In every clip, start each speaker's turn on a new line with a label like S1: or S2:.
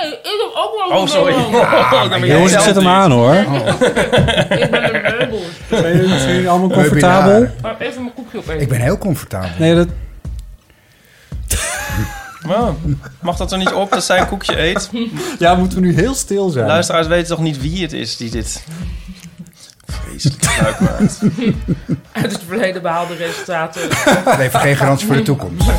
S1: Nee, ik heb ook wel
S2: Oh, sorry.
S3: Jongens, ik zet hem aan hoor.
S1: Ik ben een meubel.
S3: Zijn jullie- zijn jullie allemaal comfortabel?
S1: Maar even mijn koekje opeten.
S4: Ik ben heel comfortabel.
S3: Nee, dat...
S2: Wow. Mag dat er niet op dat zij een koekje eet?
S3: Ja, moeten we nu heel stil zijn?
S2: Luisteraars weten toch niet wie het is die dit... Vreselijk gebruik maakt.
S1: Uit het verleden behaalde resultaten. Hm.
S4: Dat heeft geen garantie voor de toekomst.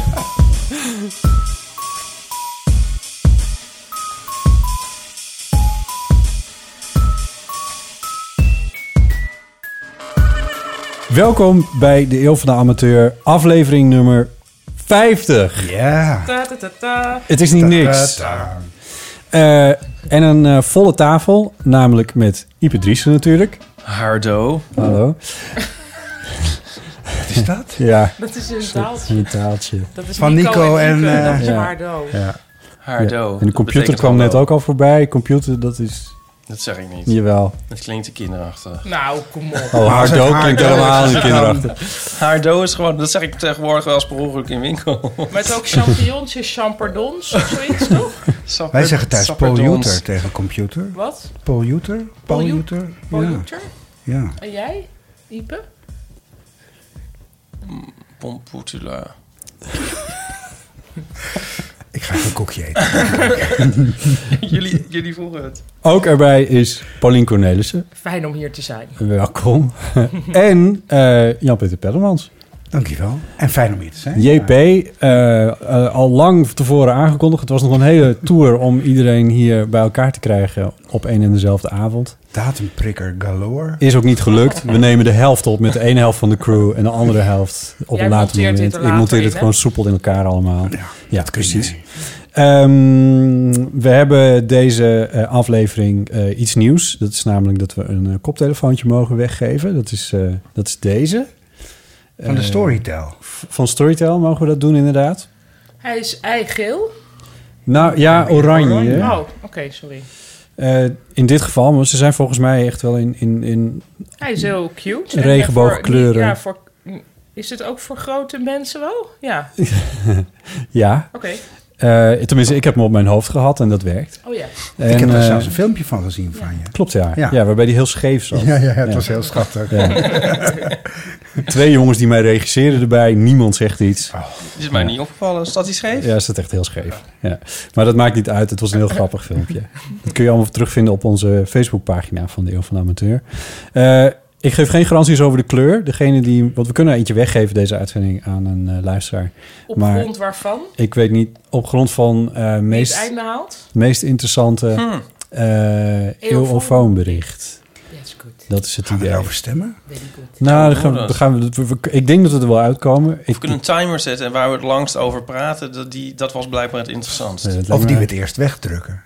S3: Welkom bij de Eeuw van de Amateur, aflevering nummer 50.
S4: Ja.
S1: Ta, ta, ta, ta.
S3: Het is niet niks.
S4: Ta-ta.
S3: Eh, en een eh, volle tafel, namelijk met Ipe Driessen natuurlijk.
S2: Hardo.
S3: Hallo.
S4: Wat is dat?
S3: Ja,
S1: Dat is een
S3: in
S1: taaltje.
S3: een taaltje.
S1: Dat is
S4: Van Nico en,
S1: Nico,
S4: eh,
S1: dat is
S3: ja.
S1: Waardo.
S2: Hardo.
S3: En de
S2: Dat
S3: computer
S2: betekent
S3: kwam net
S2: hallo.
S3: ook al voorbij. Computer, dat is...
S2: Dat zeg ik niet.
S3: Jawel.
S2: Dat klinkt te kinderachtig.
S1: Nou, kom op.
S3: Oh,
S4: Maar zeg
S3: hardo
S4: maar,
S3: klinkt
S4: hardo
S3: helemaal
S4: is
S3: niet kinderachtig.
S2: Hardo is gewoon... Dat zeg ik tegenwoordig wel eens per ongeluk in winkel.
S1: Met ook champignonsjes, champardons of zoiets, toch?
S2: Sapper-
S4: Wij zeggen thuis
S2: sapperdons.
S4: polluter tegen computer.
S1: Wat?
S4: Polluter? Polluter? Ja.
S1: Polluter?
S4: ja.
S1: En jij? Ipe?
S2: Pomputula.
S4: Ik ga even een koekje eten.
S2: jullie, jullie voelen het.
S3: Ook erbij is Paulien Cornelissen.
S1: Fijn om hier te zijn.
S3: Welkom. en eh, Jan-Peter Pellemans.
S4: Dankjewel. En fijn om hier te zijn.
S3: JP, eh, eh, al lang tevoren aangekondigd. Het was nog een hele tour om iedereen hier bij elkaar te krijgen op één en dezelfde avond.
S4: Datumprikker galore.
S3: Is ook niet gelukt. We nemen de helft op met de ene helft van de crew en de andere helft op
S1: Jij
S3: een later
S1: monteert dit
S3: moment.
S1: er
S3: ik
S1: later
S3: monteer
S1: in,
S3: het
S1: hè?
S3: gewoon soepel in elkaar allemaal. Ja,
S4: kun je
S3: precies. Ehm, we hebben deze eh, aflevering eh, iets nieuws. Dat is namelijk dat we een eh, koptelefoontje mogen weggeven. Dat is, eh, dat is deze.
S4: Van de
S3: Eh,
S4: Storytel.
S3: Van Storytel mogen we dat doen inderdaad.
S1: Hij is eigeel.
S3: Nou ja, oranje.
S1: Oh, oké, sorry.
S3: Eh, in dit geval, maar ze zijn volgens mij echt wel in. in, in
S1: Hij is heel cute. En
S3: Regenboogkleuren.
S1: Ja, voor, is het ook voor grote mensen wel? Ja, oké.
S3: ja, Eh, tenminste, ik heb hem op mijn hoofd gehad en dat werkt.
S1: Oh ja.
S3: En,
S4: ik heb er
S3: eh,
S4: zelfs een filmpje van gezien van je.
S3: Klopt, ja. ja.
S4: Ja.
S3: waarbij die heel scheef zat.
S4: Ja, ja, het
S3: Ja.
S4: was heel schattig.
S3: Twee jongens die mij regisseerden erbij, niemand zegt iets.
S4: Oh.
S2: Het is mij niet opgevallen. Staat hij scheef?
S3: Ja, is dat echt heel scheef. Ja. Maar dat maakt niet uit, het was een heel grappig filmpje. Dat kun je allemaal terugvinden op onze Facebookpagina van de Eeuw van de Amateur. Eh, ik geef geen garanties over de kleur. Degene die, want we kunnen er eentje weggeven deze uitzending aan een eh, luisteraar.
S1: Op
S3: Maar-
S1: grond waarvan?
S3: Ik weet niet, op grond van
S1: Wie
S3: eh
S1: het
S3: meest...
S1: einde haalt?
S3: meest interessante eh eeuwofoonbericht.
S1: That's good.
S3: Dat is het
S4: Gaan we
S3: idee.
S4: daarover stemmen?
S1: Very good.
S3: Nou,
S2: we
S3: dan gaan we,
S2: doen
S3: dan gaan we, we- we- ik denk dat we er wel uitkomen.
S2: Of
S3: Ik,
S2: we kunnen een timer zetten en waar we het langst over praten, dat, die, dat was blijkbaar het interessantst.
S3: eh, het lijkt
S4: Of
S3: me-
S4: die we het eerst wegdrukken?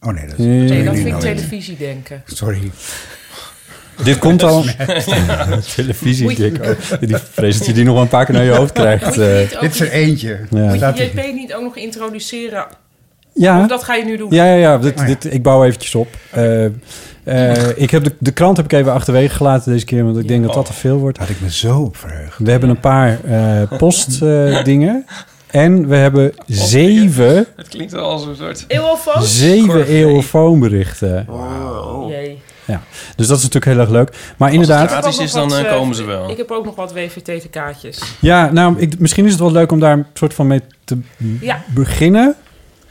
S4: Oh nee, dat is...
S3: Nee,
S1: Nee,
S4: dat
S1: dat
S4: nu
S1: vind ik
S4: nou weer.
S1: televisie denken.
S4: Sorry.
S3: Dit komt al. Televisie, Dick. Oh, die vrees dat je die nog wel een paar keer naar je hoofd krijgt.
S1: Moet je
S3: eh.
S1: niet ook-
S4: Dit is er eentje.
S3: Ja.
S4: Ja.
S1: moet
S4: Laat
S1: je
S5: E
S4: het-
S1: JP niet ook nog introduceren?
S3: ja.
S1: Of dat ga je nu doen?
S3: Ja, ja, ja. Dit,
S4: Oh ja.
S3: dit, ik bouw eventjes op. Eh, eh, ik heb de, de krant heb ik even achterwege gelaten deze keer, want ik denk dat dat te veel wordt.
S4: Had ik me zo op verheugd.
S3: We hebben een paar eh, postdingen. en we hebben zeven,
S2: Het klinkt wel als een soort...
S1: Eeuwofoon?
S3: zeven
S2: Corvée.
S3: eeuwfoonberichten.
S5: Oh.
S1: Jee.
S3: Dus dat is natuurlijk heel erg leuk. Maar
S2: het
S3: inderdaad,
S2: gaat- Gratis
S1: Ik heb ook nog
S2: is, dan,
S1: wat,
S2: eh,
S1: eh,
S2: komen ze wel.
S1: Ik heb ook nog wat WVT-kaartjes.
S3: nou, ja, nou, ik, misschien is het wel leuk om daar een soort van mee te
S1: Ja.
S3: beginnen.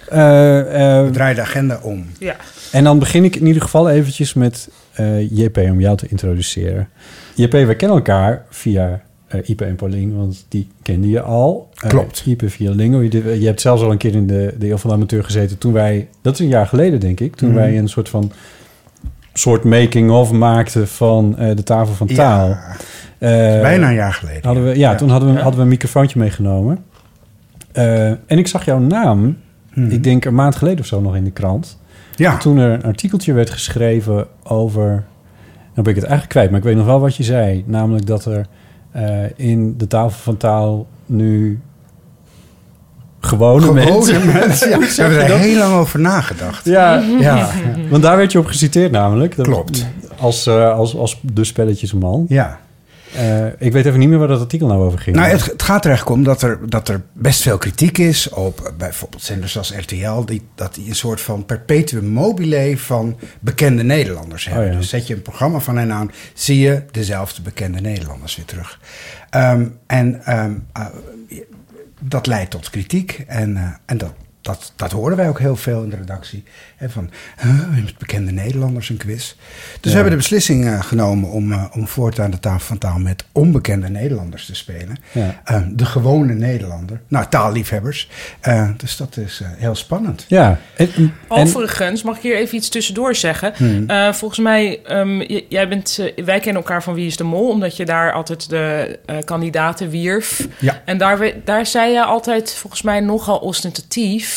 S3: Eh, eh, eh,
S4: Draai de agenda om.
S1: Ja.
S3: En dan begin ik in ieder geval eventjes met eh, JP om jou te introduceren. JP, we kennen elkaar via eh Ipe en Paulien, want die kende je al. Eh,
S4: Klopt.
S3: Ipe via Lingo. Je, je hebt zelfs al een keer in de, de Eeuw van de Amateur gezeten toen wij... Dat is een jaar geleden, denk ik. Toen
S4: Mhm.
S3: wij een soort van soort making-of maakten van eh, de tafel van
S4: Ja.
S3: taal. Eh,
S4: Bijna een jaar geleden.
S3: Hadden we, ja,
S4: Ja.
S3: toen hadden we,
S4: Ja.
S3: hadden we een microfoontje meegenomen. Eh, en ik zag jouw naam, ik denk een maand geleden of zo, nog in de krant.
S4: Hmm. Ja.
S3: Toen er een artikeltje werd geschreven over... Dan ben ik het eigenlijk kwijt, maar ik weet nog wel wat je zei. Namelijk dat er eh, in de tafel van taal nu gewone, mensen...
S4: mensen, ja.
S3: Hoe
S4: Daar
S3: zeg
S4: hebben
S3: je
S4: we er
S3: dat?
S4: heel lang over nagedacht.
S3: Ja, ja, want daar werd je op geciteerd namelijk. Klopt. Als, eh, als, als de spelletjesman.
S4: Ja.
S3: Eh, ik weet even niet meer waar dat artikel nou over ging.
S4: Nou, het, het gaat er eigenlijk om dat er, dat er best veel kritiek is op eh, bijvoorbeeld zenders als RTL, die, dat die een soort van perpetuum mobile van bekende Nederlanders hebben. Dus zet je een programma van hen aan, zie je dezelfde bekende Nederlanders weer terug. Ehm, en ehm, eh, dat leidt tot kritiek en, eh, en dat. Dat, dat horen wij ook heel veel in de redactie. Hè, van, huh, met bekende Nederlanders een quiz. Dus we
S3: Ja.
S4: hebben de beslissing eh, genomen om, eh, om voortaan de tafel van taal met onbekende Nederlanders te spelen.
S3: Ja.
S4: Eh, de gewone Nederlander. Nou, taalliefhebbers. Eh, dus dat is eh, heel spannend.
S3: Ja. En,
S5: Overigens, mag ik hier even iets tussendoor zeggen?
S4: Hmm.
S5: Eh, volgens mij, ehm, j- jij bent, eh, wij kennen elkaar van Wie is de Mol... omdat je daar altijd de eh, kandidaten wierf.
S4: Ja.
S5: En daar, we- daar zei je altijd, volgens mij nogal ostentatief...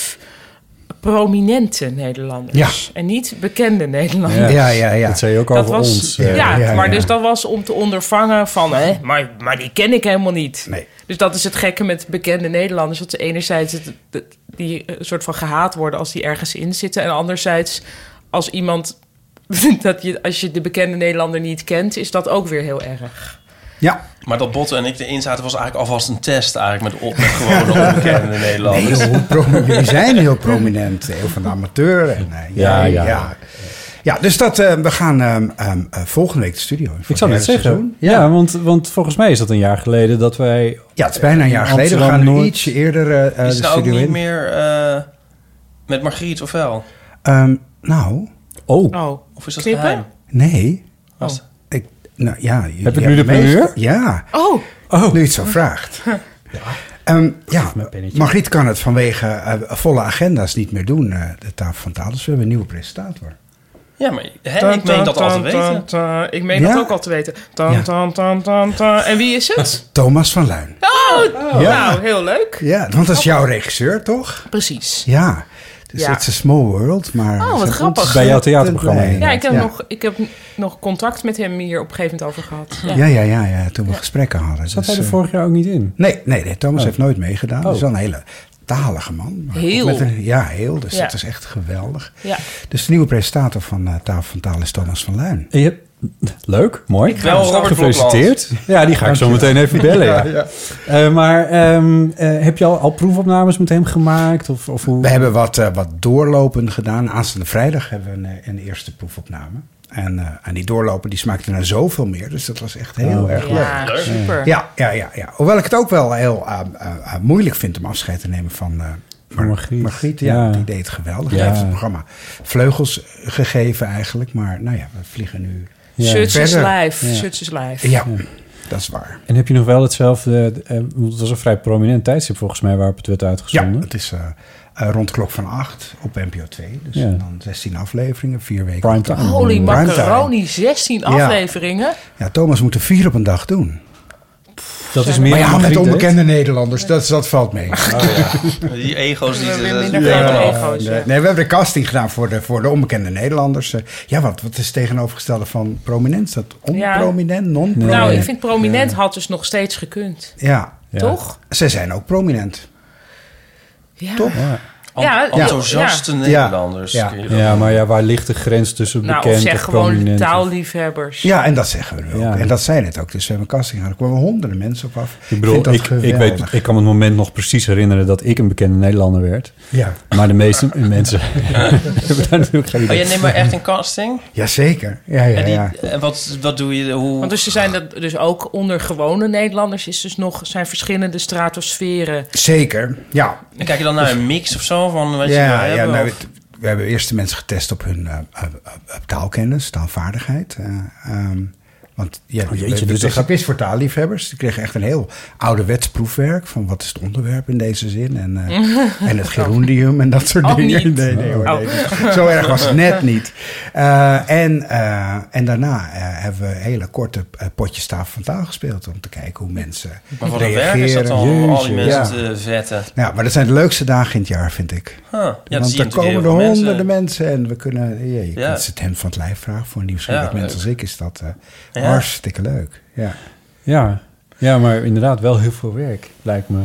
S5: prominente Nederlanders. En niet bekende Nederlanders.
S3: Ja, ja, ja. Dat zei je ook
S5: Dat
S3: over
S5: was,
S3: ons,
S5: Ja,
S3: eh. Ja, ja,
S5: maar
S3: ja.
S5: dus dat was om te ondervangen van... Hè, maar, maar die ken ik helemaal niet. Dus dat is het gekke met bekende Nederlanders. Dat ze enerzijds het, het- die eh, soort van gehaat worden als die ergens in zitten... en anderzijds als iemand... dat je, als je de bekende Nederlander niet kent, is dat ook weer heel erg.
S4: Ja.
S2: Maar dat Botten en ik erin zaten was eigenlijk alvast een test eigenlijk met, op, met gewone onbekende
S4: Nee,
S2: Nederlanders.
S4: joh, hoe pro- jullie zijn heel prominent. eh, Heel van de amateur. En, eh,
S3: Ja, ja.
S4: ja. Ja, dus dat, eh, we gaan ehm, ehm, eh, volgende week de studio in. voor
S3: Ik zou
S4: het
S3: net
S4: hele
S3: zeggen.
S4: seizoen.
S3: Ja, want, want volgens mij is dat een jaar geleden dat wij...
S4: Ja, het is bijna een jaar geleden. We gaan nu ietsje eerder eh, eh, de
S2: Is het nou ook
S4: studio
S2: niet
S4: in.
S2: meer eh, met Margriet of wel?
S4: Ehm, nou.
S3: Oh.
S2: Of is dat
S5: Knippen?
S2: geheim?
S4: Nee.
S2: Oh.
S4: Ik, nou ja. jullie
S3: Heb ik nu
S4: hebben
S3: de primeur?
S4: meest- Ja.
S5: Oh.
S4: Nu je het zo vraagt. Ehm, ja, Margriet kan het vanwege eh, volle agenda's niet meer doen, eh, de tafel van taal. Dus we hebben een nieuwe presentator.
S2: Ja, maar hè, ik meen dat al te weten.
S5: Ik meen
S4: Ja?
S5: dat ook al te weten. Tan, tan, tan, tan, tan. En wie is het?
S4: Thomas van Luin.
S5: Oh,
S4: Ja.
S5: nou, heel leuk.
S4: Ja, want dat is jouw regisseur, toch?
S5: Precies.
S4: Ja. Dus
S5: Ja.
S4: het is een small world, maar...
S5: Oh,
S4: we
S5: wat
S4: zijn
S5: grappig.
S3: bij jouw theaterprogramma,
S4: ontzettend blij.
S5: Ja, ik heb, Nog, ik heb nog contact met hem hier op een gegeven moment over gehad.
S4: Ja, ja, ja, ja, toen we gesprekken hadden.
S3: Zat
S4: Dus,
S3: hij er
S4: eh,
S3: vorig jaar ook niet in?
S4: Nee, nee, nee Thomas
S3: Oh.
S4: heeft nooit meegedaan. Dat
S3: Oh.
S4: is wel een hele talige man. maar ook
S5: Heel.
S4: met een- ja, heel. Dus
S5: Ja.
S4: dat is echt geweldig.
S5: Ja.
S4: Dus de nieuwe presentator van eh Tafel van Taal is Thomas van Luin.
S3: En je- Leuk, mooi.
S4: Ik ga Wel Robert
S3: Gefeliciteerd.
S4: Blokland.
S3: Ja, die ga ik zo
S4: Dankjewel.
S3: meteen even bellen. Ja.
S4: Ja, ja.
S3: Eh, maar ehm, eh, heb je al, al proefopnames met hem gemaakt? Of, of hoe?
S4: We hebben wat, eh, wat doorlopend gedaan. Aanstaande vrijdag hebben we een, eh, een eerste proefopname. En, eh en die doorlopen die smaakte naar zoveel meer. Dus dat was echt heel
S3: Oh.
S4: erg
S3: Ja,
S4: leuk.
S3: super.
S4: Ja, ja, ja, ja. Hoewel ik het ook wel heel eh, eh, eh, moeilijk vind om afscheid te nemen van eh, Mar-
S3: Margriet.
S4: ja,
S3: Ja.
S4: Die deed het geweldig.
S3: Ja.
S4: Hij heeft het programma vleugels gegeven eigenlijk. Maar nou ja, we vliegen nu
S3: Ja.
S5: Suits is
S4: verder.
S5: live.
S3: Ja.
S5: Suits is live.
S4: Ja, dat is waar.
S3: En heb je nog wel hetzelfde... eh, want het was een vrij prominent tijdstip volgens mij waarop het werd uitgezonden.
S4: Ja, het is eh, eh, rond de klok van 8 op NPO 2. Dus
S3: Ja.
S4: dan 16 afleveringen, vier weken.
S3: Primetime.
S5: Holy
S4: Primetime.
S5: macaroni, 16
S4: Ja.
S5: afleveringen.
S4: Ja, Thomas moet er vier op een dag doen.
S3: Dat is
S5: meer
S4: maar
S5: dan
S4: ja, met
S5: Margriet
S4: onbekende Nederlanders, dat, dat valt mee.
S2: Ah, Die ego's die...
S5: weer
S2: dat-
S5: minder
S2: dat-
S5: grote
S2: dat-
S5: ego's, ja.
S4: Nee, we hebben de casting gedaan voor de, voor de onbekende Nederlanders. Eh, Ja, wat, wat is het tegenovergestelde van prominent? Is dat onprominent, non-prominent?
S5: Nou, ik vind prominent had dus nog steeds gekund.
S4: Ja.
S5: Ja. Toch?
S4: Ze zijn ook prominent.
S5: Ja.
S4: Toch?
S5: Ah, Ja,
S2: Ent- enthousiaste
S5: ja.
S2: Nederlanders.
S4: Ja.
S2: kun je dat-
S3: Ja, maar ja, waar ligt de grens tussen
S5: Nou, of
S3: bekend
S5: zeg
S3: of
S5: gewoon
S3: prominent?
S5: taalliefhebbers.
S4: Ja, en dat zeggen we nu ook. En dat zijn het ook. Dus we hebben een casting gehad. Er kwamen honderden mensen op af.
S3: Ik bedoel,
S4: vind dat
S3: ik, ik,
S4: geweldig.
S3: weet, ik kan me het moment nog precies herinneren dat ik een bekende Nederlander werd.
S4: Ja.
S3: Maar de meeste mensen hebben daar natuurlijk geen
S2: Oh,
S3: idee.
S2: jij neemt maar echt een casting?
S4: Jazeker. Ja, ja,
S2: En die- Ah,
S4: ja.
S2: En wat, wat doe je? Hoe...
S5: Want dus ze zijn dat, dus ook onder gewone Nederlanders is dus nog, zijn verschillende stratosferen.
S4: Zeker, ja.
S2: En Kijk je dan naar een mix of zo? wel van wat je
S4: ja,
S2: wil
S4: ja,
S2: hebben.
S4: nou,
S2: of-
S4: het- we hebben eerst de mensen getest op hun eh, eh, eh, taalkennis, taalvaardigheid. eh, ehm, want ja,
S3: Oh, jeetje,
S4: we- we
S3: dus
S4: kregen
S3: dat-
S4: quiz voor taalliefhebbers. Die kregen echt een heel ouderwets proefwerk van wat is het onderwerp in deze zin. En, eh, en het gerundium en dat soort
S6: Oh,
S4: dingen.
S6: niet.
S4: Nee, nee, hoor, nee,
S6: Oh.
S4: dus Zo erg was het net niet. Eh, en, eh, en daarna eh, hebben we hele korte eh, potjes tafel van taal gespeeld om te kijken hoe mensen
S2: Maar wat een
S4: reageren.
S2: werk is dat dan, om al die
S4: Jeetje.
S2: mensen
S4: Ja.
S2: te vetten.
S4: Ja, maar dat zijn de leukste dagen in het jaar, vind ik.
S2: Huh, ja, dat
S4: Want
S2: zie je
S4: er
S2: natuurlijk heel
S4: komen er
S2: veel mensen.
S4: honderden mensen. en we kunnen... Ja, je
S2: Ja.
S4: kunt het hem van het lijf vragen voor een nieuwsgierig
S2: Ja,
S4: mens
S2: leuk.
S4: als ik. Is dat eh,
S2: Ja.
S4: hartstikke leuk. Ja.
S3: Ja. ja, maar inderdaad wel heel veel werk, lijkt me.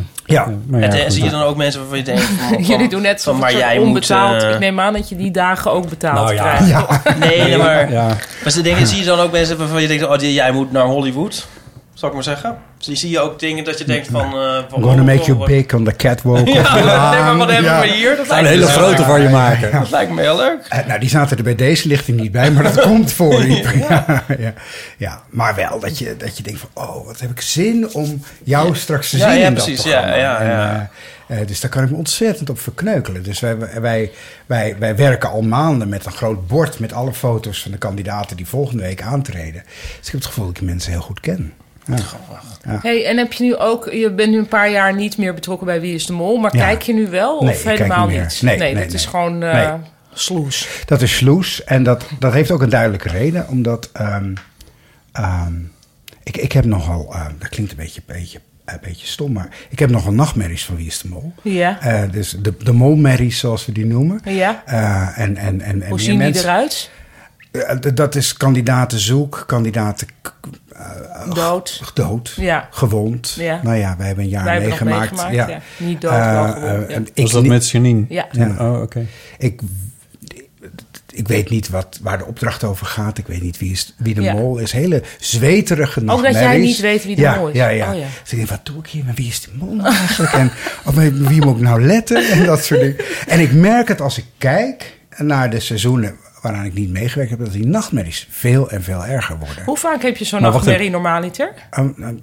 S3: maar
S2: en eh,
S3: goed.
S2: zie je dan ook mensen waarvan je denkt... Van, oh, van-
S5: Jullie doen net
S2: van,
S5: zo
S2: maar jij moet,
S5: onbetaald.
S2: eh,
S5: Ik neem aan dat je die dagen ook betaald
S2: Nou ja.
S5: krijgt.
S2: Nee, nee, maar...
S3: Ja.
S2: Maar ze denken, zie je dan ook mensen waarvan je denkt... Oh, die- jij moet naar Hollywood, zal ik maar zeggen. Zie, zie je ook dingen dat je denkt van... eh van
S4: I'm gonna
S2: oh,
S4: make
S2: oh,
S4: you big on the catwalk.
S2: Ja, nee, maar wat hebben
S4: Ja.
S2: we hier? Dat
S4: Gaan
S2: lijkt
S4: een
S2: me zo
S4: hele grote
S2: leuk.
S4: van je maken.
S2: Ja, Dat lijkt me heel leuk.
S4: Eh, nou, die zaten er bij deze lichting niet bij, maar dat komt voor. Iep. ja. Ja, ja. Maar wel dat je, dat je denkt van... Oh, wat heb ik zin om jou straks te
S2: Ja,
S4: zien
S2: ja,
S4: in
S2: precies.
S4: dat
S2: Ja,
S4: programma.
S2: ja,
S4: En,
S2: ja.
S4: eh, eh, dus daar kan ik me ontzettend op verkneukelen. Dus wij, wij, wij, wij werken al maanden met een groot bord... met alle foto's van de kandidaten die volgende week aantreden. Dus ik heb het gevoel dat ik die mensen heel goed ken. Ja. Ja.
S5: Hey, en heb je nu ook, je bent nu een paar jaar niet meer betrokken bij Wie is de Mol, maar
S4: Ja.
S5: kijk je nu wel
S4: Nee,
S5: of
S4: ik kijk
S5: helemaal
S4: niet meer.
S5: niet?
S4: Nee, nee,
S5: dat
S4: nee.
S5: is gewoon eh,
S4: Nee.
S5: sloes.
S4: Dat is sloes. En dat, dat heeft ook een duidelijke reden. Omdat ehm, ehm, ik, ik heb nogal... ehm, dat klinkt een beetje, beetje, een beetje stom, maar... Ik heb nogal nachtmerries van Wie is de Mol.
S5: Ja.
S4: Eh, dus de, de molmerries, zoals we die noemen.
S5: Ja.
S4: Eh, en, en, en, en
S5: Hoe
S4: meer
S5: zien die
S4: mensen-
S5: eruit?
S4: Eh, d- dat is kandidatenzoek, kandidaten k-
S5: Dood.
S4: g- eh, dood,
S5: Ja.
S4: gewond.
S5: Ja.
S4: Nou ja, wij hebben een jaar
S5: Wij hebben nog
S4: meegemaakt.
S5: meegemaakt, ja. Niet dood, wel
S4: Eh,
S5: gewond,
S4: eh,
S5: ja.
S4: ik
S3: Was dat
S4: ni-
S3: met Janine?
S5: Ja.
S3: Oh, oké.
S4: Ik, ik weet niet wat, waar de opdracht over gaat. Ik weet niet wie, is, wie de
S5: Ja. Oh,
S4: mol is. Hele zweterige
S5: dat jij
S4: nachtmerries.
S5: niet weet wie de
S4: ja,
S5: mol is.
S4: Ja, ja.
S5: Oh, ja.
S4: Dus ik denk, wat doe ik hier? Maar wie is de mol nou eigenlijk? en op wie- wie moet ik nou letten? En dat soort dingen. En ik merk het als ik kijk naar de seizoenen waaraan ik niet meegewerkt heb... dat die nachtmerries veel en veel erger worden.
S5: Hoe vaak heb je zo'n
S4: Maar wacht
S5: nachtmerrie normaliter?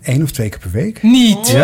S4: Eén of twee keer per week.
S5: Niet?
S4: Ja,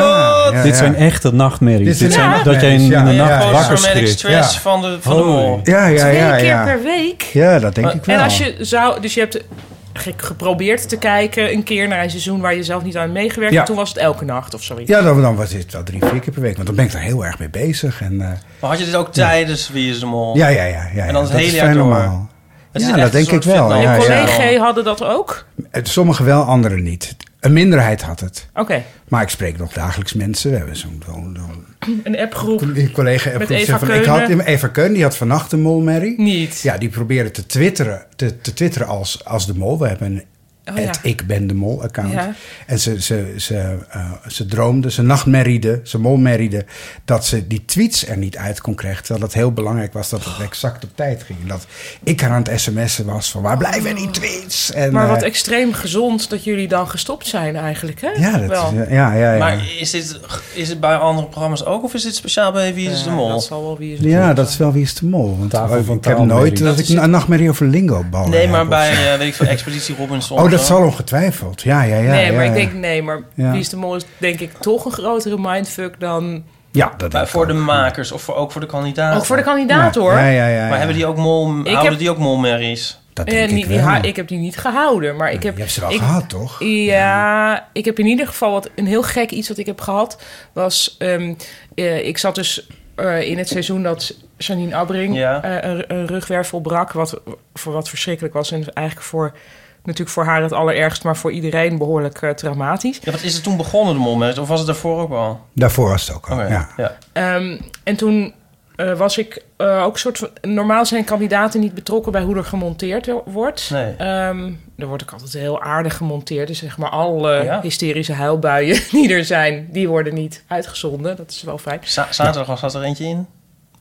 S4: ja,
S3: Dit
S4: ja.
S3: zijn echte nachtmerries.
S4: Dit
S3: Dit,
S4: zijn
S3: zijn
S4: echt
S3: dat jij in, in de
S4: nachtmerries, ja.
S3: nacht
S4: Ja,
S3: wakker
S4: posttraumatic
S3: schrikt.
S2: stress
S3: Ja.
S2: van de- van de
S3: Holy.
S2: mol. Oh,
S4: Ja, ja,
S5: Twee
S4: ja,
S5: keer
S4: ja.
S5: per week?
S4: Ja, dat denk ik wel.
S5: Eh, En als je zou, dus je hebt ge- geprobeerd te kijken een keer naar een seizoen waar je zelf niet aan meegewerkt
S4: Ja.
S5: hebt, toen was het elke nacht of zoiets.
S4: Ja, dan, dan was dit wel drie, vier keer per week. Want dan ben ik daar heel erg mee bezig. En, eh,
S2: Maar had je dit ook tijdens Wie is de Mol?
S4: ja, ja, ja, ja.
S2: Oh. En dan
S4: ja.
S2: het hele
S4: is
S2: jaar
S4: fijn
S2: door.
S4: normaal.
S2: Het is
S4: Ja,
S2: echt
S4: dat
S2: een
S4: denk ik
S2: soort
S4: wel.
S2: fitna-
S4: Ja, ja.
S5: Collega's hadden dat ook?
S4: Sommigen Eh, wel, anderen niet. Een minderheid had het.
S5: Oké,
S4: Maar ik spreek nog dagelijks mensen. We hebben zo'n zo'n- zo'n-
S5: een appgroep.
S4: een collega
S5: Met
S4: heeft
S5: Eva
S4: gezegd van, ik had
S5: Keunen.
S4: Eva Keun, die had vannacht een molmerrie.
S5: Niet.
S4: Ja, die probeerde te twitteren, te, te twitteren als, als de mol. We hebben een
S5: Oh ja.
S4: het ik ben de mol account.
S5: Ja.
S4: En ze, ze, ze, eh, ze droomde, ze nachtmerriede, ze molmerriede... dat ze die tweets er niet uit kon krijgen. Terwijl het heel belangrijk was dat
S5: Oh.
S4: het exact op tijd ging. Dat ik haar aan het sms'en was van waar blijven die tweets? En,
S5: maar wat
S4: eh,
S5: extreem gezond dat jullie dan gestopt zijn eigenlijk, hè?
S4: ja, dat
S5: Wel.
S4: is, eh, ja, ja, ja.
S2: Maar is dit, is het bij andere programma's ook of is dit speciaal bij Wie is de Mol?
S5: dat zal wel Wie is
S4: ja, dat is wel wie is de mol. Want
S3: Tafel
S4: ik
S3: van
S4: heb
S3: taalmerrie.
S4: nooit dat,
S3: Dat
S4: ik een nachtmerrie over lingo ballen
S2: Nee,
S4: heb
S2: maar
S4: of
S2: bij,
S4: zo.
S2: eh, weet ik veel, Expeditie Robinson.
S4: Oh,
S2: of
S4: dat
S2: zo.
S4: zal ongetwijfeld. Ja, ja, ja.
S5: nee,
S4: ja,
S5: maar ik
S4: ja.
S5: denk, nee, maar
S4: Ja.
S5: Wie is de Mol is denk ik toch een grotere mindfuck dan...
S4: Ja, dat
S2: Maar voor de makers of voor, ook voor de kandidaten.
S5: Ook voor de kandidaat, Ja, hoor. ja, ja, ja, ja.
S2: Maar hebben die ook mol,
S5: Ik
S2: houden
S5: heb-
S2: die ook molmerries?
S4: Dat
S5: Eh, die- die ha- ik heb die niet gehouden, maar ik heb... Je hebt
S4: ze wel gehad, toch?
S5: Ja, ik heb in ieder geval wat, een heel gek iets wat ik heb gehad. Was, ehm, eh, ik zat dus eh, in het seizoen dat Janine Abbring
S2: Ja.
S5: eh, een, een rugwervel brak. Wat, voor wat verschrikkelijk was. En eigenlijk voor, natuurlijk voor haar het allerergst, maar voor iedereen behoorlijk eh, traumatisch.
S2: Ja, wat is het toen begonnen, de molmerries? Of was het daarvoor ook al?
S4: Daarvoor was het ook al.
S2: Oké,
S4: Ja.
S2: ja.
S5: Ehm, en toen eh, was ik eh, ook soort van... Normaal zijn kandidaten niet betrokken bij hoe er gemonteerd wo- wordt.
S2: Nee.
S5: Ehm, er wordt ook altijd heel aardig gemonteerd. Dus zeg maar alle
S2: Ja.
S5: hysterische huilbuien die er zijn... die worden niet uitgezonden. Dat is wel fijn.
S2: Za- zaterdag was zat er eentje in?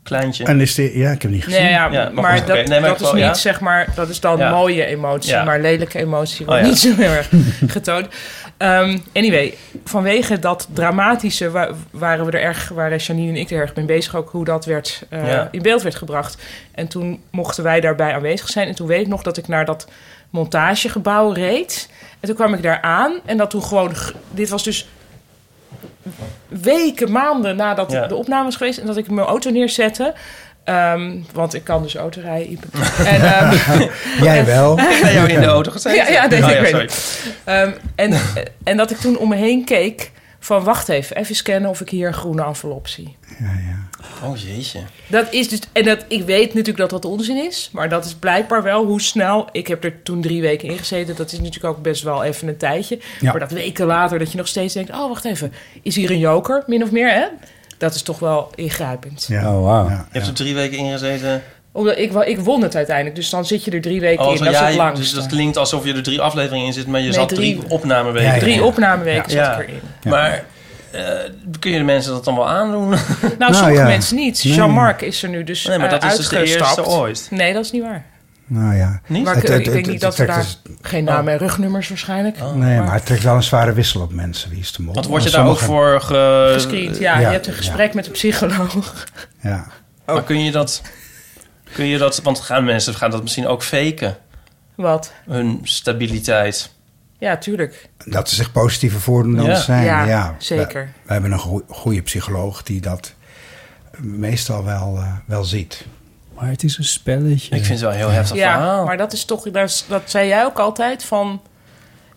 S2: Kleintje.
S4: En is die, ja, ik heb niet gezien.
S5: Nee, ja, maar
S2: goed,
S5: dat,
S2: oké. Nee,
S5: dat
S2: maar ik
S5: is
S2: wou-
S5: niet,
S2: ja.
S5: zeg maar... Dat is dan
S2: Ja.
S5: mooie emotie,
S2: Ja.
S5: maar lelijke emotie
S2: Oh,
S5: wordt
S2: ja.
S5: niet zo heel erg getoond. Ehm, anyway, vanwege dat dramatische wa- waren we er erg... waren Janine en ik er erg mee bezig ook... hoe dat werd, eh,
S2: Ja.
S5: in beeld werd gebracht. En toen mochten wij daarbij aanwezig zijn. En toen weet ik nog dat ik naar dat montagegebouw reed. En toen kwam ik daar aan en dat toen gewoon... g- Dit was dus weken, maanden nadat
S2: Ja.
S5: de opname is geweest... en dat ik mijn auto neerzette... Ehm, want ik kan dus auto rijden. Ipe. En, ehm,
S4: Jij wel.
S5: en-
S4: Ik ben jou in de auto gezeten.
S5: Ja, ja, nee,
S4: Oh ja,
S5: ik weet
S4: sorry.
S5: het. Ehm, en, en dat ik toen om me heen keek van... wacht even, even scannen of ik hier een groene envelop zie.
S2: Oh jeetje.
S5: Dat is dus, en dat, ik weet natuurlijk dat dat onzin is, maar dat is blijkbaar wel hoe snel. Ik heb er toen drie weken in gezeten, dat is natuurlijk ook best wel even een tijdje.
S4: Ja.
S5: Maar dat weken later, dat je nog steeds denkt: oh, wacht even, is hier een joker, min of meer, hè? Dat is toch wel ingrijpend.
S4: Ja.
S3: Oh, wauw.
S2: Je hebt er drie weken ingezeten.
S5: Omdat ik, wa- ik won het uiteindelijk, dus dan zit je er drie weken
S2: Oh,
S5: in.
S2: zo,
S5: Dat is
S2: ja,
S5: het langste.
S2: dus dat klinkt alsof je er drie afleveringen in zit, maar je
S5: Nee,
S2: zat drie,
S5: drie.
S2: opnameweken.
S5: Ja, ja, ja. Drie
S2: in.
S5: opnameweken
S2: Ja.
S5: zat ik erin.
S2: Ja. Maar eh, kun je de mensen dat dan wel aandoen? Nou,
S5: Nou, sommige mensen niet. Jean-Marc is er nu dus
S2: Nee, maar
S5: eh,
S2: dat is dus de
S5: uitgestapt.
S2: eerste ooit.
S5: Nee, dat is niet waar.
S4: Nou ja.
S5: Maar ik,
S4: Het- het-
S5: ik
S4: het-
S5: denk niet
S4: het
S5: dat we
S4: trekt
S5: daar...
S4: dus-
S5: Geen naam en rugnummers waarschijnlijk.
S2: Oh.
S4: Nee, maar het trekt wel een zware wissel op mensen. Wie is de mol?
S2: Want word je
S4: Maar
S2: daar ook
S4: sommigen-
S2: voor ge...
S5: Gescreend, ja.
S4: Ja.
S5: Je hebt een gesprek met een psycholoog.
S4: Ja.
S5: Oh.
S2: Maar kun je dat... Kun je dat... Want gaan mensen gaan dat misschien ook faken?
S5: Wat?
S2: Hun stabiliteit.
S5: Ja, tuurlijk.
S4: Dat ze zich positiever voordoen dan
S2: Ja.
S4: ze zijn.
S5: Ja,
S4: Ja,
S5: zeker.
S4: We, we hebben een goe- goede psycholoog die dat meestal wel, eh, wel ziet.
S3: Maar het is een spelletje.
S2: Ik vind het wel heel heftig
S5: ja, maar dat is toch... daar is- Dat zei jij ook altijd van...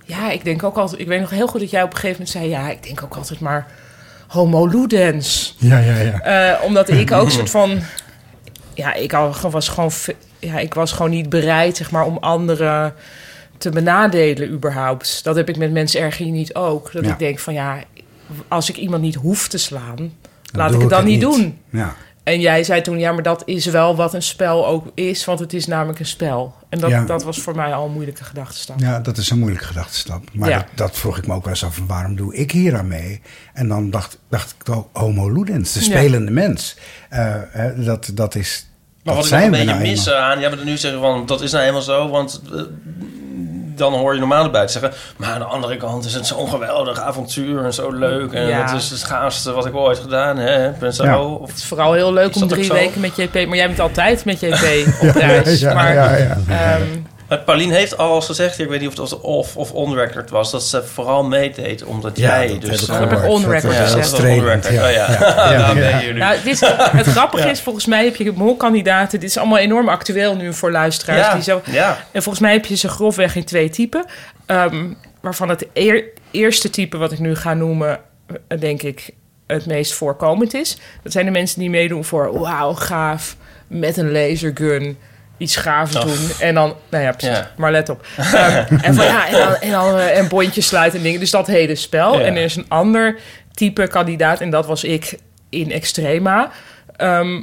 S5: Ja, ik denk ook altijd... Ik weet nog heel goed dat jij op een gegeven moment zei... Ja, ik denk ook altijd maar homo ludens.
S4: Ja, ja, ja.
S5: Eh, omdat ik ook soort van... Ja, ik al- was gewoon, ve- ja, ik was gewoon niet bereid zeg maar, om anderen te benadelen überhaupt. Dat heb ik met mensen erg hier niet ook. Dat
S4: Ja.
S5: ik denk van ja, als ik iemand niet hoef te slaan... laat
S4: doe
S5: ik het dan niet doen.
S4: Ja.
S5: En jij zei toen, ja, maar dat is wel wat een spel ook is, want het is namelijk een spel. En dat,
S4: Ja.
S5: dat was voor mij al een moeilijke gedachtestand.
S4: ja, dat is een moeilijke gedachtenstap. Maar
S5: Ja.
S4: dat, dat vroeg ik me ook wel eens af, van waarom doe ik hier aan mee? En dan dacht, dacht ik ook, homo ludens, de
S2: Ja.
S4: spelende mens. Eh, hè, dat, dat is...
S2: Maar
S4: dat
S2: wat ik nog een
S4: we
S2: beetje
S4: nou
S2: mis aan... Ja, maar nu zeggen van... Dat is nou eenmaal zo, want... eh, dan hoor je normaal erbij te zeggen... Maar aan de andere kant is het zo'n geweldig avontuur... en zo leuk. En
S5: Ja.
S2: het is het gaafste wat ik ooit gedaan heb. En zo.
S4: Ja.
S2: Of,
S5: Het is vooral heel leuk
S2: dat
S5: om
S2: ook
S5: drie
S2: zo?
S5: weken met JP, maar jij bent altijd met JP op reis.
S4: ja,
S5: Dus, maar,
S4: ja, ja.
S5: ehm,
S2: Maar Paulien heeft al eens gezegd, ik weet niet of het off of on-record was, dat ze vooral meedeed omdat
S4: Ja,
S2: jij
S4: dat
S2: dus...
S4: heb ik
S2: eh,
S4: gehoord. Dat
S5: on-record
S2: Ja,
S5: gezegd.
S2: dat is
S4: Dat is
S2: on-record.
S4: trainend,
S2: Oh,
S4: ja.
S2: ja.
S4: Ja. Ja.
S2: Daar ben je
S4: Ja.
S2: nu.
S5: Nou, dit is, het grappige is, volgens mij heb je molkandidaten. Dit is allemaal enorm actueel nu voor luisteraars.
S2: Ja,
S5: Die zo,
S2: ja.
S5: En volgens mij heb je ze grofweg in twee typen. Ehm, waarvan het eer- eerste type, wat ik nu ga noemen, eh, denk ik het meest voorkomend is. Dat zijn de mensen die meedoen voor wauw, gaaf, met een lasergun. Iets gaafs
S2: Oh.
S5: doen. En dan, nou ja, precies.
S2: Ja.
S5: Maar let op. Ehm, en, van, ja, en, dan, en, dan, eh, en bondjes sluiten en dingen. Dus dat hele spel.
S2: Ja.
S5: En er is een ander type kandidaat. En dat was ik in Extrema. Ehm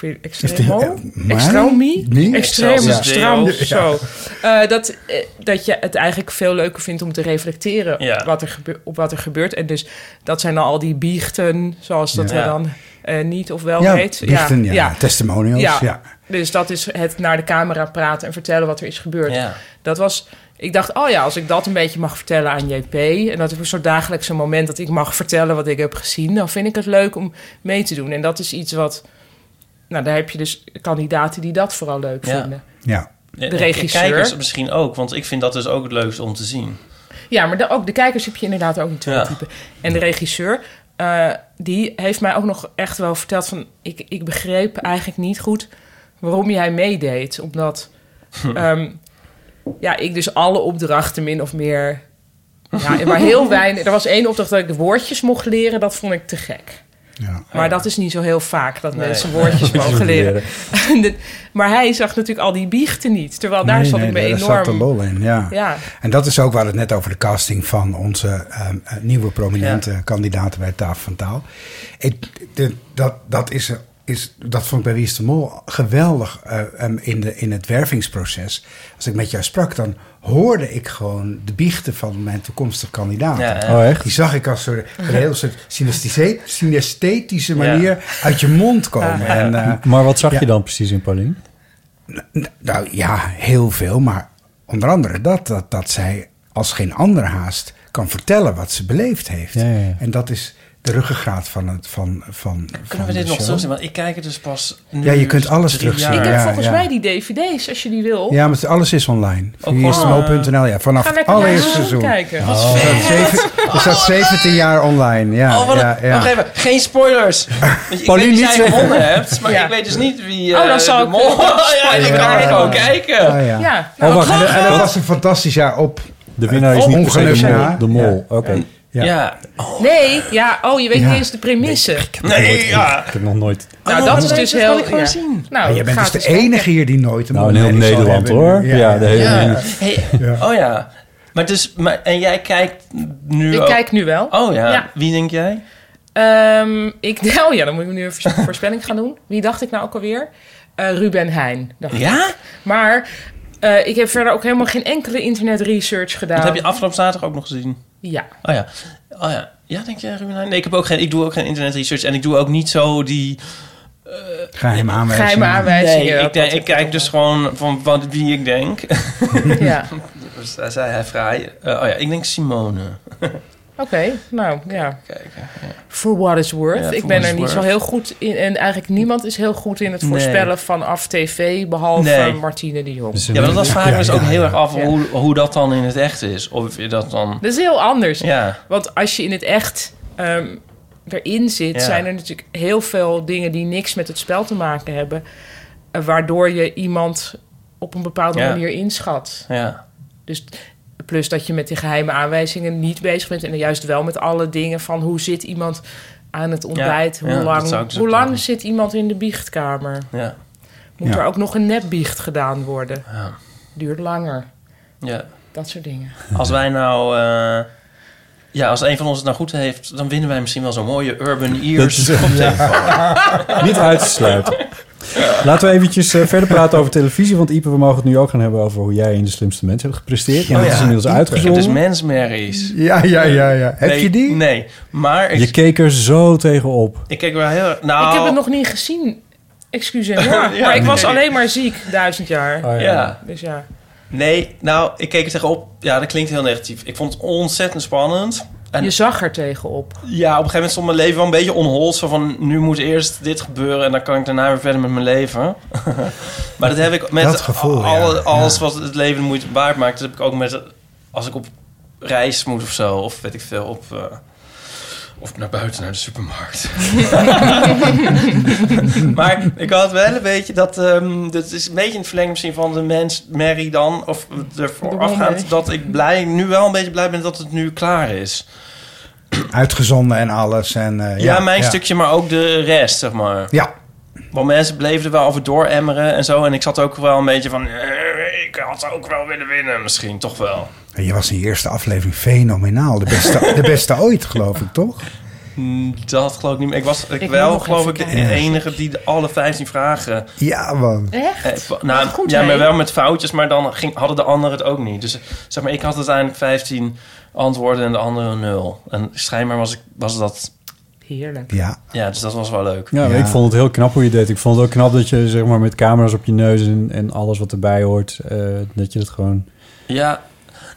S5: ik vind
S4: Eh,
S5: Extremo.
S4: Maar?
S5: Extromie.
S4: Nee?
S5: Extremo.
S2: Ja.
S5: Stram.
S2: Ja.
S5: Zo. Eh, dat, eh, dat je het eigenlijk veel leuker vindt om te reflecteren
S2: Ja.
S5: op, wat er gebe- op wat er gebeurt. En dus dat zijn dan al die biechten, zoals dat
S2: Ja.
S5: we dan eh, niet of wel
S4: Ja,
S5: heet.
S4: biechten, ja. Testimonials, ja.
S5: Dus dat is het naar de camera praten en vertellen wat er is gebeurd.
S2: Ja.
S5: Dat was... Ik dacht, oh ja, als ik dat een beetje mag vertellen aan JP... en dat is een soort dagelijkse moment dat ik mag vertellen wat ik heb gezien... dan vind ik het leuk om mee te doen. En dat is iets wat... Nou, daar heb je dus kandidaten die dat vooral leuk
S2: Ja.
S5: vinden.
S4: Ja.
S2: De
S5: regisseur.
S2: Kijkers misschien ook, want ik vind dat dus ook het leukste om te zien.
S5: Ja, maar de, ook de kijkers heb je inderdaad ook in twee
S2: Ja.
S5: typen. En de regisseur, eh, die heeft mij ook nog echt wel verteld van... Ik, ik begreep eigenlijk niet goed waarom jij meedeed. Omdat
S2: Hm.
S5: ehm, ja, ik dus alle opdrachten min of meer... Ja, maar heel weinig... Er was één opdracht dat ik de woordjes mocht leren. Dat vond ik te gek. Maar dat is niet zo heel vaak dat
S2: Nee.
S5: mensen woordjes mogen leren. maar hij zag natuurlijk al die biechten niet. Terwijl daar
S4: Nee,
S5: zat
S4: nee,
S5: ik me
S4: daar
S5: enorm...
S4: zat de lol in, ja.
S5: Ja.
S4: En dat is ook waar het net over de casting van onze ehm, eh, nieuwe prominente kandidaten bij Tafel van Taal. Ik, de- dat, dat, is, is, dat vond ik bij Wie is de Mol geweldig eh, ehm, in, de, in het wervingsproces. Als ik met jou sprak, dan hoorde ik gewoon de biechten van mijn toekomstige kandidaten.
S2: Ja, hè? Oh,
S3: echt?
S4: Die zag ik als soort, op een heel soort synesthese- synesthetische manier
S2: Ja.
S4: uit je mond
S5: Ah,
S4: komen. En, eh,
S3: maar wat zag
S4: ja.
S3: je dan precies in Paulien?
S4: nou ja, heel veel. Maar onder andere dat, dat, dat zij als geen ander haast kan vertellen wat ze beleefd heeft.
S3: Ja, ja, ja.
S4: En dat is, de ruggengraat van het van van.
S2: Kunnen we dit nog terugzien? Want ik kijk het dus pas nu
S4: Ja, je kunt alles
S2: drie
S4: terugzien.
S2: jaar.
S4: Ik heb
S2: Ja,
S4: volgens
S5: Volgens
S4: ja.
S5: mij die dvd's, als je die wil.
S4: Ja, maar alles is online.
S2: Oh,
S5: Ook
S4: Via istmo.nl. Ja, vanaf
S5: Ga
S4: het
S5: lekker
S4: allereerste
S5: naar
S4: seizoen.
S5: kijken.
S4: Oh.
S5: Wat
S4: Er staat zeven- Er staat 17 jaar online. Ja,
S2: Oh, wat
S4: ja,
S2: een,
S4: ja.
S2: Wacht even, geen spoilers. Want ik
S4: Paulien,
S2: weet
S4: niet
S2: dat jij
S4: zeggen.
S2: gewonnen hebt, maar ik weet dus niet wie eh
S5: Oh, dan zal
S2: de
S5: ik-
S2: mol was. ja, ik
S4: Ja.
S2: kan gewoon kijken.
S4: Ah, ja.
S3: nou, Oh, wacht,
S4: en,
S3: dat-
S4: en dat was een fantastisch jaar op.
S3: De winnaar is niet per se de mol. De mol, oké.
S4: Ja.
S5: Nee, ja, oh, je weet
S4: Ja. oh,
S5: niet eens de premisse.
S3: Nooit- Ik heb nog nooit...
S5: Nou, dat is dus heel... ja. Nou,
S4: Maar jij bent
S5: gaat
S4: dus de enige hier die nooit een
S3: Nou, in heel
S4: mol zal
S3: Nederland
S4: hebben.
S3: hoor. Ja, de hele...
S2: Ja. Hey, Oh ja. Maar dus, maar, en jij kijkt nu
S5: Ik
S2: ook-
S5: kijk nu wel.
S2: Oh ja.
S5: Ja.
S2: Wie denk jij?
S5: Ehm, ik, nou ja, dan moet ik nu een voors- voorspelling gaan doen. Wie dacht ik nou ook alweer? Eh, Ruben Heijn. dacht
S2: Ja?
S5: ik. Maar eh, ik heb verder ook helemaal geen enkele internet research gedaan.
S2: Dat heb je afgelopen zaterdag ook nog gezien.
S5: Ja.
S2: Oh ja. Oh ja. Ja, denk jij, Ruben? Heijn? Nee, ik, heb ook geen, ik doe ook geen internet research en ik doe ook niet zo die...
S4: Geheime aanwijzingen.
S5: Geheime aanwijzingen.
S2: Nee, ik,
S5: dat-
S2: denk, ik kijk dus gewoon van wat, wie ik denk.
S5: Ja.
S2: Dus daar zei hij vrij. Eh, oh ja, ik denk Simone.
S5: Oké, nou ja. For what it's worth.
S2: Ja,
S5: ik
S2: for
S5: ben
S2: what
S5: er
S2: it's
S5: niet zo
S2: worth.
S5: heel goed in. En eigenlijk niemand is heel goed in het
S2: Nee.
S5: voorspellen vanaf tv. Behalve
S2: Nee.
S5: Martine de Jong.
S2: Ja, maar dat vraag ik me dus ook heel erg af
S5: Ja.
S2: hoe, hoe dat dan in het echt is. Of je dat dan...
S5: Dat is heel anders.
S2: Ja.
S5: Want als je in het echt ehm, erin zit,
S2: Ja.
S5: zijn er natuurlijk heel veel dingen die niks met het spel te maken hebben. eh, waardoor je iemand op een bepaalde
S2: Ja.
S5: manier inschat.
S2: Ja.
S5: Dus plus dat je met die geheime aanwijzingen niet bezig bent. En juist wel met alle dingen van hoe zit iemand aan het ontbijt?
S2: ja,
S5: hoe
S2: dat
S5: lang,
S2: zou ik dus
S5: hoe
S2: ook
S5: lang zit iemand in de biechtkamer?
S2: Ja.
S5: Moet
S2: Ja.
S5: er ook nog een nepbiecht gedaan worden?
S2: Ja.
S5: Duurt langer.
S2: ja.
S5: Dat soort dingen.
S2: Als wij nou... eh, ja, als een van ons het nou goed heeft... dan winnen wij misschien wel zo'n mooie Urban Ears
S3: Dat is-
S2: koptelefoon.
S3: Niet uit te sluiten. Laten we eventjes eh, verder praten over televisie. Want Ipe, we mogen het nu ook gaan hebben over hoe jij in de slimste mensen hebt gepresteerd. Want
S2: Oh
S3: het is
S2: ja,
S3: inmiddels
S2: Ipe.
S3: uitgezonden.
S2: Het is mensmerries.
S3: Ja, ja, ja, ja. Heb
S2: Nee,
S3: je die?
S2: Nee, maar ik,
S3: Je keek er zo tegenop.
S2: ik keek wel heel erg... Nou,
S5: Ik heb het nog niet gezien. Excuseer.
S2: Ja,
S5: Ja, maar ik was
S2: nee.
S5: alleen maar ziek duizend jaar.
S4: Oh,
S2: ja. Ja.
S5: Dus ja.
S2: Nee, nou, ik keek er tegenop. Ja, dat klinkt heel negatief. Ik vond het ontzettend spannend. En
S5: Je zag er tegenop.
S2: Ja, op een gegeven moment stond mijn leven wel een beetje onhold. Zo van, nu moet eerst dit gebeuren en dan kan ik daarna weer verder met mijn leven. maar dat heb ik met
S4: Dat gevoel,
S2: al-
S4: ja.
S2: alles
S4: Ja.
S2: wat het leven de moeite waard maakt. Dat heb ik ook met, als ik op reis moet of zo. Of weet ik veel, op... eh, of naar buiten, naar de supermarkt. maar ik had wel een beetje dat... ehm dat is een beetje in het verlengde misschien van de mens Mary dan. Of ervoor
S5: Doe
S2: afgaand
S5: mee.
S2: dat ik blij, nu wel een beetje blij ben dat het nu klaar is.
S4: Uitgezonden en alles. En, eh,
S2: Ja, mijn stukje, maar ook de rest, zeg maar.
S4: Ja.
S2: Want mensen bleven er wel over dooremmeren en zo. En ik zat ook wel een beetje van... eh, ik had ook wel willen winnen, misschien, toch wel.
S4: En Je was in je eerste aflevering fenomenaal. De beste, de beste ooit, geloof ik, toch?
S2: Mm, Dat geloof ik niet meer. Ik was ik
S4: Ik moet
S2: wel,
S4: nog
S2: geloof
S4: even
S2: ik, de
S4: kijken.
S2: enige die de alle 15 vragen...
S4: Ja, man.
S2: Echt? nou,
S4: goed,
S2: ja,
S4: hè?
S2: maar wel met foutjes, maar dan ging, hadden de anderen het ook niet. Dus zeg maar, ik had uiteindelijk 15 antwoorden en de anderen nul. En schijnbaar was, ik, was dat...
S5: Heerlijk.
S4: Ja.
S2: Ja, dus dat was wel leuk.
S3: Ja, maar ik vond het heel knap hoe je deed. Ik vond het ook knap dat je zeg maar, met camera's op je neus en, en alles wat erbij hoort, eh, dat je dat gewoon...
S2: Ja,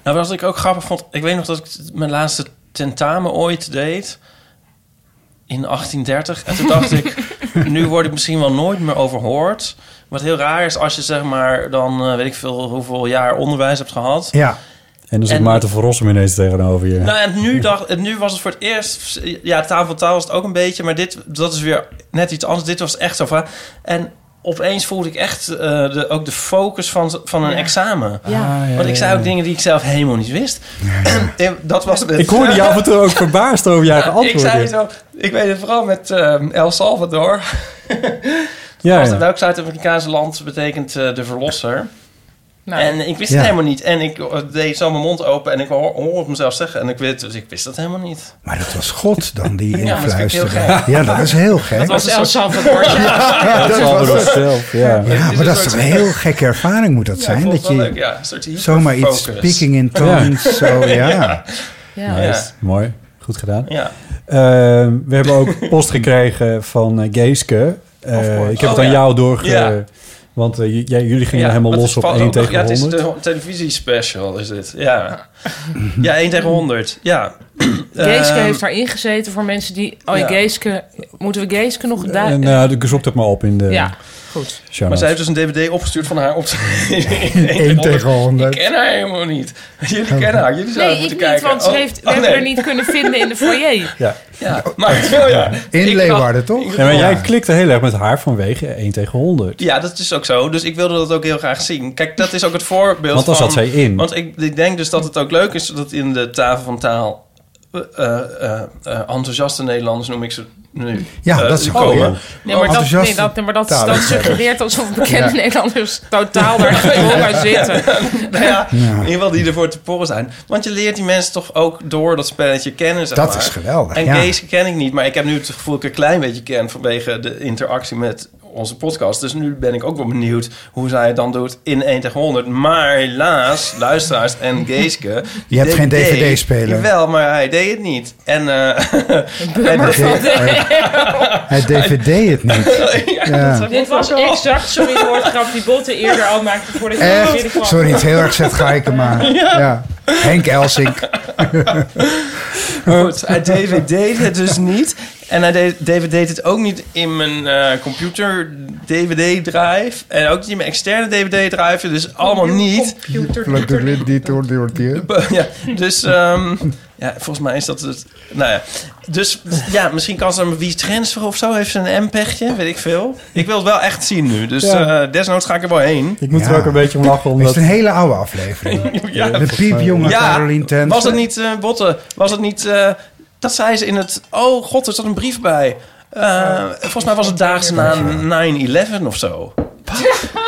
S2: nou wat ik ook grappig vond... Ik weet nog dat ik mijn laatste tentamen ooit deed. In 1830. En toen dacht ik, nu word ik misschien wel nooit meer overhoord. Wat heel raar is als je zeg maar dan eh, weet ik veel hoeveel jaar onderwijs hebt gehad.
S3: Ja. En dan zit
S2: En-
S3: Maarten van Rossum ineens tegenover je.
S2: Nou, en nu, dacht, en nu was het voor het eerst... Ja, taal van taal was het ook een beetje... maar dit, dat is weer net iets anders. Dit was echt zo van... En opeens voelde ik echt eh, de, ook de focus van, van een
S5: Ja.
S2: examen.
S5: Ja.
S2: Want ik zei
S3: Ah, ja,
S2: ook dingen die ik zelf helemaal niet wist. En dat was met-
S3: Ik hoorde je af en toe ook verbaasd over jouw
S2: Ik
S3: antwoorden.
S2: zei zo... Ik weet het vooral met ehm, El Salvador.
S3: Ja,
S2: Als-
S3: ja.
S2: Welk Zuid-Afrikaanse land betekent eh, de verlosser?
S5: Nou.
S2: en ik wist
S4: Ja.
S2: het helemaal niet. En ik eh, deed zo mijn mond open en ik hoor, hoor het mezelf zeggen. En ik, weet, dus ik wist dat helemaal niet.
S4: Maar dat was God dan
S2: Ja,
S4: die
S2: maar dat vind ik heel
S4: influisterde.
S2: gek.
S4: ja, dat is heel gek.
S2: Dat was El
S5: Salvador.
S4: Ja, dat was het.
S3: zelf, ja.
S4: Ja, maar dat is toch een heel gekke ervaring moet dat
S2: Ja, ik
S4: zijn.
S2: vond
S4: Dat
S2: het wel
S4: je
S2: leuk, ja. Een soort hyperfocus.
S4: zomaar iets speaking in tones.
S3: Ja.
S4: Zo, ja.
S3: Ja.
S5: Ja.
S3: Nice. Mooi. Goed gedaan.
S2: Ja.
S3: Ehm, we hebben ook post gekregen van eh, Geeske. Eh, ik heb
S2: Oh,
S3: het aan
S2: ja.
S3: jou doorge...
S2: Ja.
S3: Want eh, j- jij- jullie gingen
S2: Ja,
S3: helemaal
S2: want
S3: los
S2: het
S3: op
S2: valt
S3: 1
S2: ook nog-
S3: tegen
S2: Ja, het is
S3: 100.
S2: de televisiespecial, is dit. Ja, ja 1 tegen 100. Ja,
S5: Geeske
S2: Ehm,
S5: heeft daarin gezeten voor mensen die... Oh, ja.
S2: Ja.
S5: Geeske... Moeten we Geeske nog... daar-
S3: En, nou, ik zoek dat maar op in de...
S5: Ja, goed.
S3: show
S2: maar
S3: notes.
S2: zij heeft dus een dvd opgestuurd van haar op
S3: Eén tegen honderd.
S2: Ik ken haar helemaal niet. Jullie kennen haar. Jullie zouden
S5: nee, ik
S2: moeten
S5: niet,
S2: kijken.
S5: want ze
S2: Oh,
S5: heeft, we
S2: oh,
S5: hebben
S2: nee.
S5: haar niet kunnen vinden in de foyer.
S3: Ja.
S2: Ja, maar wel ja.
S4: In
S2: Ik
S4: Leeuwarden,
S2: dacht-
S4: toch?
S3: Ja, maar jij klikte heel erg met haar vanwege 1 tegen 100.
S2: Ja, dat is ook zo. Dus ik wilde dat ook heel graag zien. Kijk, dat is ook het voorbeeld
S3: Want daar
S2: van-
S3: zat zij in.
S2: Want ik, ik denk dus dat het ook leuk is dat in de tafel van taal... eh, eh, eh, enthousiaste Nederlanders noem ik ze nu.
S4: Ja,
S2: eh,
S4: dat is een
S2: komen.
S4: goeie.
S5: Nee, maar dat, nee, dat, nee, maar dat, dat suggereert alsof bekende Nederlanders totaal daar gewoon aan zitten.
S2: Nou ja, in ieder geval die ervoor te porren zijn. Want je leert die mensen toch ook door dat spelletje kennen, zeg
S4: Dat
S2: maar.
S4: is geweldig,
S2: En
S4: ja.
S2: Kees ken ik niet, maar ik heb nu het gevoel dat ik een klein beetje ken... vanwege de interactie met onze podcast. Dus nu ben ik ook wel benieuwd hoe zij het dan doet in 1 tegen 100. Maar helaas, luisteraars en Geeske...
S4: Je hebt geen DVD-speler.
S2: Wel, maar hij deed het niet. En... eh,
S4: Hij deed- Hij dvd het niet. Ja.
S5: Dit was exact, sorry, de woordgrap die Botte eerder al maakte voordat je naar binnen kwam.
S4: Echt? Eh, Sorry, het heel erg zet geiken, maar...
S5: Ja.
S4: Ja. Henk Elsink.
S2: Goed, hij dvd het dus niet. En hij deed- dvd het ook niet in mijn eh, computer dvd-drive. En ook niet in mijn externe dvd-drive. Dus allemaal niet. Ja, dus ehm, ja, volgens mij is dat het... Nou ja, dus ja, misschien kan ze hem wie transfer of zo. Heeft ze een M-pechje, weet ik veel. Ik wil het wel echt zien nu. Dus
S3: Ja.
S2: eh, desnoods ga ik er wel heen.
S3: Ik moet er ook een beetje om lachen,
S4: Het
S3: omdat...
S4: is een hele oude aflevering.
S2: Ja,
S4: de piepjonge
S2: Ja,
S4: Caroline Tent.
S2: Was het niet, eh Botte, was het niet... eh, dat zei ze in het... Oh god, er zat een brief bij. Eh, volgens mij was het daags na 9-11 of zo.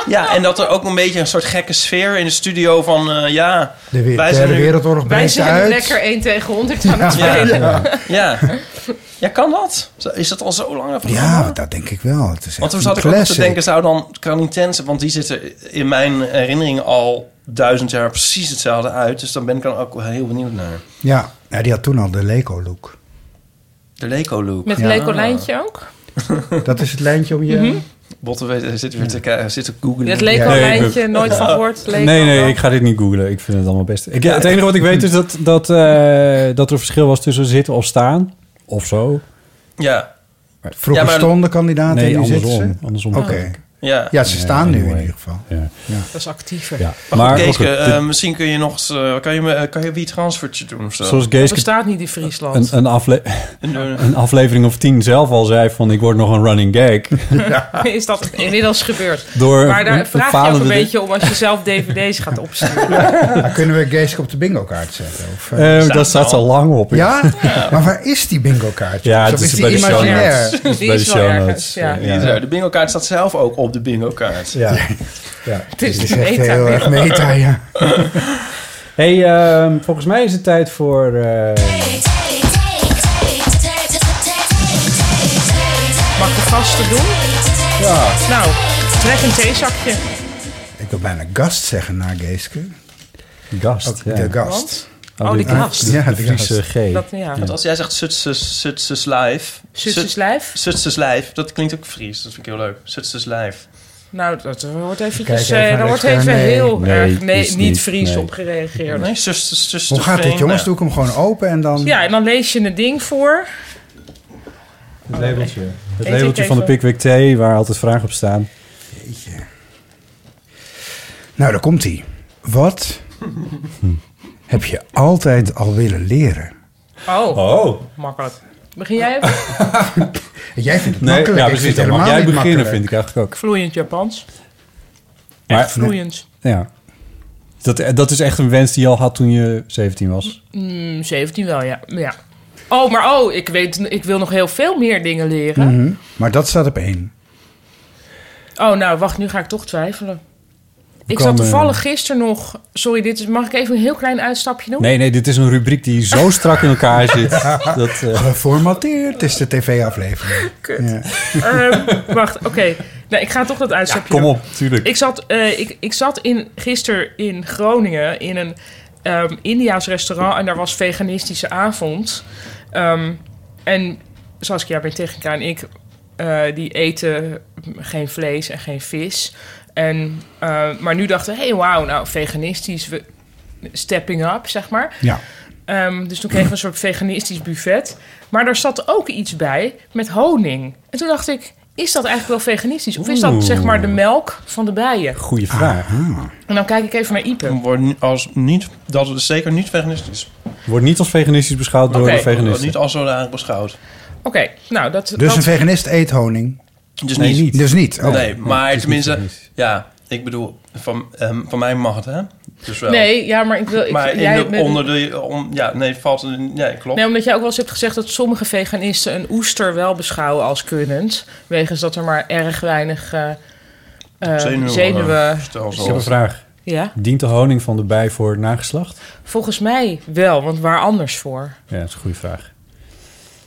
S2: Ja, en dat er ook een beetje een soort gekke sfeer in de studio van... eh, ja,
S4: De, we-
S2: wij zijn
S4: derde
S2: nu-
S4: wereldoorlog
S5: Wij
S4: breekt
S5: zijn
S4: uit.
S5: lekker 1 tegen 100 aan het
S2: Ja.
S5: spelen.
S2: Ja. ja. Ja, kan dat? Zo- Is dat al zo lang? een programma?
S4: Ja, dat denk ik wel. Het is
S2: Want toen
S4: echt
S2: zat ik
S4: een
S2: ook nog te
S4: classic.
S2: denken, zou dan Canintense... Want die zitten in mijn herinnering al duizend jaar precies hetzelfde uit. Dus dan ben ik dan ook wel heel benieuwd naar.
S4: Ja, nou, die had toen al de Leco-look.
S2: De Leco-look.
S5: Met een leuk lijntje ook.
S4: Dat is het lijntje om je...
S5: Mhm.
S2: Botten weet- zit weer te, ki- zit te googlen.
S5: Het leek al
S3: Nee,
S5: een
S3: ik-
S5: eindje, nooit van gehoord. leek
S3: Nee,
S5: al
S3: nee,
S5: wel.
S3: ik ga dit niet googlen. Ik vind het allemaal best. Ik, ja, het enige wat ik weet is dat, dat, eh, dat er een verschil was tussen zitten of staan. Of zo.
S2: Ja.
S4: Vroeger stonden kandidaten
S3: Nee,
S4: en nu
S3: andersom.
S4: zitten ze?
S3: Andersom.
S4: Oké.
S2: Ja.
S4: Ja, ze
S3: Nee,
S4: staan nu in
S3: anyway.
S4: ieder geval.
S3: Ja.
S5: Dat is actiever.
S3: Ja.
S2: Maar,
S3: Maar
S2: goed,
S3: goed,
S2: Keeske,
S3: dit-
S2: eh, misschien kun je nog eens... eh, kan, je, me- eh, kan je wie transfertje doen of zo?
S3: Zoals
S5: Dat
S3: Geeske
S5: bestaat niet in Friesland.
S3: een, een, afle- een aflevering of tien zelf al zei van... ik word nog een running gag.
S5: is dat inmiddels gebeurd.
S3: Door
S5: maar daar
S3: een
S5: vraag je ook
S3: falende
S5: een
S3: de-
S5: beetje om als je zelf dvd's gaat opsturen.
S4: Dan kunnen we Geeske op de bingo-kaart zetten? Of,
S3: Eh, Staat dat staat er al. al lang op,
S4: Ja?
S3: ja.
S4: Maar waar is die bingo-kaart?
S3: Ja,
S4: Of
S3: het is
S4: die
S3: bij de show
S4: imaginair?
S3: notes. Het is bij de show notes. eh,
S5: ja.
S2: Die is er. De bingo-kaart staat zelf ook op de bingo-kaart.
S3: Ja.
S5: Het is,
S4: Dit is
S5: de
S4: echt
S5: meta.
S4: heel erg meta, ja.
S3: Hey, ehm, volgens mij is het tijd voor. eh,
S5: Mag ik de gasten doen?
S4: Ja.
S5: Nou, trek een theezakje.
S4: Ik wil bijna gast zeggen na Geeske.
S3: Gast,
S4: Ook
S3: ja.
S4: De gast.
S3: Oh, Oh, die de- gast. de-
S4: Ja,
S3: de
S4: de
S3: Friese
S4: gast.
S3: G.
S5: Dat, ja.
S2: Want als jij zegt Sutses Sutses Live...
S5: Zutses Lijf?
S2: Sutses Live, dat klinkt ook Fries. Dat vind ik heel leuk. Sutses Live.
S5: Nou, dat wordt
S2: Kijk
S5: eventjes,
S2: even
S5: eh
S2: naar
S5: daar wordt
S2: rechts.
S5: even
S2: Nee.
S5: heel
S2: Nee,
S5: erg
S2: het
S5: nee,
S2: is
S5: niet,
S2: niet,
S5: Fries
S2: nee.
S5: op gereageerd.
S2: Nee, Sutses Sutses
S4: Hoe gaat dit,
S2: Veen,
S4: jongens?
S2: nou
S4: Doe ik hem gewoon open en dan...
S5: Ja, en dan lees je een ding voor.
S3: het labeltje. Het
S5: Eet ik
S3: labeltje van de
S5: even.
S3: Pickwick Thee, waar altijd vragen op staan.
S4: Nou, daar komt hij. Wat
S3: Hm.
S4: heb je altijd al willen leren?
S5: Oh,
S3: Oh.
S5: makkelijk. Begin jij even?
S4: Jij vindt het
S3: Nee,
S4: makkelijk.
S3: ja,
S4: ik
S3: precies.
S4: vind
S3: Dan
S4: het
S3: mag
S4: helemaal
S3: jij
S4: niet
S3: beginnen,
S4: makkelijk.
S3: vind ik eigenlijk ook.
S5: Vloeiend Japans.
S3: Maar-
S5: vloeiend.
S3: Ja. Dat, dat is echt een wens die je al had toen je 17 was.
S5: Mm, 17 wel, ja. ja. Oh, maar oh, ik, weet, ik wil nog heel veel meer dingen leren.
S4: Mhm. Maar dat staat op één.
S3: Hm.
S5: Oh, nou, wacht, nu ga ik toch twijfelen. Ik
S3: kan,
S5: zat
S3: eh,
S5: toevallig gisteren nog... Sorry, dit is, mag ik even een heel klein uitstapje doen?
S3: Nee, nee, dit is een rubriek die zo strak in elkaar zit. Dat, eh,
S4: Geformateerd is de tv-aflevering. Ja.
S5: Ehm, wacht, oké. Nou, ik ga toch dat uitstapje
S3: kom
S5: doen.
S3: op, tuurlijk.
S5: Ik zat, eh, ik, ik zat in, gisteren in Groningen in een ehm Indiaas restaurant... en daar was veganistische avond. Ehm en Saskia, mijn technica en ik... eh, die eten geen vlees en geen vis. En, eh, maar nu dachten we, hey, wauw, nou, veganistisch... We, stepping up, zeg maar.
S4: Ja.
S5: Ehm, dus toen kregen we een soort veganistisch buffet. Maar daar zat ook iets bij met honing. En toen dacht ik, is dat eigenlijk wel veganistisch? Of is dat
S2: Oeh.
S5: zeg maar de melk van de bijen?
S3: Goeie vraag.
S5: En dan kijk ik even naar Ipe.
S2: Wordt ni- als niet, dat is zeker niet veganistisch.
S3: Wordt niet als veganistisch beschouwd door
S2: Oké,
S3: de veganisten.
S2: wordt Niet als zodanig beschouwd.
S5: Oké, nou dat...
S4: Dus
S5: dat-
S4: een veganist eet honing.
S2: Dus niet.
S4: Dus niet. oh.
S2: Nee, maar
S4: is
S2: tenminste, ja, ik bedoel, van, ehm, van mij mag het, hè? Dus wel.
S5: Nee, ja, maar ik wil... Ik,
S2: maar in
S5: jij
S2: de,
S5: bent-
S2: onder de, om, ja, nee, valt, er- nee, klopt.
S5: Nee, omdat jij ook wel eens hebt gezegd dat sommige veganisten een oester wel beschouwen als kunnend. Wegens dat er maar erg weinig eh eh,
S3: Zenuwen,
S5: zenuwen...
S3: Ik heb een vraag.
S5: Ja?
S3: Dient de honing van de bij voor het nageslacht?
S5: Volgens mij wel, want waar anders voor?
S3: Ja, dat is een goede vraag.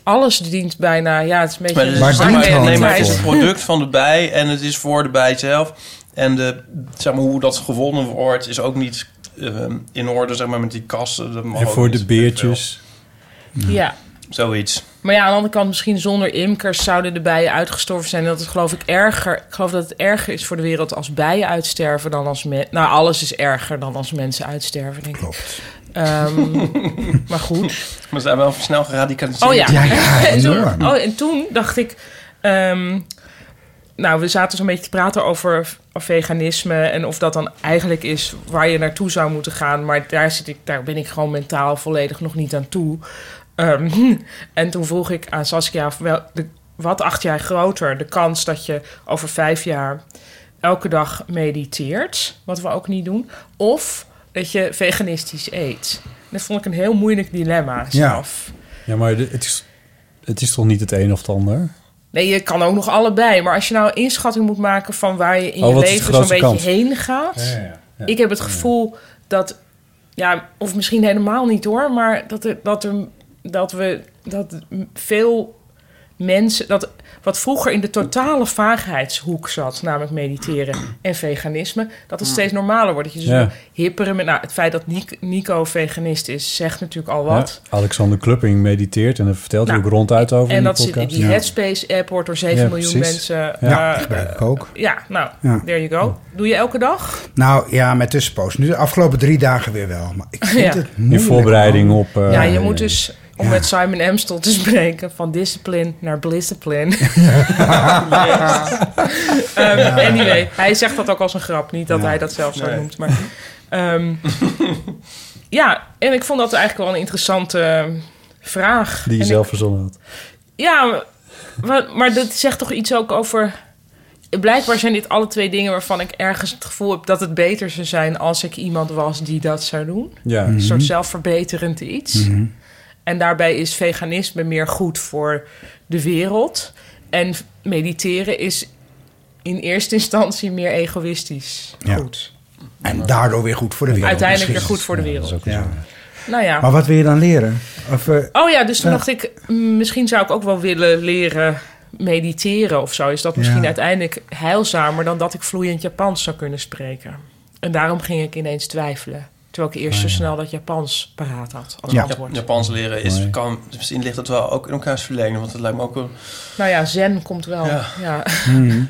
S5: Alles dient bijna, ja, het is een beetje...
S2: Maar, het is-
S5: een zwarte
S2: maar- nee, maar het
S5: realiteit.
S2: is het product van de bij en het is voor de bij zelf. En de, zeg maar, hoe dat gewonnen wordt is ook niet ehm, in orde zeg maar, met die kassen. Dat mag
S3: en
S2: ook
S3: voor
S2: niet.
S3: de beertjes.
S5: Ja.
S2: Zoiets.
S5: Maar ja, aan de andere kant, misschien zonder imkers zouden de bijen uitgestorven zijn. En dat is geloof ik erger. Ik geloof dat het erger is voor de wereld als bijen uitsterven dan als mensen. Nou, alles is erger dan als mensen uitsterven, denk ik. Klopt. maar goed.
S2: Maar ze zijn wel snel geradicaliseerd.
S5: Oh ja. en, toen, oh, en toen dacht ik. ehm, nou, we zaten zo'n beetje te praten over v- veganisme en of dat dan eigenlijk is waar je naartoe zou moeten gaan. Maar daar, zit ik, daar ben ik gewoon mentaal volledig nog niet aan toe. Ehm, en toen vroeg ik aan Saskia, wel, de, wat acht jij groter? De kans dat je over vijf jaar elke dag mediteert, wat we ook niet doen, of dat je veganistisch eet. Dat vond ik een heel moeilijk dilemma zelf.
S3: Ja, maar de- het is, het is toch niet het een of het ander?
S5: Nee, je kan ook nog allebei. Maar als je nou een inschatting moet maken van waar je in
S3: Oh,
S5: je
S3: wat is de
S5: leven zo'n
S3: grootste
S5: beetje
S3: kans?
S5: heen gaat.
S3: Ja, ja, ja. Ja.
S5: Ik heb het gevoel dat, ja, of misschien helemaal niet hoor, maar dat, er, dat, er, dat we dat veel mensen, dat wat vroeger in de totale vaagheidshoek zat, namelijk mediteren en veganisme, dat het steeds normaler wordt. Dat je dus
S3: Ja.
S5: wel hipperen met, nou, het feit dat Nic- Nico veganist is, zegt natuurlijk al wat.
S3: Ja, Alexander Klupping mediteert en daar vertelt hij
S5: Nou,
S3: ook ronduit over
S5: En
S3: in
S5: dat
S3: die
S5: zit in
S3: podcast.
S5: die Headspace-app wordt door 7
S3: Ja,
S5: miljoen
S3: precies.
S5: mensen.
S4: Ja,
S5: eh,
S4: die gebruik ik ook.
S5: Ja, nou,
S4: Ja.
S5: there you go. Doe je elke dag?
S4: Nou ja, met tussenpoos. Nu de afgelopen drie dagen weer wel. Maar ik vind
S5: Ja.
S4: het
S5: In
S4: moeilijk.
S3: voorbereiding op, eh,
S5: ja, je moet dus, om met Simon Amstel te spreken, van discipline naar discipline. Ehm, Anyway, hij zegt dat ook als een grap. Niet dat
S1: Ja.
S5: hij dat zelf zo
S1: Nee.
S5: noemt, maar... ehm, ja, en ik vond dat eigenlijk wel een interessante eh, vraag.
S3: Die je
S5: En
S3: zelf verzonnen had.
S5: Ja, maar, maar dat zegt toch iets ook over. Blijkbaar zijn dit alle twee dingen waarvan ik ergens het gevoel heb dat het beter zou zijn als ik iemand was die dat zou doen.
S3: Ja.
S5: Een soort
S3: Mhm.
S5: zelfverbeterend iets.
S3: Mhm.
S5: En daarbij is veganisme meer goed voor de wereld. En mediteren is in eerste instantie meer egoïstisch.
S4: Ja.
S5: Goed.
S4: En daardoor weer goed voor de wereld.
S5: Uiteindelijk weer
S4: misschien.
S5: goed voor de wereld.
S4: Ja.
S5: Nou ja.
S4: Maar wat wil je dan leren? Of, eh,
S5: Oh ja, dus toen
S4: Ja.
S5: dacht ik, mm, misschien zou ik ook wel willen leren mediteren of zo. Is dat misschien
S4: Ja.
S5: uiteindelijk heilzamer dan dat ik vloeiend Japans zou kunnen spreken? En daarom ging ik ineens twijfelen. Terwijl ik eerst
S4: Oh
S5: zo snel dat Japans paraat had als
S2: Ja.
S5: antwoord.
S2: Japans leren is, kan, misschien ligt dat wel ook in elkaars verlengde, want het lijkt me ook wel...
S5: Nou ja, zen komt wel. Ja.
S2: Ja.
S4: Mhm.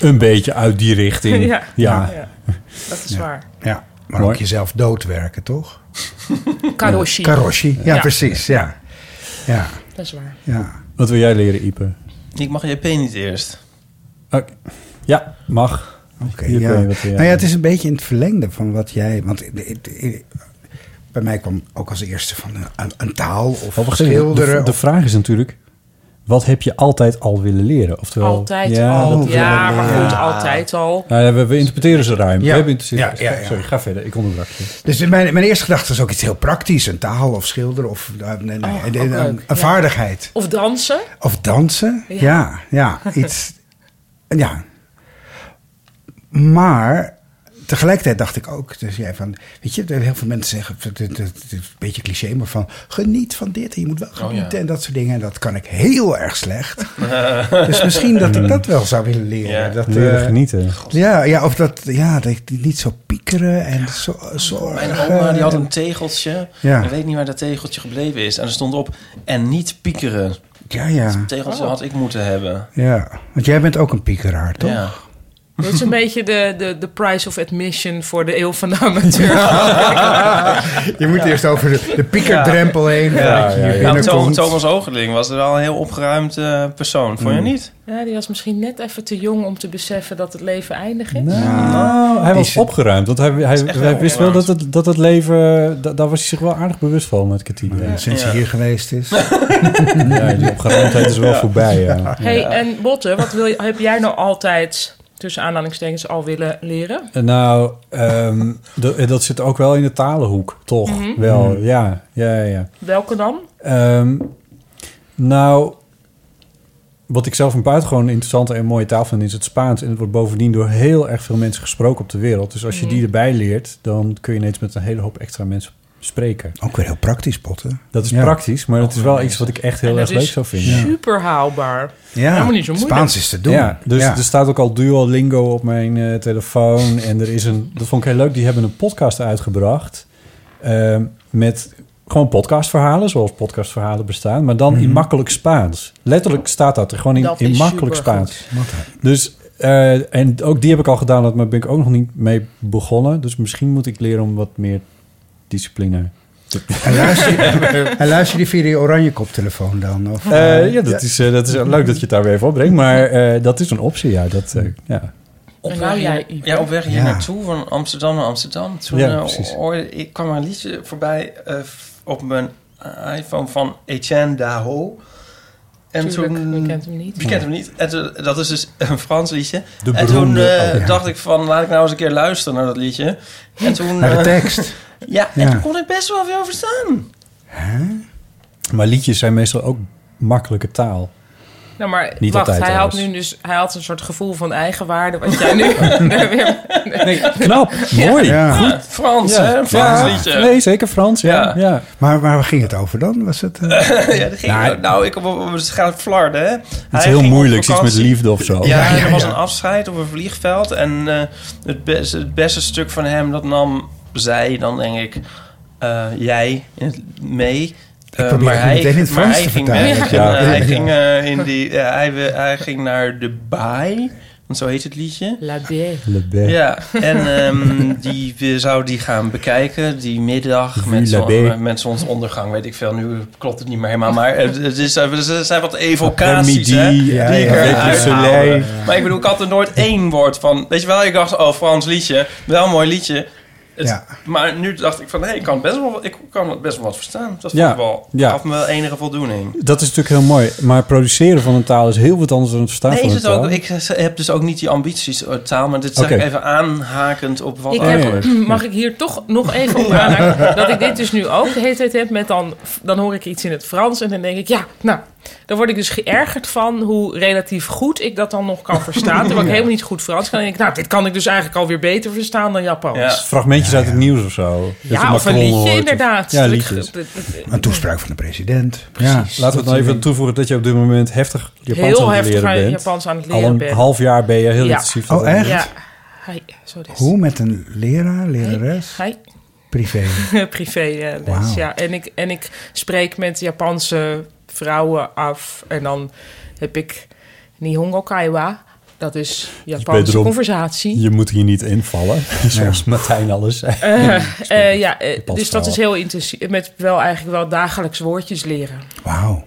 S3: Een beetje uit die richting.
S5: Ja.
S3: Ja.
S5: Ja. Dat is waar.
S4: Ja, maar
S3: Mooi.
S4: ook jezelf doodwerken, toch?
S5: Karoshi.
S4: Karoshi, ja, precies. Ja. Ja.
S5: Dat is waar.
S4: Ja.
S3: Wat wil jij leren, Ipe?
S2: Ik mag JP niet eerst.
S3: Oké. Ja, mag.
S4: Oké,
S3: Ipe,
S4: ja.
S3: wat eh, wil jij
S4: Nou ja, het is een beetje in het verlengde van wat jij... Want ik- ik- ik- bij mij kwam ook als eerste van een, een taal of
S3: Oh, wacht even.
S4: schilderen.
S3: De, de
S4: of-
S3: vraag is natuurlijk, wat heb je altijd al willen leren? Oftewel,
S5: Altijd al.
S3: dat-
S5: Ja, maar goed,
S4: Ah.
S5: altijd al.
S3: Nou ja, we, we interpreteren ze ruim.
S4: Ja.
S3: We hebben interesse-
S4: Ja, ja, ja.
S3: Sorry, ga verder. Ik onderbrak je.
S4: Dus mijn, mijn eerste gedachte is ook iets heel praktisch. Een taal of schilderen of eh, nee, nee,
S5: Oh,
S4: een,
S5: ook
S4: een-
S5: leuk,
S4: een
S5: ja.
S4: vaardigheid.
S5: Of dansen.
S4: Of dansen.
S5: Ja.
S4: Ja, ja. iets, ja. Maar tegelijkertijd dacht ik ook, dus jij van, weet je, heel veel mensen zeggen, het is een beetje cliché, maar van geniet van dit en je moet
S2: Oh,
S4: wel genieten en dat soort dingen. En dat kan ik heel erg slecht. dus misschien dat ik dat wel zou willen leren. Dat,
S3: Leren
S4: eh,
S3: genieten.
S4: Ja, ja, of dat, ja, dat ik niet zo piekeren en zo, zo eh,
S2: Mijn oma die had een tegeltje.
S4: Ja.
S2: Ik weet niet waar dat tegeltje gebleven is. En er stond op, en niet piekeren.
S4: Ja, ja.
S2: Oh. Dat tegeltje had ik moeten hebben.
S4: Ja, want jij bent ook een piekeraar, toch?
S2: Ja.
S5: Dat is een beetje de, de, de price of admission voor de eeuw van de amateur.
S4: Je moet eerst over de, de piekerdrempel heen.
S2: Ja,
S4: voordat je hier
S2: Nou,
S4: binnenkomt.
S2: Thomas Oogeling was er wel een heel opgeruimd eh, persoon, vond je
S3: Hmm.
S4: Mm.
S2: niet?
S5: Ja, die was misschien net even te jong om te beseffen dat het leven eindig is.
S3: Nou, hij was opgeruimd, want hij, hij,
S2: echt
S3: hij
S2: wel
S3: wist wel dat
S2: opgeruimd.
S3: het, dat het leven... da- daar was hij zich wel aardig bewust van met Katina.
S4: sinds hij Ja. hier geweest is.
S3: ja, die opgeruimdheid is wel
S4: Ja.
S3: voorbij, ja.
S5: Hey, en Botte, wat wil je, heb jij nou altijd tussen aanhalingstekens al willen leren?
S3: Eh, Nou, ehm, d- dat zit ook wel in de talenhoek, toch?
S5: Mhm.
S3: Wel,
S5: Mhm.
S3: ja, ja, ja, ja.
S5: Welke dan?
S3: Ehm, nou, wat ik zelf een buitengewoon interessante en mooie taal vind, is het Spaans. En het wordt bovendien door heel erg veel mensen gesproken op de wereld. Dus als je
S4: Mhm.
S3: die erbij leert, dan kun je ineens met een hele hoop extra mensen spreken.
S4: Ook weer heel praktisch, potten.
S3: Dat is
S4: Ja.
S3: praktisch, maar het is wel iets wat ik echt heel
S5: En
S3: erg
S5: dat
S3: leuk
S5: is
S3: zou vinden.
S5: super haalbaar.
S4: Ja,
S5: Helemaal niet zo moeilijk.
S3: Ja, dus
S4: Ja.
S3: er staat ook al Duolingo op mijn eh, telefoon. En er is een, dat vond ik heel leuk, die hebben een podcast uitgebracht. ehm, met gewoon podcastverhalen, zoals podcastverhalen bestaan. Maar
S4: Mhm.
S3: dan in makkelijk Spaans. Letterlijk staat dat er gewoon in,
S4: Dat
S3: in
S4: is
S3: makkelijk
S4: supergoed.
S3: Spaans. Dus, eh, en ook die heb ik al gedaan, maar daar ben ik ook nog niet mee begonnen. Dus misschien moet ik leren om wat meer discipline te
S4: En luister, je- en luister je die via die oranje koptelefoon dan? Of,
S3: Eh, ja, dat, Is, eh, dat is leuk dat je het daar weer even opbrengt. Maar eh, dat is een optie, ja. Dat, eh, ja.
S2: Op
S5: nou
S2: weg
S5: jij,
S2: hier,
S5: Ipe.
S2: ja, op weg hier
S3: Ja.
S2: naartoe, van Amsterdam naar Amsterdam. Toen
S3: Ja,
S2: eh,
S3: precies.
S2: hoorde- ik kwam een liedje voorbij eh, f- op mijn iPhone van Etienne Daho. En
S5: Tuurlijk,
S2: toen,
S5: wie kent hem niet?
S2: Wie kent hem niet? En toen- dat is dus een Frans liedje.
S3: De
S2: en toen
S3: beroemde-
S2: eh,
S3: oh, ja.
S2: dacht ik van, laat ik nou eens een keer luisteren naar dat liedje. En toen,
S3: Naar de
S2: eh,
S3: tekst.
S2: ja, en
S3: Ja.
S2: toen kon ik best wel veel verstaan.
S3: Maar liedjes zijn meestal ook makkelijke taal.
S5: Nou, maar
S3: Niet
S5: wacht,
S3: altijd
S5: hij had,
S3: trouwens.
S5: nu dus, hij had een soort gevoel van eigenwaarde, wat jij nu weer...
S3: Knap, mooi.
S4: Ja.
S3: Goed.
S2: Frans,
S3: Ja.
S2: hè? Frans
S3: Ja.
S2: liedje.
S3: Nee, zeker Frans, ja. ja.
S4: Maar waar waar ging het over dan? Was het, eh?
S2: ja, dat ging, nou, ik op, op, het gaat flarden, hè.
S3: Het is
S2: Hij
S3: heel
S2: ging op
S3: moeilijk, iets met
S2: vakantie.
S3: liefde of zo.
S2: Ja, er was een afscheid op een vliegveld. En eh, het, beste, het beste stuk van hem, dat nam zij dan, denk ik, eh, jij in het- mee. Eh,
S4: probeer het nu meteen in het
S2: maar
S4: Frans
S2: hij
S4: te
S2: ging
S4: vertalen.
S2: weg.
S4: Ja.
S2: En, eh,
S4: Ja.
S2: Hij ging, eh, in die, ja, hij, we- hij ging naar de baai, want zo heet het liedje.
S5: La baie.
S3: Le Bec.
S2: Ja, en ehm, die, we zouden die gaan bekijken, die middag,
S3: Vu
S2: met,
S3: la
S2: zon-
S3: baie.
S2: met zonsondergang, weet ik veel. Nu klopt het niet meer helemaal, maar eh, het, het is, er zijn wat evocaties, hè,
S3: Après-midi,
S2: die
S3: ja,
S2: ik
S3: ja,
S2: eruit
S3: Avec le
S2: haalde.
S3: soleil.
S2: Maar ik bedoel, ik had er nooit één woord van. Weet je wel, ik dacht, oh, Frans liedje, wel een mooi liedje. Het-
S4: Ja.
S2: Maar nu dacht ik van, hé, ik kan best wel, ik kan het best wel wat verstaan. Dat
S3: Ja,
S2: vond ik wel,
S3: ja.
S2: gaf me wel enige voldoening.
S3: Dat is natuurlijk heel mooi. Maar produceren van een taal is heel wat anders dan het verstaan
S2: Nee,
S3: van
S2: is
S3: een
S2: het
S3: taal.
S2: ook, ik heb dus ook niet die ambities eh, taal, maar dit zeg
S3: Oké. Oh,
S2: ik even aanhakend op wat
S4: Oh,
S5: Ik
S2: er
S5: heb,
S2: gebeurt.
S5: mag ik hier toch nog even op aanhaken? Dat ik dit dus nu ook de hele tijd heb. Met dan, dan hoor ik iets in het Frans en dan denk ik... Ja, nou, dan word ik dus geërgerd van hoe relatief goed ik dat dan nog kan verstaan. Terwijl ik helemaal niet goed Frans kan. En denk ik, nou, dit kan ik dus eigenlijk alweer beter verstaan dan Japans.
S3: Fragmentjes uit het nieuws of zo. Dat je
S5: Ja, of een
S3: Macron
S5: liedje
S3: hoort of-
S5: inderdaad.
S3: Ja,
S5: Dat ik-
S3: liedjes.
S5: dat- dat-
S4: Een toespraak van de president.
S3: Laten we het nou even toevoegen dat je op dit moment heftig Japans
S5: Heel
S3: aan het
S5: heftig
S3: leren
S5: aan-
S3: bent.
S5: Japans aan het leren
S3: Al een
S5: ben.
S3: half jaar ben je heel intensief.
S4: Oh, echt?
S5: Ja. Hi, zo dus.
S4: Hoe met een leraar, lerares?
S5: Hi.
S4: Privé.
S5: privé eh, les,
S4: Wauw.
S5: ja. En ik, en ik spreek met Japanse vrouwen af. En dan heb ik Nihongo Kaiwa. Dat is Japanse
S3: Wederom,
S5: conversatie.
S3: Je moet hier niet invallen, zoals Martijn alles zei.
S5: Eh, eh, ja, eh,
S3: Japanse
S5: dus dat
S3: vrouwen.
S5: is heel intensief. Met wel eigenlijk wel dagelijks woordjes leren.
S4: Wauw.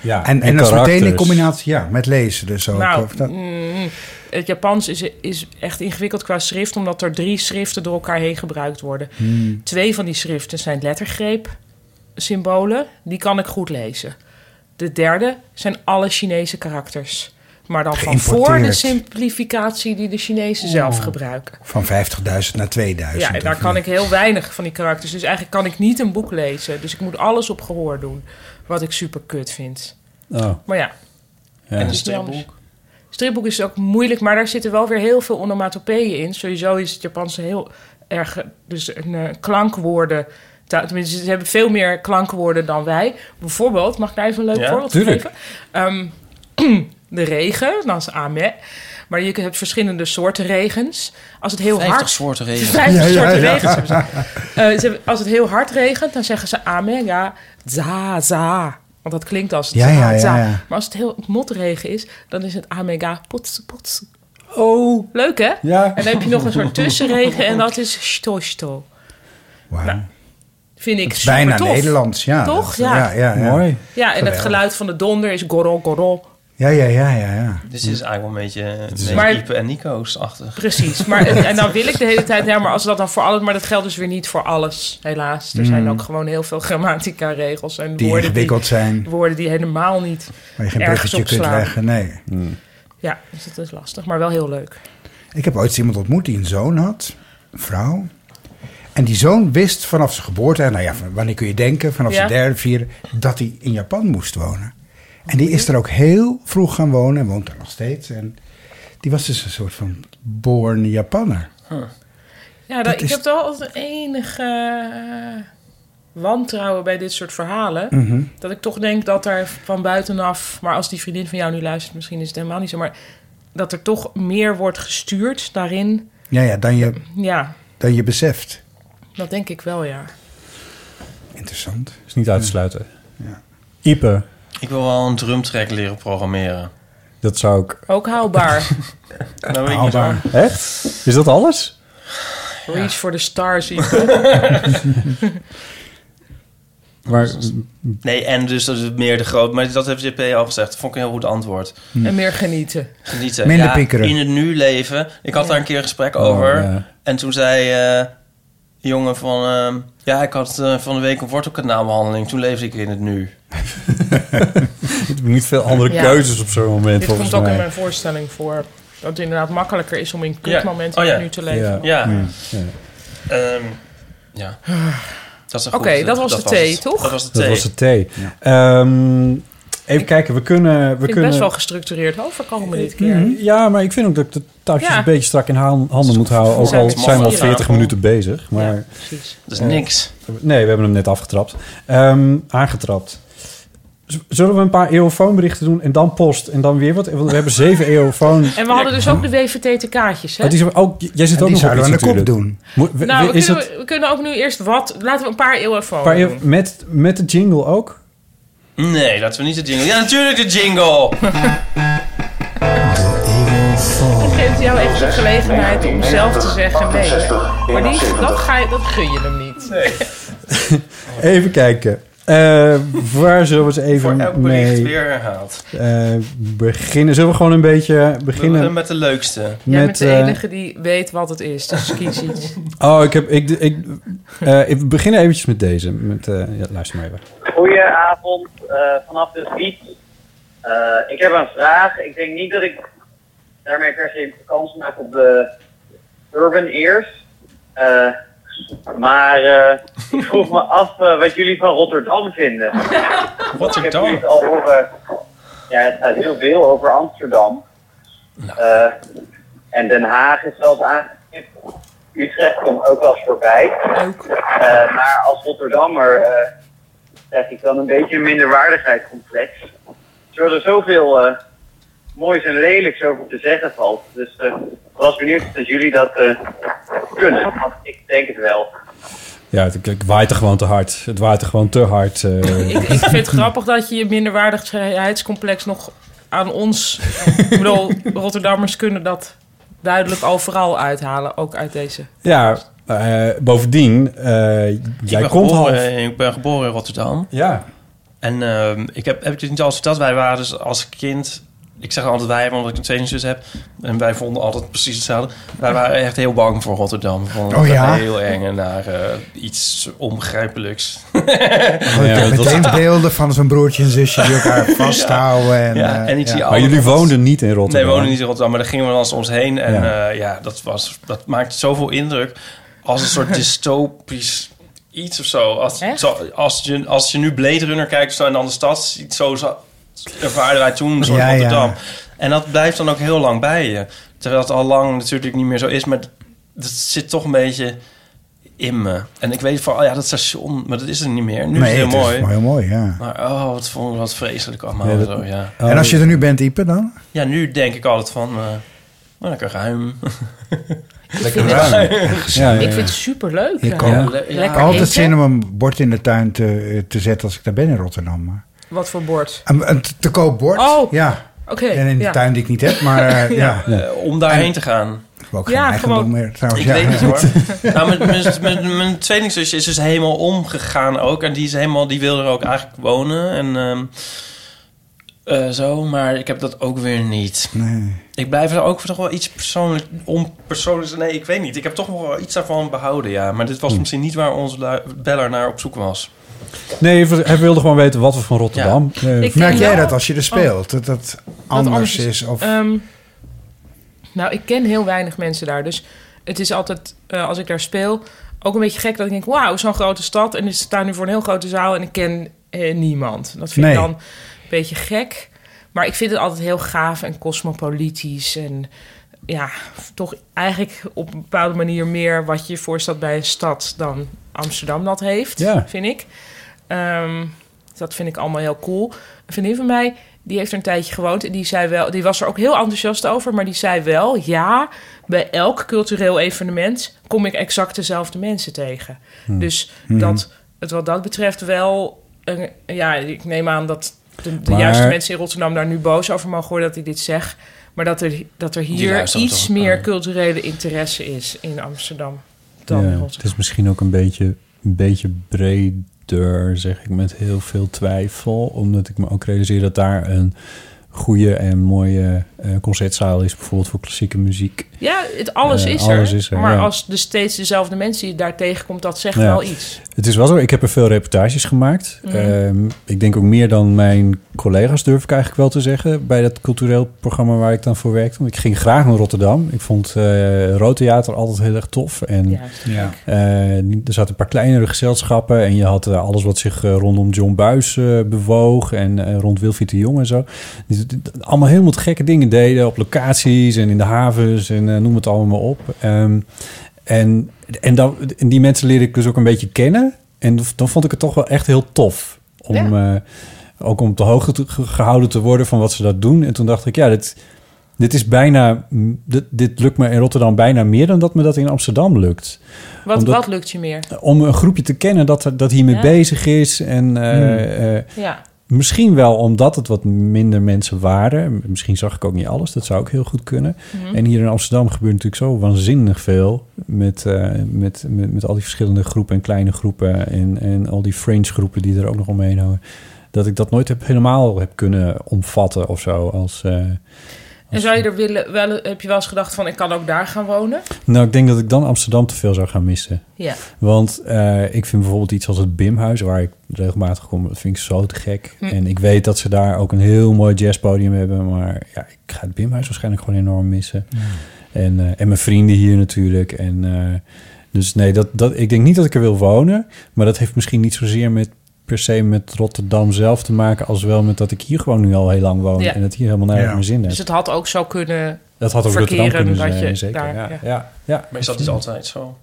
S3: Ja,
S4: En, en,
S3: en
S4: dat is meteen in
S3: karakters.
S4: combinatie ja, met lezen dus ook.
S5: nou,
S4: of dat-
S5: mm, het Japans is, is echt ingewikkeld qua schrift, omdat er drie schriften door elkaar heen gebruikt worden.
S4: Hmm.
S5: Twee van die schriften zijn lettergreep-symbolen, die kan ik goed lezen. De derde zijn alle Chinese karakters. Maar dan van voor de
S4: Geïmporteerd. Oh.
S5: simplificatie die de Chinezen zelf
S4: Oeh.
S5: gebruiken.
S4: Van 50.000 naar 2000.
S5: Ja, en daar
S4: of
S5: kan
S4: niet?
S5: ik heel weinig van die karakters. Dus eigenlijk kan ik niet een boek lezen. Dus ik moet alles op gehoor doen. Wat ik super kut vind.
S3: Oh.
S5: Maar ja,
S3: Ja.
S2: En een
S5: is niet
S2: stripboek.
S5: anders. Stripboek is ook moeilijk, maar daar zitten wel weer heel veel onomatopeeën in. Sowieso is het Japanse heel erg, eh, dus een eh, klankwoorden. ta- Tenminste, ze hebben veel meer klankwoorden dan wij. Bijvoorbeeld, mag ik daar even een leuk
S2: Ja,
S5: voorbeeld
S2: tuurlijk.
S5: geven? Ehm, de regen, dan is ame. Maar je hebt verschillende soorten regens. Als het heel
S2: 50
S5: hard...
S2: soorten regens.
S5: 50
S2: Ja, ja,
S5: soorten
S2: ja.
S5: regens hebben ze. Eh, ze- als het heel hard regent, dan zeggen ze amen, ja, za, za. Want dat klinkt als
S4: Ja,
S5: za,
S4: ja, ja,
S5: za.
S4: ja.
S5: Maar als het heel motregen is, dan is het amega pots, pots.
S3: Oh.
S5: Leuk hè?
S3: Ja.
S5: En dan heb je nog een soort tussenregen en dat is sto sto. Nou,
S4: Wauw.
S5: Vind ik
S4: Het is bijna
S5: supertof.
S4: Nederlands, ja.
S5: Toch?
S4: Dat-
S5: Ja.
S4: ja, ja, ja. Mooi.
S5: Ja, en
S4: Geweldig.
S5: het geluid van de donder is gorrel gorrel.
S4: Ja, ja, ja, ja. ja.
S2: Dus het is eigenlijk wel een beetje, een
S4: is-
S2: beetje
S5: Maar-
S2: Ipe en Nico's-achtig.
S5: Precies. Maar, en, en dan wil ik de hele tijd, ja, maar als dat dan voor alles, maar dat geldt dus weer niet voor alles, helaas. Er zijn
S4: Mm.
S5: ook gewoon heel veel grammatica regels en
S4: Die
S5: woorden
S4: ingewikkeld zijn.
S5: Woorden die helemaal niet
S4: Waar je geen
S5: ergens
S4: bruggetje
S5: op
S4: kunt
S5: slaan.
S4: leggen, nee.
S2: Hmm.
S5: Ja, dus dat is lastig, maar wel heel leuk.
S4: Ik heb ooit iemand ontmoet die een zoon had, een vrouw. En die zoon wist vanaf zijn geboorte, nou ja, van- wanneer kun je denken, vanaf
S5: Ja.
S4: zijn derde, vierde, dat hij in Japan moest wonen. En die is er ook heel vroeg gaan wonen en woont daar nog steeds. En die was dus een soort van born Japanner.
S5: Ja, dat,
S4: Dat
S5: ik
S4: is-
S5: heb toch altijd enige eh, wantrouwen bij dit soort verhalen.
S4: Mhm.
S5: Dat ik toch denk dat er van buitenaf... Maar als die vriendin van jou nu luistert, misschien is het helemaal niet zo. Maar dat er toch meer wordt gestuurd daarin.
S4: Ja, ja, dan je,
S5: Ja,
S4: dan je beseft.
S5: dat denk ik wel, ja.
S4: Interessant.
S3: Is niet uit te sluiten. Ipe,
S2: Ik wil wel een drumtrack leren programmeren.
S3: dat zou ik...
S5: Ook haalbaar.
S2: Nou, weet ik niet waar.
S3: Echt? Is dat alles?
S5: Reach for the stars. Ivo.
S3: Maar
S2: Nee, en dus dat is meer de groot. Maar dat heeft JP al gezegd. Dat vond ik een heel goed antwoord.
S5: en meer genieten.
S2: Genieten.
S4: Minder
S2: ja,
S4: piekeren.
S2: In het nu leven. Ik had daar een keer een gesprek
S3: Oh,
S2: over.
S3: ja.
S2: En toen zei eh, een jongen van... ehm, ja, ik had eh, van de week een wortelkanaalbehandeling. Toen leefde ik in het nu.
S3: niet veel andere
S5: Ja.
S3: keuzes op zo'n moment,
S5: Dit
S3: volgens
S5: komt ook
S3: mij.
S5: in mijn voorstelling voor. Dat het inderdaad makkelijker is om in kutmomenten
S2: Oh, ja.
S5: nu te leven.
S2: Ja.
S3: Ja.
S2: Ehm, ja. Dat is een
S5: Oké,
S2: goed-
S5: dat was de thee,
S2: het.
S5: toch?
S2: Dat was de
S3: Dat
S2: thee.
S3: was de thee. Ehm, even kijken, we kunnen... We
S5: Vind ik
S3: kunnen
S5: best wel gestructureerd overkomen dit keer.
S3: Mm, Ja, maar ik vind ook dat ik de touwtjes
S5: Ja.
S3: een beetje strak in haan- handen moet houden. Ook
S5: Zijn
S3: al
S5: we
S3: zijn we al
S5: hier
S3: 40
S5: aan?
S3: minuten bezig. Maar,
S5: precies.
S2: Dat is
S3: eh,
S2: niks.
S3: nee, we hebben hem net afgetrapt. Ehm, aangetrapt. Z- Zullen we een paar eeuwfoonberichten doen en dan post en dan weer wat? Want we hebben zeven eeuwfoon.
S5: En we hadden dus ook de WVT-kaartjes, hè?
S3: Oh, die zijn- oh, j- jij zit
S4: En
S3: ook
S4: die
S3: nog op
S4: zouden
S3: iets
S4: we aan de
S3: natuurlijk.
S4: kop doen.
S3: Moet- we-
S5: Nou,
S3: we-
S5: we
S3: is
S5: kunnen,
S3: dat
S5: we kunnen ook nu eerst wat... Laten we een paar eeuwen voor
S3: paar eeuw-
S5: doen.
S3: met, met de jingle ook?
S2: Nee, laten we niet de jingle. Ja, natuurlijk de jingle!
S5: Ik geef jou echt de gelegenheid om zelf te zeggen nee. Maar die, dat, ga je, dat gun je hem niet.
S3: Even kijken. Eh, waar zullen we ze even
S2: Elk bericht
S3: mee
S2: weer herhaald.
S3: eh, beginnen? Zullen we gewoon een beetje beginnen?
S2: Met de leukste.
S5: Jij bent de
S3: eh,
S5: enige die weet wat het is, dus kies iets.
S3: Oh, ik heb. Ik, ik, eh, ik begin eventjes met deze. Met, eh, ja, luister maar even.
S6: Goedenavond, eh, vanaf de fiets. Eh, ik heb een vraag. Ik denk niet dat ik daarmee per se kans maak op de Urban Ears. Eh, maar eh, ik vroeg me af eh, wat jullie van Rotterdam vinden. Rotterdam? Ik heb jullie het al horen. Ja, het gaat heel veel over Amsterdam. Eh, en Den Haag is zelfs aangestipt. Utrecht komt ook wel eens voorbij. Eh, maar als Rotterdammer eh, krijg ik dan een beetje een minderwaardigheidscomplex. Terwijl er zoveel eh, moois en lelijks over te zeggen valt. Dus eh, ik was benieuwd of jullie dat eh, kunnen. Want ik denk het wel.
S3: Ja, het, het waait er gewoon te hard. Het waait er gewoon te hard. eh.
S5: Ik, ik vind het grappig dat je je minderwaardigheidscomplex nog aan ons... Ik bedoel, Rotterdammers kunnen dat duidelijk overal uithalen, ook uit deze.
S3: ja, eh, bovendien, eh, jij
S2: ik ben
S3: komt
S2: geboren,
S3: half.
S2: eh, Ik ben geboren in Rotterdam.
S3: Ja.
S2: En ehm, ik heb, heb ik dit niet al eens verteld? Wij waren dus als kind... Ik zeg altijd wij, omdat ik een tweelingzus heb. En wij vonden altijd precies hetzelfde. Wij waren echt heel bang voor Rotterdam. We vonden
S4: Oh
S2: het
S4: ja?
S2: heel eng en naar eh, iets onbegrijpelijks.
S4: Oh, ik heb meteen beelden van zo'n broertje en zusje die elkaar vasthouden. En,
S2: ja,
S4: eh,
S2: en ik zie
S4: ja.
S2: altijd-
S3: niet in
S2: Nee, we woonden niet in Rotterdam, maar daar gingen we dan soms heen. En
S3: Ja.
S2: ja, ja dat, was, dat maakt zoveel indruk als een soort dystopisch iets of zo. Als, zo, als, je, als je nu Blade Runner kijkt of zo, en dan de stad ziet, zo za- ervaren wij toen een soort
S4: Ja, ja.
S2: Rotterdam. En dat blijft dan ook heel lang bij je. Terwijl het al lang natuurlijk niet meer zo is, maar dat- dat zit toch een beetje in me. En ik weet van, oh ja, dat station, maar dat is er niet meer. Nu
S4: Nee,
S2: is het heel
S4: het is
S2: mooi.
S4: maar heel mooi, ja.
S2: Maar oh, wat vond ik wat vreselijk allemaal.
S4: Ja, dat-
S2: zo, ja.
S4: En als je er nu bent, Ipe, dan?
S2: Ja, nu denk ik altijd van... eh maar lekker ruim.
S5: vind het- Ja, ja, ja. Ik vind het superleuk,
S4: Ik
S5: ja.
S4: ook.
S5: Ja. Lekker
S4: Ik heb altijd
S5: eten.
S4: zin om een bord in de tuin eh, te, te zetten als ik daar ben in Rotterdam. maar-
S5: Wat voor bord?
S4: Een, een te koop bord.
S5: Oh.
S4: Ja.
S5: Oké,
S4: en in de
S5: ja.
S4: tuin die ik niet heb, maar eh, ja.
S2: Eh, om daarheen te gaan.
S4: Ik heb ook geen eigendom meer trouwens.
S2: Ik
S4: ja.
S2: weet het hoor. nou, mijn, mijn, mijn, mijn tweelingzusje is dus helemaal omgegaan ook. En die, is helemaal, die wil er ook eigenlijk wonen. En ehm, eh, zo, maar ik heb dat ook weer niet. Ik blijf er ook toch wel iets persoonlijk, onpersoonlijks... Nee, ik weet niet. Ik heb toch nog wel iets daarvan behouden, ja. Maar dit was
S4: Hm.
S2: misschien niet waar onze lu- beller naar op zoek was.
S3: Nee, hij wilde gewoon weten wat we van Rotterdam... eh,
S5: Ik
S4: Merk
S5: denk
S4: jij
S5: wel-
S4: dat als je er speelt, dat dat anders, is? Of,
S5: Ehm, nou, ik ken heel weinig mensen daar. Dus het is altijd, eh, als ik daar speel, ook een beetje gek dat ik denk... wauw, zo'n grote stad en ik sta nu voor een heel grote zaal... en ik ken eh, niemand. Dat vind
S4: Nee.
S5: ik dan een beetje gek. Maar ik vind het altijd heel gaaf en cosmopolitisch... en ja, toch eigenlijk op een bepaalde manier meer... wat je voorstelt bij een stad dan Amsterdam dat heeft,
S3: Ja.
S5: vind ik. Ehm, dat vind ik allemaal heel cool. Een vriendin van mij, die heeft er een tijdje gewoond. En die, zei wel, die was er ook heel enthousiast over. Maar die zei wel, ja, bij elk cultureel evenement... kom ik exact dezelfde mensen tegen.
S3: Hmm.
S5: Dus
S3: Hmm.
S5: dat het wat dat betreft wel... Een, ja, ik neem aan dat de, de
S3: Maar-
S5: juiste mensen in Rotterdam daar nu boos over mogen worden... dat ik dit zeg. Maar dat er, dat er
S2: Die
S5: hier
S2: luisteren
S5: iets
S2: toch?
S5: meer culturele interesse is in Amsterdam dan in
S3: ja,
S5: Rotterdam.
S3: het is misschien ook een beetje, een beetje breder, zeg ik, met heel veel twijfel. Omdat ik me ook realiseer dat daar een goede en mooie eh, concertzaal is, bijvoorbeeld voor klassieke muziek.
S5: Ja, het, alles,
S3: Eh,
S5: is
S3: alles
S5: er,
S3: is er,
S5: Maar
S3: ja.
S5: als de steeds dezelfde mensen je daar tegenkomt, dat zegt
S3: Ja.
S5: wel iets.
S3: Het is wel zo, ik heb er veel reportages gemaakt.
S5: Mhm.
S3: Ehm, ik denk ook meer dan mijn collega's, durf ik eigenlijk wel te zeggen, bij dat cultureel programma waar ik dan voor werkte. Want ik ging graag naar Rotterdam. Ik vond eh Rood Theater altijd heel erg tof. En
S4: Ja.
S3: eh, niet- er zaten een paar kleinere gezelschappen en je had eh, alles wat zich eh, rondom John Buis eh, bewoog en eh, rond Wilfried de Jong en zo. Dus dit- dit- allemaal helemaal te gekke dingen deden op locaties en in de havens en eh, noem het allemaal maar op. Ehm, en, en, dan, en die mensen leerde ik dus ook een beetje kennen en dan vond ik het toch wel echt heel tof om... eh, ook om op de hoogte te- ge- gehouden te worden van wat ze dat doen. En toen dacht ik, ja, dit, dit is bijna. mm, Dit, dit lukt me in Rotterdam bijna meer dan dat me dat in Amsterdam lukt.
S5: Wat,
S3: Omdat-
S5: wat lukt je meer?
S3: om een groepje te kennen dat, er- dat hiermee
S5: Ja.
S3: bezig is. En eh,
S5: Hmm.
S3: eh,
S5: Ja.
S3: misschien wel omdat het wat minder mensen waren. Misschien zag ik ook niet alles, dat zou ook heel goed kunnen.
S5: Mhm.
S3: En hier in Amsterdam gebeurt natuurlijk zo waanzinnig veel. Met, eh, met, met, met al die verschillende groepen en kleine groepen. En, en al die fringe groepen die er ook nog omheen hangen. Dat ik dat nooit heb, helemaal heb kunnen omvatten of zo. Als, eh,
S5: En zou je er willen, wel, heb je wel eens gedacht van ik kan ook daar gaan wonen?
S3: Nou, ik denk dat ik dan Amsterdam te veel zou gaan missen.
S5: Ja.
S3: Want eh, ik vind bijvoorbeeld iets als het Bimhuis, waar ik regelmatig kom, dat vind ik zo te gek.
S5: Hm.
S3: En ik weet dat ze daar ook een heel mooi jazzpodium hebben, maar ja, ik ga het Bimhuis waarschijnlijk gewoon enorm missen. En, eh, en mijn vrienden hier natuurlijk. En, eh, dus nee, dat, dat, ik denk niet dat ik er wil wonen, maar dat heeft misschien niet zozeer met per se met Rotterdam zelf te maken, als wel met dat ik hier gewoon nu al heel lang woon
S5: Ja.
S3: en dat hier helemaal naar mijn zin heb.
S5: Dus het had ook zo kunnen
S3: Dat had ook Rotterdam
S5: verkeren
S3: kunnen
S5: dat
S3: zijn,
S5: je
S3: zeker,
S5: daar-
S3: ja,
S2: Maar is dat niet altijd zo?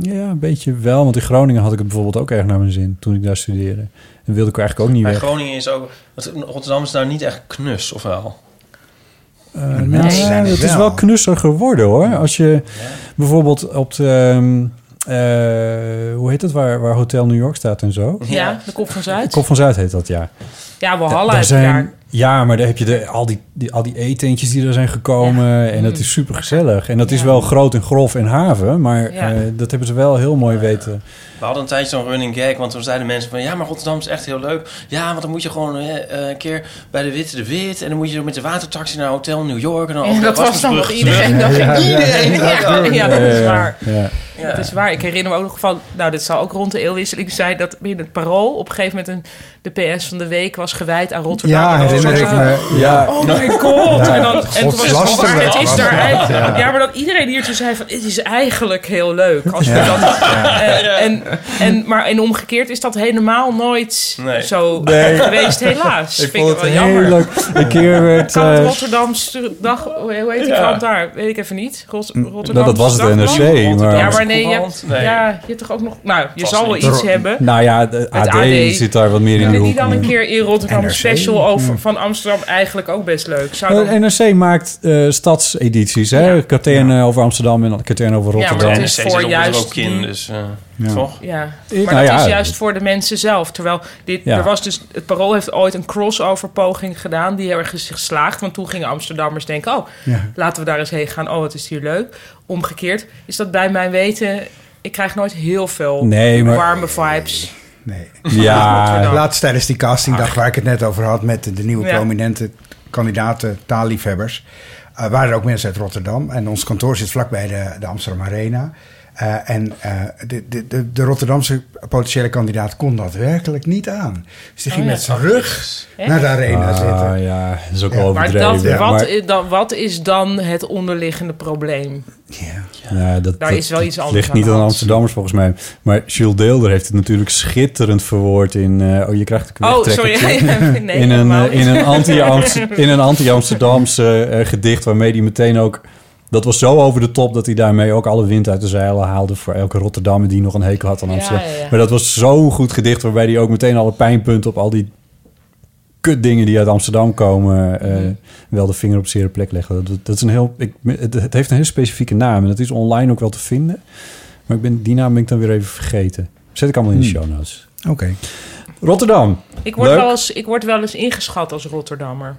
S3: Ja, een beetje wel. Want in Groningen had ik het bijvoorbeeld ook erg naar mijn zin toen ik daar studeerde. En wilde ik eigenlijk ook niet
S2: Maar
S3: weg.
S2: Groningen is ook... Rotterdam is daar niet echt knus, of wel?
S3: Eh,
S2: Maar
S3: nou,
S2: mensen zijn het
S3: het is
S2: wel.
S3: wel knusser geworden hoor. Als je bijvoorbeeld op de... ehm, eh, hoe heet het? Waar, waar Hotel New York staat en zo.
S5: Ja, de Kop van Zuid.
S3: Kop van Zuid heet dat, ja.
S5: Ja, we
S3: Da-
S5: hadden
S3: daar
S5: uit elkaar.
S3: zijn, Ja, maar daar heb je de, al, die, die, al die eetentjes die er zijn gekomen. En dat is super gezellig. En dat is wel groot en grof en haven. Maar
S2: Ja.
S3: eh, dat hebben ze wel heel mooi weten.
S2: We hadden een tijdje zo'n running gag, want toen zeiden mensen van... ja, maar Rotterdam is echt heel leuk. Ja, want dan moet je gewoon eh, eh, een keer bij de Witte de Wit... en dan moet je met de watertaxi naar Hotel New York... en dan
S5: Ja,
S2: over de
S5: dat was dan wat
S2: Erasmusbrug terug.
S5: iedereen. Dat ging iedereen. Ja, ja, dat is
S3: Ja,
S5: waar.
S3: ja.
S5: Dat is waar. Ik herinner me ook nog van... Nou, dit zal ook rond de eeuwwisseling zijn... dat in het Parool op een gegeven moment... Een, de PS van de week was gewijd aan Rotterdam. En
S4: Ja,
S5: dan
S4: herinner
S5: was
S4: ik
S5: het
S4: me.
S5: zo,
S4: Ja.
S5: Oh my god.
S4: Ja,
S5: en dan, en
S4: God,
S5: toen was het zo,
S4: lasterlijk
S5: maar het is
S4: was
S5: daar
S4: dat,
S5: eigenlijk...
S4: ja.
S5: Ja, maar dat iedereen hiertoe zei van... Het is eigenlijk heel leuk. Als we
S4: Ja.
S5: dat,
S4: Ja.
S5: eh, en, en, maar en omgekeerd is dat helemaal nooit zo
S3: Nee.
S5: geweest, helaas.
S3: Ik
S5: Vind
S3: vond
S5: wel
S3: het
S5: jammer.
S3: heel leuk. Een keer werd...
S5: Kan het
S3: eh,
S5: Rotterdamse dag, hoe heet die
S3: Ja.
S5: krant daar? Weet ik even niet. Rot, Rotterdam.
S3: Nou, dat was het NRC, maar-
S5: ja, maar maar nee, je
S2: Courant?
S5: hebt,
S2: Nee.
S5: ja, je hebt toch ook nog... Nou, je
S2: Vast
S5: zal wel
S2: niet.
S5: iets
S2: Ro-
S5: hebben.
S3: Nou ja, de
S5: Het
S3: AD, zit daar wat meer in de
S5: Kunnen
S3: hoek.
S5: die dan een keer in Rotterdam een
S3: NRC?
S5: special over
S3: Ja.
S5: van Amsterdam eigenlijk ook best leuk? Zou dan-
S3: Hmm. Eh, NRC maakt eh, stadsedities, hè? Katern eh, over Amsterdam en Katern over
S5: Ja,
S3: Rotterdam.
S5: maar het
S2: NRC
S5: is
S2: zit
S5: voor
S2: er
S5: juist
S2: ook in,
S5: die-
S2: dus eh,
S3: Ja.
S2: toch?
S5: Ja, maar
S3: Nou
S5: dat
S3: ja.
S5: is juist voor de mensen zelf. Terwijl dit,
S3: Ja.
S5: er was dus, het Parool heeft ooit een crossover poging gedaan. Die erg is geslaagd. Want toen gingen Amsterdammers denken... oh,
S4: Ja.
S5: laten we daar eens heen gaan. Oh, wat is hier leuk. Omgekeerd is dat bij mijn weten... ik krijg nooit heel veel
S3: Nee, maar-
S5: warme vibes.
S4: Nee.
S3: Ja.
S4: Laatst tijdens die castingdag waar ik het net over had met de, de nieuwe
S5: Ja.
S4: prominente kandidaten, taalliefhebbers, eh, waren er ook mensen uit Rotterdam. En ons kantoor zit vlakbij de, de Amsterdam Arena. Eh, en eh, de, de, de, de Rotterdamse potentiële kandidaat kon dat werkelijk niet aan. Dus die ging
S5: Oh ja.
S4: met zijn rug
S5: Echt?
S4: naar de arena
S3: Ah,
S4: zitten.
S3: Ja, dat is ook
S4: Ja.
S3: wel
S4: Maar
S5: Maar
S3: overdreven.
S5: dat,
S3: ja,
S5: wat,
S3: maar-
S5: i- dan, wat is dan het onderliggende probleem?
S3: Ja, dat,
S5: Daar
S3: dat-
S5: is wel iets
S3: dat
S5: anders
S3: ligt
S5: aan
S3: niet
S5: de
S3: aan
S5: hand.
S3: Amsterdammers volgens mij. Maar Jules Deelder heeft het natuurlijk schitterend verwoord in... eh, oh, je krijgt een
S5: Oh, sorry.
S3: wegtrekkertje.
S5: Nee,
S3: in, een,
S5: helemaal
S3: eh, in, een
S5: niet.
S3: anti in een anti-Amsterdamse eh, gedicht waarmee hij meteen ook... Dat was zo over de top dat hij daarmee ook alle wind uit de zeilen haalde... voor elke Rotterdammer die nog een hekel had aan Amsterdam.
S5: ja, ja.
S3: Maar dat was zo'n goed gedicht waarbij hij ook meteen alle pijnpunten... op al die kutdingen die uit Amsterdam komen... eh,
S4: Mhm.
S3: wel de vinger op zere plek leggen. Dat, dat is een heel, ik, het, het heeft een heel specifieke naam en dat is online ook wel te vinden. Maar ik ben, die naam ben ik dan weer even vergeten. Zet ik allemaal in de
S4: Hmm.
S3: show notes.
S4: Oké.
S3: Rotterdam.
S5: Ik word,
S3: Leuk.
S5: wel eens, ik word wel eens ingeschat als Rotterdammer.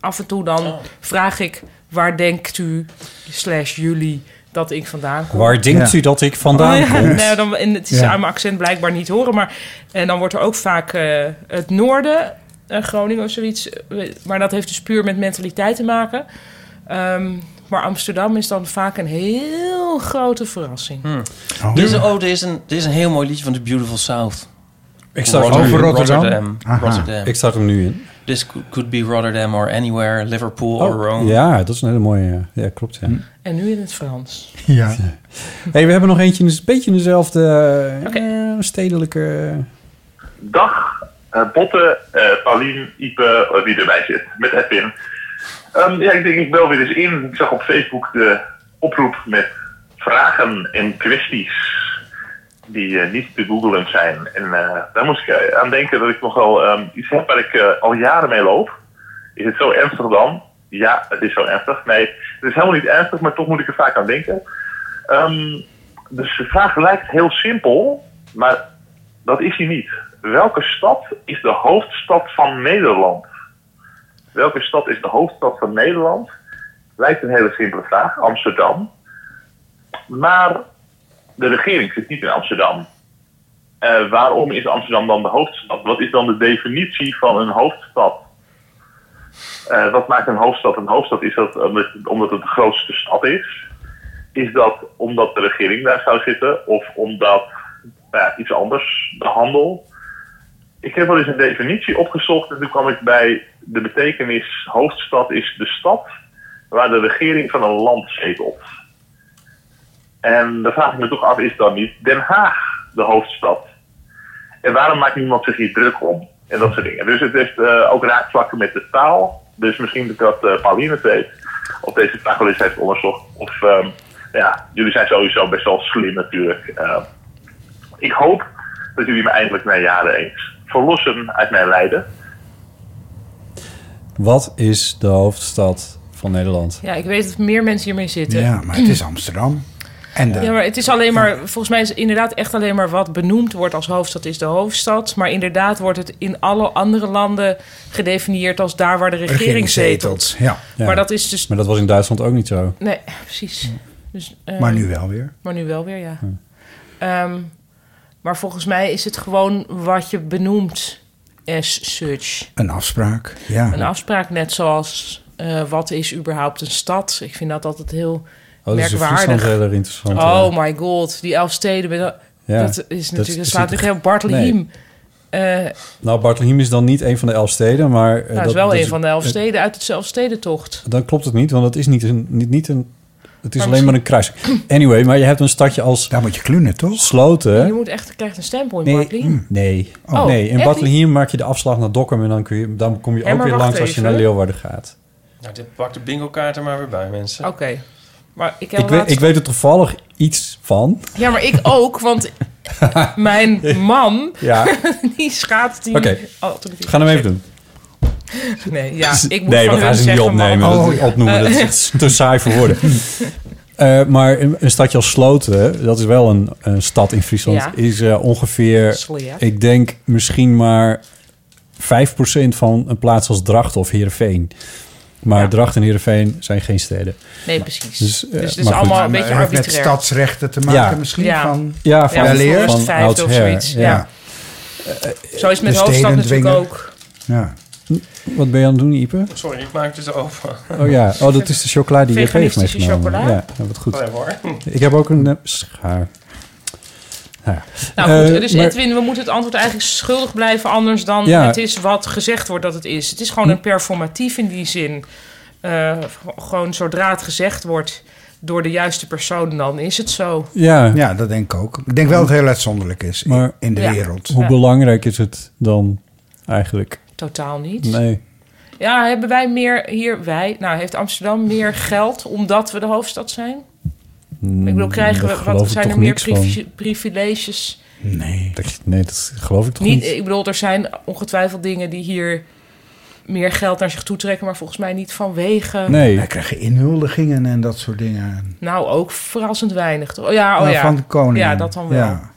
S5: Af en toe dan vraag ik... waar denkt u, slash jullie, dat ik vandaan kom?
S3: Waar denkt u dat ik vandaan
S5: Oh, ja.
S3: kom?
S5: Nee, dan, en het is
S3: Ja.
S5: aan mijn accent blijkbaar niet horen. Maar, en dan wordt er ook vaak eh, het noorden, eh, Groningen of zoiets. eh, Maar dat heeft dus puur met mentaliteit te maken. Ehm, maar Amsterdam is dan vaak een heel grote verrassing.
S2: Hmm. Er is, een- oh, er is, een, er is een heel mooi liedje van The Beautiful South.
S3: Ik zag
S2: Rotter-
S3: over Rotterdam.
S2: Rotterdam.
S3: Aha.
S2: Rotterdam.
S3: Ik zag hem nu in. Oh,
S2: This could, could be Rotterdam or anywhere, Liverpool or Rome.
S3: Ja, dat is een hele mooie. ja. Ja, klopt. Ja.
S5: En nu in het Frans.
S4: Hmm. Ja.
S3: Hey, we hebben nog eentje, dus een beetje in dezelfde eh, stedelijke.
S7: Dag, eh Botte, eh Paulien, Ipe, eh, wie erbij zit, met Edwin. Ehm, ja, ik denk ik bel weer eens in. Ik zag op Facebook de oproep met vragen en kwesties die eh, niet te googelen zijn. En eh, daar moest ik eh, aan denken dat ik nogal ehm iets heb waar ik eh, al jaren mee loop. Is het zo ernstig dan? Ja, het is zo ernstig. Nee, het is helemaal niet ernstig, maar toch moet ik er vaak aan denken. Ehm, dus de vraag lijkt heel simpel, maar dat is hij niet. Welke stad is de hoofdstad van Nederland? Welke stad is de hoofdstad van Nederland? Lijkt een hele simpele vraag, Amsterdam. Maar de regering zit niet in Amsterdam. Eh, waarom is Amsterdam dan de hoofdstad? Wat is dan de definitie van een hoofdstad? Eh, wat maakt een hoofdstad een hoofdstad? Is dat omdat, omdat het de grootste stad is? Is dat omdat de regering daar zou zitten? Of omdat nou ja, iets anders, de handel. Ik heb wel eens een definitie opgezocht en toen kwam ik bij de betekenis hoofdstad is de stad waar de regering van een land zetelt. En dan vraag ik me toch af, is dan niet Den Haag de hoofdstad? En waarom maakt niemand zich hier druk om? En dat soort dingen. Dus het heeft eh, ook raakvlakken met de taal. Dus misschien dat eh Pauline het weet, of deze vraag wel eens heeft onderzocht. Of, ehm, ja, jullie zijn sowieso best wel slim natuurlijk. Eh, ik hoop dat jullie me eindelijk na jaren eens verlossen uit mijn lijden.
S3: Wat is de hoofdstad van Nederland?
S5: Ja, ik weet dat meer mensen hiermee zitten.
S4: Ja, maar het is Amsterdam. En de,
S5: Ja, maar het is alleen maar, volgens mij is het inderdaad echt alleen maar wat benoemd wordt als hoofdstad is de hoofdstad. Maar inderdaad wordt het in alle andere landen gedefinieerd als daar waar de regering zetelt.
S4: Ja.
S5: Maar dat is dus.
S3: Maar dat was in Duitsland ook niet zo.
S5: Nee, precies. Dus, eh,
S3: Maar nu wel weer.
S5: Maar nu wel weer, ja. Ehm, maar volgens mij is het gewoon wat je benoemt as such.
S4: een afspraak. Ja.
S5: Een afspraak net zoals eh, wat is überhaupt een stad? Ik vind dat altijd heel
S3: Oh, dat is in
S5: merkwaardig.
S3: Friesland heel erg interessant,
S5: oh my god, die elf steden. Dat,
S3: Ja,
S5: dat is
S3: dat
S5: natuurlijk, dat
S3: is
S5: slaat
S3: niet-
S5: natuurlijk heel Bartleheim. Eh,
S3: Nou, Bartleheim is dan niet een van de elf steden, maar... eh,
S5: nou, dat is wel een van de elf
S3: eh,
S5: steden uit het zelfstedentocht.
S3: Dan klopt het niet, want het is niet een... Niet, niet een het is
S5: Maar
S3: alleen maar een kruis. Anyway, maar je hebt een stadje als...
S4: Daar moet je klunen, toch? mm.
S5: Je
S3: Sloten.
S5: moet echt, je krijgt een stempel in
S3: Nee, mm.
S5: Bartleheim.
S3: nee.
S5: Oh,
S3: nee.
S5: echt
S3: In
S5: niet?
S3: Bartleheim maak je de afslag naar Dokkum... en dan, kun je, dan kom je
S5: Hé,
S3: ook
S5: maar
S3: weer
S5: wacht
S3: langs als je
S5: even.
S3: naar Leeuwarden gaat.
S2: Nou, dit pakt de bingo kaart er maar weer bij, mensen.
S5: Oké. Maar ik, heb
S3: Ik weet,
S5: laatst-
S3: ik weet er toevallig iets van.
S5: Ja, maar ik ook, want mijn man,
S3: Ja.
S5: die schaadt die...
S3: Oké,
S5: Oh,
S3: we gaan hem even doen.
S5: Nee, ja, ik moet
S3: Dus nee,
S5: van hun
S3: we gaan ze niet
S5: zeggen,
S3: opnemen. Oh.
S5: man.
S3: dat, opnoemen,
S5: Eh,
S3: dat is echt te saai voor woorden. Eh, maar een, een stadje als Sloten, dat is wel een, een stad in Friesland,
S5: Ja.
S3: is eh, ongeveer,
S5: Sleer.
S3: ik denk misschien maar 5% van een plaats als Drachten of Heerenveen. Maar Drachten en Heerenveen zijn geen steden.
S5: Nee, precies.
S3: Dus, eh,
S5: Dus het is
S3: maar goed.
S5: allemaal een
S4: Maar
S5: beetje
S4: het heeft met
S5: arbitrair.
S4: stadsrechten te maken misschien van...
S3: ja, van,
S4: wel eer.
S3: van
S5: vijfde of
S3: oudsher,
S5: zoiets. Ja.
S3: ja.
S5: Zo is het met
S3: de
S5: hoofdstad
S3: steden
S5: natuurlijk
S3: dwingen.
S5: ook.
S4: Ja.
S3: Wat ben je aan het doen, Ipe?
S2: Sorry, ik maakte ze open.
S3: Oh ja, oh, dat is de chocola die je geeft
S2: Veganistische
S3: meegenomen.
S2: chocola?
S3: Ja, Ja, wat goed.
S2: Oh ja, hoor.
S3: Ik heb ook een eh, schaar. Nou, ja.
S5: Nou goed,
S3: Eh,
S5: dus
S3: maar-
S5: Edwin, we moeten het antwoord eigenlijk schuldig blijven... anders dan
S3: Ja.
S5: het is wat gezegd wordt dat het is. Het is gewoon een performatief in die zin. Eh, gewoon zodra het gezegd wordt door de juiste persoon, dan is het zo.
S3: Ja.
S4: ja, dat denk ik ook. Ik denk wel dat het heel uitzonderlijk is in-
S3: Maar-
S4: in de
S5: Ja.
S4: wereld.
S3: Hoe belangrijk is het dan eigenlijk?
S5: Totaal niet.
S3: Nee.
S5: Ja, hebben wij meer hier, wij, nou heeft Amsterdam meer geld omdat we de hoofdstad zijn? ik bedoel, krijgen
S3: mm, daar
S5: we,
S3: geloof ik
S5: wat zijn
S3: toch
S5: er meer
S3: niks van.
S5: privi- privileges?
S4: Nee.
S3: Dat, nee, dat geloof ik toch
S5: Niet,
S3: niet.
S5: ik bedoel, er zijn ongetwijfeld dingen die hier meer geld naar zich toe trekken, maar volgens mij niet vanwege.
S4: Eh, Wij krijgen inhuldigingen en dat soort dingen.
S5: Nou, ook verrassend weinig. toch? Oh ja, oh
S4: Nou,
S5: ja.
S4: van de koning.
S5: Ja, dat dan wel.
S4: Ja.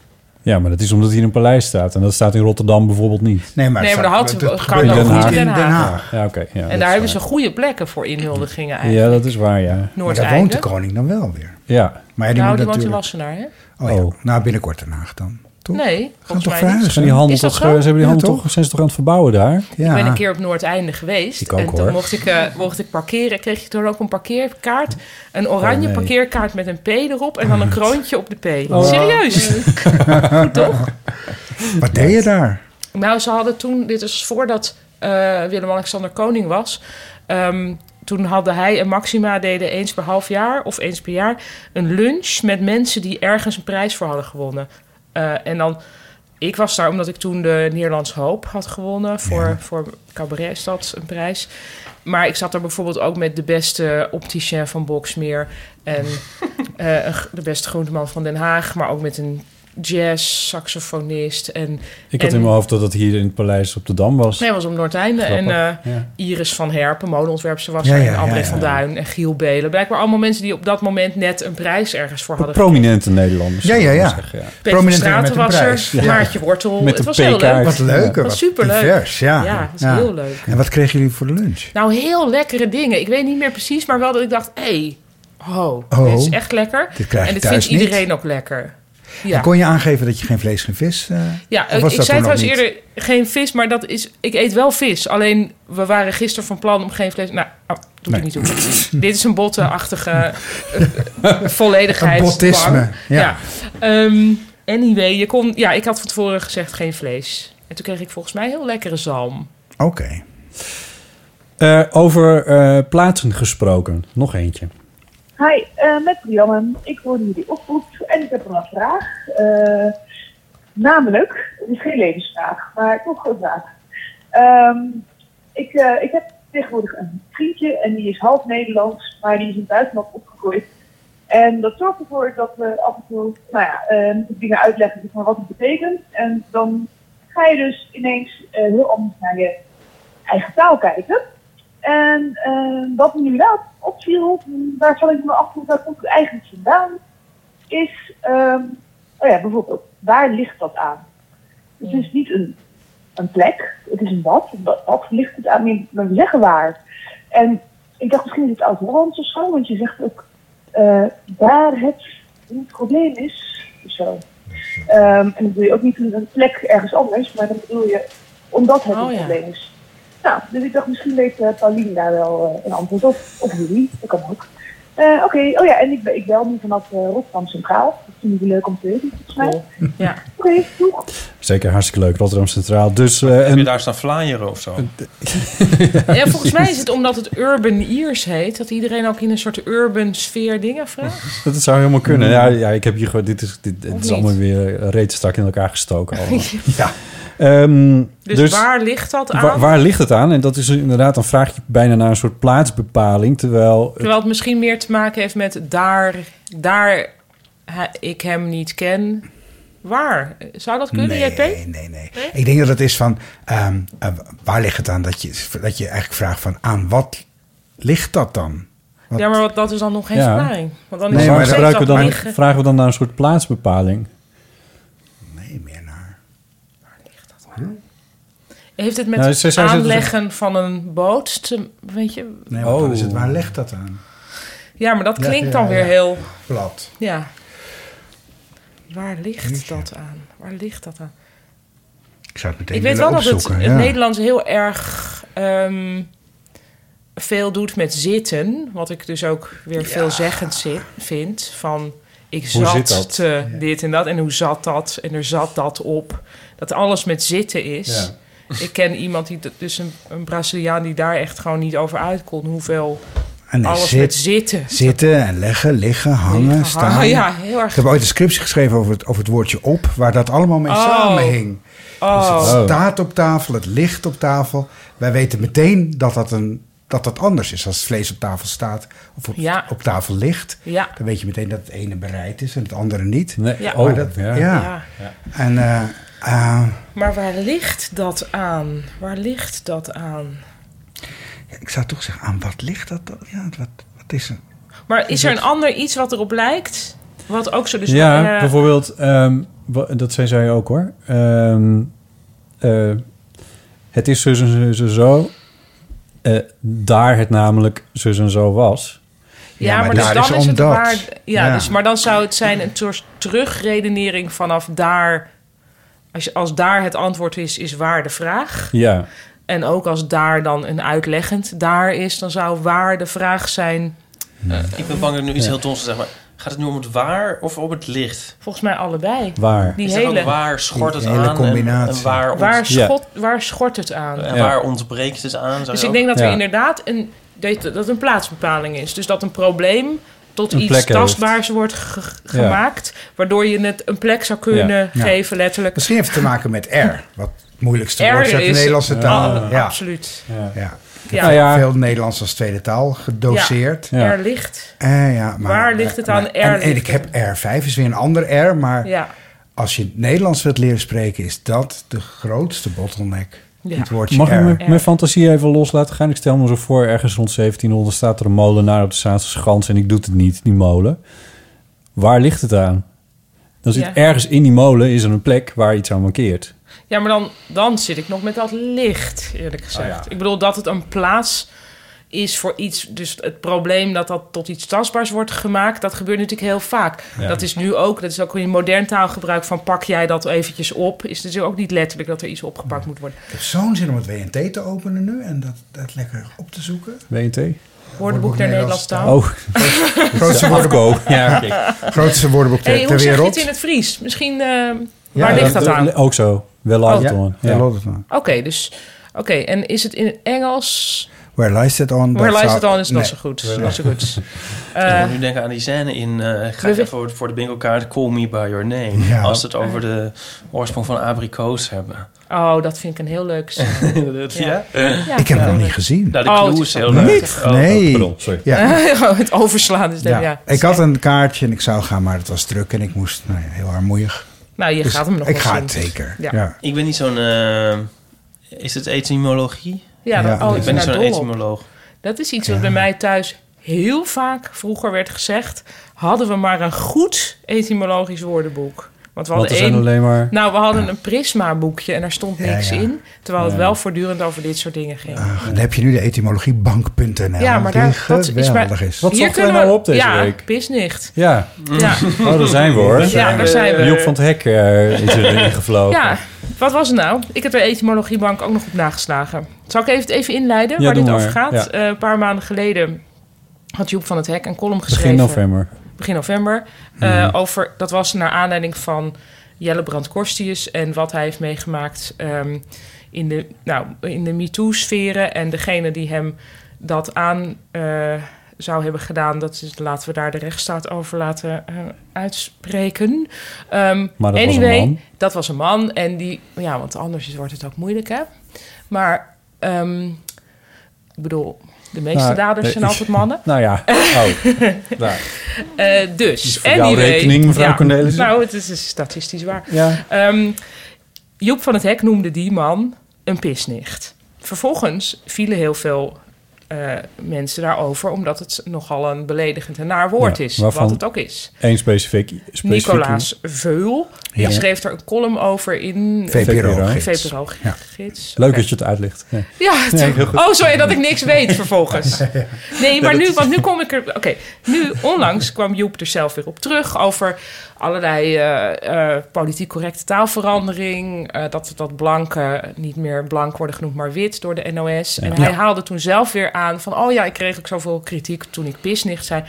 S3: Ja, maar dat is omdat hier een paleis staat. En dat staat in Rotterdam bijvoorbeeld niet.
S4: Nee, maar,
S5: Nee, maar de hout kan
S3: in
S5: ook
S3: Den
S5: goed
S3: Haag.
S5: in Den Haag.
S3: Ja, oké. ja,
S5: en
S3: dat
S5: daar
S3: is
S5: hebben ze goede plekken voor inhuldigingen
S3: waar.
S5: eigenlijk.
S3: Ja, dat is waar, ja.
S4: Maar daar
S5: Noordeinde.
S4: woont de koning dan wel weer.
S3: Ja.
S4: Maar
S5: nou,
S4: ja, die moet
S5: die woont in
S4: natuurlijk...
S5: Wassenaar, hè?
S4: Oh, ja. Nou, binnenkort Den Haag dan.
S5: Nee, volgens
S4: toch
S5: mij niet.
S4: verhuizen?
S3: Zijn die handel
S5: Is dat
S3: toch,
S5: zo?
S3: eh, ze hebben die
S5: Ja,
S3: handel
S5: toch?
S3: toch? Zijn ze toch aan het verbouwen daar?
S5: Ik ben een keer op Noordeinde geweest.
S3: Ik ook,
S5: en toen
S3: hoor.
S5: Mocht, ik, eh, mocht ik parkeren, kreeg je toen ook een parkeerkaart. Een oranje
S3: Oh, nee.
S5: parkeerkaart met een P erop en dan een kroontje op de P.
S3: Oh.
S5: Serieus? Goed toch?
S4: Wat deed je daar?
S5: Nou, ze hadden toen, dit is voordat eh, Willem-Alexander koning was. ehm, toen hadden hij en Maxima deden eens per half jaar of eens per jaar een lunch met mensen die ergens een prijs voor hadden gewonnen. Eh, en dan, ik was daar omdat ik toen de Nederlands Hoop had gewonnen voor, voor Cabaret is dat een prijs. Maar ik zat daar bijvoorbeeld ook met de beste opticien van Boksmeer en eh, een g- de beste groenteman van Den Haag, maar ook met een jazz saxofonist en
S3: Ik had
S5: en-
S3: in mijn hoofd dat dat hier in het paleis op de Dam was.
S5: Nee, was op Noordeinde. En
S3: Grappig,
S5: eh,
S3: ja.
S5: Iris van Herpen, modeontwerpster was
S3: Ja,
S5: er.
S3: ja,
S5: en
S3: ja,
S5: André
S3: ja,
S5: van
S3: ja.
S5: Duin en Giel Belen. Blijkbaar allemaal mensen die op dat moment net een prijs ergens voor hadden
S3: Prominente Nederlanders.
S4: Ja, ja,
S3: zou ik
S4: ja.
S3: maar zeggen,
S5: Peter Prominente Straten met een was er, prijs. Maartje Wortel.
S3: Met
S5: Het
S3: een
S5: was heel
S3: P-kaart.
S5: leuk.
S4: Wat leuker.
S5: Dat
S4: Wat
S5: is superleuk.
S4: divers, ja.
S5: Ja, dat is heel leuk.
S4: En wat kregen jullie voor de lunch?
S5: Nou, heel lekkere dingen. Ik weet niet meer precies, maar wel dat ik dacht... hé, hey, ho,
S4: Oh,
S5: dit is echt lekker.
S4: dit krijg
S5: en
S4: ik
S5: dit vindt
S4: thuis niet.
S5: iedereen ook lekker. Ja.
S4: En kon je aangeven dat je geen vlees, geen vis... eh,
S5: Ja,
S4: of
S5: ik,
S4: was
S5: ik
S4: dat
S5: zei
S4: toen nog
S5: trouwens
S4: niet?
S5: eerder geen vis, maar dat is. Ik eet wel vis. Alleen we waren gisteren van plan om geen vlees. Nou, oh, doe
S4: Nee.
S5: ik niet toe. Dit is een bottenachtige eh, volledigheid.
S4: Een bottisme, ja.
S5: Ehm, anyway, je kon. Ja, ik had van tevoren gezegd geen vlees. En toen kreeg ik volgens mij heel lekkere zalm.
S4: Oké.
S3: ja. Eh, over eh, plaatsen gesproken. Nog eentje.
S8: Hi, eh, met Brianne. Ik hoor jullie oproep en ik heb een vraag. Eh, namelijk, het is geen levensvraag, maar toch een vraag. Ehm, ik, eh, ik heb tegenwoordig een vriendje en die is half Nederlands, maar die is in het buitenland opgegroeid. En dat zorgt ervoor dat we af en toe nou ja, eh, moet ik dingen uitleggen zeg maar, wat het betekent. En dan ga je dus ineens eh, heel anders naar je eigen taal kijken. En eh, wat me nu wel opviel, waarvan ik me afvroeg, waar komt het eigenlijk vandaan, is, ehm, oh ja, bijvoorbeeld, waar ligt dat aan? Het is niet een, een plek, het is een wat. Wat, wat ligt het aan? Je- We zeggen waar. En ik dacht, misschien is het oud-Hollands of zo, want je zegt ook eh, waar het een probleem is. of Zo. Ehm, en dan bedoel je ook niet een plek ergens anders, maar dan bedoel je omdat het
S5: Oh,
S8: een
S5: ja.
S8: probleem is. Nou, dus ik dacht, misschien weet eh, Paulien daar wel eh, een antwoord op. Of jullie, dat kan ook. Eh, Oké, oh ja, en ik, be- ik bel nu vanaf eh, Rotterdam Centraal. Dat vind ik leuk om te weten, volgens mij.
S5: Ja.
S8: Oké, doeg.
S3: Zeker hartstikke leuk. Rotterdam Centraal. Dus, eh,
S2: Heb je
S3: en,
S2: daar staan flyeren of zo?
S5: Ja, volgens mij is het omdat het Urban Ears heet, dat iedereen ook in een soort urban sfeer dingen vraagt.
S3: dat zou helemaal kunnen. Ja, ja ik heb hier gewoon... Dit is, dit, dit
S5: Of
S3: is
S5: niet?
S4: Oh.
S3: allemaal weer reeds strak in elkaar gestoken. allemaal.
S5: Ja.
S3: Eh, Ehm,
S5: Dus waar ligt dat aan?
S3: Waar, waar ligt het aan? En dat is inderdaad, dan vraag je bijna naar een soort plaatsbepaling. Terwijl
S5: Terwijl het misschien meer te maken heeft met daar, daar he- ik hem niet ken. Waar? Zou dat kunnen,
S4: Nee,
S5: JP?
S4: Nee, nee. Ik denk dat het is van, ehm, eh, waar ligt het aan? Dat je, dat je eigenlijk vraagt van, aan wat ligt dat dan? Want-
S5: Ja, maar wat, dat is dan nog geen
S3: Ja.
S5: verklaring. Want dan
S3: Maar
S5: is het
S3: waar
S5: nog steeds
S3: gebruiken we
S5: dat
S3: dan,
S5: liggen.
S3: vragen we dan naar een soort plaatsbepaling?
S5: Heeft het met
S3: Nou, ze
S5: het
S3: zei- ze-
S5: aanleggen van een boot te, weet je?
S4: Nee, want dan is het,
S3: Oh.
S4: waar legt dat aan?
S5: Ja, maar dat
S4: Ja,
S5: klinkt
S4: ja,
S5: dan
S4: ja.
S5: weer heel...
S4: Plat.
S5: Ja. Waar ligt dat aan? Waar ligt dat aan?
S4: Ik zou het meteen
S5: Ik weet wel
S4: willen
S5: dat het,
S4: opzoeken.
S5: het
S4: ja.
S5: Nederlands heel erg ehm, veel doet met zitten. Wat ik dus ook weer veelzeggend zi- vind. Van ik
S3: Hoe zit
S5: zat
S3: dat?
S5: te dit en dat. En hoe zat dat? En er zat dat op. Dat alles met zitten is. Ik ken iemand, die, dat- dus een, een Braziliaan, die daar echt gewoon niet over uit kon. Hoeveel
S4: En nee,
S5: alles
S4: zit-
S5: met zitten.
S4: Zitten en leggen, liggen, hangen, staan.
S5: hangen, ja, heel erg.
S4: Ik heb ooit een scriptie geschreven over het, over het woordje op, waar dat allemaal mee
S5: Oh.
S4: samenhing. Dus
S5: Oh.
S4: het staat op tafel, het ligt op tafel. Wij weten meteen dat dat, een, dat, dat anders is. Als het vlees op tafel staat of op,
S5: Ja.
S4: op tafel ligt,
S5: Ja.
S4: dan weet je meteen dat het ene bereid is en het andere niet.
S3: Nee.
S5: Ja.
S4: Maar
S5: oh,
S4: dat,
S5: ja.
S4: ja.
S5: Ja.
S4: En eh, eh,
S5: Maar waar ligt dat aan? Waar ligt dat aan?
S4: ik zou toch zeggen, aan wat ligt dat dan? Ja, wat, wat is een...
S5: Maar is
S4: Is
S5: er een
S4: het-
S5: ander iets wat erop lijkt? Wat ook zo dus...
S3: ja,
S5: eh,
S3: bijvoorbeeld, ehm, wa- dat zei zij ook hoor. Ehm, eh, het is zo, zo, zo, zo. Eh, daar het namelijk zo en zo was.
S5: Ja, maar, dus dan is het waar... Ja,
S3: Ja.
S5: Dus, maar dan zou het zijn een soort terugredenering vanaf daar... Als, je, als daar het antwoord is, is waar de vraag.
S3: Ja.
S5: En ook als daar dan een uitleggend daar is... dan zou waar de vraag zijn...
S2: Eh, Ik ben bang dat ik nu iets
S5: Ja.
S2: heel doms zeg, maar gaat het nu om het waar of om het licht?
S5: volgens mij allebei.
S3: Waar.
S5: Die
S2: Is er ook
S5: hele...
S2: waar schort het
S3: Die hele
S2: aan en-
S3: combinatie.
S2: En, waar, ont-
S5: Waar, schot, waar schort het aan?
S2: en waar ontbreekt het aan?
S5: Dus ik denk dat
S2: we
S5: we inderdaad een, dat dat een plaatsbepaling is. Dus dat een probleem tot
S2: Een
S5: iets
S2: plek heeft.
S5: tastbaars wordt ge- ge-
S4: Ja.
S5: gemaakt. Waardoor je het een plek zou kunnen
S4: Ja.
S5: geven, letterlijk.
S4: Misschien heeft het te maken met R, wat het moeilijkste
S5: R
S4: woord is uit de
S5: is-
S4: Nederlandse taal.
S5: Ah,
S4: ja.
S5: absoluut.
S4: Ja. Ik heb
S5: Ja. Nou ja.
S4: veel Nederlands als tweede taal gedoseerd.
S5: Ja. Ja. R ligt.
S4: Eh, ja, maar,
S5: Waar ligt het
S4: eh,
S5: aan?
S4: maar-
S5: R
S4: En, en
S5: ligt
S4: ik heb R5, is weer een ander R, maar
S5: Ja.
S4: als je het Nederlands wilt leren spreken, is dat de grootste bottleneck.
S5: Ja.
S4: Het woordje
S3: Mag
S4: R.
S3: ik mijn, mijn fantasie even los laten gaan? Ik stel me zo voor, ergens rond 1700 staat er een molenaar op de Zaanse Schans... en ik doe het niet, die molen. Waar ligt het aan? Dan zit
S5: Ja.
S3: ergens in die molen is er een plek waar iets aan mankeert.
S5: Ja, maar dan, dan zit ik nog met dat licht,
S4: Oh,
S5: eerlijk gezegd.
S3: Ah, ja.
S5: Ik bedoel dat het een plaats is voor iets. Dus het probleem dat dat tot iets tastbaars wordt gemaakt, dat gebeurt natuurlijk heel vaak.
S3: Ja.
S5: Dat is nu ook, dat is ook in modern taalgebruik van pak jij dat eventjes op. Is natuurlijk ook niet letterlijk dat er iets opgepakt moet worden.
S4: Ik heb zo'n zin om het WNT te openen nu en dat, dat lekker op te zoeken.
S3: WNT?
S5: Woordenboek der Nederlandse taal.
S3: Oh,
S4: Grootste woordenboek.
S3: Afko. Ja, oké.
S4: Grootste woordenboek ter,
S5: Hey, hoe
S4: ter
S5: zeg je
S4: wereld.
S5: het in het Fries? Misschien, eh, waar ligt dat, aan?
S3: Eh, Ook zo. Wel
S5: Oh.
S3: out on.
S4: Ja, wel out on.
S5: Oké, dus... Oké, en is het in het Engels?
S4: Where lies it on?
S5: Where
S4: Dat
S5: lies
S4: zou-
S5: it on is
S4: Nee.
S5: not zo goed. Not so good.
S2: ik
S5: Eh,
S2: moet nu denken aan die scène in... eh, ik ga even voor, voor de bingo kaart Call Me By Your Name.
S4: Ja.
S2: Als we het over de oorsprong van abrikoos hebben.
S5: Oh, dat vind ik een heel leuk scène.
S2: Ja?
S4: Ik heb hem nog niet gezien.
S2: Nou, de
S5: Oh,
S2: clue
S5: het
S2: is
S5: is
S2: heel
S5: wel-
S2: leuk.
S4: Niet? Nee. Ja.
S5: het overslaan is
S4: Ja.
S5: dan, Dus ja.
S4: Ik had een kaartje en ik zou gaan, maar het was druk en ik moest nou ja, heel armoeig.
S5: Nou, je
S4: Dus
S5: gaat hem nog
S4: Ik
S5: wel
S4: ga
S5: zien.
S4: het zeker.
S5: Ja.
S4: Ja.
S2: Ik ben niet zo'n... eh, is het etymologie?
S5: Ja, dat- oh,
S2: ik
S5: ik
S2: ben niet
S5: ben
S2: zo'n
S5: daar dol op.
S2: etymoloog.
S5: Dat is iets wat bij mij thuis heel vaak vroeger werd gezegd. Hadden we maar een goed etymologisch woordenboek. Want we
S3: Want
S5: hadden
S3: er zijn
S5: één-
S3: alleen maar-
S5: Nou, we hadden een prisma boekje en daar stond
S4: Ja,
S5: niks
S4: ja.
S5: in. Terwijl het
S4: Ja.
S5: wel voortdurend over dit soort dingen ging.
S4: Dan heb je nu de etymologiebank.nl.
S5: ja, maar
S4: die
S5: daar, dat is maar...
S4: geweldig
S5: hier
S4: is.
S3: zochten wij
S5: kunnen we-
S3: nou op deze
S5: ja,
S3: week?
S5: pisnicht.
S3: Ja.
S5: Ja.
S3: Oh, daar zijn we hoor.
S5: Ja, daar zijn we.
S3: Job van het Hek eh, is erin gevlogen.
S5: Ja, wat was het nou? Ik heb de etymologiebank ook nog op nageslagen. Zal ik even, het even inleiden
S3: Ja,
S5: waar
S3: doe
S5: dit
S3: maar.
S5: over gaat?
S3: Ja.
S5: Eh, een paar maanden geleden had Joep van het Hek een column geschreven.
S3: Begin november. Mhm.
S5: Begin november. eh, over, dat was naar aanleiding van Jelle Brand-Korstius... en wat hij heeft meegemaakt ehm, in de, nou, in de MeToo-sferen... en degene die hem dat aan... eh, zou hebben gedaan, dat is, laten we daar de rechtsstaat over laten eh, uitspreken. Ehm,
S3: Maar dat was een man.
S5: dat was een man. En die, ja, want anders is- wordt het ook moeilijk, hè? Maar, ehm, ik bedoel, de meeste
S3: Nou,
S5: daders
S3: nee,
S5: zijn
S3: ik-
S5: altijd mannen.
S3: Nou ja. Oh. Nou.
S5: Eh, dus,
S3: Is voor jou
S5: anyway.
S3: rekening, mevrouw Cornelissen?
S5: Nou, het is, is statistisch waar.
S3: Ja.
S5: Ehm, Joep van het Hek noemde die man een pisnicht. Vervolgens vielen heel veel eh, mensen daarover... omdat het nogal een beledigend en naar woord
S3: Ja,
S5: is,
S3: waarvan
S5: wat het ook is.
S3: Eén specifiek. specifiek
S5: Nicolaas Veul die
S3: Ja.
S5: schreef er een column over in... eh,
S3: VPRO-gids. Ja.
S5: VPRO-gids.
S3: Leuk dat je het uitlegt. Ja,
S5: Ja,
S3: Nee, heel goed.
S5: oh sorry dat ik niks weet vervolgens. Nee, maar
S3: dat
S5: nu,
S3: is-
S5: want nu kom ik er... Oké, nu onlangs kwam Joep er zelf weer op terug... over allerlei eh, eh, politiek correcte taalverandering... eh, dat, dat blanken niet meer blank worden genoemd, maar wit door de NOS. En
S1: Ja.
S5: hij
S1: Ja.
S5: haalde toen zelf weer aan van... oh ja, ik kreeg ook zoveel kritiek toen ik pisnicht zei.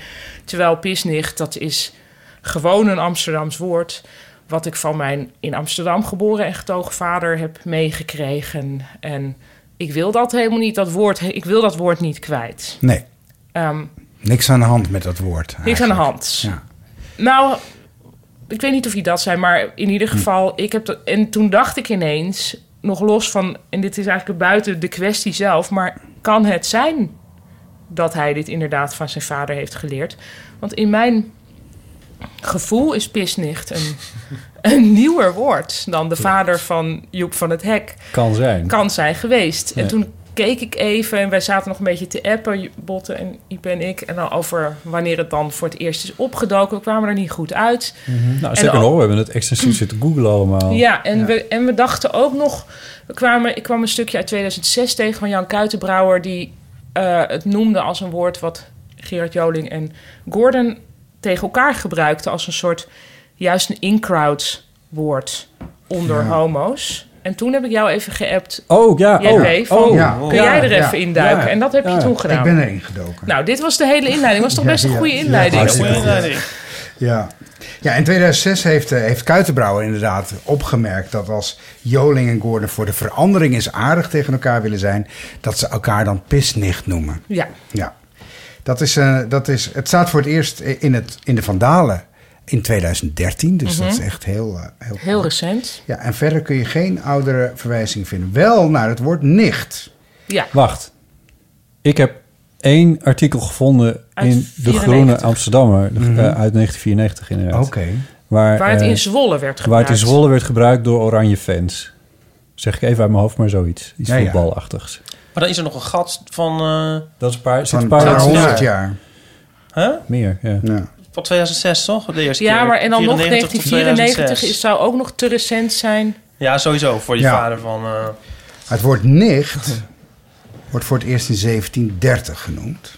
S5: Terwijl pisnicht, dat is gewoon een Amsterdams woord... wat ik van mijn in Amsterdam geboren en getogen vader heb meegekregen. En ik wil dat helemaal niet, dat woord, ik wil dat woord niet kwijt.
S4: Nee,
S5: Ehm,
S4: niks aan de hand met dat woord.
S5: niks aan de hand. Nou, ik weet niet of hij dat zei, maar in ieder geval, ik heb dat. En toen dacht ik ineens, nog los van, en dit is eigenlijk buiten de kwestie zelf, maar kan het zijn dat hij dit inderdaad van zijn vader heeft geleerd? Want in mijn gevoel is pisnicht een, een nieuwer woord dan de vader van Joep van het Hek
S3: Kan zijn.
S5: kan zijn geweest.
S3: Ja.
S5: En toen keek ik even en wij zaten nog een beetje te appen, Botten en Ipe en ik. En dan over wanneer het dan voor het eerst is opgedoken. We kwamen er niet goed uit.
S3: Mhm. Nou,
S5: En
S3: zeker nog,
S5: al-
S3: we hebben het extensief zitten googlen allemaal.
S5: Ja, en, We, en we dachten ook nog... We kwamen, ik kwam een stukje uit 2006 tegen van Jan Kuitenbrouwer... die eh, het noemde als een woord wat Gerard Joling en Gordon tegen elkaar gebruikten... als een soort, juist een in-crowd woord onder
S3: Ja.
S5: homo's. En toen heb ik jou even geappt.
S3: Oh, ja.
S5: JP,
S3: oh,
S5: van,
S3: oh, ja,
S5: kun
S3: ja,
S5: jij er
S3: ja,
S5: even induiken?
S3: ja,
S5: en dat heb
S3: ja.
S5: je toen gedaan.
S4: Ik ben erin gedoken.
S5: Nou, dit was de hele inleiding. Was toch
S4: Ja,
S5: best een
S4: ja,
S5: goede
S4: ja,
S5: inleiding?
S4: hartstikke goed. Ja. ja, in 2006 heeft, eh, heeft Kuitenbrouwer inderdaad opgemerkt dat als Joling en Gordon voor de verandering eens aardig tegen elkaar willen zijn, dat ze elkaar dan pisnicht noemen.
S5: Ja.
S4: Ja, dat is, eh, dat is, het staat voor het eerst in, het, in de Vandalen in 2013, dus dat
S5: Mhm.
S4: is echt heel, eh, heel
S5: Heel recent.
S4: ja, en verder kun je geen oudere verwijzing vinden. Wel naar het woord nicht.
S5: Ja.
S3: Wacht. Ik heb één artikel gevonden
S5: Uit
S3: in de
S5: 94.
S3: Groene Amsterdammer de-
S5: Mhm.
S3: eh, uit 1994 inderdaad.
S4: Oké.
S3: Waar,
S5: Waar het
S3: eh,
S5: in Zwolle werd
S3: Waar het in
S5: gebruikt.
S3: Zwolle werd gebruikt door oranje fans. Zeg ik even uit mijn hoofd, maar zoiets. Iets
S2: Ja, ja.
S3: voetbalachtigs.
S2: Maar dan is er nog een gat van... eh,
S3: Dat is een paar,
S2: van
S3: zit een paar,
S2: Huh?
S3: Meer, ja.
S2: Van 2006 toch? De eerste
S5: Ja,
S2: keer.
S5: maar en dan nog
S2: 94 tot
S5: 1994
S2: 2006.
S5: is, zou ook nog te recent zijn.
S2: Ja, sowieso. Voor je
S4: Ja.
S2: vader van... eh,
S4: Het woord nicht wordt voor het eerst in 1730 genoemd.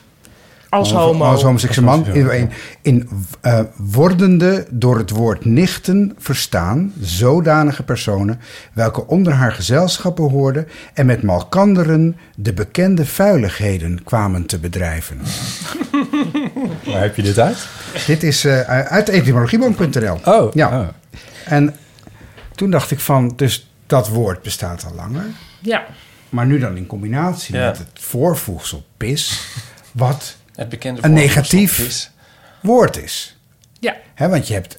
S5: Als homo.
S4: Als homoseksueel man.
S5: Als
S4: In,
S5: homo,
S4: in, in, eh, wordende door het woord nichten verstaan zodanige personen... welke onder haar gezelschap behoorden... en met malkanderen de bekende vuiligheden kwamen te bedrijven.
S3: Waar heb je dit uit?
S4: Dit is eh, uit etymologieboom.nl.
S3: Oh.
S4: Ja. En toen dacht ik van, dus dat woord bestaat al langer...
S5: Ja.
S4: Maar nu dan in combinatie
S2: Ja.
S4: met het voorvoegsel pis, wat
S2: Het bekende
S4: een
S2: voorbeeld
S4: negatief woord is.
S5: Ja.
S4: Hè, want je hebt,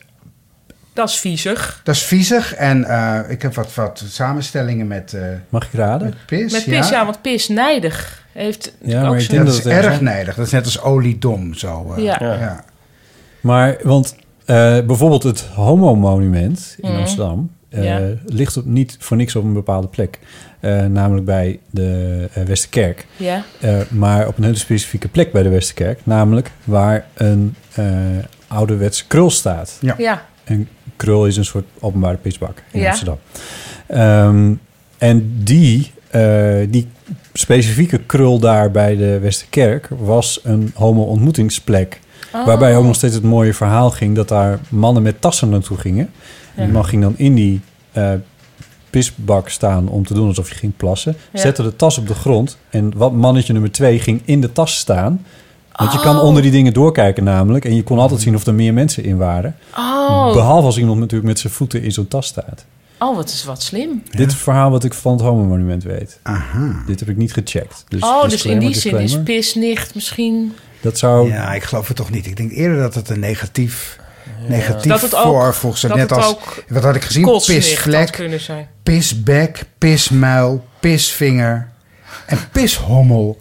S5: Dat is viezig.
S4: dat is viezig en eh, ik heb wat, wat samenstellingen met, eh
S3: Mag ik raden?
S4: met pis.
S5: Met pis, ja, want pis nijdig heeft ook
S4: dat,
S5: zijn-
S4: is erg nijdig. Dat is net als oliedom zo. eh,
S5: Ja.
S4: ja.
S5: Ja.
S3: Maar, want eh, bijvoorbeeld het Homo-monument in
S5: Mhm.
S3: Amsterdam... eh,
S5: Ja.
S3: ligt op, niet voor niks op een bepaalde plek. Eh, namelijk bij de eh, Westerkerk.
S5: Ja.
S3: Eh, maar op een hele specifieke plek bij de Westerkerk. Namelijk waar een eh ouderwets krul staat.
S4: Ja.
S5: Ja.
S3: Een krul is een soort openbare pisbak in
S5: Ja.
S3: Amsterdam. Ehm, en die, eh, die specifieke krul daar bij de Westerkerk... was een homo-ontmoetingsplek.
S5: Oh.
S3: Waarbij ook nog steeds het mooie verhaal ging... dat daar mannen met tassen naartoe gingen. En
S5: Ja.
S3: die man ging dan in die eh, pisbak staan om te doen alsof je ging plassen.
S5: Ja.
S3: Zette de tas op de grond. En wat mannetje nummer twee ging in de tas staan. Want je kan
S5: Oh.
S3: onder die dingen doorkijken namelijk. En je kon altijd zien of er meer mensen in waren.
S5: Oh.
S3: Behalve als iemand natuurlijk met zijn voeten in zo'n tas staat.
S5: Oh, wat is wat slim.
S3: Dit is het verhaal wat ik van het homo-monument weet.
S4: Aha.
S3: Dit heb ik niet gecheckt. Dus
S5: oh, dus in
S3: disclaimer,
S5: die zin is
S3: disclaimer.
S5: pis nicht misschien
S3: Dat zou...
S4: Ja, ik geloof het toch niet. Ik denk eerder dat het een negatief, negatief
S5: Dat het ook-
S4: voorvoegsel is.
S5: dat
S4: Net
S5: het
S4: als,
S5: ook
S4: wat had ik gezien?
S5: kotsnicht had
S4: Pisvlek,
S5: kunnen zijn.
S4: pisbek, pismuil, pisvinger en pishommel.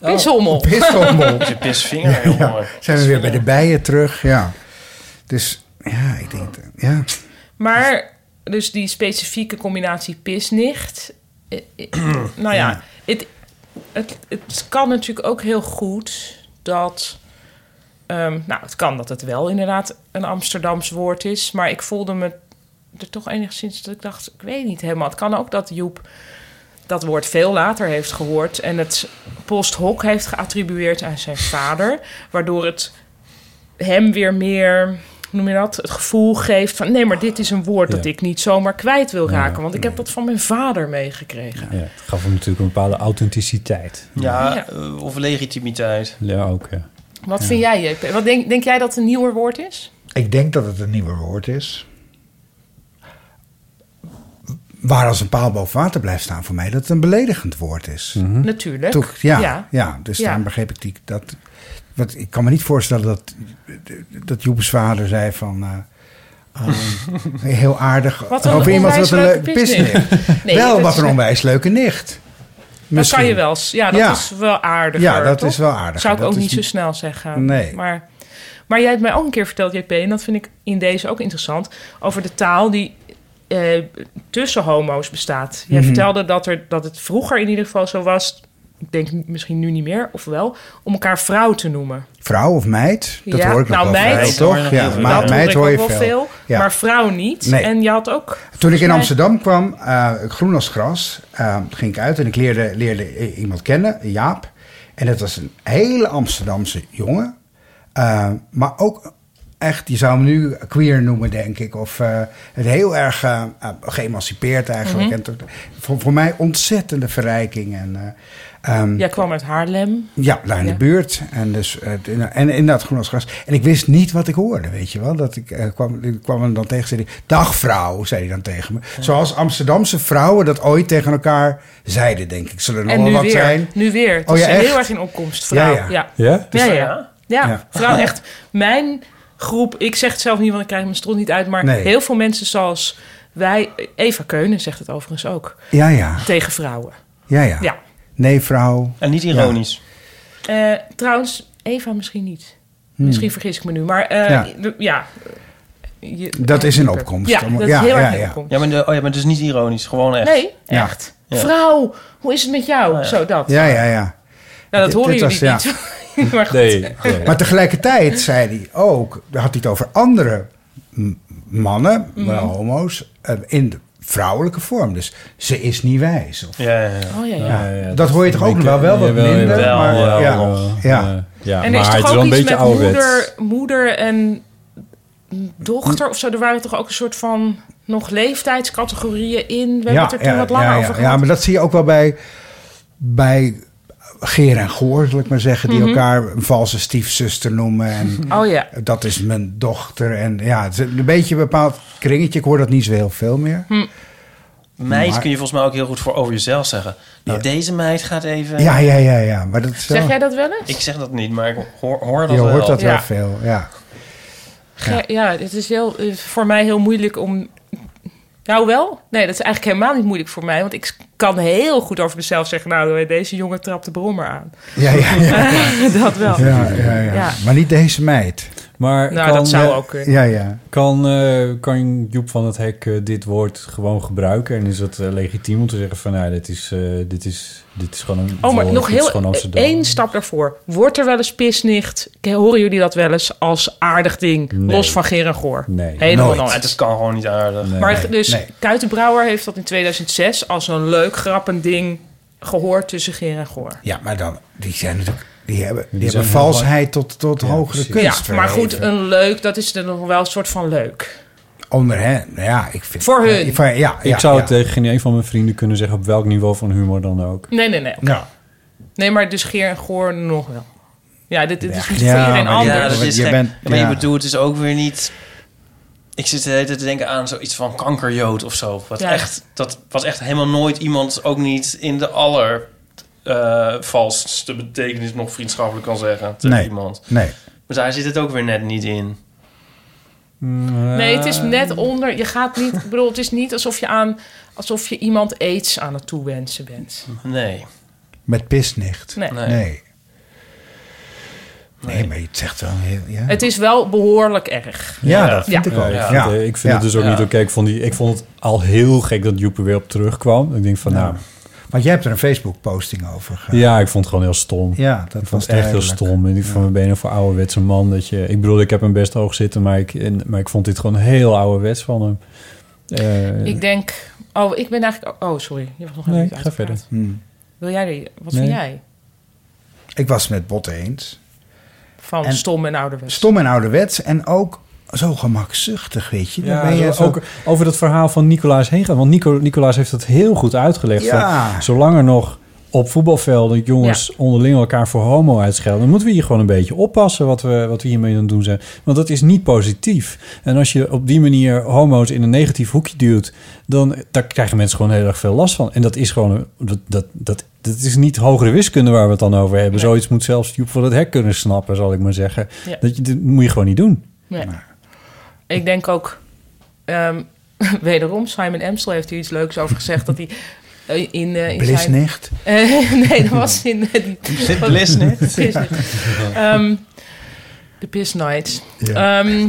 S3: Oh.
S5: Pishommel.
S4: Pishommel.
S2: Je pisvinger, heel
S4: Ja,
S2: mooi.
S4: Zijn we weer bij de bijen terug, ja. Dus ja, ik denk, ja.
S5: Maar dus die specifieke combinatie pisnicht. eh, eh, nou ja,
S4: Ja.
S5: Het, het, het kan natuurlijk ook heel goed dat. ehm, nou, het kan dat het wel inderdaad een Amsterdams woord is. Maar ik voelde me er toch enigszins dat ik dacht, ik weet niet helemaal. Het kan ook dat Joep dat woord veel later heeft gehoord en het post hoc heeft geattribueerd aan zijn vader, waardoor het hem weer meer, hoe noem je dat, het gevoel geeft van nee, maar dit is een woord dat
S3: Ja.
S5: ik niet zomaar kwijt wil
S3: Ja.
S5: raken, want ik heb dat van mijn vader meegekregen.
S3: Ja, het gaf hem natuurlijk een bepaalde authenticiteit.
S2: Ja, eh, of legitimiteit.
S3: Ja, ook, ja.
S5: Wat vind jij, JP? Wat denk, denk jij dat het een nieuwer woord is?
S9: Ik denk dat het een nieuwer woord is.
S4: Waar als een paal boven water blijft staan voor mij, dat het een beledigend woord is.
S3: Mhm.
S5: Natuurlijk.
S4: Toch, ja,
S5: Ja.
S4: ja. dus
S5: Ja.
S4: daarom begreep ik die, dat. Wat, ik kan me niet voorstellen dat, dat Joep's vader zei van. eh, ah, heel aardig.
S5: Wat een onwijs leuke pisnicht. Nee,
S4: wel,
S5: dat
S4: wat
S5: is-
S4: een onwijs leuke nicht.
S5: Dat
S4: Misschien.
S5: kan je wel. s- Ja, dat
S4: Ja.
S5: is wel aardiger.
S4: Ja, dat
S5: toch?
S4: is wel aardiger.
S5: Zou ik
S4: Dat
S5: ook
S4: is
S5: niet zo
S4: niet-
S5: snel zeggen.
S4: Nee.
S5: Maar, maar jij hebt mij ook een keer verteld, JP, en dat vind ik in deze ook interessant, over de taal die eh, tussen homo's bestaat. Jij
S10: Mhm.
S5: vertelde dat, er, dat het vroeger in ieder geval zo was, ik denk misschien nu niet meer, of wel, om elkaar vrouw te noemen.
S4: Vrouw of meid? Dat hoor ik nog
S5: nou,
S4: wel
S5: meid,
S4: veel, toch? Ja,
S5: dat
S4: maar
S5: hoor
S4: meid
S5: ik
S4: hoor je
S5: ook
S4: veel.
S5: wel veel,
S4: Ja.
S5: maar vrouw niet.
S4: Nee.
S5: En je had ook...
S4: Toen ik
S5: volgens
S4: in
S5: mij-
S4: Amsterdam kwam, eh, groen als gras, eh, ging ik uit en ik leerde, leerde i- iemand kennen, Jaap. En dat was een hele Amsterdamse jongen. Eh, maar ook echt, je zou hem nu queer noemen, denk ik. Of eh, het heel erg eh, eh, geëmancipeerd eigenlijk.
S5: Mhm.
S4: En tot- voor, voor mij ontzettende verrijking. En, eh, ehm,
S5: Jij kwam uit Haarlem.
S4: ja, daar in
S5: Ja.
S4: de buurt. En, dus, eh, t- en, en inderdaad, groen als gras. En ik wist niet wat ik hoorde, weet je wel. Dat ik, eh, kwam, ik kwam hem dan tegen, zei hij, dag vrouw, zei hij dan tegen me. Zoals Amsterdamse vrouwen dat ooit tegen elkaar zeiden, denk ik. Zullen er nog
S5: En
S4: wel
S5: nu
S4: wat
S5: weer.
S4: zijn?
S5: Nu weer. Het
S4: Oh,
S5: is
S4: ja, echt?
S5: heel erg in opkomst, vrouw.
S4: Ja, ja.
S5: Ja,
S4: Ja?
S5: ja, ja. Ja,
S4: Ja.
S5: vrouw echt. Mijn groep, ik zeg het zelf niet, want ik krijg mijn strot niet uit. Maar
S4: Nee.
S5: heel veel mensen zoals wij... Eva Keunen zegt het overigens ook.
S4: Ja, ja.
S5: Tegen vrouwen.
S4: Ja, ja.
S5: Ja.
S4: Nee, vrouw.
S2: En niet ironisch.
S5: Eh, trouwens, Eva misschien niet.
S4: Hmm.
S5: Misschien vergis ik me nu. Maar eh,
S4: Ja.
S5: de- ja. Je-
S4: Dat is in opkomst.
S5: Ja,
S4: Allemaal-
S5: dat
S4: ja,
S5: is heel
S4: ja,
S5: erg in
S4: ja.
S5: opkomst.
S2: Ja, maar, de- oh ja, maar dus niet ironisch, gewoon echt.
S5: Nee,
S2: Ja.
S5: echt.
S2: Ja.
S5: Vrouw, hoe is het met jou? Zo, dat.
S4: Ja, ja, ja.
S5: Nou, dat
S4: Dit-
S5: horen
S4: dit
S5: jullie
S4: was- ja.
S5: niet. maar goed.
S4: Maar tegelijkertijd zei hij ook, had hij het over andere m- mannen, wel
S5: Mhm.
S4: homo's, eh, in de vrouwelijke vorm. Dus ze is niet wijs. Of,
S2: Ja, ja, ja.
S5: Oh, ja, ja.
S4: Ja, dat hoor je toch ook nog wel,
S5: eh,
S4: wel wat
S3: Jawel,
S4: minder.
S3: jawel,
S4: maar,
S3: jawel,
S4: ja,
S3: jawel.
S4: ja.
S3: Ja,
S5: en er
S3: maar
S5: is
S3: het
S5: toch
S3: is
S5: ook
S3: wel een
S5: iets
S3: beetje
S5: met
S3: ouderwets.
S5: moeder, moeder en dochter of zo. Er waren toch ook een soort van nog leeftijdscategorieën in. We hebben het er toen wat langer
S4: ja, ja,
S5: over
S4: ja,
S5: gehad.
S4: maar dat zie je ook wel bij, bij Geer en Goor, zal ik maar zeggen. Die
S5: Mhm.
S4: elkaar een valse stiefzuster noemen. En
S5: Oh ja.
S4: dat is mijn dochter. En ja, het is een beetje een bepaald kringetje. Ik hoor dat niet zo heel veel meer.
S2: Meid
S4: Maar-
S2: kun je volgens mij ook heel goed voor over jezelf zeggen. Nou, deze meid gaat even...
S4: Ja, ja, ja, ja. Maar dat is wel-
S5: eh, Zeg jij dat wel eens?
S2: Ik zeg dat niet, maar ik hoor, hoor dat
S4: je
S2: wel.
S4: hoort dat wel
S5: Ja.
S4: veel, ja.
S5: Ge- ja, het is heel, eh, voor mij heel moeilijk om... Nou wel? Nee, dat is eigenlijk helemaal niet moeilijk voor mij. Want ik kan heel goed over mezelf zeggen... nou, deze jongen trapt de brommer aan.
S4: Ja, ja, ja.
S5: dat wel.
S4: Ja, ja, ja.
S5: Ja.
S4: Maar niet deze meid.
S3: Maar eh,
S5: Nou, dat zou ook kunnen.
S4: Ja, ja.
S3: Kan, eh, kan Joep van het Hek eh, dit woord gewoon gebruiken? En is dat eh, legitiem om te zeggen van... Nou, dit is, eh, dit is, dit is gewoon een
S5: Oh, maar
S3: woord,
S5: nog
S3: dit is
S5: heel
S3: gewoon Amsterdam.
S5: één stap daarvoor. Wordt er wel eens pisnicht? K- Horen jullie dat wel eens als aardig ding?
S2: Nee.
S5: Los van Ger en Goor. Helemaal nooit.
S2: Nou, Het is- kan gewoon niet aardig.
S5: maar dus Kuitenbrouwer heeft dat in 2006 als een leuk grappend ding gehoord tussen Ger en Goor.
S4: Ja, maar dan, die zijn natuurlijk, die hebben, die
S3: zijn
S4: hebben
S3: heel
S4: valsheid tot, tot hogere
S5: Ja,
S4: kunst.
S5: maar goed,
S4: verheven.
S5: een leuk, dat is er nog wel een soort van leuk.
S4: Onder hen, ja, ik vind...
S5: Voor hun.
S4: Ja, van- ja, ja,
S3: ik zou
S4: ja.
S3: het tegen geen een van mijn vrienden kunnen zeggen... op welk niveau van humor dan ook.
S5: Nee, nee, nee.
S4: Ja.
S5: Nee, maar dus Geer en Goor nog wel. Ja, dit, dit is niet
S2: Ja,
S5: voor iedereen
S2: maar
S5: anders.
S2: Ja, dat is
S4: Je
S2: gek.
S4: bent-
S2: maar
S4: ja.
S2: je bedoelt dus ook weer niet... Ik zit de hele tijd te denken aan zoiets van kankerjood of zo. Wat
S5: Ja.
S2: echt, dat was echt helemaal nooit iemand, ook niet in de aller... eh, vals de betekenis nog vriendschappelijk kan zeggen tegen
S9: Nee,
S2: iemand.
S9: nee.
S2: Maar daar zit het ook weer net niet in.
S3: Mm, eh,
S5: Nee, het is
S9: Ehm.
S5: net onder. Je gaat niet. Ik bedoel, het is niet alsof je aan. alsof je iemand aids aan het toewensen bent.
S2: Nee.
S9: Met pisnicht.
S5: Nee.
S9: Nee.
S5: Nee.
S9: Nee, maar je zegt wel heel... Ja.
S5: Het is wel behoorlijk erg.
S9: Ja, dat vind ik wel.
S3: ik
S9: Ja.
S3: vind, het,
S9: Ja.
S3: eh, ik vind
S9: Ja.
S3: het dus ook
S9: Ja.
S3: niet oké. Ik, vond die- ik vond het al heel gek dat Joep er weer op terugkwam. Ik denk van, nou,
S9: Want jij hebt er een Facebook-posting over gehad.
S3: Ja, ik vond het gewoon heel stom.
S9: Ja, dat
S3: ik
S9: was
S3: vond het echt heel
S9: duidelijk.
S3: stom. En ik vond, ben je nou voor ouderwetse man? Dat je, ik bedoel, ik heb hem best hoog zitten, maar ik, en- maar ik vond dit gewoon heel ouderwets van hem. Eh,
S5: Ik denk. Oh, ik ben eigenlijk. Oh, sorry. Je was nog helemaal
S3: nee,
S5: niet
S3: ga
S5: uitgepraat.
S3: verder.
S5: Wil jij die? Wat
S9: Nee.
S5: vind jij
S9: Hmm. Ik was het met Bot eens.
S5: van
S9: En-
S5: stom en ouderwets?
S9: Stom en ouderwets en ook zo gemakzuchtig, weet je. Dan ben je
S3: zo-
S9: zo-
S3: ook over dat verhaal van Nicolaas heen gaan. Want Nico, Nicolaas heeft dat heel goed uitgelegd.
S9: Ja.
S3: Van, zolang er nog op voetbalvelden jongens onderling elkaar voor homo uitschelden... dan moeten we hier gewoon een beetje oppassen wat we, wat we hiermee aan het doen zijn. Want dat is niet positief. En als je op die manier homo's in een negatief hoekje duwt... dan daar krijgen mensen gewoon heel erg veel last van. En dat is gewoon... een- Dat, dat, dat, dat is niet hogere wiskunde waar we het dan over hebben. Zoiets moet zelfs Joep van het hek kunnen snappen, zal ik maar zeggen.
S5: Ja.
S3: Dat, je, dat moet je gewoon niet doen.
S5: Nee. Ik denk ook, ehm, wederom, Simon Amstel heeft hier iets leuks over gezegd. Dat hij eh, in, eh, in
S9: Blisnicht?
S5: Zijn, Eh, nee, dat was in... eh, die,
S9: Zit Blisnicht?
S5: Blisnicht. Ehm, de Piss Nights.
S9: Ja.
S5: Ehm,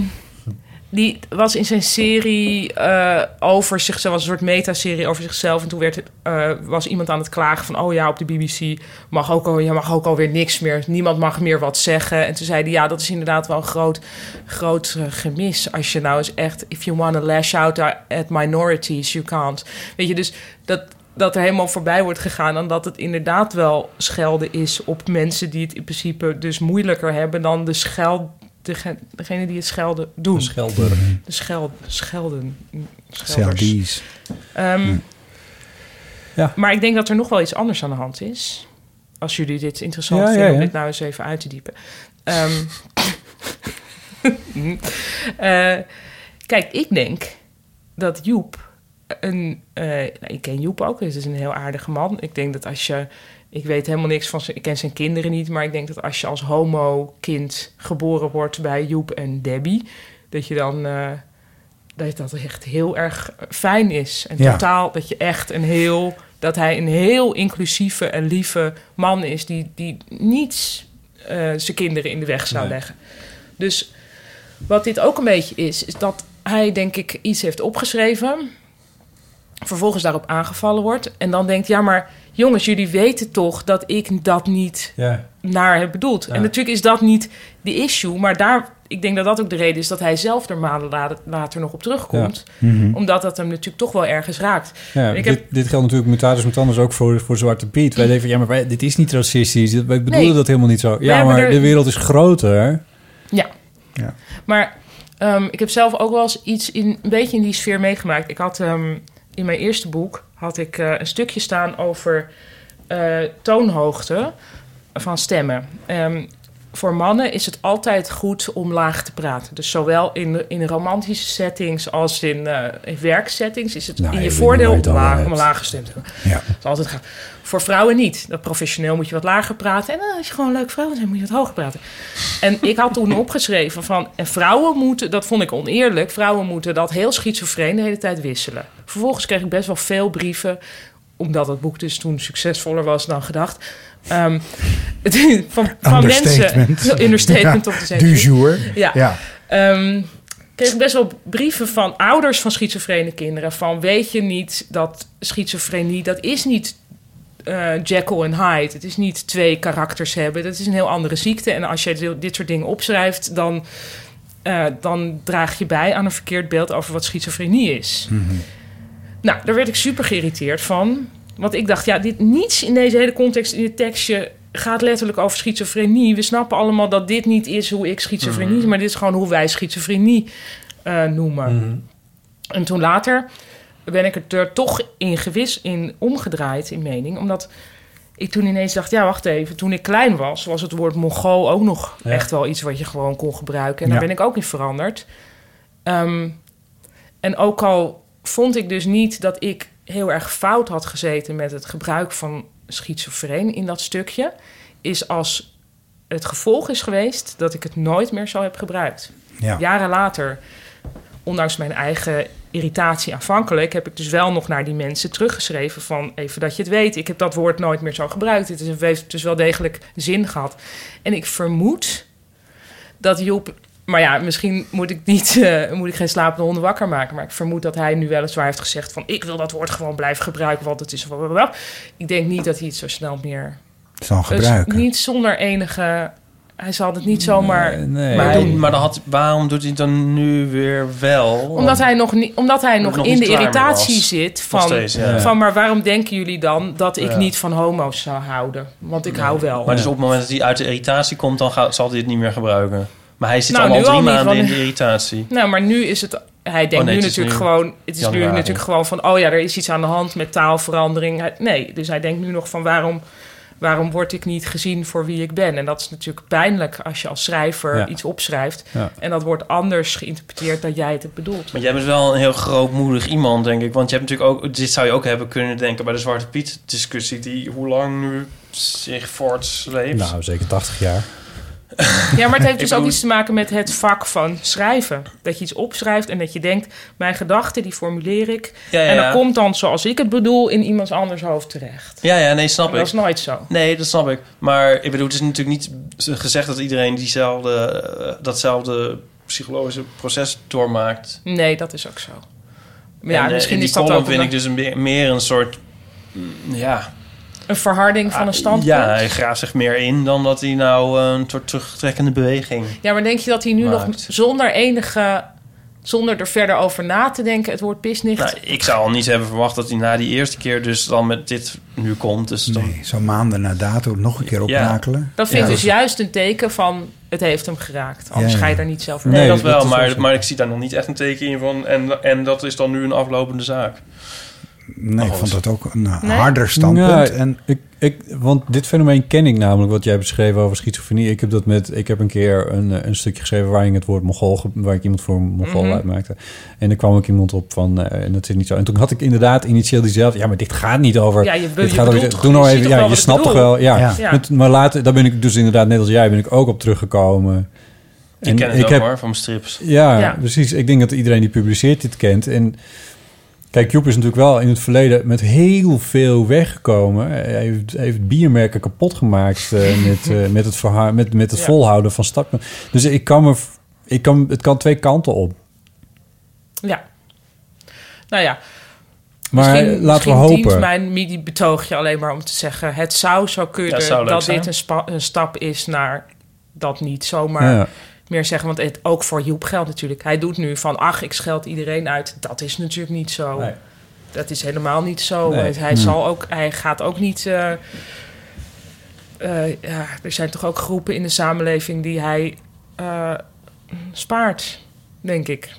S5: die was in zijn serie eh, over zichzelf, was een soort metaserie over zichzelf. En toen werd, het, eh, was iemand aan het klagen van, oh ja, op de BBC mag ook, al, ja, mag ook alweer niks meer. Niemand mag meer wat zeggen. En toen zei hij, ja, dat is inderdaad wel een groot, groot eh, gemis. Als je nou eens echt, if you want to lash out at minorities, you can't. Weet je, dus dat, dat er helemaal voorbij wordt gegaan. En dat het inderdaad wel schelden is op mensen die het in principe dus moeilijker hebben dan de scheld... dege- Degene die het schelden doen.
S3: De schelder.
S5: De schel, schelden. Schelders.
S9: Seldies.
S5: Ehm,
S3: Hm. Ja.
S5: Maar ik denk dat er nog wel iets anders aan de hand is. Als jullie dit interessant
S3: Ja, ja,
S5: vinden om
S3: ja.
S5: dit nou eens even uit te diepen. Ehm, Mm. Eh, kijk, ik denk dat Joep een. eh, nou, ik ken Joep ook, dus het is een heel aardige man. Ik denk dat als je. Ik weet helemaal niks van zijn. Ik ken zijn kinderen niet, maar ik denk dat als je als homo-kind geboren wordt bij Joep en Debbie, dat je dan. eh, dat dat echt heel erg fijn is. En
S1: Ja.
S5: totaal dat je echt een heel. dat hij een heel inclusieve en lieve man is. die, die niets eh, zijn kinderen in de weg zou
S1: Nee.
S5: leggen. Dus wat dit ook een beetje is, is dat hij denk ik iets heeft opgeschreven. Vervolgens daarop aangevallen wordt. En dan denkt, ja maar jongens, jullie weten toch dat ik dat niet
S3: Ja.
S5: naar heb bedoeld. En natuurlijk is dat niet de issue. Maar daar, ik denk dat dat ook de reden is dat hij zelf er maanden la- later nog op terugkomt.
S3: Ja. Mhm.
S5: Omdat dat hem natuurlijk toch wel ergens raakt.
S3: Ja,
S5: En ik
S3: dit,
S5: heb-
S3: dit geldt natuurlijk mutatis mutandis ook voor, voor Zwarte Piet. Wij denken, ja, maar wij, dit is niet racistisch. Dit- Wij bedoelen
S5: Nee.
S3: dat helemaal niet zo.
S5: We
S3: Ja,
S5: hebben
S3: maar
S5: er-
S3: de wereld is groter.
S5: Ja.
S3: Ja.
S5: Maar ehm, ik heb zelf ook wel eens iets in, een beetje in die sfeer meegemaakt. Ik had ehm, in mijn eerste boek had ik, eh, een stukje staan over eh, toonhoogte van stemmen. Ehm, voor mannen is het altijd goed om laag te praten. Dus zowel in, in romantische settings als in, eh, in werksettings is het
S1: Nou,
S5: in
S1: je
S5: je
S1: weet
S5: voordeel
S1: nooit
S5: om laag,
S1: altijd.
S5: om laag gestemd te hebben. Dat is altijd gaaf. Voor vrouwen niet. Dat professioneel moet je wat lager praten. En eh, als je gewoon een leuk vrouw bent, dan moet je wat hoger praten. En ik had toen opgeschreven van... En vrouwen moeten, dat vond ik oneerlijk... vrouwen moeten dat heel schizofreen de hele tijd wisselen. Vervolgens kreeg ik best wel veel brieven... omdat het boek dus toen succesvoller was dan gedacht... Ehm, van, van mensen...
S9: Understatement.
S5: Understatement
S9: Ja,
S5: op de zeker.
S9: du jour.
S5: Ja.
S9: Ja.
S5: Ehm, kreeg ik best wel brieven van ouders van schizofrene kinderen. Van weet je niet dat schizofrenie, dat is niet eh, Jekyll en Hyde. Het is niet twee karakters hebben. Dat is een heel andere ziekte. En als je dit- dit soort dingen opschrijft, dan, eh, dan draag je bij aan een verkeerd beeld over wat schizofrenie is.
S3: Mhm.
S5: Nou, daar werd ik super geïrriteerd van. Want ik dacht, ja, dit, niets in deze hele context in dit tekstje gaat letterlijk over schizofrenie. We snappen allemaal dat dit niet is hoe ik schizofrenie, maar dit is gewoon hoe wij schizofrenie eh, noemen. En toen later ben ik het er toch in gewis in omgedraaid in mening, omdat ik toen ineens dacht, ja, wacht even. Toen ik klein was, was het woord Mongool ook nog
S1: Ja.
S5: echt wel iets wat je gewoon kon gebruiken. En daar
S1: Ja.
S5: ben ik ook in veranderd. Ehm, en ook al vond ik dus niet dat ik heel erg fout had gezeten met het gebruik van schizofreen in dat stukje, is als het gevolg is geweest dat ik het nooit meer zo heb gebruikt.
S4: Ja.
S5: Jaren later, ondanks mijn eigen irritatie aanvankelijk, heb ik dus wel nog naar die mensen teruggeschreven van even dat je het weet. Ik heb dat woord nooit meer zo gebruikt. Het is- het heeft dus wel degelijk zin gehad. En ik vermoed dat Job. Maar ja, misschien moet ik, niet, eh, moet ik geen slapende honden wakker maken. Maar ik vermoed dat hij nu weliswaar heeft gezegd van... ik wil dat woord gewoon blijven gebruiken, want het is... blablabla. Ik denk niet dat hij het zo snel meer...
S4: Zal
S5: Dus
S4: gebruiken.
S5: niet zonder enige... Hij zal het niet zomaar
S2: Nee,
S5: maar
S2: maar,
S5: doen.
S2: maar dan had, waarom doet hij het dan nu weer wel?
S5: Omdat hij nog, niet, omdat hij nog,
S2: nog
S5: in
S2: niet
S5: de
S2: klaar mee
S5: irritatie
S2: was.
S5: zit
S2: Nog
S5: van,
S2: steeds, ja.
S5: van... maar waarom denken jullie dan dat ik
S2: Ja.
S5: niet van homo's zou houden? Want ik hou wel.
S2: Maar dus op het moment dat hij uit de irritatie komt, dan gaat, zal hij het niet meer gebruiken. Maar hij zit
S5: Nou,
S2: al
S5: nu
S2: drie
S5: al niet,
S2: maanden
S5: want-
S2: in de irritatie.
S5: Nou, maar nu is het... Hij denkt
S2: Oh,
S5: nu
S2: nee, het is
S5: natuurlijk
S2: nu
S5: gewoon... Het is nu
S2: januari.
S5: natuurlijk gewoon van... Oh ja, er is iets aan de hand met taalverandering. Hij- Nee, dus hij denkt nu nog van... Waarom, waarom word ik niet gezien voor wie ik ben? En dat is natuurlijk pijnlijk als je als schrijver
S2: Ja.
S5: iets opschrijft.
S2: Ja.
S5: En dat wordt anders geïnterpreteerd dan jij het hebt bedoeld.
S2: Maar jij bent wel een heel grootmoedig iemand, denk ik. Want je hebt natuurlijk ook, dit zou je ook hebben kunnen denken bij de Zwarte Piet discussie, die hoe lang nu zich voortsleept.
S3: Nou, zeker 80 jaar.
S5: Ja, maar het heeft
S2: Ik
S5: dus ook
S2: bedoel-
S5: iets te maken met het vak van schrijven. Dat je iets opschrijft en dat je denkt... Mijn gedachten, die formuleer ik.
S2: Ja, ja,
S5: En dat
S2: ja.
S5: komt dan, zoals ik het bedoel... in iemands anders hoofd terecht.
S2: Ja, ja, nee, snap
S5: Maar dat
S2: ik.
S5: is nooit zo.
S2: Nee, dat snap ik. Maar ik bedoel, het is natuurlijk niet gezegd dat iedereen diezelfde, eh, datzelfde psychologische proces doormaakt.
S5: Nee, dat is ook zo. Maar ja,
S2: en, eh,
S5: misschien
S2: in die
S5: is dat
S2: column
S5: ook
S2: vind
S5: een,
S2: ik dus een, meer- meer een soort, mm, ja,
S5: een verharding van een standpunt.
S2: Ah, Ja, hij graaft zich meer in dan dat hij nou eh, een soort terugtrekkende beweging.
S5: Ja, maar denk je dat hij nu nog
S2: Maakt.
S5: zonder enige... zonder er verder over na te denken... het woord pisnicht...
S2: Nou, ik zou al niet hebben verwacht dat hij na die eerste keer dus dan met dit nu komt. Dus dan...
S4: Zo maanden na dato nog een keer oprakelen.
S5: dat vind ik
S4: Ja.
S5: dus juist een teken van... het heeft hem geraakt. Anders
S4: Ja, ja.
S5: ga je daar niet zelf
S2: Nee, dat wel,
S4: dat is ook
S2: maar,
S4: zo.
S2: maar ik zie daar nog niet echt een teken in van. En, en dat is dan nu een aflopende zaak.
S4: Nee, ik vond dat ook een eh,
S2: Nee?
S4: harder standpunt.
S3: Nou,
S4: en...
S3: ik, ik, want dit fenomeen ken ik namelijk, wat jij beschreven over schizofrenie. Ik heb, dat met, ik heb een keer een, eh, een stukje geschreven waarin het woord Mongool, ge- waar ik iemand voor Mongool
S10: Mhm.
S3: uitmaakte. En er kwam ook iemand op van, eh, en dat is niet zo. En toen had ik inderdaad initieel diezelfde, ja, maar dit gaat niet over.
S10: Ja, je be-
S3: dit
S10: je
S3: gaat
S10: bedoelt toch-
S3: doe nou
S10: je
S3: even,
S10: ziet
S3: ja,
S10: toch wel wat ik
S3: je snapt toch
S10: bedoel?
S3: wel. Ja.
S10: Ja. Ja.
S3: Met- maar later, daar ben ik dus inderdaad, net als jij, ben ik ook op teruggekomen.
S2: Ik ken het ook, hoor, van mijn strips.
S3: Ja,
S2: Ja.
S3: precies. Ik denk dat iedereen die publiceert dit kent. En Kijk, Joep is natuurlijk wel in het verleden met heel veel weggekomen. Hij heeft, hij heeft biermerken kapot gemaakt eh, met, eh, met het, verha- met, met het
S5: Ja.
S3: volhouden van stappen. Dus ik kan me, v- ik kan, het kan twee kanten op.
S5: Ja. Nou ja.
S3: Maar laten
S5: misschien
S3: we hopen.
S5: dient mijn midi-betoogje alleen maar om te zeggen... het zou zo kunnen
S2: Ja, zou leuk
S5: dat
S2: zijn.
S5: dit een, spa- een stap is naar dat niet zomaar
S3: Ja.
S5: meer zeggen. Want het, ook voor Joep geldt natuurlijk. Hij doet nu van, ach, ik scheld iedereen uit. Dat is natuurlijk niet zo. Dat is helemaal niet zo.
S3: Nee.
S5: Het- Hij,
S3: Hmm.
S5: zal ook, hij gaat ook niet... eh, eh, ja, er zijn toch ook groepen in de samenleving die hij eh, spaart, denk ik.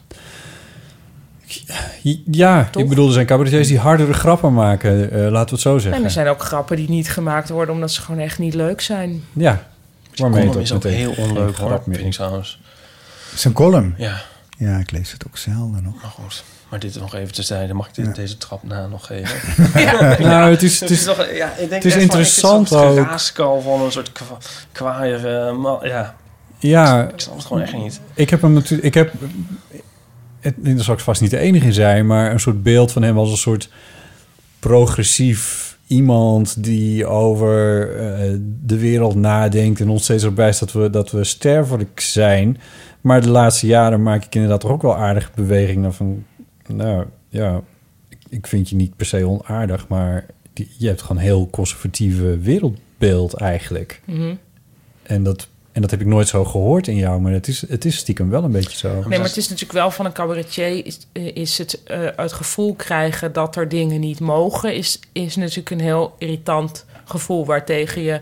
S3: Ja,
S5: Toch?
S3: ik bedoel, er zijn cabaretiers die hardere grappen maken. eh, laten we het zo
S5: En
S3: zeggen.
S5: er zijn ook grappen die niet gemaakt worden omdat ze gewoon echt niet leuk zijn.
S3: Ja, waarmee
S2: column
S3: het
S2: is ook
S3: meteen
S2: heel
S3: geen
S2: onleuk,
S3: grap
S2: hoor,
S3: meer
S2: vind ik trouwens.
S4: Zijn column.
S2: Ja.
S4: Ja, ik lees het ook zelden nog.
S2: Maar goed, maar dit nog even terzijde. Mag ik dit, deze trap na nog geven?
S3: Ja. Nou, het is-
S2: Dus
S3: het is-
S2: nog- ja, ik denk
S3: het is
S2: echt van,
S3: interessant
S2: ik vind zo'n
S3: ook.
S2: geraaskal van een soort kwa kwaaier... eh, man- ja,
S3: Ja,
S2: ik snap het gewoon echt niet.
S3: Ik heb hem natuurlijk. Ik heb. Het, daar zal ik vast niet de enige zijn, maar een soort beeld van hem als een soort progressief iemand die over eh, de wereld nadenkt en ons steeds erbij staat dat we, dat we sterfelijk zijn. Maar de laatste jaren maak ik inderdaad toch ook wel aardige bewegingen van. Nou ja, ik, ik vind je niet per se onaardig, maar die- je hebt gewoon een heel conservatieve wereldbeeld eigenlijk.
S5: Mhm.
S3: En dat, en dat heb ik nooit zo gehoord in jou, maar het is, het is stiekem wel een beetje zo.
S5: Nee, maar het is natuurlijk wel van een cabaretier is, eh, is het, eh, het gevoel krijgen dat er dingen niet mogen, is, is natuurlijk een heel irritant gevoel waartegen je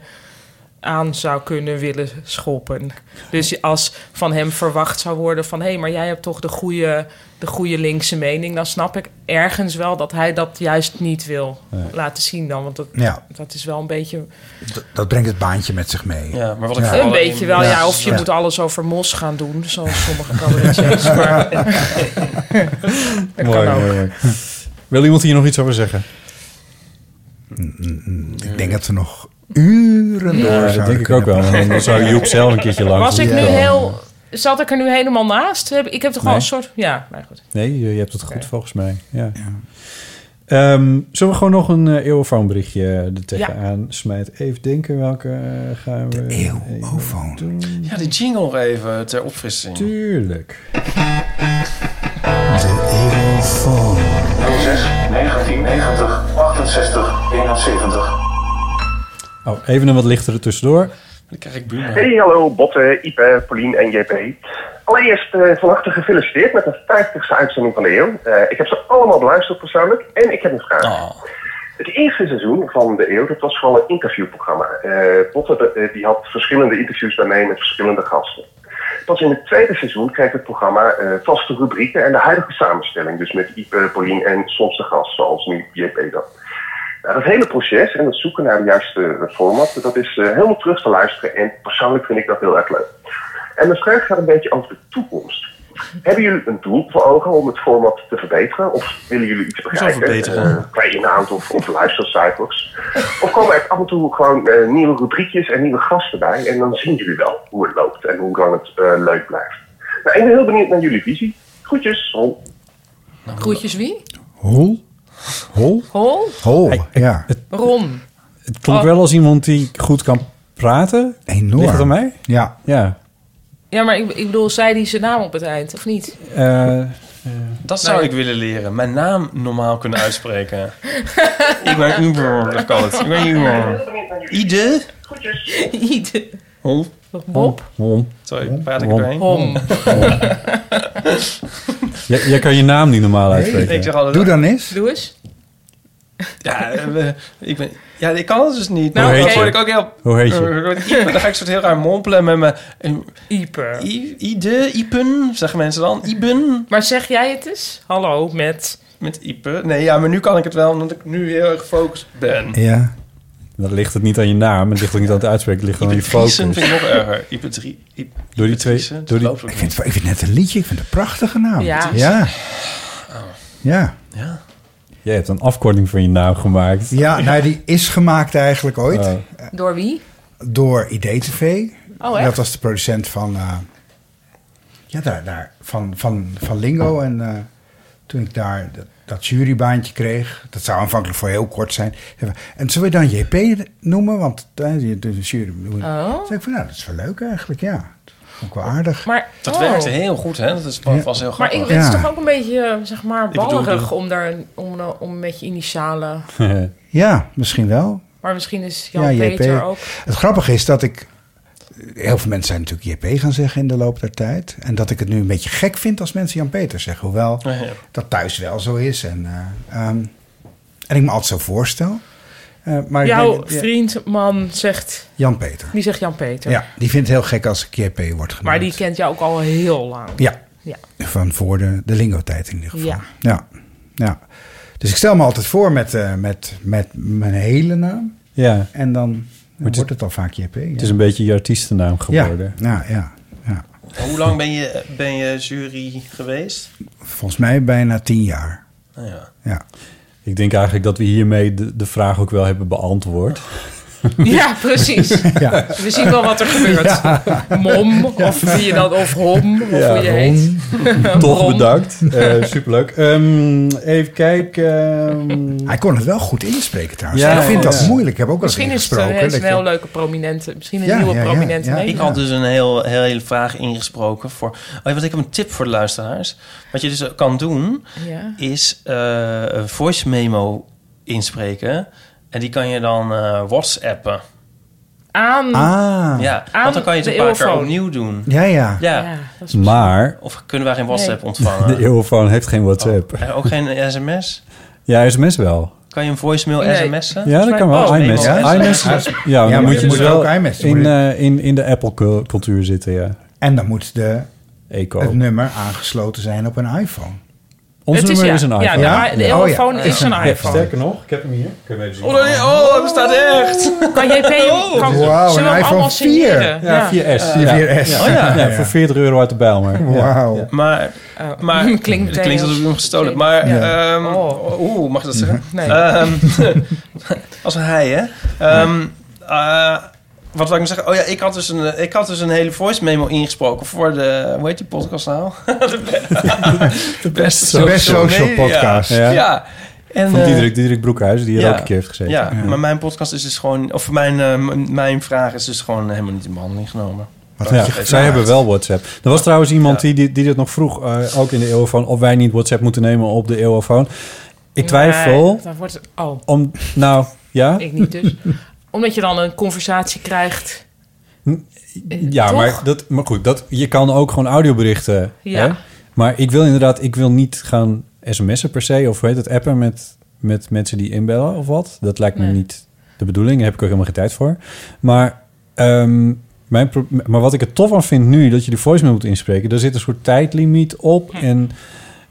S5: aan zou kunnen willen schoppen. Dus als van hem verwacht zou worden van... hé, hey, maar jij hebt toch de goede, de goede linkse mening... dan snap ik ergens wel dat hij dat juist niet wil
S4: Nee.
S5: laten zien dan. Want dat,
S4: Ja.
S5: dat is wel een beetje...
S4: Dat, dat brengt het baantje met zich mee.
S2: Ja, maar wat
S5: Ja. Een beetje wel, ja. Of je
S4: Ja.
S5: moet alles over mos gaan doen, zoals sommige cabaretiers. maar... dat kan ook.
S3: Wil iemand hier nog iets over zeggen?
S4: Ik denk dat we nog uren
S3: Ja,
S4: door
S3: dat
S4: zouden
S3: denk ik
S4: kunnen
S3: ook wel,
S4: praten.
S3: want dan zou Joep zelf een keertje langs
S5: Was ik nu
S3: moeten komen.
S5: heel... Zat ik er nu helemaal naast? Heb- Ik heb toch wel
S3: Nee.
S5: een soort... Ja, maar goed.
S3: Nee, je, je hebt het goed volgens mij. Ja. Ehm, zullen we gewoon nog een eh, eeuwfoonberichtje er tegenaan smijten? Even denken welke eh, gaan we... De eeuwofoon.
S2: Ja, de jingle nog even ter opfrissing.
S3: Tuurlijk.
S10: 06 1990 68 71.
S3: Oh, even een wat lichtere tussendoor.
S2: Dan krijg ik buurman.
S11: Hey, hallo Botte, Ipe, Paulien en JP. Allereerst eh, van harte gefeliciteerd met de 50ste uitzending van de eeuw. Eh, ik heb ze allemaal beluisterd persoonlijk en ik heb een vraag. Het eerste seizoen van de eeuw, dat was vooral een interviewprogramma. Eh Botte eh, die had verschillende interviews bij mij met verschillende gasten. Pas in het tweede seizoen kreeg het programma eh, vaste rubrieken en de huidige samenstelling. Dus met Ipe, Paulien en soms de gast, zoals nu JP dan. Nou, dat hele proces en het zoeken naar de juiste eh, format, dat is eh, helemaal terug te luisteren. En persoonlijk vind ik dat heel erg leuk. En mijn vraag gaat een beetje over de toekomst. Hebben jullie een doel voor ogen om het format te verbeteren? Of willen jullie iets
S2: Hoezo
S11: bereiken?
S2: verbeteren?
S11: Eh, qua inhoud of, of luistercijfers? Of komen er af en toe gewoon eh, nieuwe rubriekjes en nieuwe gasten bij? En dan zien jullie wel hoe het loopt en hoe lang het eh, leuk blijft. Nou, ik ben heel benieuwd naar jullie visie. Groetjes, Ron.
S5: Groetjes wie?
S3: Hol? Hol?
S5: Hol?
S3: Hol, ja. Het,
S5: Ron.
S3: het klonk
S5: Oh.
S3: wel als iemand die goed kan praten. Enorm. Ligt het aan mij?
S4: Ja.
S3: Ja.
S5: Ja, maar ik, ik bedoel, zei die zijn naam op het eind, of niet?
S3: Eh,
S2: Dat zou ik willen leren. Mijn naam normaal kunnen uitspreken. ik ben Uber, dat kan het. Ik ben Uber. Ide?
S5: Ieder.
S2: Hol?
S5: Bob?
S3: Hom.
S2: Sorry, praat ik
S3: Hom.
S2: erheen?
S3: Hom. Jij, jij kan je naam niet normaal uitspreken.
S2: Ik zeg altijd-
S5: Doe eens.
S2: Ja, eh, we- ik, ben, ja ik kan het dus niet.
S3: Nou, Hoe heet
S2: dat
S3: je?
S2: word ik ook heel...
S3: Hoe heet je?
S2: Eh, word ik Ieper. Dan ga ik soort heel raar mompelen met mijn... en-
S5: Ieper.
S2: I- Ide, Iepen, zeggen mensen dan. Iben.
S5: Maar zeg jij het eens? Hallo, met...
S2: Met Ieper. Nee, ja, maar nu kan ik het wel, omdat ik nu heel erg gefocust ben.
S3: Ja. Dan ligt het niet aan je naam, het ligt ook niet aan het uitspreken, het ligt gewoon aan je focus.
S2: Driesen vind ik nog erger. Ieper drie. Iep-
S3: Door die twee... Door die...
S4: Ik vind, ik vind net een liedje, ik vind het een prachtige naam.
S3: Ja.
S4: Ja.
S3: Oh.
S4: ja.
S3: Jij hebt een afkorting van je naam gemaakt.
S4: Ja, nou, die is gemaakt eigenlijk ooit
S3: Oh.
S5: Door wie?
S4: door IDTV.
S5: Oh, echt?
S4: Dat was de producent van, eh, ja, daar, daar, van, van, van Lingo.
S5: Oh.
S4: En eh, toen ik daar dat, dat jurybaantje kreeg, dat zou aanvankelijk voor heel kort zijn. En zullen we dan JP noemen? Want eh, de de jury.
S5: Oh.
S4: Toen zei ik van, nou, dat is wel leuk eigenlijk, ja. Dat vond ik wel aardig.
S5: Maar,
S2: Dat
S5: oh.
S2: werkte heel goed, hè? Dat is was heel
S5: Maar
S2: grappig.
S5: ik, het is toch ook een beetje, eh, zeg maar,
S4: bedoel,
S5: ballerig
S4: de-
S5: om daar een- om, eh, om met je initialen...
S4: ja, misschien wel.
S5: Maar misschien is Jan-Peter ook...
S4: Het grappige is dat ik... Heel veel mensen zijn natuurlijk JP gaan zeggen in de loop der tijd. En dat ik het nu een beetje gek vind als mensen Jan-Peter zeggen. Hoewel dat thuis wel zo is. En, eh, ehm, en ik me altijd zo voorstel. Eh, maar ik
S5: Jouw
S4: denk dat- ja,
S5: vriend, man, zegt...
S4: Jan-Peter.
S5: Die zegt Jan-Peter.
S4: Ja, die vindt het heel gek als ik JP word genoemd.
S5: Maar die kent jou ook al heel lang.
S4: Ja.
S5: Ja.
S4: Van voor de, de lingo-tijd in ieder geval.
S5: Ja.
S4: Ja. ja. Dus ik stel me altijd voor met, eh, met, met mijn hele naam.
S3: Ja.
S4: En dan, dan wordt het al vaak JP. ja.
S3: Het is een beetje je artiestennaam geworden.
S4: Ja, ja, ja.
S2: Hoe lang ben je, ben je jury geweest?
S4: Volgens mij bijna tien jaar.
S2: Nou ja.
S4: Ja.
S3: Ik denk eigenlijk dat we hiermee de, de vraag ook wel hebben beantwoord.
S5: Ja, precies.
S3: Ja.
S5: We zien wel wat er gebeurt.
S3: Ja.
S5: Mom, of wie je dan, of hom, of
S3: Ja,
S5: hoe je
S3: Ron.
S5: heet.
S3: Toch
S5: Ron.
S3: bedankt. Eh, superleuk. Ehm, even kijken. ehm.
S4: Hij kon het wel goed inspreken trouwens.
S3: Ja,
S4: ik vind
S3: ja.
S4: dat moeilijk. Ik heb ook wel eens
S5: Misschien is het
S4: ingesproken.
S5: een, is
S4: dat
S5: een
S4: je-
S5: heel leuke prominente. Misschien een
S4: Ja,
S5: nieuwe
S4: ja, ja,
S5: prominente
S4: ja.
S5: Nederlander.
S2: Ik had dus een heel, heel hele vraag ingesproken voor. Oh, want ik heb een tip voor de luisteraars. Wat je dus kan doen,
S5: Ja.
S2: is eh, een voice memo inspreken. En die kan je dan eh WhatsAppen.
S5: Aan...
S4: Ah.
S2: Ja,
S5: Hmm. Aan
S2: want dan kan je het
S5: de
S2: een paar keer
S5: eeuwfoon.
S2: opnieuw doen.
S4: Ja, ja.
S2: Ja.
S3: Maar
S2: Of kunnen wij geen WhatsApp
S5: Nee.
S2: ontvangen?
S3: de eeuwfoon heeft geen WhatsApp.
S5: Oh.
S2: Eh, Ook geen sms?
S3: Ja, sms wel.
S2: Kan je een voicemail
S5: Nee.
S2: sms'en?
S3: Ja, dat kan wel.
S2: Oh,
S3: iMessage.
S2: nee, want-
S3: iMessage. Ja, maar dan moet je dus wel in, eh, in, in de Apple-cultuur zitten, ja.
S4: En dan moet de,
S3: Eco.
S4: het nummer aangesloten zijn op een iPhone.
S3: Ons
S5: Het is
S3: nummer
S5: ja.
S3: is een iPhone.
S5: Ja, de- Ja? de eeuwfoon is een iPhone.
S3: Sterker nog, ik heb hem hier. Kun je hem even zien?
S5: Oh, nee,
S2: oh, hij bestaat echt. Oh.
S5: Kan jij P... Kan,
S3: Wauw,
S5: zullen we hem
S3: een
S5: allemaal
S3: iPhone 4.
S5: signeren?
S3: Ja, 4S.
S2: Ja.
S3: Ja.
S2: 4S. Oh, ja.
S3: Ja, voor 40 euro uit de Bijlmer.
S4: Wauw.
S2: Maar, maar
S5: Klinkt
S2: Oh. het
S5: meteen
S2: klinkt alsof
S5: heel-
S2: ik hem gestolen. Maar, ehm, oeh, mag ik dat zeggen?
S5: Nee.
S2: Ehm, Als een hij, hè? Ehm, eh, wat wil ik nog zeggen? Oh ja, ik had dus een, eh, ik had dus een hele voice memo ingesproken voor de... Hoe heet die podcast nou? de, beste
S3: Social
S2: media.
S3: Podcast.
S2: Ja.
S3: Ja.
S2: En,
S3: Van
S2: eh,
S3: Diederik, Diederik Broekhuizen, die hier
S2: ja.
S3: ook een keer heeft gezeten.
S2: Ja, maar mijn podcast is dus gewoon... Of mijn, eh, m- mijn vraag is dus gewoon helemaal niet in behandeling genomen.
S3: Wat
S2: Dat
S3: ja,
S2: is
S3: zij
S2: echt
S3: hebben wel WhatsApp. Er was trouwens iemand
S2: Ja.
S3: die, die, die dat nog vroeg, eh, ook in de eeuwofoon, of wij niet WhatsApp moeten nemen op de eeuwofoon. Ik twijfel.
S5: Nee, dan wordt het- oh.
S3: Om, nou, ja?
S5: Ik niet dus. Omdat je dan een conversatie krijgt.
S3: Ja,
S5: eh, Toch?
S3: maar, dat, maar goed, dat, je kan ook gewoon audioberichten.
S5: Ja.
S3: Hè? Maar ik wil inderdaad, ik wil niet gaan sms'en per se, of hoe heet het, appen met, met mensen die inbellen of wat. Dat lijkt me
S5: Nee.
S3: niet de bedoeling, daar heb ik ook helemaal geen tijd voor. Maar, ehm, mijn pro- maar wat ik er tof aan vind nu, dat je de voicemail moet inspreken, daar zit een soort tijdlimiet op en...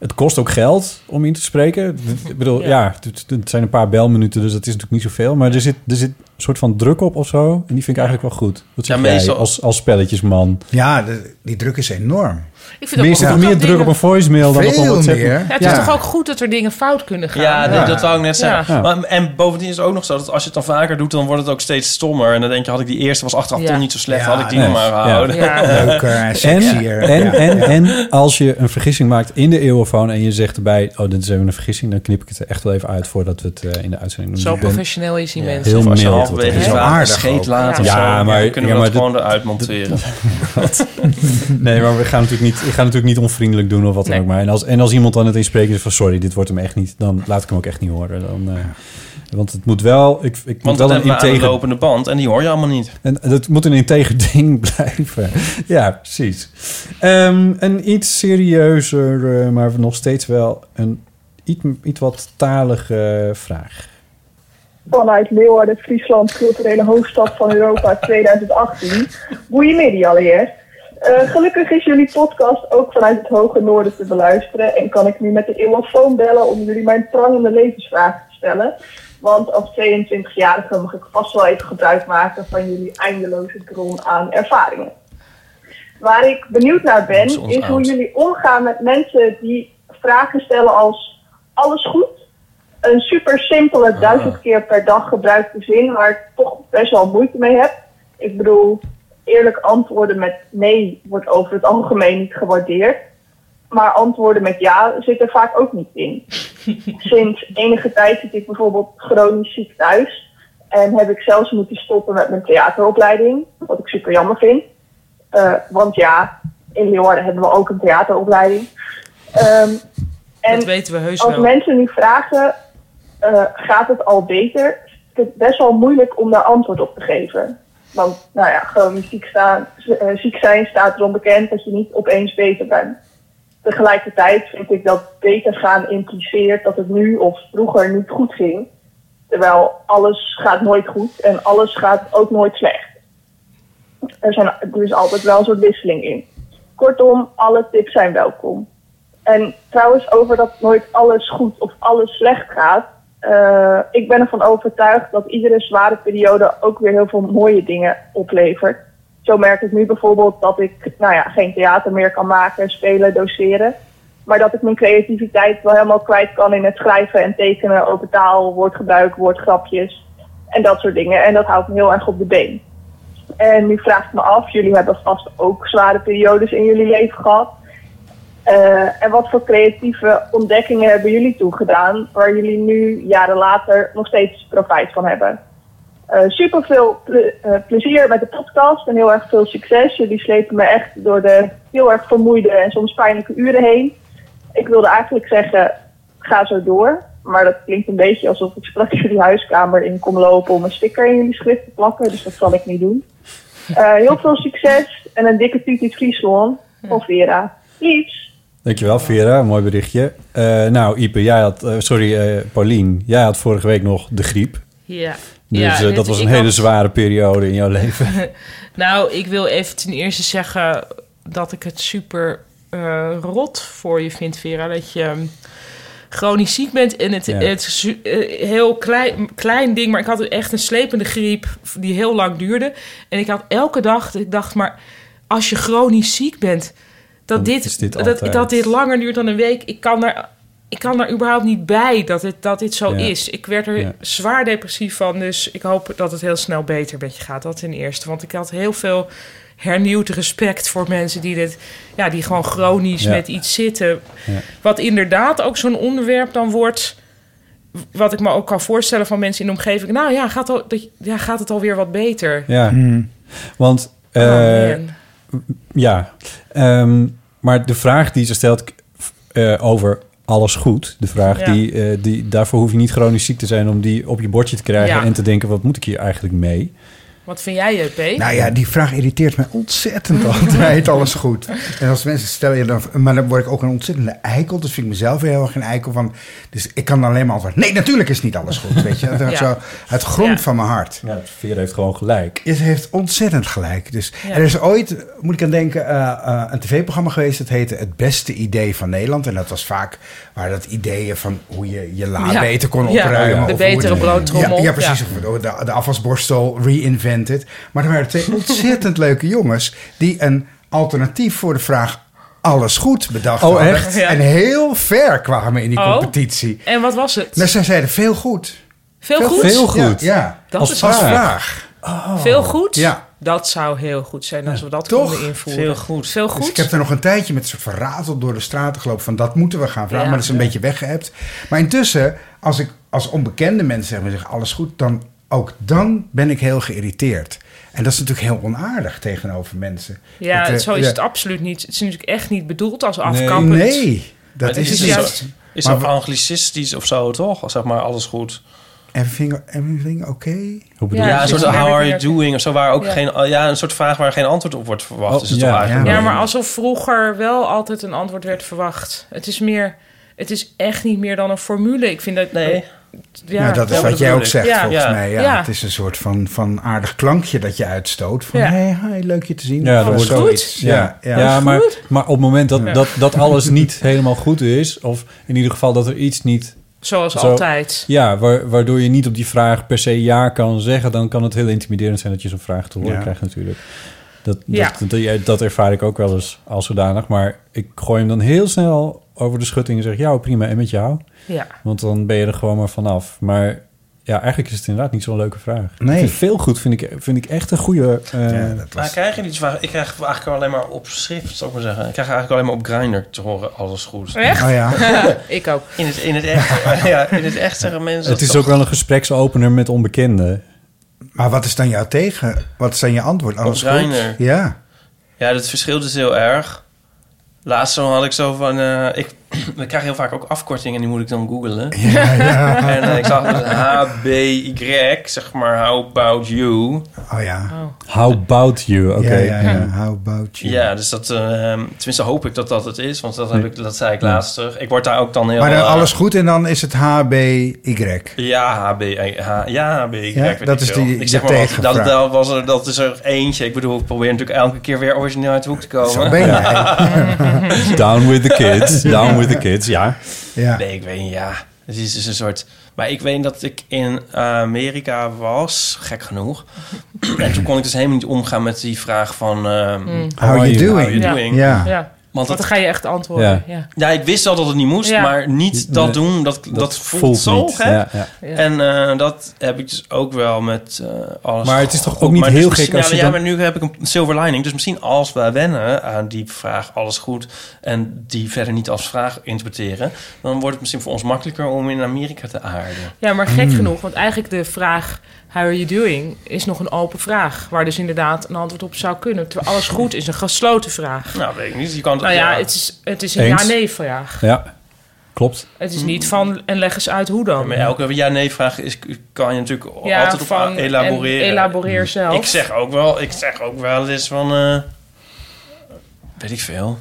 S3: Het kost ook geld om in te spreken. Ik bedoel, ja, het, het zijn een paar belminuten, dus dat is natuurlijk niet zoveel. Maar er zit, er zit een soort van druk op of zo. En die vind ik eigenlijk wel goed. Wat zeg
S4: Ja,
S3: jij
S4: meestal-
S3: als, als spelletjesman?
S4: Ja, de- die druk is enorm.
S5: Ik vind ook
S3: Meestal
S5: wel goed
S3: meer
S5: dat
S3: druk op
S5: dingen-
S3: een voicemail dan op een
S4: Veel
S3: WhatsApp.
S4: meer.
S5: Ja, het is toch ook goed dat er dingen fout kunnen gaan. eh,
S2: Ja, nee, dat wou ik net zeggen.
S5: Ja.
S2: Maar, en bovendien is het ook nog zo dat als je het dan vaker doet, dan wordt het ook steeds stommer. En dan denk je, had ik die eerste, was achteraf
S5: Ja.
S2: toch niet zo slecht,
S5: Ja,
S2: had ik die
S3: nee.
S2: nog maar
S3: Ja.
S2: gehouden.
S3: Ja. En, en, en, en als je een vergissing maakt in de eeuwofoon en je zegt erbij... oh, dit is even een vergissing, dan knip ik het er echt wel even uit... voordat we het eh, in de uitzending doen.
S5: Zo
S3: Ik ben
S5: professioneel is die mensen.
S3: Heel
S5: Of als
S3: mild.
S5: je
S3: wat
S5: halverwege
S3: dat
S5: is
S3: is.
S5: waar, Aardig scheet ook.
S2: laat of zo.
S3: Ja,
S2: Ja,
S3: maar...
S2: dan kunnen we
S3: ja,
S2: dat
S3: maar
S2: gewoon eruit monteren.
S3: Wat? nee, maar we gaan natuurlijk niet, ik ga natuurlijk niet onvriendelijk doen of wat dan ook. Maar en als, en als iemand dan het inspreken is van... sorry, dit wordt hem echt niet, dan laat ik hem ook echt niet horen. Dan, eh, want het moet wel... Ik, ik moet
S2: Want dat
S3: wel een
S2: hebben we aan de
S3: integer
S2: lopende band en die hoor je allemaal niet.
S3: En dat moet een integer ding blijven. Ja, precies. Ehm, een iets serieuzer, eh, maar nog steeds wel een iets, iets wat talige vraag.
S8: Vanuit Leeuwarden, Friesland, culturele hoofdstad van Europa 2018. Goedemiddag allereerst. Eh, gelukkig is jullie podcast ook vanuit het hoge noorden te beluisteren. En kan ik nu met de eeuwofoon bellen om jullie mijn prangende levensvraag te stellen. Want als 22-jarige mag ik vast wel even gebruik maken van jullie eindeloze bron aan ervaringen. Waar ik benieuwd naar ben,
S12: Dat is ons
S8: is hoe
S12: oud.
S8: jullie omgaan met mensen die vragen stellen als alles goed? Een super simpele, duizend keer per dag gebruikte zin waar ik toch best wel moeite mee heb. Ik bedoel, eerlijk antwoorden met nee wordt over het algemeen niet gewaardeerd. Maar antwoorden met ja zit er vaak ook niet in. Sinds enige tijd zit ik bijvoorbeeld chronisch ziek thuis. En heb ik zelfs moeten stoppen met mijn theateropleiding. Wat ik super jammer vind. Eh, want ja, in Leeuwarden hebben we ook een theateropleiding. Ehm, en
S5: Dat weten we heus
S8: als
S5: wel.
S8: mensen nu vragen, eh, gaat het al beter? Is het best wel moeilijk om daar antwoord op te geven. Want, nou ja, chronisch ziek, staan, eh, ziek zijn staat erom bekend dat je niet opeens beter bent. Tegelijkertijd vind ik dat beter gaan impliceert dat het nu of vroeger niet goed ging. Terwijl alles gaat nooit goed en alles gaat ook nooit slecht. Er, zijn, er is altijd wel een soort wisseling in. Kortom, alle tips zijn welkom. En trouwens, over dat nooit alles goed of alles slecht gaat. eh, ik ben ervan overtuigd dat iedere zware periode ook weer heel veel mooie dingen oplevert. Zo merk ik nu bijvoorbeeld dat ik nou ja, geen theater meer kan maken, spelen, doseren. Maar dat ik mijn creativiteit wel helemaal kwijt kan in het schrijven en tekenen over taal, woordgebruik, woordgrapjes en dat soort dingen. En dat houdt me heel erg op de been. En nu vraag ik me af, jullie hebben vast ook zware periodes in jullie leven gehad. Eh, en wat voor creatieve ontdekkingen hebben jullie toegedaan waar jullie nu jaren later nog steeds profijt van hebben? Eh, super veel eh, plezier met de podcast en heel erg veel succes. Jullie slepen me echt door de heel erg vermoeide en soms pijnlijke uren heen. Ik wilde eigenlijk zeggen, ga zo door. Maar dat klinkt een beetje alsof ik straks jullie huiskamer in kom lopen om een sticker in jullie schrift te plakken. Dus dat zal ik niet doen. Eh, heel veel succes en een dikke tuut in Friesland. Of Vera. Liefs.
S3: Dankjewel, Vera. Mooi berichtje. Eh, nou, Ipe, jij had... eh, sorry, eh Paulien. Jij had vorige week nog de griep.
S5: Ja.
S3: Dus
S5: Ja,
S3: eh,
S5: dit-
S3: dat was een
S5: ik
S3: hele
S5: had-
S3: zware periode in jouw leven.
S5: nou, ik wil even ten eerste zeggen dat ik het super eh, rot voor je vind, Vera. Dat je ehm, chronisch ziek bent en het,
S3: Ja.
S5: het is su- eh, heel klein, klein ding. Maar ik had echt een slepende griep die heel lang duurde. En ik had elke dag, ik dacht maar, als je chronisch ziek bent, dat,
S3: Dan
S5: dit,
S3: is dit
S5: dat,
S3: altijd.
S5: dat dit langer duurt dan een week. Ik kan daar ik kan daar überhaupt niet bij dat dit, dat dit zo
S1: Ja.
S5: is. Dus Ik werd er
S1: Ja.
S5: zwaar depressief van. Dus ik hoop dat het heel snel beter met je gaat. Dat ten eerste. Want ik had heel veel hernieuwd respect voor mensen die dit... Ja, die gewoon chronisch
S1: Ja.
S5: met iets zitten.
S1: Ja.
S5: Wat inderdaad ook zo'n onderwerp dan wordt... Wat ik me ook kan voorstellen van mensen in de omgeving. Nou ja, gaat, al, dat, ja, gaat het alweer wat beter?
S3: Ja. Want, eh,
S5: Hmm. Oh, man.
S3: m- ja. Ehm, maar de vraag die ze stelt eh, over alles goed, de vraag
S5: Ja.
S3: die, eh, die, daarvoor hoef je niet chronisch ziek te zijn om die op je bordje te krijgen
S5: Ja.
S3: en te denken, wat moet ik hier eigenlijk mee?
S5: Wat vind jij, JP?
S4: Nou ja, die vraag irriteert me ontzettend altijd. Alles goed. En als mensen stellen je dan. Maar dan word ik ook een ontzettende eikel. Dus vind ik mezelf weer heel erg een eikel van. Dus ik kan dan alleen maar antwoorden. Nee, natuurlijk is niet alles goed. Weet je, dat
S3: Ja.
S4: is zo uit grond van mijn hart.
S3: Ja, Veer heeft gewoon gelijk.
S4: Het heeft ontzettend gelijk. Dus
S3: Ja.
S4: er is ooit, moet ik aan denken, eh, eh, een tv-programma geweest. Dat heette Het Beste Idee van Nederland. En dat was vaak waar dat ideeën van hoe je je la
S5: Ja.
S4: beter kon
S5: Ja.
S4: opruimen.
S5: Ja, de
S4: of hoe het-
S5: betere broodtrommel.
S4: Ja, ja, precies.
S5: Ja.
S4: Of Oh, De, de afwasborstel reinvented. Maar er waren twee ontzettend leuke jongens die een alternatief voor de vraag alles goed bedacht
S3: Oh,
S4: hadden.
S3: echt? Ja.
S4: En heel ver kwamen in die
S5: Oh.
S4: competitie.
S5: En wat was het?
S4: Maar zij zeiden veel goed.
S5: Veel goed?
S3: Veel goed.
S4: Ja, ja.
S5: Dat
S4: als,
S5: is
S4: als
S5: waar.
S4: vraag. Oh.
S5: Veel goed?
S4: Ja.
S5: Dat zou heel goed zijn als we dat konden invoeren.
S2: Veel goed.
S5: Veel
S4: Dus
S5: goed?
S4: ik heb er nog een tijdje met een soort verratel door de straten gelopen van dat moeten we gaan vragen.
S5: Ja.
S4: maar dat is een beetje weggeëpt. Maar intussen, als ik als onbekende mensen zeg maar zeggen alles goed, dan ook dan ben ik heel geïrriteerd. En dat is natuurlijk heel onaardig tegenover mensen.
S5: ja,
S4: Dat, eh,
S5: zo is
S4: ja.
S5: het absolupt niet. Het is natuurlijk echt niet bedoeld als afkampend.
S4: Nee, dat
S2: Maar
S4: is
S2: het
S4: het niet.
S2: juist. Is
S4: Maar
S2: dat
S4: we-
S2: anglicistisch of zo, toch? Zeg maar, alles goed.
S4: Everything, everything oké?
S2: Ja, een soort how are you doing of zo, waar ook
S5: Ja.
S2: geen, ja, een soort vraag waar geen antwoord op wordt verwacht.
S3: Oh,
S2: is het
S3: ja.
S2: toch eigenlijk?
S5: Ja, maar alsof vroeger wel altijd een antwoord werd verwacht. Het is meer... Het is echt niet meer dan een formule. Ik vind dat... Nee. Ja,
S4: nou, dat is
S5: Ja,
S4: wat jij
S5: bedoel
S4: ook
S5: ik.
S4: zegt,
S5: Ja.
S4: volgens mij. Ja,
S5: Ja.
S4: Het is een soort van, van aardig klankje dat je uitstoot. Van,
S5: Ja.
S4: hey, hi, leuk je te zien.
S3: Ja,
S4: Of
S5: Oh,
S3: dat wordt
S4: zoiets.
S3: Ja, ja, maar, maar op het moment dat, dat, dat alles niet helemaal goed is, of in ieder geval dat er iets niet.
S5: Zoals altijd.
S3: Ja, wa- waardoor je niet op die vraag per se ja kan zeggen, dan kan het heel intimiderend zijn dat je zo'n vraag te horen
S5: Ja.
S3: krijgt, natuurlijk. Dat, dat,
S5: Ja.
S3: dat, dat, ervaar ik ook wel eens als zodanig, maar ik gooi hem dan heel snel over de schutting en zeg: Ja, prima, en met jou?
S5: Ja.
S3: Want dan ben je er gewoon maar vanaf. Maar ja, eigenlijk is het inderdaad niet zo'n leuke vraag.
S4: Nee.
S3: Ik vind veel goed vind ik, eh, vind ik echt een goede. eh,
S2: Maar ik krijg je niet zwaar. Ik krijg eigenlijk alleen maar op schrift, zou ik maar zeggen. Ik krijg eigenlijk alleen maar op Grindr te horen alles goed.
S5: Echt?
S3: Oh ja.
S5: ik ook.
S2: In het, in het echt. ja, in het echt zeggen mensen.
S3: Het
S2: dat
S3: is ook wel een gespreksopener met onbekenden.
S4: Maar wat is dan jouw tegen? Wat is dan je antwoord? Alles goed?
S2: Reiner.
S4: Ja.
S2: Ja, dat verschilt dus heel erg. Laatst zo had ik zo van... eh, ik, ik krijg heel vaak ook afkortingen en die moet ik dan googlen.
S4: ja.
S2: En eh, ik zag dus HBY, zeg maar, how about you?
S4: Oh ja.
S3: How about you? Oké.
S4: Ja, ja, ja. How about you?
S2: Ja, dus dat... eh, tenminste hoop ik dat dat het is, want dat, heb ik, dat zei ik laatst terug. Ik word daar ook dan heel...
S4: maar dan
S2: eh,
S4: alles goed en dan is het HBY.
S2: Ja, HB, H, ja, HB.
S4: Ja, dat is die-
S2: ik zeg
S4: de
S2: maar wat,
S4: tegenvraag.
S2: dat, dat, was er, dat is er eentje. Ik bedoel, ik probeer natuurlijk elke keer weer origineel uit de hoek te komen.
S4: Zo ben jij.
S3: Down with the kids. Down with the kids, ja.
S2: Nee, ik weet niet, ja. Het is dus een soort... Maar ik weet dat ik in Amerika was, gek genoeg. en toen kon ik dus helemaal niet omgaan met die vraag van... ehm,
S5: Mm.
S4: How you doing?
S2: How you
S5: Ja.
S2: doing?
S4: Ja.
S5: Ja. Want
S2: Want
S5: dan
S2: dat-
S5: ga je echt antwoorden. Ja.
S2: ja, ik wist wel dat het niet moest,
S5: Ja.
S2: maar niet dat
S5: Nee,
S2: doen, dat, dat,
S3: dat
S2: voelt,
S3: voelt
S2: zo,
S3: niet.
S2: hè?
S3: Ja, ja.
S5: Ja.
S2: En eh, dat heb ik dus ook wel met eh, alles.
S3: Maar het is toch
S2: goed.
S3: ook niet
S2: Maar
S3: heel
S2: misschien-
S3: gek als
S2: ja,
S3: je
S2: Ja,
S3: dan-
S2: maar nu heb ik een silver lining. Dus misschien als we wennen aan die vraag alles goed... en die verder niet als vraag interpreteren... dan wordt het misschien voor ons makkelijker om in Amerika te aarden.
S5: Ja, maar gek
S3: Hmm.
S2: Mm.
S5: genoeg, want eigenlijk de vraag How are you doing is nog een open vraag, waar dus inderdaad een antwoord op zou kunnen. Terwijl alles goed is een gesloten vraag.
S2: Nou, weet ik niet. Je kan het-
S5: nou ja,
S2: ja.
S5: het is, het is een
S2: Eens.
S5: ja-nee-vraag.
S3: Ja, klopt.
S5: Het is niet van en leg eens uit hoe dan.
S2: Mm. Maar elke ja-nee-vraag is, kan je natuurlijk
S5: Ja,
S2: altijd op
S5: van-
S2: elaboreren.
S5: en elaboreer zelf.
S2: Ik zeg ook wel, ik zeg ook wel eens van... eh, weet ik veel.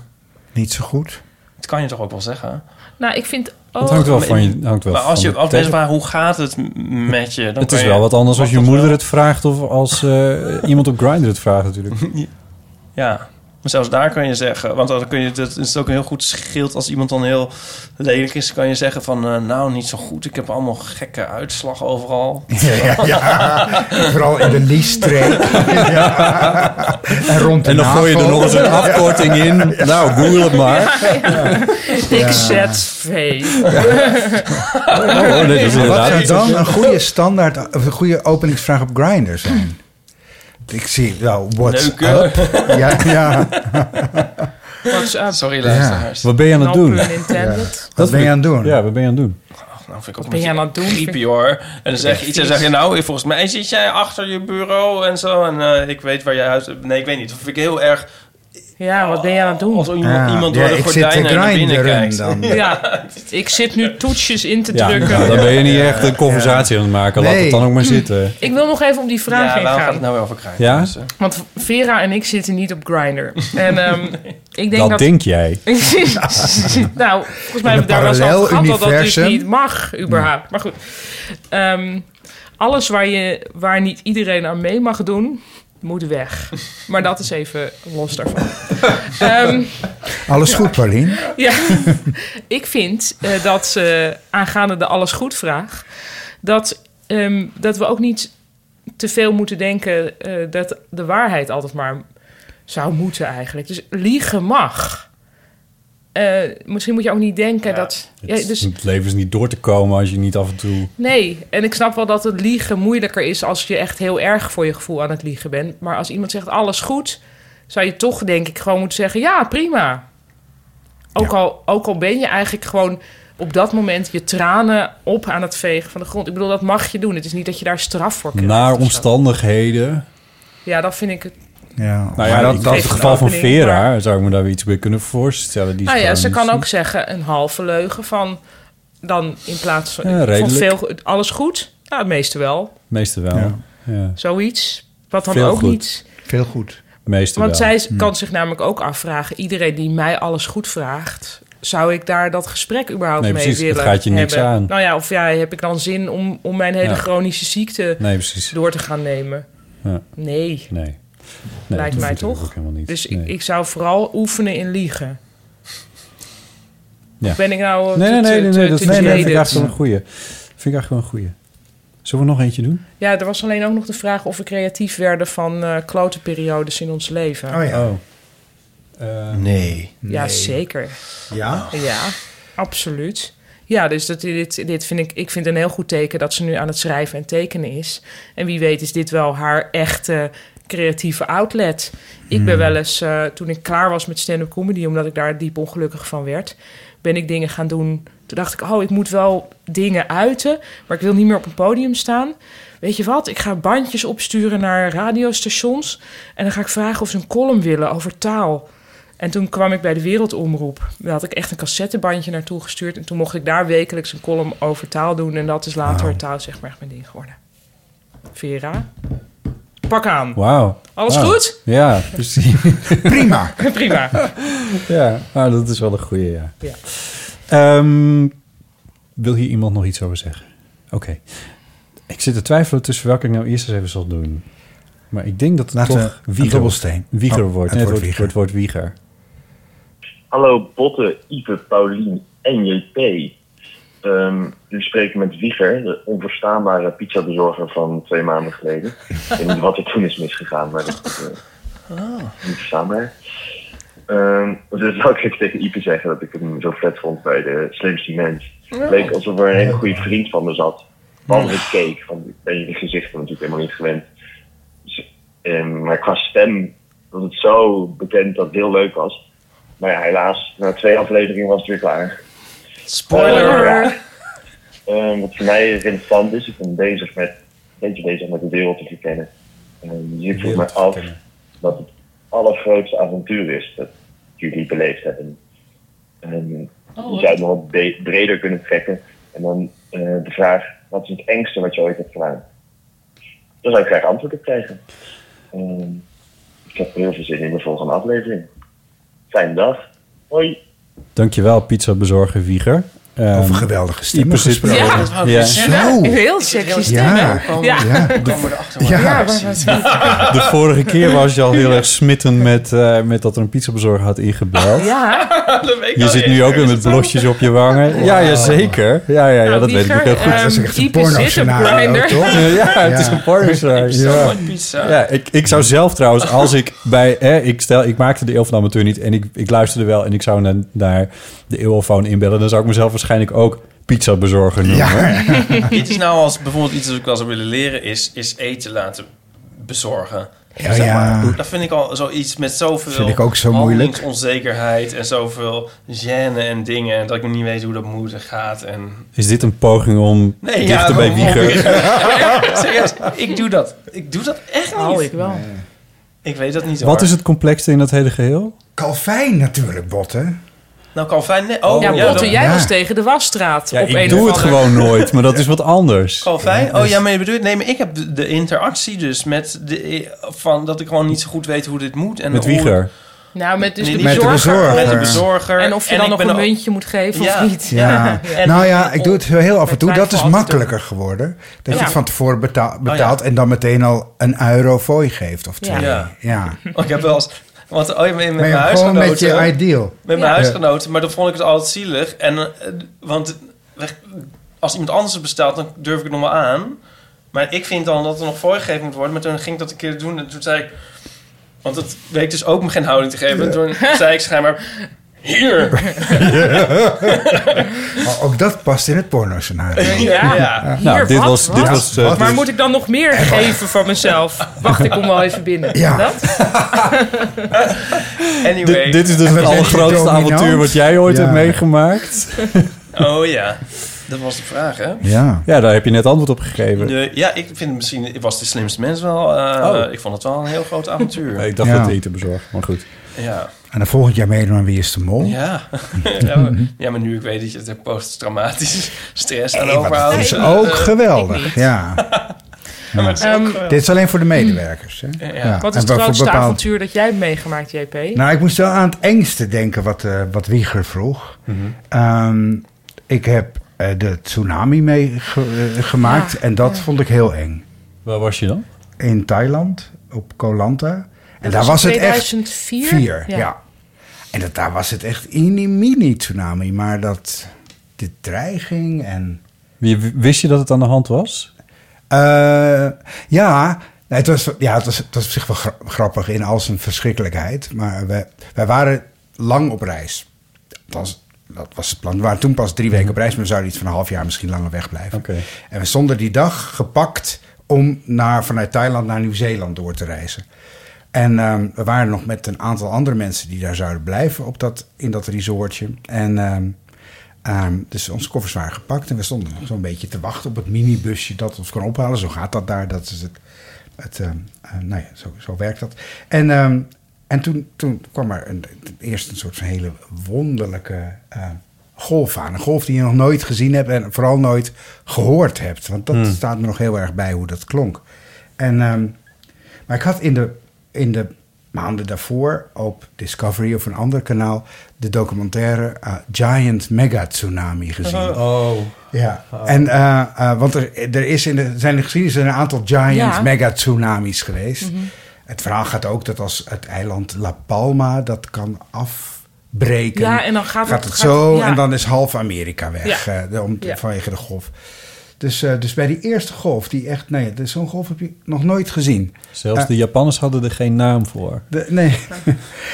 S4: Niet zo goed.
S2: Dat kan je toch ook wel zeggen?
S5: Nou, ik vind ook...
S3: Het hangt wel van je. Hangt wel
S2: maar als
S3: van
S2: je
S3: de
S2: ook altijd
S3: tegen-
S2: vraagt hoe gaat het m- met je... Dan
S3: Het
S2: kan
S3: is
S2: je-
S3: wel wat anders als je moeder het vraagt of als eh, iemand op Grindr het vraagt natuurlijk.
S2: Ja, Maar zelfs daar kun je zeggen, want dan kun je, dat is ook een heel goed schild als iemand dan heel lelijk is, kan je zeggen van eh, nou niet zo goed, ik heb allemaal gekke uitslag overal.
S4: Ja, ja. Vooral in de liesstreek. Ja. En rond de
S3: En dan
S4: navel.
S3: gooi je er nog eens een afkorting in. Nou, google het maar.
S5: Ik
S4: Ja.
S5: zet V.
S3: oh, nee, dat is
S4: Maar Wat
S3: inderdaad
S4: zou
S3: iets.
S4: dan een goede standaard, of een goede openingsvraag op Grindr zijn? Ik zie wel, what's
S2: Leuke.
S4: up? Ja, ja.
S5: WhatsApp.
S2: Sorry
S4: ja.
S2: luisteraars.
S3: Wat ben je aan het doen?
S5: No pun intended.
S4: Wat ben je aan het doen?
S3: Ja, wat ben je aan het doen?
S2: Nou, vind ik ook
S5: Ben
S2: een
S5: jij aan het doen?
S2: griepie, hoor. En dan zeg je iets en zeg je nou, volgens mij zit jij achter je bureau en zo en eh, ik weet waar jij huis... Nee, ik weet niet. Dat vind ik heel erg
S5: Ja, wat ben je aan het doen?
S2: als iemand,
S4: Ah,
S2: iemand door de gordijnen naar binnen kijkt.
S5: Ja, ik zit nu toetsjes in te
S3: Ja,
S5: drukken.
S3: nou, dan ben je niet echt een conversatie aan het maken. Laat
S5: Nee.
S3: het dan ook maar zitten.
S5: Ik wil nog even op die vraag
S2: Ja,
S5: heen
S2: waarom gaat
S5: gaan.
S2: het nou weer over krijgen?
S3: Ja?
S5: Want Vera en ik zitten niet op Grindr. En ehm, ik denk dat...
S3: Dat denk jij.
S5: nou, volgens mij
S3: In
S5: hebben we
S3: een
S5: daar wel eens
S3: parallel
S5: over gehad dat dat dus
S3: universum.
S5: niet mag, überhaupt. Maar goed. Ehm, alles waar, je, waar niet iedereen aan mee mag doen, moet weg. Maar dat is even los daarvan. Ehm,
S4: Alles goed, Paulien?
S5: ja, ik vind eh, dat eh, aangaande de alles goed vraag, dat, ehm, dat we ook niet te veel moeten denken eh, dat de waarheid altijd maar zou moeten eigenlijk. Dus liegen mag. Eh, misschien moet je ook niet denken dat. Ja, dus,
S3: Het leven is niet door te komen als je niet af en toe...
S5: nee, en ik snap wel dat het liegen moeilijker is als je echt heel erg voor je gevoel aan het liegen bent. Maar als iemand zegt alles goed, zou je toch denk ik gewoon moeten zeggen ja, prima. Ook, al, ook al ben je eigenlijk gewoon op dat moment je tranen op aan het vegen van de grond. Ik bedoel, dat mag je doen. Het is niet dat je daar straf voor krijgt.
S3: Naar omstandigheden.
S5: Ja, dat vind ik het.
S4: Ja.
S3: Nou ja,
S5: dat-
S3: in
S5: dat-
S3: het geval van
S5: opening, maar-
S3: Vera zou ik me daar weer iets bij kunnen voorstellen. Die is
S5: Nou ja,
S3: gewoon
S5: ze kan
S3: niet-
S5: ook zeggen een halve leugen van dan in plaats van
S3: Ja,
S5: ik vond
S3: redelijk.
S5: veel alles goed. Nou, het meeste wel.
S3: Meeste wel.
S4: Ja.
S3: Ja.
S5: Zoiets. Wat dan
S3: Veel
S5: ook
S3: goed.
S5: niet.
S4: Veel goed. Hm.
S3: Meeste
S5: Want
S3: wel. Hm.
S5: zij kan zich namelijk ook afvragen: iedereen die mij alles goed vraagt, zou ik daar dat gesprek überhaupt
S3: Nee,
S5: mee
S3: precies,
S5: willen
S3: dat gaat je niks
S5: hebben?
S3: aan.
S5: Nou ja, of ja, heb ik dan zin om, om mijn hele
S3: Ja.
S5: chronische ziekte
S3: Nee, precies.
S5: door te gaan nemen?
S3: Ja.
S5: Nee.
S3: Nee. Nee, dat
S5: Lijkt
S3: hoeft
S5: mij
S3: natuurlijk
S5: toch?
S3: ook helemaal niet.
S5: Dus ik,
S3: Nee.
S5: ik zou vooral oefenen in liegen.
S3: Ja.
S5: Of ben ik nou. eh,
S3: Nee,
S5: te-
S3: nee, nee,
S5: te-
S3: nee,
S5: te-
S3: nee, dat
S5: te
S3: nee, nee, dat vind ik
S5: jaded?
S3: eigenlijk wel een goeie. Vind ik eigenlijk wel een goeie. Zullen we nog eentje doen?
S5: Ja, er was alleen ook nog de vraag of we creatief werden van eh klote periodes in ons leven.
S4: Oh ja.
S2: nee.
S5: Ja, zeker.
S4: Ja?
S5: Ja, absoluut. Ja, dus dat, dit, dit vind ik, ik vind een heel goed teken dat ze nu aan het schrijven en tekenen is. En wie weet is dit wel haar echte creatieve outlet. Ik ben wel eens, eh, toen ik klaar was met stand-up comedy, omdat ik daar diep ongelukkig van werd, ben ik dingen gaan doen. Toen dacht ik, oh, ik moet wel dingen uiten, maar ik wil niet meer op een podium staan. Weet je wat, ik ga bandjes opsturen naar radiostations en dan ga ik vragen of ze een column willen over taal. En toen kwam ik bij de Wereldomroep. Daar had ik echt een cassettebandje naartoe gestuurd. En toen mocht ik daar wekelijks een column over taal doen. En dat is later
S3: Wauw.
S5: taal zeg maar echt mijn ding geworden. Vera, pak aan.
S3: Wauw.
S5: Alles
S3: Wauw.
S5: goed?
S3: Ja, precies.
S4: Prima.
S5: Prima.
S3: ja, nou, dat is wel een goeie, ja.
S5: Ja.
S3: Ehm, wil hier iemand nog iets over zeggen? Oké. Ik zit te twijfelen tussen welke ik nou eerst eens even zal doen. Maar ik denk dat het
S4: Laten
S3: toch
S4: we een
S3: Wieger,
S4: dobbelsteen.
S3: Wieger
S4: Oh,
S3: wordt.
S4: het
S3: Nee,
S4: wordt
S3: het wordt, wordt, wordt Wieger.
S12: Hallo Botte, Ipe, Paulien en JP. Ehm, u spreekt met Wieger, de onverstaanbare pizzabezorger van twee maanden geleden. ik weet niet wat er toen is misgegaan, maar dat is
S5: Oh.
S12: eh, niet verstaanbaar. Ehm, dus laat ik tegen Ipe zeggen dat ik hem zo vet vond bij de slimste mens.
S7: Ja.
S12: Leek alsof er een hele goede vriend van me zat. Behalve ik keek, want ik ben je gezichten natuurlijk helemaal niet gewend. Dus, ehm, maar qua stem was het zo bekend dat het heel leuk was. Maar ja, helaas, na twee afleveringen was het weer klaar. Eh,
S5: Spoiler!
S12: Ehm, wat voor mij relevant is, ik ben bezig met, een beetje bezig met de wereld te verkennen. En dus ik vroeg me af wat het allergrootste avontuur is dat jullie beleefd hebben. Ehm
S7: Oh,
S12: je
S7: wat-
S12: zou het nog wat be- breder kunnen trekken. En dan eh, de vraag, wat is het engste wat je ooit hebt gedaan? Daar zou ik graag antwoord op krijgen. Ehm, ik heb heel veel zin in de volgende aflevering. Fijne dag. Hoi.
S3: Dankjewel, pizza bezorger Wieger. Ehm,
S4: Over geweldige stemmen
S3: Ieper zit-
S4: gesproken.
S5: Ja, dat wou ik
S3: Ja.
S5: net zeggen.
S4: Zo.
S5: Heel sexy stem.
S4: Ja,
S5: hè?
S4: ja.
S5: Ja.
S4: De-
S5: Ja.
S4: ja.
S5: maar wat-
S3: De vorige keer was je al heel erg smitten met, eh, met dat er een pizzabezorger had ingebeld.
S5: Ja.
S3: Je zit nu ook weer met blosjes op je wangen. Ja, ja zeker. Ja, ja, ja dat weet ik ook heel goed.
S5: ehm, Dat is echt een Iep is dit, een pornoscenario, grinder. toch?
S3: Oh, Ja, het is een porno ja. ja, ik, ik zou zelf trouwens, als ik bij... Hè, ik, stel, ik maakte de Eeuw van de Amateur niet en ik, ik luisterde wel... en ik zou naar, naar de Eeuwfoon inbellen... dan zou ik mezelf waarschijnlijk ook pizzabezorger noemen.
S2: Dit is nou als bijvoorbeeld iets dat ik wel zou willen leren, is, is eten laten bezorgen.
S4: Ja,
S2: Zeg
S4: ja.
S2: maar. Dat vind ik al zoiets met zoveel
S4: Vind ik ook zo moeilijk.
S2: onzekerheid en zoveel gêne en dingen. En dat ik niet weet hoe dat moet en gaat. En...
S3: Is dit een poging om
S2: Nee,
S3: dichter
S2: ja,
S3: bij
S2: om-
S3: Wieger...
S2: om- Serieus, ik doe dat. Ik doe dat echt niet.
S5: Oh, ik wel.
S2: Ik weet dat niet
S3: Wat
S2: hoor.
S3: is het complexste in dat hele geheel?
S4: Calvijn natuurlijk, botten.
S2: Nou, Calvijn... Nee. Oh,
S5: ja,
S2: ja,
S5: Botte,
S2: dat-
S5: jij was tegen de wasstraat.
S3: Ja,
S5: op een
S3: ik
S5: of
S3: doe het
S5: andere-
S3: gewoon nooit, maar dat is wat anders.
S2: Calvijn? Oh ja, maar je bedoelt... Nee, maar ik heb de- de interactie dus met... De, van dat ik gewoon niet zo goed weet hoe dit moet. En
S3: Met
S2: hoe-
S3: Wieger.
S5: Nou, met dus
S2: Nee,
S5: de
S2: niet
S5: bezorger.
S2: Met de bezorger.
S5: En of je dan
S2: ik
S5: nog
S2: ben
S5: een
S2: al-
S5: muntje moet geven
S2: Ja.
S5: of niet.
S4: Ja.
S5: En-
S4: nou ja, ik doe het heel af en toe. Dat is
S5: twijfel altijd
S4: makkelijker geworden. Dat je
S5: Ja.
S4: het van tevoren betaal- betaalt en dan meteen al een euro voor je geeft of twee.
S2: Ja.
S4: ja.
S2: Oh, ik heb wel eens... Want oh, ja, met
S4: Maar
S2: mijn
S4: ja, gewoon
S2: huisgenoten...
S4: met je ideal.
S2: Met mijn
S4: Ja.
S2: huisgenoten. Maar dan vond ik het altijd zielig. En, eh, want weg- als iemand anders het bestelt, dan durf ik het nog wel aan. Maar ik vind dan dat er nog voorgegeven moet worden. Maar toen ging ik dat een keer doen. En toen zei ik... Want dat weet dus ook me geen houding te geven. En toen zei ik schijnbaar... Hier!
S4: Maar ook dat past in het porno-scenario.
S5: Eh, Ja.
S4: Nou,
S5: Hier,
S4: dit
S5: wat,
S4: was- dit
S5: wat?
S4: was, eh,
S5: maar
S4: dus-
S5: moet ik dan nog meer geven van mezelf? Wacht, ik kom wel even binnen.
S4: Ja.
S5: Dat?
S2: Anyway.
S3: Dit is dus het allergrootste avontuur wat jij ooit hebt meegemaakt.
S2: Oh ja, dat was de vraag, hè?
S3: Ja. ja, daar heb je net antwoord op gegeven.
S2: De- ja, ik vind het misschien... Ik was de slimste mens wel. eh, Ik vond het wel een heel groot avontuur.
S3: Nee, ik dacht
S4: Ja.
S3: dat eten bezorgd, maar goed.
S2: Ja.
S4: En dan volgend jaar meedoen aan Wie is de Mol.
S2: Ja. ja, maar, ja, maar nu ik weet dat je het hebt posttraumatisch stress aan overhoudt.
S4: Dat is
S2: eh,
S4: Oh, dus ook
S2: eh,
S4: geweldig. Ja. Ja.
S2: het is ook
S5: Ehm,
S2: geweldig.
S4: Dit is alleen voor de medewerkers. Hè?
S5: Wat is
S4: En
S5: het
S4: voor
S5: grootste
S4: bepaald-
S5: avontuur dat jij hebt meegemaakt, JP?
S4: Nou, ik moest wel aan het engste denken wat, eh, wat Wieger vroeg. Ehm, ik heb eh, de tsunami meegemaakt en dat vond ik heel eng.
S3: Waar was je dan?
S4: In Thailand, op Koh Lanta. En
S5: Dat
S4: daar
S5: was
S4: was
S5: in
S4: het echt...
S5: 2004?
S4: Vier,
S5: Ja.
S4: ja. En dat, daar was het echt in mini tsunami. Maar dat... De dreiging en...
S3: Wie- Wist je dat het aan de hand was?
S4: Eh, ja, nee, het was, ja het, was, het was op zich wel gra- grappig in al zijn verschrikkelijkheid. Maar wij, wij waren lang op reis. Althans, dat was het plan. We waren toen pas drie weken op reis, maar we zouden iets van een half jaar misschien langer wegblijven. En we stonden die dag gepakt om naar, vanuit Thailand naar Nieuw-Zeeland door te reizen. En ehm, we waren nog met een aantal andere mensen die daar zouden blijven op dat, in dat resortje. En ehm, ehm, dus onze koffers waren gepakt en we stonden nog zo'n beetje te wachten op het minibusje dat ons kon ophalen. Zo gaat dat daar. Dat is het. het ehm, eh, nou ja, zo, zo werkt dat. En, ehm, en toen, toen kwam er een, eerst een soort van hele wonderlijke eh, golf aan. Een golf die je nog nooit gezien hebt en vooral nooit gehoord hebt. Want dat
S3: Hmm.
S4: staat me nog heel erg bij hoe dat klonk. En, ehm, maar ik had in de, in de maanden daarvoor op Discovery of een ander kanaal de documentaire eh, Giant Mega Tsunami gezien.
S3: Oh.
S4: Ja, en, eh, eh, want er, er is in de, zijn de geschiedenis een aantal giant
S3: Ja.
S4: mega tsunamis geweest.
S12: Mhm.
S7: Mhm.
S4: Het verhaal gaat ook dat als het eiland La Palma dat kan afbreken,
S5: Ja, en dan gaat het-
S4: het
S5: gaat-
S4: zo
S5: ja.
S4: en dan is half Amerika weg
S5: Ja.
S4: eh, om,
S5: Ja.
S4: vanwege de golf. Dus, eh, dus bij die eerste golf, die echt, nee, dus zo'n golf heb je nog nooit gezien.
S3: Zelfs
S4: Eh,
S3: de Japanners hadden er geen naam voor.
S4: de- nee.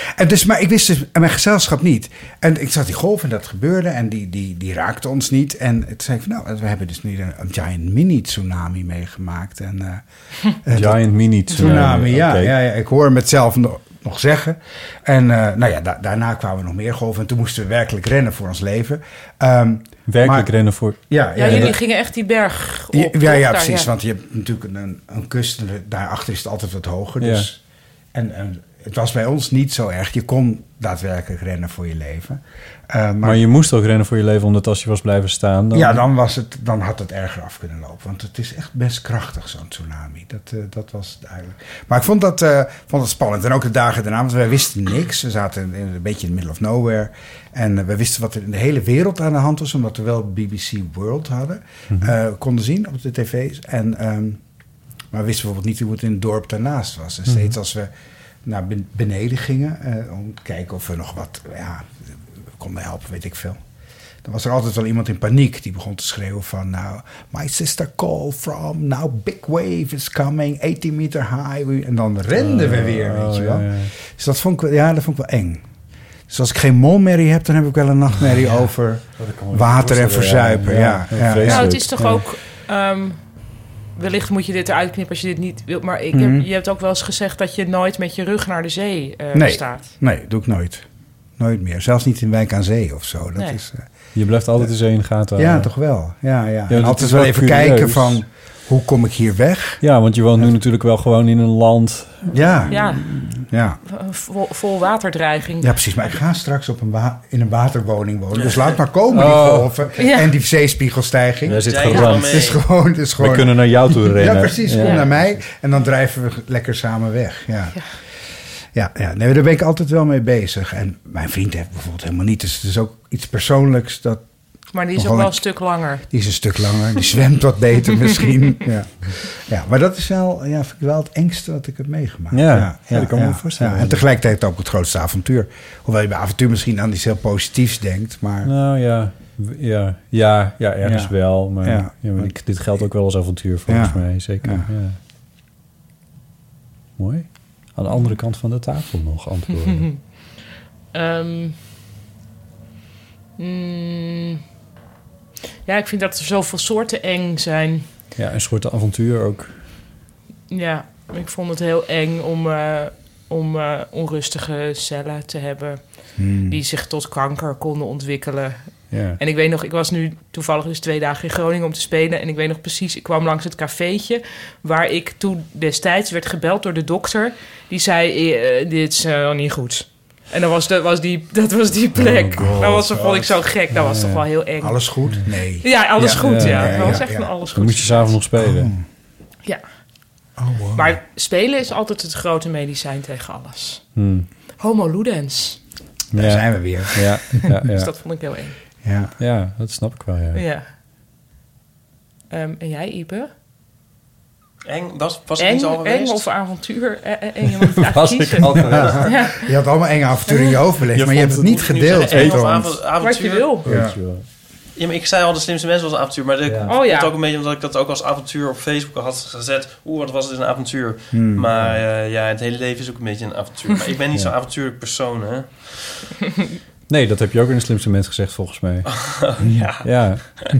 S4: en dus, maar ik wist dus, en mijn gezelschap niet. En ik zag die golf en dat gebeurde en die, die, die raakte ons niet. En toen zei ik van, nou, we hebben dus nu een, een giant mini-tsunami meegemaakt. En, eh, eh, dat-
S3: Giant mini tsunami.
S4: ja,
S3: Oké.
S4: ja, ja. Ik hoor hem het zelf no- nog zeggen. En eh, nou ja, da- daarna kwamen nog meer golven. En toen moesten we werkelijk rennen voor ons leven. Ehm,
S3: werkelijk rennen voor...
S4: Ja,
S5: Ja,
S4: ja,
S5: jullie
S4: dat-
S5: gingen echt die berg
S4: ja,
S5: op. toch?
S4: ja, ja,
S5: Daar,
S4: precies. Want je hebt natuurlijk een, een kust en daarachter is het altijd wat hoger. Dus, en, en het was bij ons niet zo erg. Je kon daadwerkelijk rennen voor je leven. Eh, maar,
S3: Maar je moest ook rennen voor je leven, omdat als je was blijven staan... Dan...
S4: ja, dan, was het, dan had het erger af kunnen lopen. Want het is echt best krachtig, zo'n tsunami. Dat, eh, dat was duidelijk. Maar ik vond dat, eh, vond dat spannend. En ook de dagen daarna, want wij wisten niks. We zaten in, in een beetje in the middle of nowhere. En eh, we wisten wat er in de hele wereld aan de hand was. Omdat we wel BBC World hadden. eh, konden zien op de tv's. En, ehm, maar we wisten bijvoorbeeld niet hoe het in het dorp daarnaast was. En
S3: Mhm.
S4: steeds als we naar ben- beneden gingen... eh, om te kijken of we nog wat ja, konden helpen, weet ik veel. Dan was er altijd wel iemand in paniek die begon te schreeuwen van... Nou, my sister called from, now big wave is coming, 18 meter high. We- En dan renden we
S3: Oh,
S4: weer, weet je wel.
S3: ja, ja.
S4: Dus dat vond, ik, wel- ja, dat vond ik wel eng. Dus als ik geen molmerrie heb, dan heb ik wel een nachtmerrie
S3: Oh,
S4: over water en verzuipen. Ja, ja, ja.
S5: Nou, het is toch ook... ehm, wellicht moet je dit eruit knippen als je dit niet wilt. Maar ik heb-
S4: Mhm.
S5: je hebt ook wel eens gezegd dat je nooit met je rug naar de zee eh,
S4: nee,
S5: staat.
S4: nee, doe ik nooit. Nooit meer. Zelfs niet in Wijk aan Zee of zo. Dat
S5: Nee.
S4: is, eh,
S3: Je blijft altijd eens in de gaten
S4: ja,
S3: houden.
S4: toch wel. Ja, ja.
S3: dat
S4: en altijd
S3: is
S4: wel even
S3: curieus.
S4: kijken van, hoe kom ik hier weg?
S3: Ja, want je woont nu natuurlijk wel gewoon in een land...
S4: Ja.
S5: Ja,
S4: Ja.
S5: eh, vol, vol waterdreiging.
S4: Ja, precies. Maar ik ga straks op een wa- in een waterwoning wonen. Dus
S5: Ja.
S4: laat maar komen die
S5: Oh.
S4: golven
S5: Ja.
S4: en die zeespiegelstijging.
S3: Daar zit Jij geramd. kan mee.
S4: Het is gewoon, het is
S3: We
S4: gewoon...
S3: kunnen naar jou toe
S4: Ja,
S3: rennen.
S4: precies.
S3: Ja.
S4: Kom naar mij en dan drijven we lekker samen weg. Ja. Ja, ja, nee, daar ben ik altijd wel mee bezig. En mijn vriend heeft bijvoorbeeld helemaal niet. Dus het is ook iets persoonlijks. Dat
S5: Maar die is
S4: nog
S5: ook wel
S4: een-
S5: een stuk langer.
S4: die is een stuk langer. Die zwemt wat beter misschien. Ja. ja, maar dat is wel, ja, vind ik wel het engste wat ik heb meegemaakt.
S3: Ja, ja, dat kan ik me voorstellen.
S4: ja. En tegelijkertijd ook het grootste avontuur. Hoewel je bij avontuur misschien aan iets heel positiefs denkt. Maar
S3: Nou ja, w- ja, ja, ja ergens
S4: Ja.
S3: wel. Maar,
S4: Ja.
S3: ja. maar ik- dit geldt ook wel als avontuur volgens
S4: Ja.
S3: mij, zeker.
S4: Ja.
S3: Ja. Mooi. Aan de andere kant van de tafel nog antwoorden.
S5: Ehm, mm, ja, ik vind dat er zoveel soorten eng zijn.
S3: ja, een soort avontuur ook.
S5: Ja, ik vond het heel eng om, eh, om eh, onrustige cellen te hebben.
S3: Hmm.
S5: Die zich tot kanker konden ontwikkelen.
S3: Ja.
S5: En ik weet nog, ik was nu toevallig dus twee dagen in Groningen om te spelen. En ik weet nog precies, ik kwam langs het cafeetje. Waar ik toen destijds werd gebeld door de dokter. Die zei, eh, dit is eh, niet goed. En dat was, dat was, die, dat was die plek.
S4: Oh God.
S5: dat was, dat vond ik zo gek. Dat was toch wel heel eng.
S4: Alles goed? Nee.
S5: Ja, alles goed, ja.
S3: ja,
S5: Dat was
S3: ja,
S5: echt
S3: ja.
S5: van alles
S3: Dan
S5: goed.
S3: moet je s'avonds nog spelen.
S5: Ja.
S4: Oh, wow.
S5: Maar spelen is altijd het grote medicijn tegen alles.
S3: Hmm.
S5: Homo ludens.
S4: Daar
S3: Ja.
S4: zijn we weer.
S3: Ja, ja, ja.
S5: Dus dat vond ik heel eng.
S4: Ja.
S3: ja dat snap ik wel, ja.
S5: Ja. Ehm, en jij, Ipe?
S2: Eng, was, was
S5: eng,
S2: ik niet al
S5: eng
S2: geweest?
S5: of avontuur? Eh, eh, eng, je moet het eigenlijk
S2: Was ik
S5: kiezen.
S2: al geweest?
S5: Ja.
S4: Ja. Je had allemaal enge avonturen in je hoofd belegd, maar je hebt het niet gedeeld met
S2: Of
S4: ons.
S2: avond- avontuur.
S5: Wat je wil.
S4: Ja.
S3: Weet je wel.
S2: Ja, maar ik zei al de slimste mensen was een avontuur. Maar dat
S5: Oh, ja.
S2: komt ook een beetje omdat ik dat ook als avontuur op Facebook had gezet. Oeh, wat was het een avontuur.
S4: Hmm.
S2: Maar eh, ja, het hele leven is ook een beetje een avontuur. Maar ik ben niet
S3: Ja.
S2: zo'n avontuurlijk persoon, hè.
S3: Nee, dat heb je ook in de slimste mens gezegd, volgens mij.
S2: ja.
S3: ja.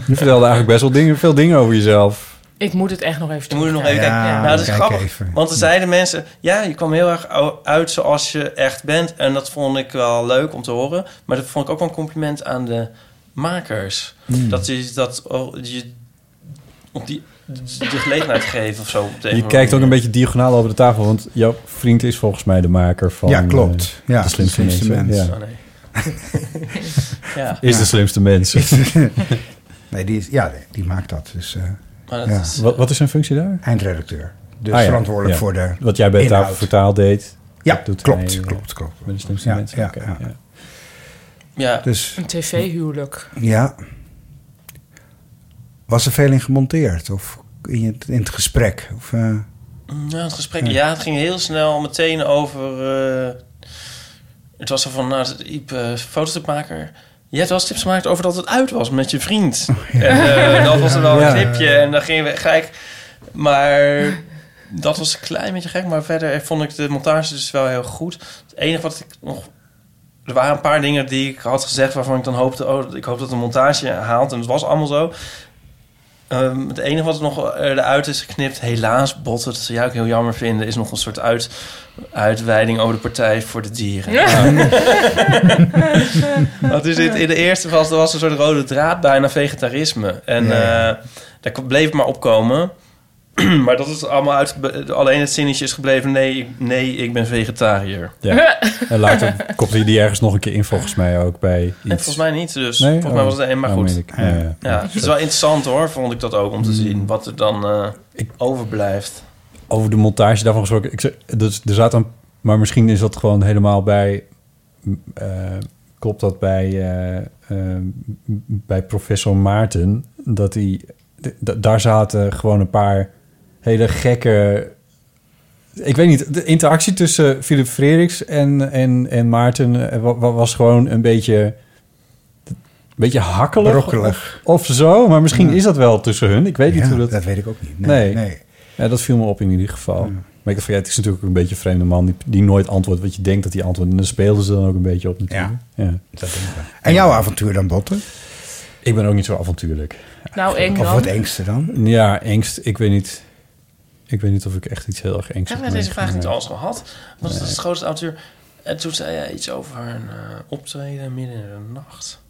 S3: Je vertelde eigenlijk best wel dingen, veel dingen over jezelf.
S5: Ik moet het echt nog even
S2: Je moet er nog even
S5: terugkijken. Ja.
S2: kijken. nou, dat is
S3: kijk
S2: grappig.
S3: even.
S2: Want er zeiden mensen, ja, je kwam heel erg ou- uit zoals je echt bent. En dat vond ik wel leuk om te horen. Maar dat vond ik ook wel een compliment aan de makers.
S3: Mm.
S2: Dat je dat oh, je op die de gelegenheid geven of zo. op de een of
S3: Je
S2: andere
S3: kijkt ook een
S2: manier.
S3: beetje diagonaal over de tafel, want jouw vriend is volgens mij de maker van
S4: Ja, klopt.
S3: eh,
S4: Ja,
S3: de slimste,
S4: de slimste
S3: mens.
S4: mens.
S3: Ja.
S4: Oh,
S2: ja.
S3: Is de slimste mens. Ah,
S4: nee, die is, ja, die maakt dat. Dus, eh,
S2: Maar dat
S4: ja.
S2: is-
S3: wat, wat is zijn functie daar?
S4: Eindredacteur. Dus
S3: Ah, ja.
S4: verantwoordelijk
S3: Ja.
S4: voor de
S3: Wat jij bij
S4: inhoud.
S3: tafel voor taal deed.
S4: Ja,
S3: dat doet
S4: klopt,
S3: hij, eh,
S4: klopt, klopt.
S3: Bij de slimste
S4: Ja,
S3: mens.
S4: ja,
S3: Oké,
S4: ja.
S2: Ja.
S4: Dus
S5: Een tv-huwelijk.
S4: ja. Was er veel in gemonteerd? Of in het, in het gesprek? Of, eh,
S2: Nou, het gesprek, ja, het ging heel snel meteen over. eh, het was er van, nou, Iep, eh, fototipmaker. Je hebt wel eens tips gemaakt over dat het uit was met je vriend. En eh, dat was er wel
S3: Oh, Ja.
S2: een tipje en dan gingen we gek. Maar dat was een klein beetje gek. Maar verder vond ik de montage dus wel heel goed. Het enige wat ik nog... Er waren een paar dingen die ik had gezegd waarvan ik dan hoopte... Oh, ik hoop dat de montage haalt. En het was allemaal zo. Ehm, het enige wat nog eh, eruit is geknipt, helaas botten, dat zou jij ook heel jammer vinden, is nog een soort uit, uitweiding over de Partij voor de Dieren. Want er zit in de eerste vast, er was een soort rode draad bijna vegetarisme. En
S4: Ja.
S2: eh, daar k- bleef het maar opkomen. maar dat is allemaal uit... Alleen het zinnetje is gebleven... Nee, ik- nee ik ben vegetariër.
S3: Ja. en later komt hij die ergens nog een keer in, volgens mij ook bij iets.
S2: Nee, volgens mij niet, dus.
S3: Nee?
S2: Volgens mij
S3: Oh,
S2: was het één, maar
S3: oh,
S2: goed.
S3: meen ik. Ja, ja. Mm.
S2: Ja, het is wel interessant hoor, vond ik dat ook, om te zien wat er dan eh, overblijft.
S3: Over de montage daarvan gesproken. Ik, zeg- dus, er zaten, een- maar misschien is dat gewoon helemaal bij... m, eh, klopt dat bij, eh, eh, bij professor Maarten? Dat hij... d- d- daar zaten gewoon een paar hele gekke... Ik weet niet, de interactie tussen Philip Frederiks en, en, en Maarten eh, wa- wa- was gewoon een beetje... Een beetje hakkelig.
S4: Brokkelig.
S3: Of, of zo, maar misschien is dat wel tussen hun. Ik weet
S4: Ja,
S3: niet hoe dat...
S4: dat weet ik ook niet.
S3: Nee.
S4: Nee,
S3: Ja, dat viel me op in ieder geval. Maar ik dacht van, ja, het is natuurlijk ook een beetje een vreemde man... die, die nooit antwoordt wat je denkt dat hij antwoordt. En dan speelden ze dan ook een beetje op natuurlijk. Ja,
S4: En jouw avontuur dan, Botten?
S3: Ik ben ook niet zo avontuurlijk.
S13: Nou, eng
S4: Of
S13: dan.
S4: wat engste dan?
S3: Ja, angst, ik weet niet... Ik weet niet of ik echt iets heel erg engs heb.
S2: Hebben we deze vraag
S3: meegemaakt.
S2: niet al eens gehad? Wat is
S3: Nee.
S2: het grootste avontuur? En toen zei jij iets over een eh, optreden midden in de nacht.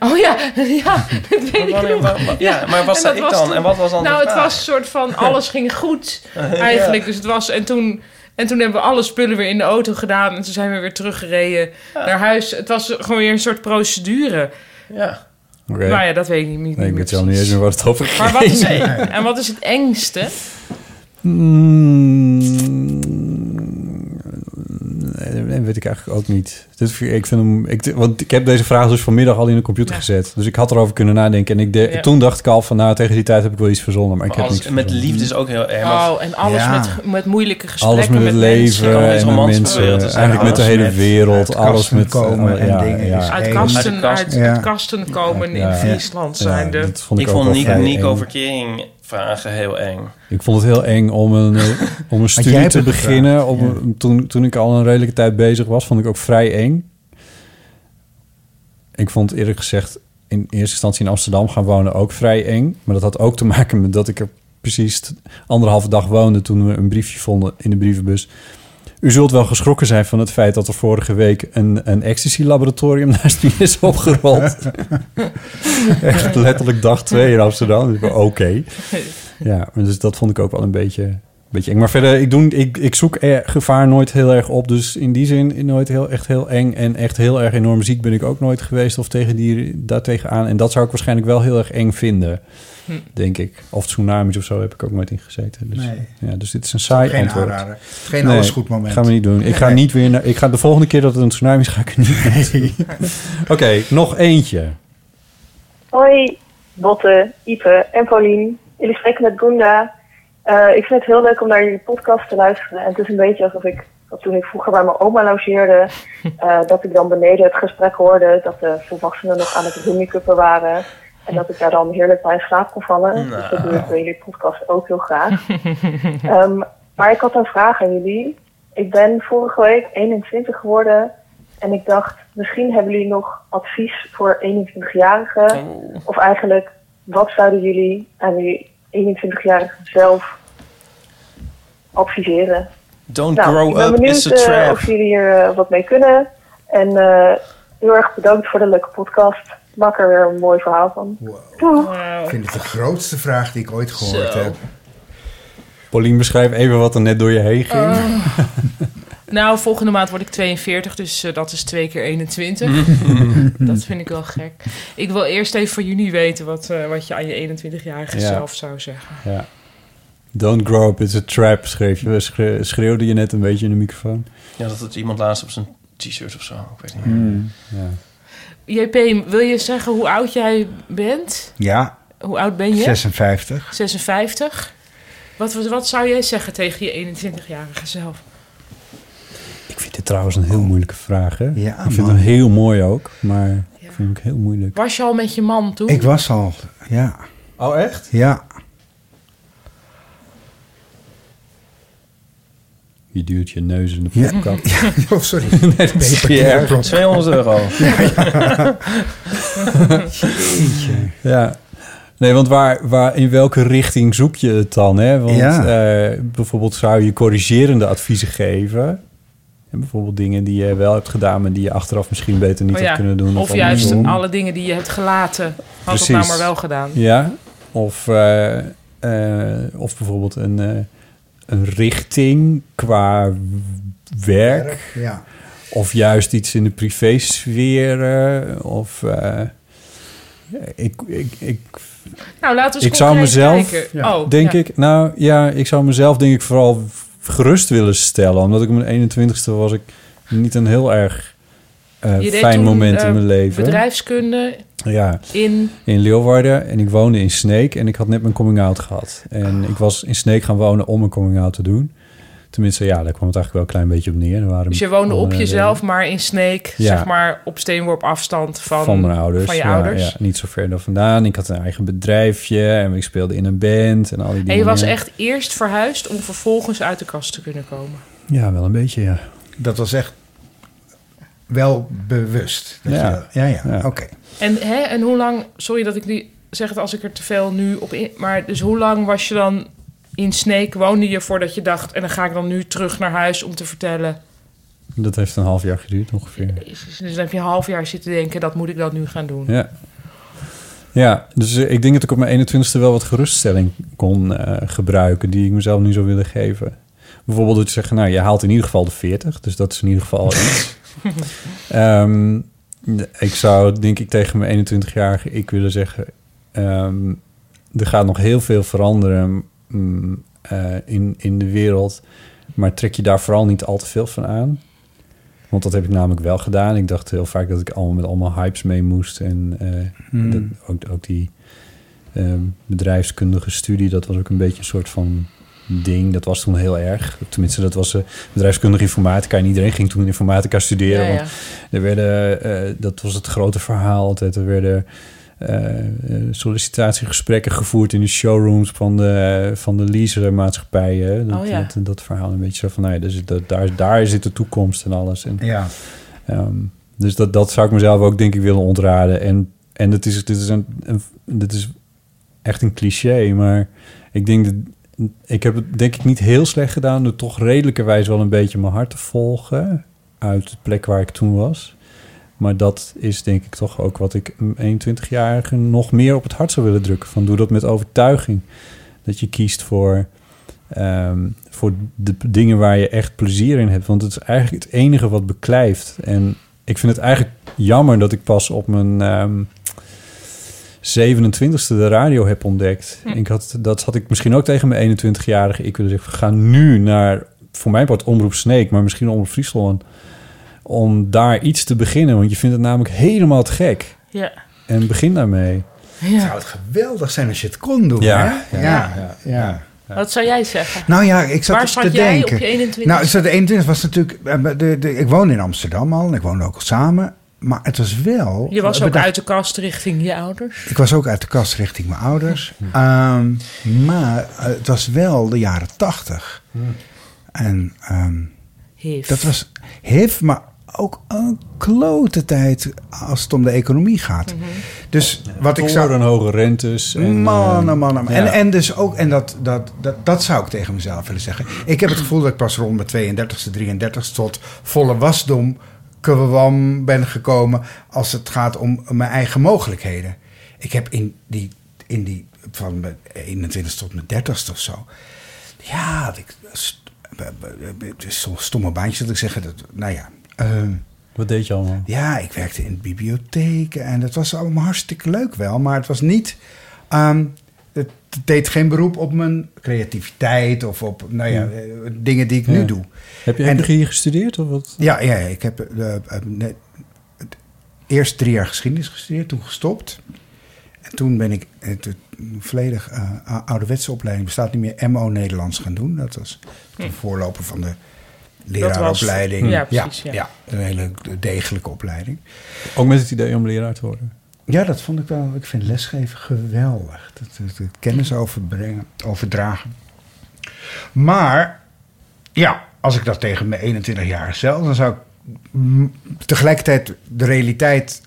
S5: Oh ja, ja, dat weet ik
S2: wanneer-
S5: nog.
S2: wa- wa- ja, maar wat
S5: En
S2: zei
S5: dat
S2: ik dan? En wat was dan de
S5: Nou, het
S2: vraag?
S5: was een soort van alles ging goed
S2: Ja.
S5: eigenlijk. Dus het was, en toen, en toen hebben we alle spullen weer in de auto gedaan. En toen zijn we weer teruggereden naar huis. Het was gewoon weer een soort procedure.
S2: Ja.
S3: Oké.
S5: Nou ja, dat weet ik niet, niet
S3: Nee, ik
S5: meer
S3: weet zelf niet eens meer wat het over
S5: Maar wat is,
S3: ging.
S5: en wat is het engste?
S3: Mm, nee, dat weet ik eigenlijk ook niet. Dit, vind ik ik vind hem, ik, want ik heb deze vraag dus vanmiddag al in de computer gezet. Dus ik had erover kunnen nadenken. En ik de,
S5: Ja.
S3: toen dacht ik al van, nou, tegen die tijd heb ik wel iets verzonnen.
S2: Maar
S3: Maar, ik heb
S2: alles-
S3: niks
S2: met
S3: verzonnen.
S2: liefde is ook heel erg.
S5: Oh, en alles
S3: Ja.
S5: met, met moeilijke gesprekken.
S3: Alles met het
S5: mensen.
S3: leven
S2: kan iets
S3: en met
S2: romantisch
S3: mensen.
S2: proberen te zijn.
S3: Eigenlijk met de
S2: Alles
S3: hele
S2: met
S3: wereld.
S2: uit
S3: Alles
S2: kasten
S3: met...
S2: komen
S3: alle-
S2: en
S3: ja,
S2: dingen
S3: ja.
S2: is
S5: Uit
S2: heen.
S5: kasten,
S2: Uit
S5: uit,
S2: de kast. Ja.
S5: uit kasten komen
S3: Ja.
S5: in Friesland
S3: Ja,
S5: zijn de...
S3: dat vond ik
S2: ik
S3: ook
S2: vond
S3: wel
S2: Nico,
S3: vrij
S2: Nico
S3: eng.
S2: Verkering vragen heel eng.
S3: Ik vond het heel eng om een, eh, om een
S2: jij
S3: studie
S2: hebt
S3: te
S2: het gevraagd,
S3: beginnen. Op, een- toen, toen ik al een redelijke tijd bezig was, vond ik ook vrij eng. Ik vond eerlijk gezegd in eerste instantie in Amsterdam gaan wonen ook vrij eng. Maar dat had ook te maken met dat ik er precies t- anderhalve dag woonde toen we een briefje vonden in de brievenbus. U zult wel geschrokken zijn van het feit dat er vorige week een, een ecstasy-laboratorium naast me is opgerold. Echt letterlijk dag twee in Amsterdam. Dus ik dacht, Oké. Ja, maar dus dat vond ik ook wel een beetje, een beetje eng. Maar verder, ik, doe, ik, ik zoek eh, gevaar nooit heel erg op. Dus in die zin nooit heel, echt heel eng. En echt heel erg enorm ziek ben ik ook nooit geweest. Of tegen die, daar tegenaan. En dat zou ik waarschijnlijk wel heel erg eng vinden.
S4: Hm.
S3: Denk ik. Of tsunamis of zo heb ik ook nooit in gezeten. Dus,
S4: Nee.
S3: ja, dus dit is een saai
S4: Geen
S3: antwoord.
S4: aanrader. Geen alles goed moment.
S3: gaan we niet doen. Ik ga
S4: Nee.
S3: niet weer naar... Ik ga de volgende keer dat er een tsunami is, ga ik er niet naartoe. Oké, nog eentje.
S8: Hoi, Botte, Ipe en Paulien. Jullie spreken met Gunda. Eh, ik vind het heel leuk om naar jullie podcast te luisteren. En het is een beetje alsof ik, dat toen ik vroeger bij mijn oma logeerde, eh, dat ik dan beneden het gesprek hoorde dat de volwassenen nog aan het roomikuppen waren. En dat ik daar dan heerlijk bij in slaap kon vallen. Dus dat doe ik bij jullie podcast ook heel graag. Ehm, maar ik had een vraag aan jullie. Ik ben vorige week 21 geworden. En ik dacht, misschien hebben jullie nog advies voor 21-jarigen.
S2: Oh.
S8: Of eigenlijk, wat zouden jullie aan die 21-jarigen zelf adviseren?
S2: Don't
S8: Nou, ik
S2: grow
S8: ben
S2: up,
S8: benieuwd
S2: it's a
S8: eh,
S2: trap.
S8: of jullie hier eh, wat mee kunnen. En eh, heel erg bedankt voor de leuke podcast. Maak er weer een mooi verhaal van. Doeg!
S4: Ik vind het de grootste vraag die ik ooit gehoord
S5: Zo.
S4: heb.
S3: Paulien, beschrijf even wat er net door je heen ging.
S5: Oh. nou, volgende maand word ik 42, dus eh, dat is twee keer 21. dat vind ik wel gek. Ik wil eerst even van jullie weten wat, eh, wat je aan je 21-jarige
S3: Ja.
S5: zelf zou zeggen.
S3: Ja. Don't grow up, it's a trap, schreef je, schre- schreeuwde je net een beetje in de microfoon.
S2: Ja, dat het iemand laatst op zijn t-shirt of zo. Ik weet niet meer.
S3: Hmm, Ja.
S5: JP, wil je zeggen hoe oud jij bent?
S4: Ja,
S5: Hoe oud ben je?
S4: 56.
S5: 56. Wat, wat, wat zou jij zeggen tegen je 21-jarige zelf?
S3: Ik vind dit trouwens een heel moeilijke vraag, hè?
S4: Ja,
S3: ik vind
S4: man.
S3: hem heel mooi ook, maar ik vind hem ook heel moeilijk.
S5: Was je al met je man toen?
S4: Ik was al, ja.
S3: Oh, echt?
S4: Ja.
S3: Je duwt je neus in de plopkap.
S4: Ja. Oh, sorry.
S3: nee, dat is
S4: Ben je
S3: Pierre.
S4: parkeerprop. 200 euro. Ja, ja. Jeetje.
S3: Ja. Nee, want waar, waar, in welke richting zoek je het dan? Hè? Want
S4: Ja.
S3: eh, bijvoorbeeld zou je corrigerende adviezen geven. En bijvoorbeeld dingen die je wel hebt gedaan... maar die je achteraf misschien beter niet
S5: Oh
S3: had
S5: ja,
S3: kunnen doen.
S5: Of juist
S3: andersom.
S5: nou alle dingen die je hebt gelaten. Had het nou maar wel gedaan.
S3: Ja, of eh, eh, of bijvoorbeeld een, eh, een richting qua werk.
S4: ja.
S3: Of juist iets in de privésfeer. eh, Of eh, ik, ik, ik,
S5: Nou, laten we
S3: ik
S5: eens
S3: zou
S5: concreet
S3: mezelf,
S5: kijken. Ja. Oh,
S3: denk
S5: ja.
S3: ik, nou ja, ik zou mezelf denk ik vooral gerust willen stellen. Omdat ik op mijn 21ste was ik niet een heel erg eh,
S5: Je deed
S3: fijn
S5: toen,
S3: moment
S5: eh,
S3: in mijn leven.
S5: Bedrijfskunde.
S3: Ja,
S5: In?
S3: in Leeuwarden. En ik woonde in Sneek en ik had net mijn coming-out gehad. En
S5: Ah.
S3: ik was in Sneek gaan wonen om een coming-out te doen. Tenminste, ja, daar kwam het eigenlijk wel een klein beetje op neer. Er waren
S5: Dus je woonde op
S3: andere
S5: jezelf, maar in Sneek,
S3: Ja.
S5: zeg maar op steenworp afstand van,
S3: van mijn ouders.
S5: Van je
S3: ja,
S5: ouders.
S3: Ja, niet zo ver daar vandaan. Ik had een eigen bedrijfje en ik speelde in een band en al die dingen.
S5: En je was echt eerst verhuisd om vervolgens uit de kast te kunnen komen.
S3: Ja, wel een beetje, ja.
S4: Dat was echt wel bewust. Dat
S3: Ja.
S4: je dat- ja, ja,
S3: Ja.
S4: oké.
S5: En, hè, en hoe lang, sorry dat ik nu zeg het als ik er te veel nu op in, maar dus hoe lang was je dan in Sneek, woonde je voordat je dacht, en dan ga ik dan nu terug naar huis om te vertellen.
S3: Dat heeft een half jaar geduurd ongeveer.
S5: Dus dan heb je een half jaar zitten denken, dat moet ik dat nu gaan doen.
S3: Ja. Ja, dus eh, ik denk dat ik op mijn 21ste wel wat geruststelling kon eh, gebruiken... die ik mezelf nu zou willen geven. Bijvoorbeeld dat je zegt, nou, je haalt in ieder geval de 40. Dus dat is in ieder geval al iets. Ehm, ik zou, denk ik, tegen mijn 21-jarige ik willen zeggen... ehm, er gaat nog heel veel veranderen mm, eh, in, in de wereld... maar trek je daar vooral niet al te veel van aan. Want dat heb ik namelijk wel gedaan. Ik dacht heel vaak dat ik allemaal met allemaal hypes mee moest. En eh,
S4: Hmm.
S3: dat, ook, ook die eh, bedrijfskundige studie, dat was ook een beetje een soort van ding. Dat was toen heel erg. Tenminste, dat was eh, bedrijfskundige informatica. En iedereen ging toen informatica studeren.
S5: Ja, ja.
S3: Want er werden, eh, dat was het grote verhaal altijd. Er werden eh, eh, sollicitatiegesprekken gevoerd in de showrooms van de, van de leasemaatschappijen. Dat,
S5: Oh, ja.
S3: dat, dat verhaal een beetje zo van, nou ja, daar, zit, dat- daar, daar zit de toekomst en alles. En,
S4: Ja.
S3: ehm, dus dat, dat zou ik mezelf ook denk ik willen ontraden. En, en het is, dit, is een, een- dit is echt een cliché, maar ik denk dat... Ik heb het denk ik niet heel slecht gedaan... door toch redelijkerwijs wel een beetje mijn hart te volgen... uit de plek waar ik toen was. Maar dat is denk ik toch ook wat ik een 21-jarige nog meer op het hart zou willen drukken. Van doe dat met overtuiging. Dat je kiest voor, ehm, voor de p- dingen waar je echt plezier in hebt. Want het is eigenlijk het enige wat beklijft. En ik vind het eigenlijk jammer dat ik pas op mijn ehm 27e de radio heb ontdekt. Ik had, dat had ik misschien ook tegen mijn 21-jarige. Ik willen zeggen, ga nu naar, voor mij wordt Omroep Sneek, maar misschien Omroep Friesland. Om daar iets te beginnen, want je vindt het namelijk helemaal te gek.
S5: Ja.
S3: En begin daarmee.
S4: Het zou het geweldig zijn als je het kon doen.
S3: Ja,
S4: hè?
S3: ja,
S4: ja. ja.
S5: Wat zou jij zeggen?
S4: Nou ja, ik zat
S5: Waar
S4: dus
S5: zat
S4: te
S5: jij
S4: denken.
S5: op je 21?
S4: Nou, ik zat- de 21 was natuurlijk. eh, De, de, ik woon in Amsterdam al en ik woon ook al samen. Maar het was wel.
S5: je was ook
S4: bedacht-
S5: uit de kast richting je ouders.
S4: Ik was ook uit de kast richting mijn ouders. Ehm, maar eh, het was wel de jaren 80.
S3: Hmm.
S4: En ehm,
S5: Hif.
S4: dat was hif, maar ook een klote tijd als het om de economie gaat. Dus wat ik zou...
S3: Toren, hoge rentes. En,
S4: Man,
S3: eh,
S4: oh man, oh man.
S3: ja.
S4: En, en dus ook, en dat, dat, dat, dat zou ik tegen mezelf willen zeggen. Ik heb het gevoel dat ik pas rond mijn 32e, 33e tot volle wasdom kwam ben gekomen als het gaat om mijn eigen mogelijkheden. Ik heb in die, in die van mijn 21ste tot mijn 30ste of zo. Ja, dat ik, st- b- b- b- Eh, het is zo'n stomme baantje dat ik zeg. Dat, nou ja. ehm,
S3: Wat deed je allemaal?
S4: ja, ik werkte in bibliotheken en dat was allemaal hartstikke leuk wel, maar het was niet. ehm, het deed geen beroep op mijn creativiteit of op nou ja,
S3: Ja.
S4: eh, dingen die ik nu
S3: Ja.
S4: doe.
S3: Heb je,
S4: En-
S3: heb je hier gestudeerd of wat?
S4: Ja, ja, ja, ik heb eh, eh, net- het- eerst drie jaar geschiedenis gestudeerd, toen gestopt. En toen ben ik eh, toen een volledig eh, a- ouderwetse opleiding, bestaat niet meer, MO Nederlands gaan doen. Dat was de
S5: Hm.
S4: voorloper van de
S5: was-
S4: leraaropleiding.
S5: ja, precies, ja.
S4: een hele degelijke opleiding.
S3: Ook met het idee om leraar te worden?
S4: Ja, dat vond ik wel. Ik vind lesgeven geweldig. Dat, dat, dat kennis overbrengen, overdragen. Maar ja, als ik dat tegen mijn 21 jaar zelf, dan zou ik mm, tegelijkertijd de realiteit,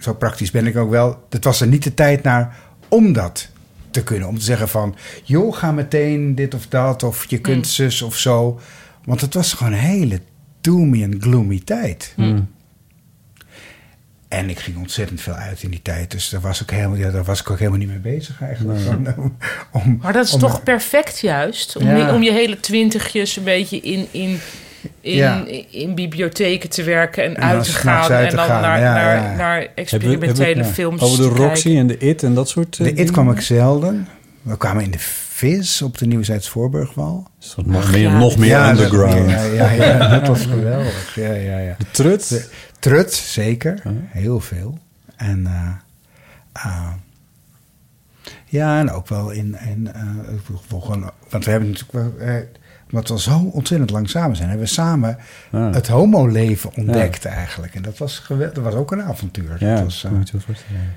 S4: zo praktisch ben ik ook wel, dat was er niet de tijd naar om dat te kunnen. Om te zeggen van, joh, ga meteen dit of dat, of je kunt
S5: Hmm.
S4: zus of zo. Want
S5: Hmm.
S4: het was gewoon een hele doomy en gloomy tijd. En ik ging ontzettend veel uit in die tijd. Dus daar was ik, helemaal, ja, daar was ik ook helemaal niet mee bezig eigenlijk. Om- om-
S5: Maar dat is
S4: om-
S5: toch perfect juist? Om,
S4: Ja.
S5: om je hele twintigjes een beetje in, in, in,
S4: Ja.
S5: in bibliotheken te werken en,
S3: En dan
S5: uit te
S3: s'nachts
S5: gaan.
S3: uit
S5: en
S3: te
S5: dan
S3: gaan,
S5: naar,
S3: ja,
S5: naar,
S3: ja.
S5: naar
S3: Hebben we-
S5: experimentele
S3: hebben we- ja.
S5: films
S3: Over de
S5: te
S3: Roxy
S5: kijken.
S3: en de It en dat soort eh,
S4: De It
S3: dingen?
S4: kwam ik zelden. We kwamen in de Vis op de Nieuwzijds Voorburgwal.
S3: Is dat nog meer- nog meer underground.
S4: Ja, ja, ja, dat was geweldig. Ja, ja, ja.
S3: De Trut?
S4: De Trut, zeker. Heel veel. En eh, eh, ja, en ook wel in... in eh, ik bedoel, gewoon, want we hebben natuurlijk wel... eh, omdat we zo ontzettend lang samen zijn, hebben we samen het homoleven ontdekt eigenlijk. En dat was, geweldig. dat was ook een avontuur.
S3: Ja,
S4: dat
S3: dat
S4: was,
S3: kan ik me zo voorstellen.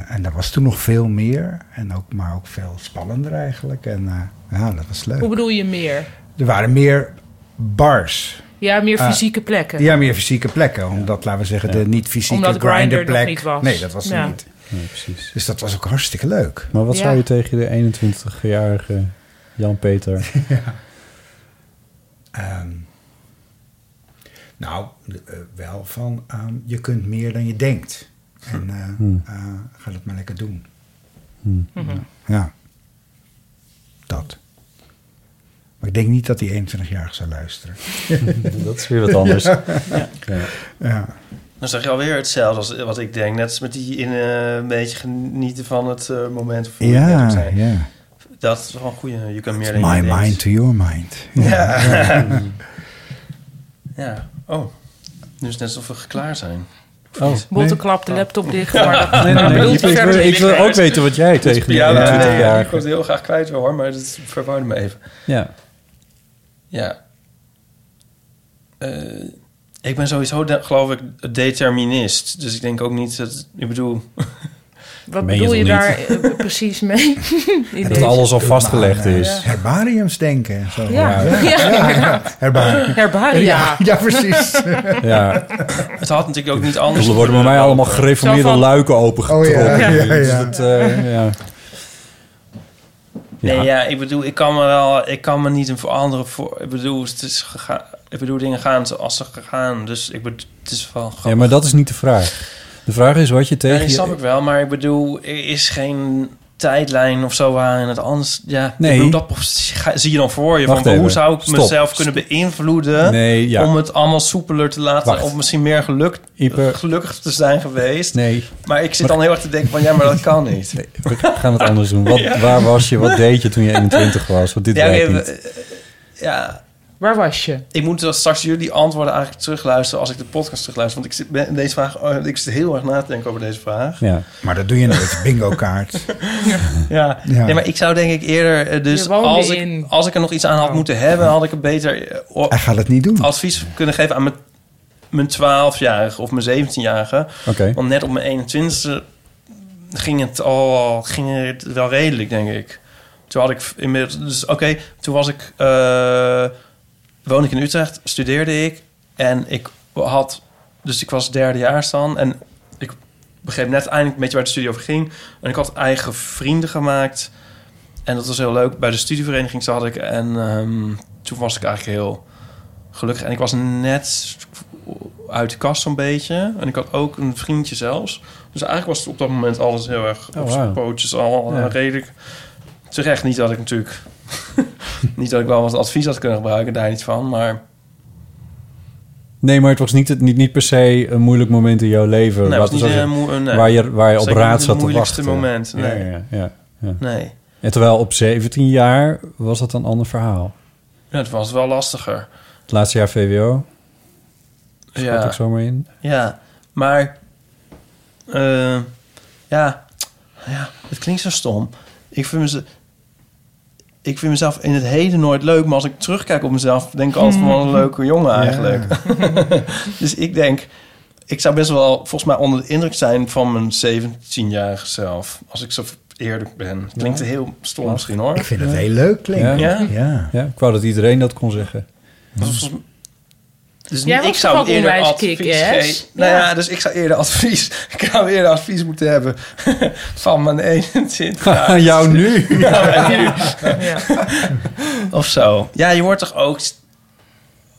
S4: eh, en dat was toen nog veel meer, en ook, maar ook veel spannender eigenlijk. En eh, ja, dat was leuk.
S5: Hoe bedoel je meer?
S4: Er waren meer bars.
S5: Ja, meer
S4: Eh,
S5: fysieke plekken.
S4: Ja, meer fysieke plekken. Omdat, laten we zeggen, de niet-fysieke
S5: Omdat Grindr nog
S4: grinderplek.
S5: niet was.
S4: Nee, dat was er
S5: Ja.
S4: niet.
S3: Nee, precies.
S4: Dus dat was ook hartstikke leuk.
S3: Maar wat
S4: Ja.
S3: zou je tegen de 21-jarige Jan-Peter...
S4: Ehm, nou, eh, wel van, ehm, je kunt meer dan je denkt. En eh,
S3: Hmm.
S4: eh, ga dat maar lekker doen.
S3: Hmm.
S4: Ja. Dat. Maar ik denk niet dat die 21-jarige zou luisteren.
S3: Dat is weer wat anders.
S4: Ja.
S3: Ja.
S4: Ja.
S2: Dan zeg je alweer hetzelfde als wat ik denk. Net als met die in eh, een beetje genieten van het eh, moment. Of hoe je
S4: Ja,
S2: het net ook zei.
S4: ja.
S2: Dat is wel een goeie. Je kan meer dan
S4: My
S2: je denkt.
S4: mind to your mind.
S2: Ja.
S4: Ja.
S2: Ja. Oh. Nu is het net alsof we geklaard zijn.
S3: Oh,
S5: Botte klapt de laptop dicht. Maar dat,
S3: Nee, nee,
S5: maar
S3: nee,
S5: bedoelt
S3: ik-
S5: hij
S3: ik
S5: verder
S3: wil- ik
S5: niks
S3: wil
S5: meer?
S3: ook weten wat jij tegen die
S2: Ja, nee,
S3: 21
S2: nee,
S3: jaar-
S2: ik wil het heel graag kwijt wil, hoor, maar dat verwarde me even.
S3: Ja.
S2: Ja. Eh, ik ben sowieso, de- geloof ik, determinist. Dus ik denk ook niet dat... Ik bedoel...
S5: Wat
S2: Meen je
S5: bedoel je,
S2: toch
S5: daar
S2: niet?
S5: eh, precies mee? In
S3: Dat
S5: deze-
S3: alles al vastgelegd
S4: Maar, eh,
S3: is.
S4: Herbariums denken. en Zo.
S5: Ja. Ja, inderdaad.
S4: Herbaria.
S5: Herbaria.
S4: Ja, ja, precies.
S3: Ja.
S2: Het had natuurlijk ook niet anders...
S3: Er worden bij mij allemaal
S2: Zo
S3: gereformeerde
S2: van-
S3: luiken opengetrokken.
S2: Oh, ja, ja,
S3: Dus
S2: ja.
S3: dat, eh, ja.
S2: Nee, ja, ik bedoel, ik kan me wel, ik kan me niet een veranderen voor. Ik bedoel, het is gegaan. Ik bedoel, dingen gaan zoals ze gaan. Dus ik bedoel, het is wel.
S3: ja, maar dat is niet de vraag. De vraag is wat je tegen
S2: Nee,
S3: je-
S2: snap ik wel, maar ik bedoel, er is geen tijdlijn of zo waarin het anders. Ja,
S3: Nee.
S2: nee. ik bedoel, dat ga- zie je dan voor je.
S3: Wacht
S2: van, hoe
S3: even.
S2: zou ik
S3: Stop.
S2: mezelf kunnen beïnvloeden
S3: Nee, ja.
S2: om het allemaal soepeler te laten?
S3: Wacht.
S2: Of misschien meer geluk,
S3: Ipe.
S2: gelukkig te zijn geweest.
S3: Nee.
S2: Maar ik zit
S3: Maar-
S2: dan heel erg te denken van, ja, maar dat kan niet.
S3: We gaan het anders doen. Wat,
S2: Ja.
S3: Waar was je? Wat deed je toen je 21 was? Want dit
S2: Ja,
S3: werkt
S2: nee,
S3: niet.
S2: we- ja.
S5: Waar was je?
S2: Ik moet dan straks jullie antwoorden eigenlijk terugluisteren als ik de podcast terugluister. Want ik zit ben- deze vraag, eh, ik zit heel erg na te denken over deze vraag.
S3: Ja.
S4: Maar dat doe je nooit. Bingo kaart.
S2: Ja.
S4: Ja.
S2: Nee, maar ik zou denk ik eerder, eh, dus
S5: Je woonde
S2: als ik,
S5: in- Oh.
S2: als ik er nog iets aan had moeten hebben, had ik het beter eh, o-
S4: Hij gaat het niet doen.
S2: advies kunnen geven aan mijn, mijn 12-jarige of mijn 17-jarige.
S3: Oké.
S2: Want net op mijn 21ste ging het al ging het wel redelijk, denk ik. Toen had ik inmiddels, dus oké, toen was ik, eh woon ik in Utrecht, studeerde ik en ik had, dus ik was derdejaars dan en ik begreep net eindelijk een beetje waar de studie over ging. En ik had eigen vrienden gemaakt. En dat was heel leuk. Bij de studievereniging zat ik. En ehm, toen was ik eigenlijk heel gelukkig. En ik was net uit de kast zo'n beetje. En ik had ook een vriendje zelfs. Dus eigenlijk was het op dat moment alles heel erg
S3: Oh,
S2: op zijn
S3: wauw.
S2: pootjes al
S3: Ja.
S2: eh, redelijk. Terecht niet dat ik natuurlijk... niet dat ik wel wat advies had kunnen gebruiken, daar niet van.
S3: Eh,
S2: Maar
S3: Nee, maar het was niet, het- niet, niet per se een moeilijk moment in jouw leven.
S2: Nee, het
S3: laten
S2: was
S3: we
S2: niet,
S3: zeggen,
S2: eh, moe- eh, nee.
S3: waar je, waar je op
S2: Zeker niet
S3: raad
S2: het
S3: zat te
S2: moeilijkste
S3: wachten.
S2: moment,
S3: Ja,
S2: nee.
S3: ja, ja, ja.
S2: Nee.
S3: En terwijl op 17 jaar was dat een ander verhaal.
S2: ja, het was wel lastiger.
S3: Het laatste jaar VWO. Schat
S2: Ja.
S3: ik zomaar in.
S2: Ja, maar... eh, ja, ja, het klinkt zo stom. Ik vind, mez- ik vind mezelf in het heden nooit leuk... maar als ik terugkijk op mezelf... denk ik altijd van wat
S4: Hmm.
S2: een leuke jongen
S3: Ja.
S2: eigenlijk. dus ik denk... Ik zou best wel volgens mij onder de indruk zijn... van mijn 17-jarige zelf. Als ik zo eerlijk ben. Klinkt
S3: Ja.
S2: heel stom misschien hoor.
S4: Ik vind het heel leuk klinken.
S2: Ja?
S4: Ja.
S3: Ja, ik wou dat iedereen dat kon zeggen.
S2: Dus
S5: Jij was
S2: ik zou
S5: toch ook
S2: eerder
S5: onwijs
S2: advies
S5: kick-ass?
S2: geven. Nou
S5: Ja.
S2: ja. dus ik zou eerder advies. Ik zou eerder advies moeten hebben van mijn 21 jaar.
S3: Jou nu.
S2: Ja, mij nu. Of zo. Ja, je wordt toch ook,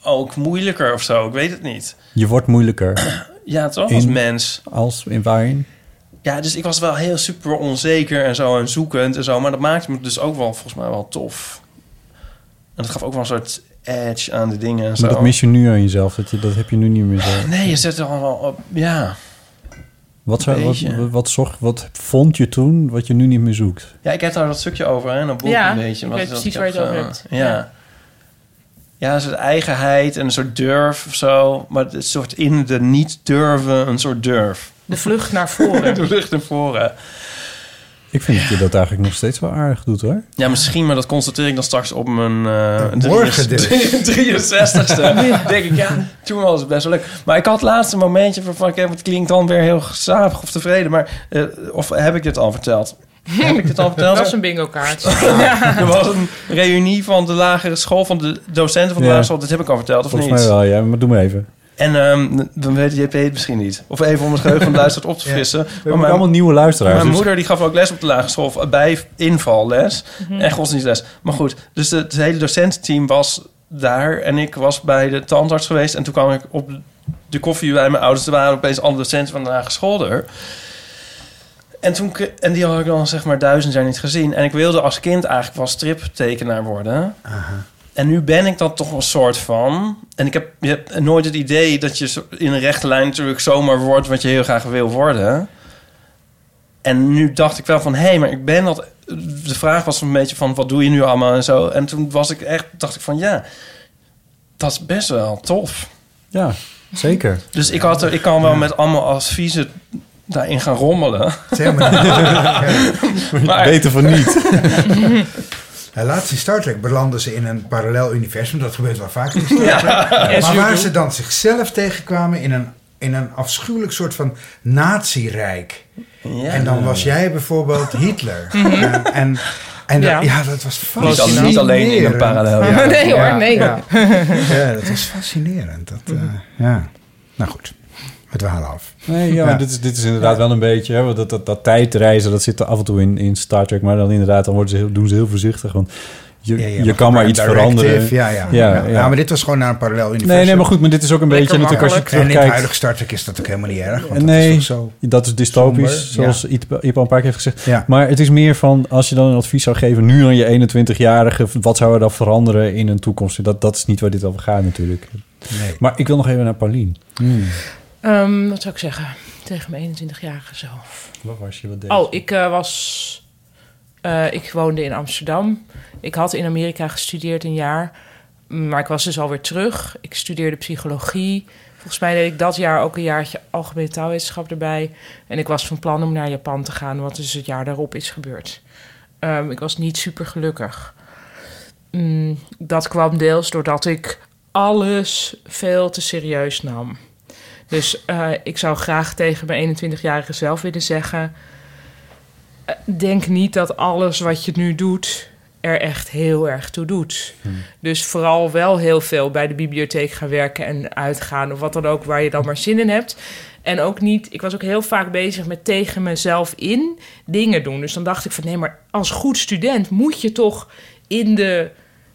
S2: ook moeilijker of zo? Ik weet het niet.
S3: Je wordt moeilijker.
S2: Ja, toch? Als
S3: In-
S2: mens.
S3: Als, in waarin?
S2: Ja, dus ik was wel heel super onzeker en zo en zoekend en zo. Maar dat maakte me dus ook wel volgens mij wel tof. En dat gaf ook wel een soort edge aan de dingen en zo.
S3: Maar dat mis je nu aan jezelf. Dat, je, dat heb je nu niet meer zo.
S2: Nee, je zet er allemaal op. Ja.
S3: Wat,
S2: een
S3: zou, wat,
S2: beetje.
S3: wat, wat, zocht, wat vond je toen wat je nu niet meer zoekt?
S2: Ja, ik heb daar dat stukje over, hè, in dat boek
S5: Ja,
S2: een beetje.
S5: ik
S2: wat-
S5: weet
S2: wat
S5: precies
S2: ik
S5: waar je het
S2: heb,
S5: over
S2: eh,
S5: hebt.
S2: Ja. Ja, een soort eigenheid en een soort durf of zo. Maar het soort in de niet durven, een soort durf.
S5: De vlucht naar voren.
S2: de vlucht naar voren.
S3: Ik vind dat je dat eigenlijk nog steeds wel aardig doet hoor.
S2: Ja, misschien, maar dat constateer ik dan straks op mijn... eh
S3: Morgen dus.
S2: 63ste. denk ik, ja, toen was het best wel leuk. Maar ik had het laatste momentje van... van, oké, het klinkt dan weer heel gezapig of tevreden. Maar eh, of heb ik dit al verteld? Heb ik dit al verteld?
S5: Dat was een bingo kaart.
S2: Er was een reunie van de lagere school, van de docenten van de
S3: Ja.
S2: lagere school. Dit heb ik al verteld, of
S3: Volgens
S2: niet?
S3: mij wel, ja. Maar doe maar even.
S2: En ehm, dan weet JP het misschien niet. Of even om het geheugen van de luisteraar op te frissen.
S3: We hebben allemaal nieuwe luisteraars.
S2: Mijn
S3: dus-
S2: moeder die gaf ook les op de lagere school of bij invalles
S5: Mhm.
S2: en godsdienstles. Maar goed, dus de- het hele docententeam was daar en ik was bij de tandarts geweest. En toen kwam ik op de koffie bij mijn ouders. Er waren opeens alle docenten van de lagere school er. En, toen, k- en die had ik dan zeg maar duizend jaar niet gezien. En ik wilde als kind eigenlijk wel striptekenaar worden. En nu ben ik dat toch een soort van. En ik heb, je hebt nooit het idee dat je zo- in een rechte lijn natuurlijk zomaar wordt wat je heel graag wil worden. En nu dacht ik wel van, hé, maar ik ben dat... De vraag was een beetje van, wat doe je nu allemaal en zo. En toen was ik echt, dacht ik van, ja, dat is best wel tof.
S3: Ja, zeker.
S2: Dus ik, had er, ik kan wel met allemaal adviezen daarin gaan rommelen.
S4: Zeg maar.
S2: Maar- Beter van niet.
S4: Ja, laatst in Star Trek belanden ze in een parallel universum. Dat gebeurt wel vaak in Star Trek.
S2: as
S4: Maar
S2: you
S4: waar
S2: do.
S4: ze dan zichzelf tegenkwamen in een, in een afschuwelijk soort van nazi-rijk. En dan was jij bijvoorbeeld Hitler. en en, en dat- ja.
S2: Ja.
S4: dat was
S2: Niet Mhm. al- niet
S4: fascinerend.
S2: alleen in een parallel,
S4: Ja.
S2: ja. Nee hoor,
S4: Ja,
S2: nee.
S4: Ja, Ja, dat was fascinerend. Dat,
S2: Mhm.
S4: eh, ja. Nou goed, we dwalen af.
S3: Nee, ja, maar Dit, is, dit is inderdaad wel een beetje... Hè, want dat, dat, dat tijdreizen, dat zit er af en toe in, in Star Trek. Maar dan inderdaad, dan worden ze heel, doen ze heel voorzichtig. Want je,
S4: Ja, ja,
S3: je kan maar iets
S4: directive,
S3: veranderen.
S4: Ja ja.
S3: ja,
S4: ja. Ja, maar dit was gewoon naar een parallel universum.
S3: nee, maar goed, maar dit is ook een beetje natuurlijk als je
S4: En in het
S3: terugkijkt-
S4: huidige Star Trek is dat ook helemaal niet erg. Want
S3: nee,
S4: dat is toch zo...
S3: dat is dystopisch,
S4: somber,
S3: zoals
S4: ja.
S3: Iep Iep al een paar keer heeft gezegd. Maar het is meer van, als je dan een advies zou geven... nu aan je 21-jarige, wat zou er dan veranderen in een toekomst? Dat, dat is niet waar dit over gaat natuurlijk.
S4: Nee. Hmm.
S3: Maar ik wil nog even naar Paulien.
S5: Ehm, wat zou ik zeggen? Tegen mijn 21-jarige zelf.
S3: Wat was je? Wat deed
S5: Oh, ik eh, was. eh, ik woonde in Amsterdam. Ik had in Amerika gestudeerd een jaar. Maar ik was dus alweer terug. Ik studeerde psychologie. Volgens mij deed ik dat jaar ook een jaartje algemene taalwetenschap erbij. En ik was van plan om naar Japan te gaan, wat dus het jaar daarop is gebeurd. Ehm, ik was niet super gelukkig. Mm, dat kwam deels doordat ik alles veel te serieus nam. Dus eh, ik zou graag tegen mijn 21-jarige zelf willen zeggen: eh, denk niet dat alles wat je nu doet er echt heel erg toe doet.
S14: Hm.
S5: Dus vooral wel heel veel bij de bibliotheek gaan werken en uitgaan of wat dan ook waar je dan maar zin in hebt. En ook niet, ik was ook heel vaak bezig met tegen mezelf in dingen doen. Dus dan dacht ik van nee, maar als goed student moet je toch in de,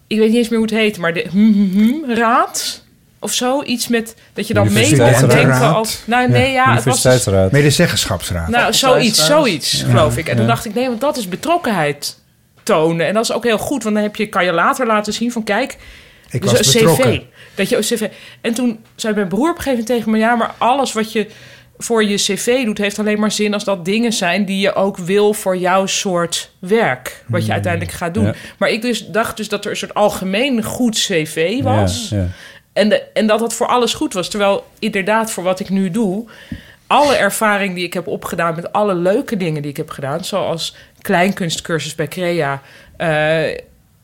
S5: ik weet niet eens meer hoe het heet, maar de hmm, hmm, hmm, raad of zo. Iets met dat je dan mee moet denken. Als, nou nee, ja, het was dus-
S4: Medezeggenschapsraad.
S5: nou, zoiets, zoiets,
S4: Ja.
S5: geloof ik. En toen
S4: Ja.
S5: dacht ik, nee, want dat is betrokkenheid tonen. En dat is ook heel goed, want dan heb je, kan je later laten zien van, kijk...
S4: Ik
S5: dus
S4: was
S5: een cv.
S4: betrokken.
S5: Dat je een cv... En toen zei mijn broer op een gegeven moment tegen me... ja, maar alles wat je voor je cv doet... heeft alleen maar zin als dat dingen zijn... die je ook wil voor jouw soort werk. Wat je
S3: Hmm,
S5: uiteindelijk gaat doen.
S3: ja.
S5: Maar ik dus, dacht dus dat er een soort algemeen goed cv was...
S3: Ja, ja.
S5: En, de- en dat dat voor alles goed was. Terwijl inderdaad, voor wat ik nu doe, alle ervaring die ik heb opgedaan met alle leuke dingen die ik heb gedaan, zoals kleinkunstcursus bij Crea, eh,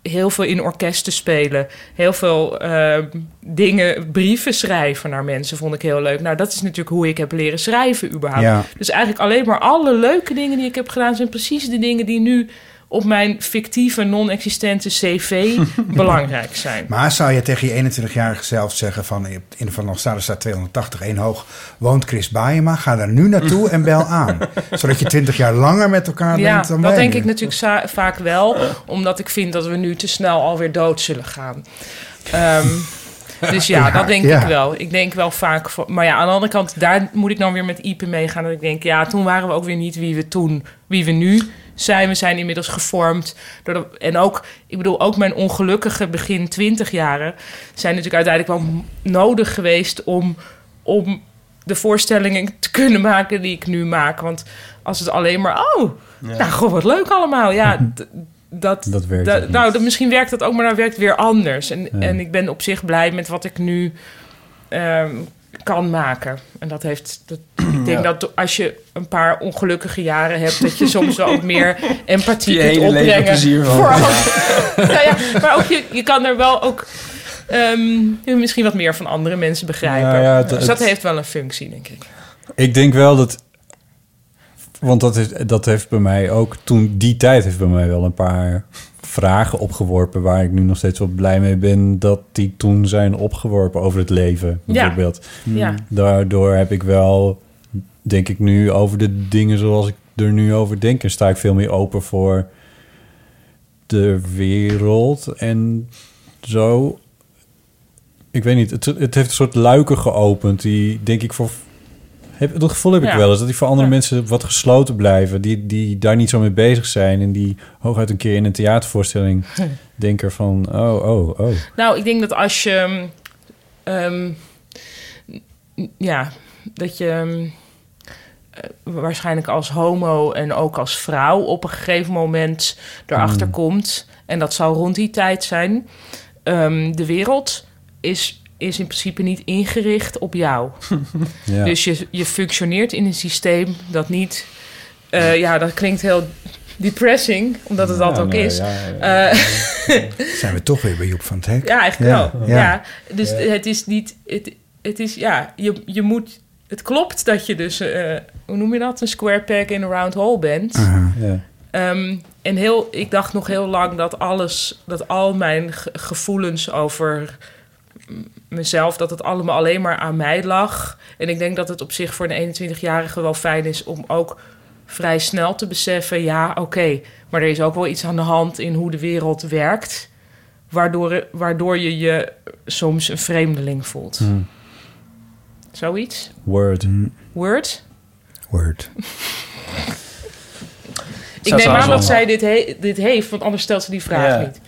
S5: heel veel in orkesten spelen, heel veel eh, dingen, brieven schrijven naar mensen, vond ik heel leuk. Nou, dat is natuurlijk hoe ik heb leren schrijven, überhaupt.
S4: Ja.
S5: Dus eigenlijk alleen maar alle leuke dingen die ik heb gedaan, zijn precies de dingen die nu op mijn fictieve, non-existente CV belangrijk zijn.
S4: Maar zou je tegen je 21-jarige zelf zeggen van... in de Van Nostrade staat 280, één hoog, woont Chris Baaienma... ga daar nu naartoe en bel aan. Zodat je 20 jaar langer met elkaar
S5: Ja,
S4: bent dan
S5: dat
S4: wij
S5: denk
S4: nu.
S5: ik natuurlijk za- vaak wel. Omdat ik vind dat we nu te snel alweer dood zullen gaan. Ehm, Dus ja,
S1: Ja,
S5: dat denk
S1: ja.
S5: ik wel. Ik denk wel vaak... van- maar ja, aan de andere kant, daar moet ik dan weer met Ipe meegaan. Dat ik denk, ja, toen waren we ook weer niet wie we toen... Wie we nu zijn. We zijn inmiddels gevormd. Door de- en ook, ik bedoel, ook mijn ongelukkige begin twintig jaren... zijn natuurlijk uiteindelijk wel m- nodig geweest om... om de voorstellingen te kunnen maken die ik nu maak. Want als het alleen maar... Oh,
S1: Ja.
S5: nou, god, wat leuk allemaal. Ja, d- dat,
S3: Dat werkt
S5: da-
S3: ook niet.
S5: nou, dat, misschien werkt dat ook, maar dan werkt weer anders. En,
S3: Ja.
S5: en ik ben op zich blij met wat ik nu ehm, kan maken. En dat heeft. Dat, ik denk
S2: Ja.
S5: dat als je een paar ongelukkige jaren hebt, dat je soms wel ook meer empathie
S2: Je
S5: kunt
S2: hele leven
S5: opbrengen.
S2: plezier van.
S5: Voor al- nou ja, maar ook je, je kan er wel ook. ehm, misschien wat meer van andere mensen begrijpen.
S3: Nou ja, het-
S5: dus dat
S3: het-
S5: heeft wel een functie, denk ik.
S3: Ik denk wel dat. Want dat, is, dat heeft bij mij ook. Toen die tijd heeft bij mij wel een paar vragen opgeworpen. Waar ik nu nog steeds wel blij mee ben. Dat die toen zijn opgeworpen over het leven.
S5: Ja.
S3: Bijvoorbeeld.
S5: Ja.
S3: Daardoor heb ik wel. Denk ik nu over de dingen zoals ik er nu over denk. En sta ik veel meer open voor de wereld en zo. Ik weet niet, het, het heeft een soort luiken geopend die, denk ik, voor... Heb, dat gevoel heb ik
S5: Ja.
S3: wel eens, dat die voor andere mensen wat gesloten blijven. Die, die daar niet zo mee bezig zijn en die hooguit een keer in een theatervoorstelling denken van... Oh, oh, oh.
S5: Nou, ik denk dat als je. ehm, ehm, n- ja, dat je. ehm, eh, waarschijnlijk als homo en ook als vrouw op een gegeven moment erachter
S1: Mm.
S5: komt. En dat zal rond die tijd zijn. ehm, de wereld is, is in principe niet ingericht op jou.
S1: Ja.
S5: Dus je, je functioneert in een systeem dat niet. eh, ja, dat klinkt heel depressing, omdat het dat
S4: Ja,
S5: ook
S4: nee,
S5: is.
S4: ja,
S5: Eh,
S4: Zijn we toch weer bij Joep van het Hek?
S5: ja, eigenlijk wel. Ja. Dus
S4: Ja.
S5: het is niet... Het, het is, ja, je, je moet... Het klopt dat je dus, eh, hoe noem je dat? Een square peg in a round hole bent.
S3: Ja.
S5: Ehm, en heel, ik dacht nog heel lang dat alles, dat al mijn ge- gevoelens over m- mezelf, dat het allemaal alleen maar aan mij lag. En ik denk dat het op zich voor een 21-jarige wel fijn is om ook vrij snel te beseffen: ja, oké, maar er is ook wel iets aan de hand in hoe de wereld werkt, waardoor, waardoor je je soms een vreemdeling voelt.
S3: Hmm.
S5: Zoiets?
S3: Word.
S5: Word?
S3: Word.
S5: Ik neem aan dat
S2: allemaal-
S5: zij dit, he- dit heeft, want anders stelt ze die vraag
S2: Ja.
S5: niet.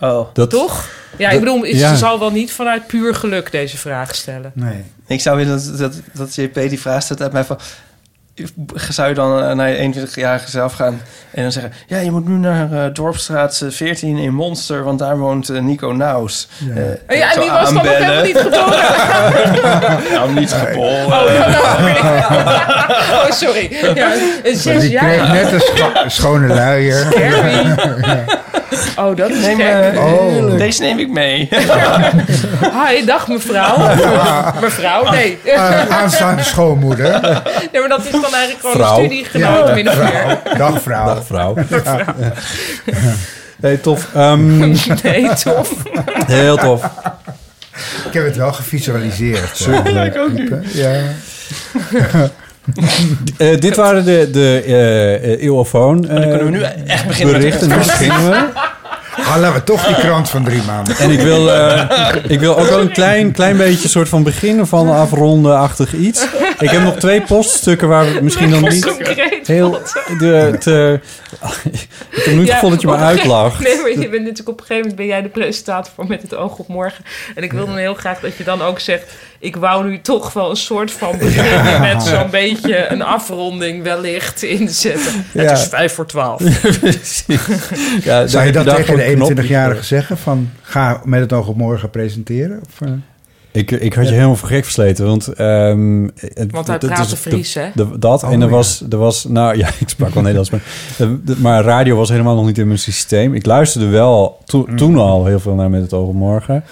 S2: Oh.
S3: Dat,
S5: Toch? Ja, ik
S2: dat-
S5: bedoel, is-
S2: ja.
S5: ze zal wel niet vanuit puur geluk deze vraag stellen.
S4: Nee.
S2: Ik zou willen dat, dat, dat JP die vraag stelt uit mij van... Zou je dan eh, naar je 21-jarige zelf gaan en dan zeggen... Ja, je moet nu naar eh, Dorpstraat eh, 14 in Monster, want daar woont eh, Nico Naus. Eh, Ja,
S5: Oh ja, en die was dan nog helemaal niet geboren.
S2: nou, niet geboren.
S5: oh, sorry. Ja, een
S4: Maar
S5: zes
S4: die kreeg
S5: jaar.
S4: net een scho- schone luier.
S5: Oh, dat is
S2: Neem,
S5: gek.
S2: eh, Deze neem ik mee.
S5: Hi, dag mevrouw. mevrouw, nee.
S4: Eh, aanstaande schoonmoeder.
S5: Nee, maar dat is dan eigenlijk gewoon
S4: Vrouw.
S5: een studiegenoot,
S4: Ja.
S5: min of meer.
S4: Dag vrouw.
S3: Dag vrouw. Nee, tof. Ehm,
S5: Nee, tof.
S3: Heel tof.
S4: Ik heb het wel gevisualiseerd.
S3: Super
S4: Eh,
S3: leuk.
S5: ook nu.
S4: Ja.
S3: Eh, dit waren de, de eh, eh eeuwofoon. eh,
S4: kunnen we nu
S2: echt
S4: beginnen met de
S3: Berichten, nu
S4: podcast.
S3: beginnen we.
S4: Ah, laten we toch die krant van drie maanden.
S3: En ik wil, eh, ik wil ook wel een klein, klein beetje soort van beginnen van afronden-achtig iets. Ik heb nog twee poststukken waar we misschien dan niet
S5: Concreet
S3: heel... De, te, ik heb nu het
S5: Ja,
S3: gevoel dat je me
S5: op een gege-
S3: uitlacht.
S5: Nee, maar je bent natuurlijk op een gegeven moment ben jij de presentator voor Met het Oog op Morgen. En ik wil dan heel graag dat je dan ook zegt... ik wou nu toch wel een soort van beginnen
S3: Ja.
S5: met zo'n beetje een afronding wellicht inzetten.
S3: Ja.
S5: Het is vijf voor twaalf.
S3: Ja,
S4: Zou
S3: daar-
S4: je dat
S3: daar
S4: tegen
S3: gewoon
S4: de
S3: knopjes
S4: 21-jarige zeggen? Van, ga met het oog op morgen presenteren? Of, eh?
S3: Ik, ik had je helemaal voor gek versleten, want... ehm, het-
S5: Want hij
S3: dat-
S5: praatte
S3: dat-
S5: Fries, hè?
S3: dat- Dat,
S5: Oh,
S3: en er
S5: ja.
S3: was, er was... Nou ja, ik sprak wel Nederlands, maar, de- de- maar radio was helemaal nog niet in mijn systeem. Ik luisterde wel to-
S5: Mm.
S3: toen al heel veel naar Met het Oog op Morgen.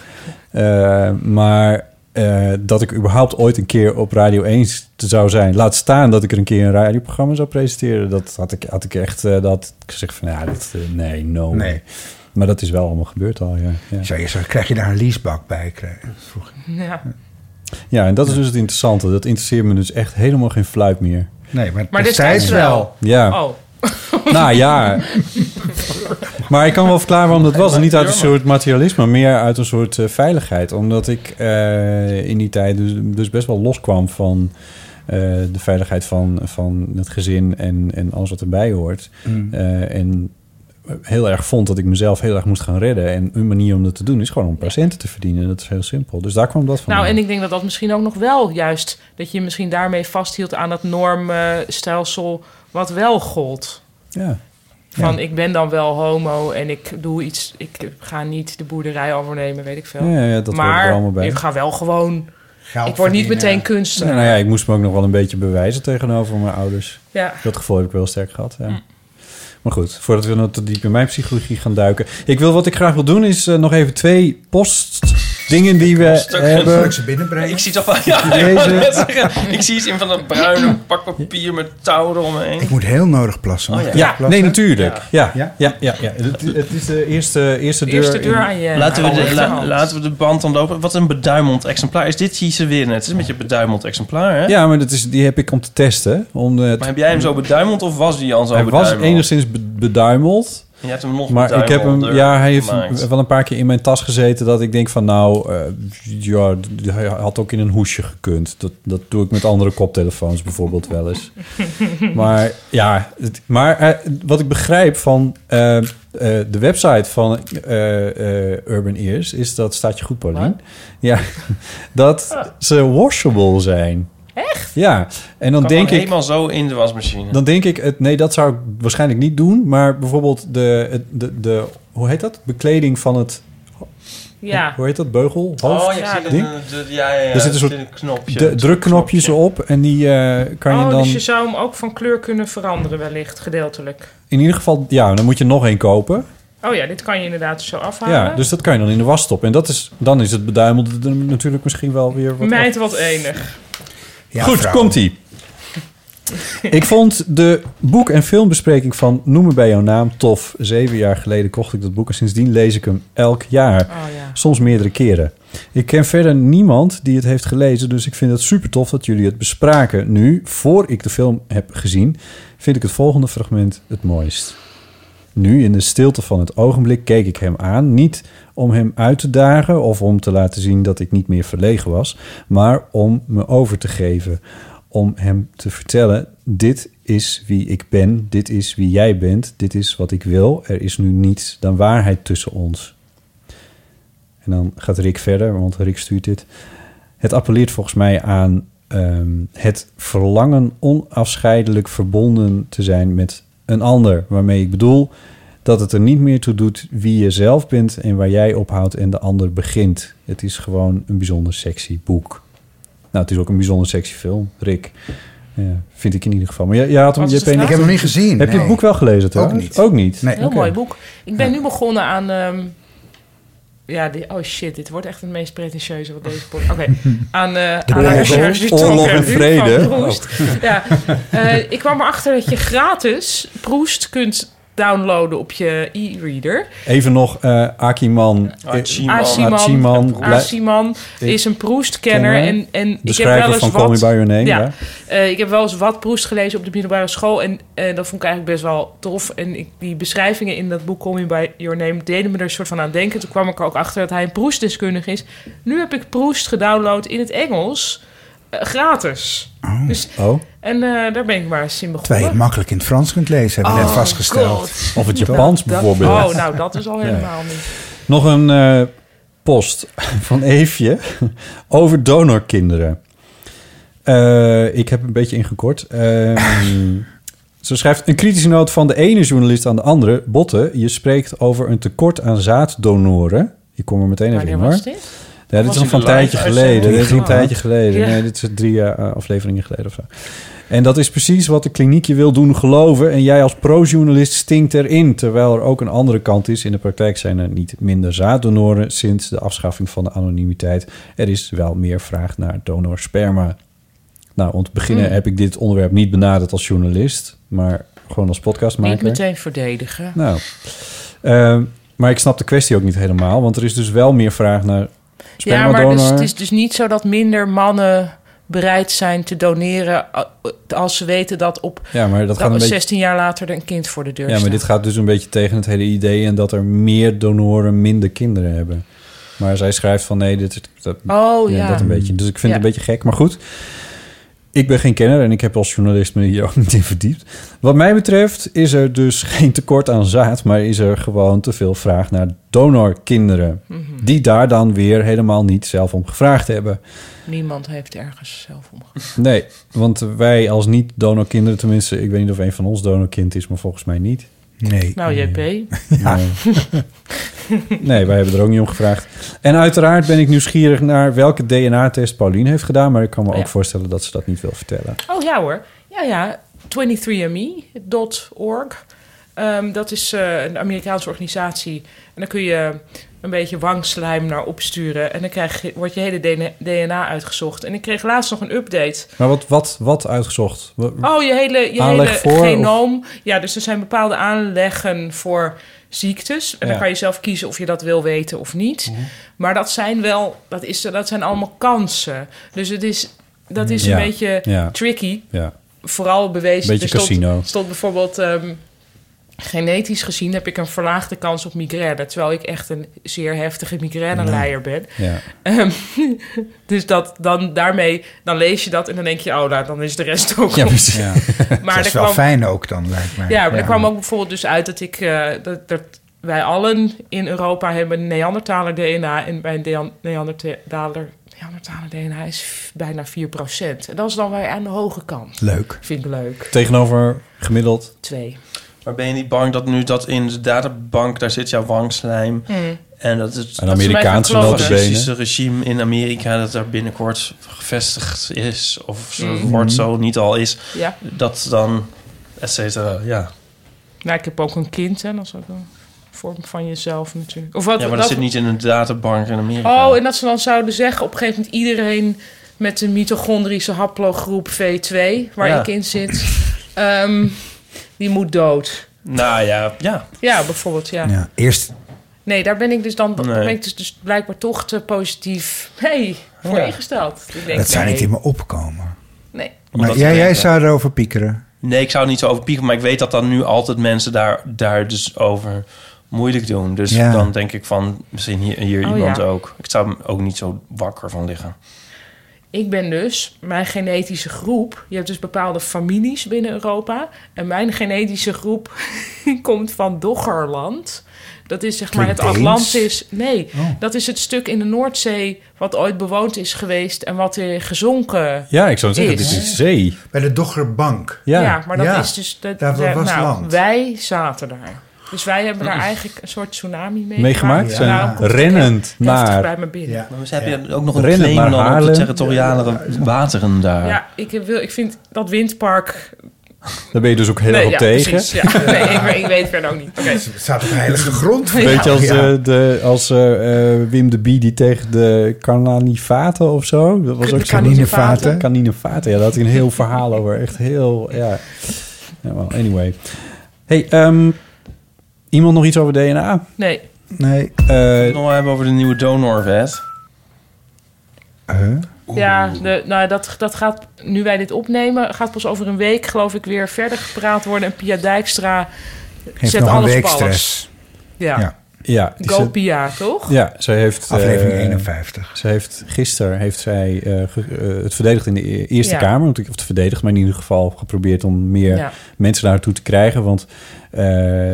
S3: Eh, maar eh, dat ik überhaupt ooit een keer op Radio 1 zou zijn... laat staan dat ik er een keer een radioprogramma zou presenteren... dat had ik, had ik echt eh, dat had ik gezegd van... Ja, dit, eh, nee, no.
S4: Nee.
S3: Maar dat is wel allemaal gebeurd al, ja. ja.
S4: Zou je zeggen, krijg je daar een leasebak bij? Krijg- vroeg ik.
S5: Ja.
S3: Ja, en dat is dus het interessante. Dat interesseert me dus echt helemaal geen fluit meer.
S4: Nee, maar,
S5: Maar
S4: destijds
S5: Oh. destijds
S4: wel.
S5: wel.
S3: Nou Ja.
S5: Oh.
S3: Nou ja, Maar ik kan wel verklaren waarom dat was. En niet uit een soort materialisme, maar meer uit een soort eh, veiligheid. Omdat ik eh, in die tijd dus, dus best wel loskwam van eh, de veiligheid van, van het gezin en, en alles wat erbij hoort.
S4: Mm.
S3: Eh, en heel erg vond dat ik mezelf heel erg moest gaan redden. En een manier om dat te doen is gewoon om patiënten te verdienen. En dat is heel simpel. Dus daar kwam dat van.
S5: Nou, en ik denk dat dat misschien ook nog wel juist... dat je misschien daarmee vasthield aan dat normstelsel wat wel gold.
S3: Ja.
S5: Van
S3: Ja.
S5: ik ben dan wel homo en ik doe iets... ik ga niet de boerderij overnemen, weet ik veel.
S3: Ja, ja, dat hoort
S5: maar
S3: er allemaal bij.
S5: ik ga wel gewoon...
S4: Geld
S5: ik word niet
S4: verdienen.
S5: meteen kunstenaar.
S3: Nou, ja, ik moest me ook nog wel een beetje bewijzen tegenover mijn ouders.
S5: Ja.
S3: Dat gevoel heb ik wel sterk gehad. Ja. Maar goed, voordat we nog te diep in mijn psychologie gaan duiken. Ik wil, wat ik graag wil doen, is eh, nog even twee postdingen die we hebben.
S4: binnenbrengen.
S2: Ik zie toch wel... Ja,
S3: Deze.
S2: ik, wou net zeggen, ik zie iets in van dat bruine pak papier met touw eromheen.
S4: Ik moet heel nodig plassen. Mag
S2: Oh, ja.
S4: ik
S2: Ja,
S4: even plassen?
S3: nee, natuurlijk. Ja, ja, ja. ja, Het, het is de eerste, eerste deur. in-
S2: laten, we de, la- laten we de band dan lopen. Wat een beduimeld exemplaar. Is dit hier weer net? Het is een beetje een beduimeld exemplaar, hè?
S3: Ja, maar dat is, die heb ik om te testen. Om eh, de,
S2: Maar heb jij hem zo beduimeld of was die al zo
S3: Hij was
S2: beduimeld?
S3: enigszins be- beduimeld.
S2: En je hebt hem nog
S3: Maar ik heb hem,
S2: beduimelder
S3: ja, hij heeft
S2: gemaakt.
S3: wel een paar keer in mijn tas gezeten dat ik denk van nou, eh, ja, d- hij had ook in een hoesje gekund. Dat, dat doe ik met andere koptelefoons bijvoorbeeld wel eens. Maar ja, het- maar eh, wat ik begrijp van eh, eh, de website van eh, eh, Urban Ears is dat staat je goed, Paulien. Ja,
S2: Ah.
S3: dat ze washable zijn. Echt? Ja, en dan
S2: Kan
S3: denk
S2: gewoon
S3: ik.
S2: helemaal zo in de wasmachine.
S3: Dan denk ik, het, nee, dat zou ik waarschijnlijk niet doen. Maar bijvoorbeeld de, het- de, de hoe heet dat? Bekleding van het...
S5: Ja.
S3: Hoe heet dat? Beugel? Hoofd?
S2: Ah. Oh, ja, ik zie dat,
S3: ding?
S2: eh, dat- ja, ja, ja,
S3: Er
S2: dat
S3: zit een soort
S2: zit een knopje.
S3: de- drukknopjes op. En die eh, kan je
S5: oh,
S3: dan...
S5: dus je zou hem ook van kleur kunnen veranderen wellicht, gedeeltelijk.
S3: In ieder geval, ja, dan moet je nog één kopen.
S5: Oh ja, dit kan je inderdaad zo afhalen.
S3: Ja, dus dat kan je dan in de was stoppen. En dat is, dan is het beduimelde er natuurlijk misschien wel weer wat...
S5: Meid wat enig.
S3: Ja, Goed, komt-ie. Ik vond de boek- en filmbespreking van Noem me bij jouw naam tof. Zeven jaar geleden kocht ik dat boek en sindsdien lees ik hem elk jaar. Soms meerdere keren. Ik ken verder niemand die het heeft gelezen, dus ik vind het super tof dat jullie het bespraken. Nu, voor ik de film heb gezien, vind ik het volgende fragment het mooist. Nu, in de stilte van het ogenblik, keek ik hem aan. Niet om hem uit te dagen of om te laten zien dat ik niet meer verlegen was, maar om me over te geven. Om hem te vertellen: dit is wie ik ben, dit is wie jij bent, dit is wat ik wil. Er is nu niets dan waarheid tussen ons. En dan gaat Rick verder, want Rick stuurt dit. Het appelleert volgens mij aan ehm, het verlangen onafscheidelijk verbonden te zijn met een ander. Waarmee ik bedoel dat het er niet meer toe doet wie je zelf bent en waar jij ophoudt en de ander begint. Het is gewoon een bijzonder sexy boek. Nou, het is ook een bijzonder sexy film, Rick. Ja, vind ik in ieder geval. Maar jij, jij had hem,
S4: Wat
S3: je
S4: is de
S3: hebt een-
S4: vraag? Ik heb hem niet
S3: Heb
S4: gezien,
S3: je het
S4: nee.
S3: boek wel gelezen? trouwens?
S4: niet.
S3: Ook niet. Nou.
S4: Nee.
S5: Heel
S3: Oké.
S5: mooi boek. Ik ben nu begonnen aan... ehm, ja, die, oh shit, dit wordt echt het meest pretentieuze wat deze podcast... Oké, aan... eh
S3: De
S5: aan
S3: Bijbel,
S5: recherche die
S3: oorlog
S5: Tom
S3: en
S5: Verhoeven
S3: vrede.
S5: van Proest.
S3: Oh.
S5: Ja, eh, ik kwam erachter dat je gratis Proest kunt downloaden op je e-reader.
S3: Even nog eh Akiman.
S5: Aziman Aziman is een Proest-kenner.
S3: Kenner.
S5: En, en ik
S3: De
S5: heb wel
S3: schrijver
S5: eens
S3: van
S5: wat,
S3: Call Me By Your Name,
S5: Ja,
S3: ja.
S5: Eh, ik heb wel eens wat Proest gelezen op de middelbare school. En eh, dat vond ik eigenlijk best wel tof. En ik, die beschrijvingen in dat boek Call Me By Your Name... deden me er een soort van aan denken. Toen kwam ik er ook achter dat hij een Proest-deskundige is. Nu heb ik Proest gedownload in het Engels. eh, gratis. Dus,
S3: Oh.
S5: en eh, daar ben ik maar eens in
S4: Terwijl
S5: begonnen.
S4: je het makkelijk in het Frans kunt lezen, hebben we
S5: Oh,
S4: net vastgesteld.
S5: God.
S3: Of het
S4: Toch?
S3: Japans bijvoorbeeld.
S5: Oh, nou, dat is al helemaal niet.
S3: Nog een eh, post van Eefje over donorkinderen. Eh, ik heb een beetje ingekort. Ehm, ze schrijft een kritische noot van de ene journalist aan de andere. Botte, je spreekt over een tekort aan zaaddonoren. Ik kom er meteen even in,
S5: Wanneer
S3: hoor.
S5: was dit?
S3: Ja, dit
S5: Was
S3: is
S5: dit
S3: nog van een
S5: een live
S3: tijdje geleden.
S5: uitzending?
S3: Dit is een
S5: Oh.
S3: tijdje geleden.
S5: Ja.
S3: Nee, dit is drie eh, afleveringen geleden of zo. En dat is precies wat de kliniek je wil doen geloven. En jij als pro-journalist stinkt erin. Terwijl er ook een andere kant is. In de praktijk zijn er niet minder zaaddonoren sinds de afschaffing van de anonimiteit. Er is wel meer vraag naar donorsperma. Nou, om te beginnen
S5: Mm.
S3: heb ik dit onderwerp niet benaderd als journalist. Maar gewoon als podcastmaker.
S5: Niet meteen verdedigen.
S3: Nou, ehm, maar ik snap de kwestie ook niet helemaal. Want er is dus wel meer vraag naar
S5: Ja, maar
S3: spermadonor.
S5: dus, het is dus niet zo dat minder mannen bereid zijn te doneren a- als ze weten dat op
S3: Ja, maar dat gaat een beetje-
S5: 16 jaar later er een kind voor de deur
S3: Ja,
S5: staat.
S3: maar dit gaat dus een beetje tegen het hele idee... en dat er meer donoren minder kinderen hebben. Maar zij schrijft van nee, dit is... Dat,
S5: Oh, ja.
S3: Dat een beetje. Dus ik vind
S5: Ja.
S3: het een beetje gek. Maar goed, ik ben geen kenner... en ik heb als journalist me hier ook niet in verdiept. Wat mij betreft is er dus geen tekort aan zaad... maar is er gewoon te veel vraag naar donorkinderen...
S5: Mhm.
S3: die daar dan weer helemaal niet zelf om gevraagd hebben.
S5: Niemand heeft ergens zelf om.
S3: Nee, want wij als niet-donorkinderen... tenminste, ik weet niet of een van ons donorkind is... maar volgens mij niet. Nee.
S5: Nou, JP.
S3: Nee, wij hebben er ook niet om gevraagd. En uiteraard ben ik nieuwsgierig naar welke DNA-test Pauline heeft gedaan. Maar ik kan me
S5: Ja.
S3: ook voorstellen dat ze dat niet wil vertellen.
S5: Oh ja hoor. Ja, ja. 23andme.org. E Ehm, dat is eh, een Amerikaanse organisatie. En dan kun je een beetje wangslijm naar opsturen. En dan krijg je, wordt je hele DNA uitgezocht. En ik kreeg laatst nog een update.
S3: Maar wat, wat, wat uitgezocht? Wa-
S5: Oh, je hele, je
S3: Aanleg
S5: hele
S3: voor,
S5: genoom. Ja, dus er zijn bepaalde aanleggen voor ziektes. En dan
S3: Ja. Mhm.
S5: kan je zelf kiezen of je dat wil weten of niet. Maar dat zijn wel, dat, is, dat zijn allemaal kansen. Dus het is, dat is
S3: Ja,
S5: een beetje
S3: ja.
S5: tricky.
S3: Ja.
S5: Vooral bewezen.
S3: Beetje
S5: er stond-
S3: casino.
S5: stond bijvoorbeeld... ehm, genetisch gezien heb ik een verlaagde kans op migraine. Terwijl ik echt een zeer heftige migraineleier ben.
S3: Ja.
S5: Ehm, dus dat, dan, daarmee, dan lees je dat en dan denk je, oh, nou, dan is de rest ook.
S4: Ja,
S5: op.
S4: precies. Ja.
S5: Maar
S4: dat
S5: er
S4: is wel
S5: kwam-
S4: fijn ook dan, lijkt mij.
S5: Ja, maar er kwam ook bijvoorbeeld dus uit dat ik, eh, dat, dat wij allen in Europa hebben Neandertaler DNA en bij een Neandertaler, Neandertaler DNA is f- bijna 4%. En dat is dan weer aan de hoge kant.
S3: Leuk.
S5: Vind ik leuk.
S3: Tegenover gemiddeld.
S5: Twee.
S2: Maar ben je niet bang dat nu dat in de databank, daar zit jouw wangslijm.
S5: Mm.
S2: En dat het
S3: Een Amerikaanse
S2: dat het
S3: notabene.
S2: fascistische regime in Amerika dat daar binnenkort gevestigd is, of zo
S5: Mm.
S2: wordt
S3: Hmm.
S2: zo niet al is,
S5: Ja.
S2: dat dan, et cetera, ja.
S5: Nou, ik heb ook een kind, hè, dat is ook een vorm van jezelf natuurlijk. Of wat,
S2: ja, maar dat,
S5: wat-
S2: zit niet in een databank in Amerika.
S5: Oh, en dat ze dan zouden zeggen op een gegeven moment iedereen met de mitochondrische haplogroep V2, waar
S2: Ja.
S5: ik in zit, ehm, die moet dood.
S2: Nou ja, ja.
S5: Ja, bijvoorbeeld, ja.
S4: Ja, eerst
S5: Nee, daar ben ik dus dan daar
S4: Nee.
S5: ben ik dus, dus blijkbaar toch te positief hey, voor
S4: Ja.
S5: ingesteld. Ik denk,
S4: dat zou
S5: nee.
S4: niet in me opkomen.
S5: Nee.
S2: Omdat
S4: Maar
S2: ik
S4: jij,
S2: denk
S4: jij
S2: dat-
S4: zou erover piekeren.
S2: Nee, ik zou er niet zo over pieken, maar ik weet dat dan nu altijd mensen daar, daar dus over moeilijk doen. Dus
S4: Ja.
S2: dan denk ik van, misschien hier, hier
S5: Oh,
S2: iemand
S5: ja.
S2: ook. Ik zou er ook niet zo wakker van liggen.
S5: Ik ben dus mijn genetische groep. Je hebt dus bepaalde families binnen Europa. En mijn genetische groep komt van Doggerland. Dat is zeg maar het
S1: Klinkt Deens?
S5: Atlantis. Nee,
S4: Oh.
S5: dat is het stuk in de Noordzee wat ooit bewoond is geweest en wat weer gezonken
S3: Ja, ik zou zeggen,
S5: is.
S3: dit is zee.
S4: Bij de Doggerbank.
S5: Ja, maar dat is dus. Dat,
S4: Daar
S5: daar-
S4: was
S5: nou,
S4: land.
S5: Wij zaten daar. Dus wij hebben daar eigenlijk een soort tsunami mee
S3: Meegemaakt zijn.
S5: Daarom komt het
S3: Rennend
S5: heel heftig
S3: naar-
S5: bij me binnen.
S2: Maar ze hebben
S3: Ja.
S2: ook nog een
S3: Rennen
S2: claim
S3: naar
S2: dan op de
S3: Haarlem.
S2: territoriale wateren daar.
S5: Ja, ik, heb wil, ik vind dat windpark
S3: Daar ben je dus ook heel erg
S5: Nee,
S3: op
S5: ja,
S3: tegen.
S5: precies, ja. Nee, ik, weet- ik weet verder ook niet. Oké.
S4: Het staat op heilige grond.
S3: Een beetje als, eh, de, als eh, eh, Wim de Bie die tegen de Carnanivaten of zo. Dat was
S5: De
S3: ook zo.
S5: Carninevaten.
S3: Carninevaten, ja. Daar had hij een heel verhaal over. Echt heel, ja. ja well, anyway. Hey, ehm, iemand nog iets over DNA?
S5: Nee.
S3: Nee. eh,
S2: het nog wel hebben over de nieuwe donorwet.
S5: Ja, de, nou, dat, dat gaat, nu wij dit opnemen, gaat pas over een week, geloof ik, weer verder gepraat worden. En Pia Dijkstra
S3: Heeft
S5: zet
S3: nog een
S5: alles
S3: week
S5: op alles.
S3: stress.
S5: Ja.
S3: Ja. Ja, die
S5: Go
S3: zet-
S5: Pia, toch?
S3: Ja, zij heeft...
S4: Aflevering
S3: eh,
S4: 51.
S3: Ze heeft, gisteren heeft zij eh, ge- eh, het verdedigd in de e- Eerste
S5: Ja.
S3: Kamer. want ik- Of het verdedigd, maar in ieder geval geprobeerd om meer
S5: Ja.
S3: mensen daartoe te krijgen. Want eh,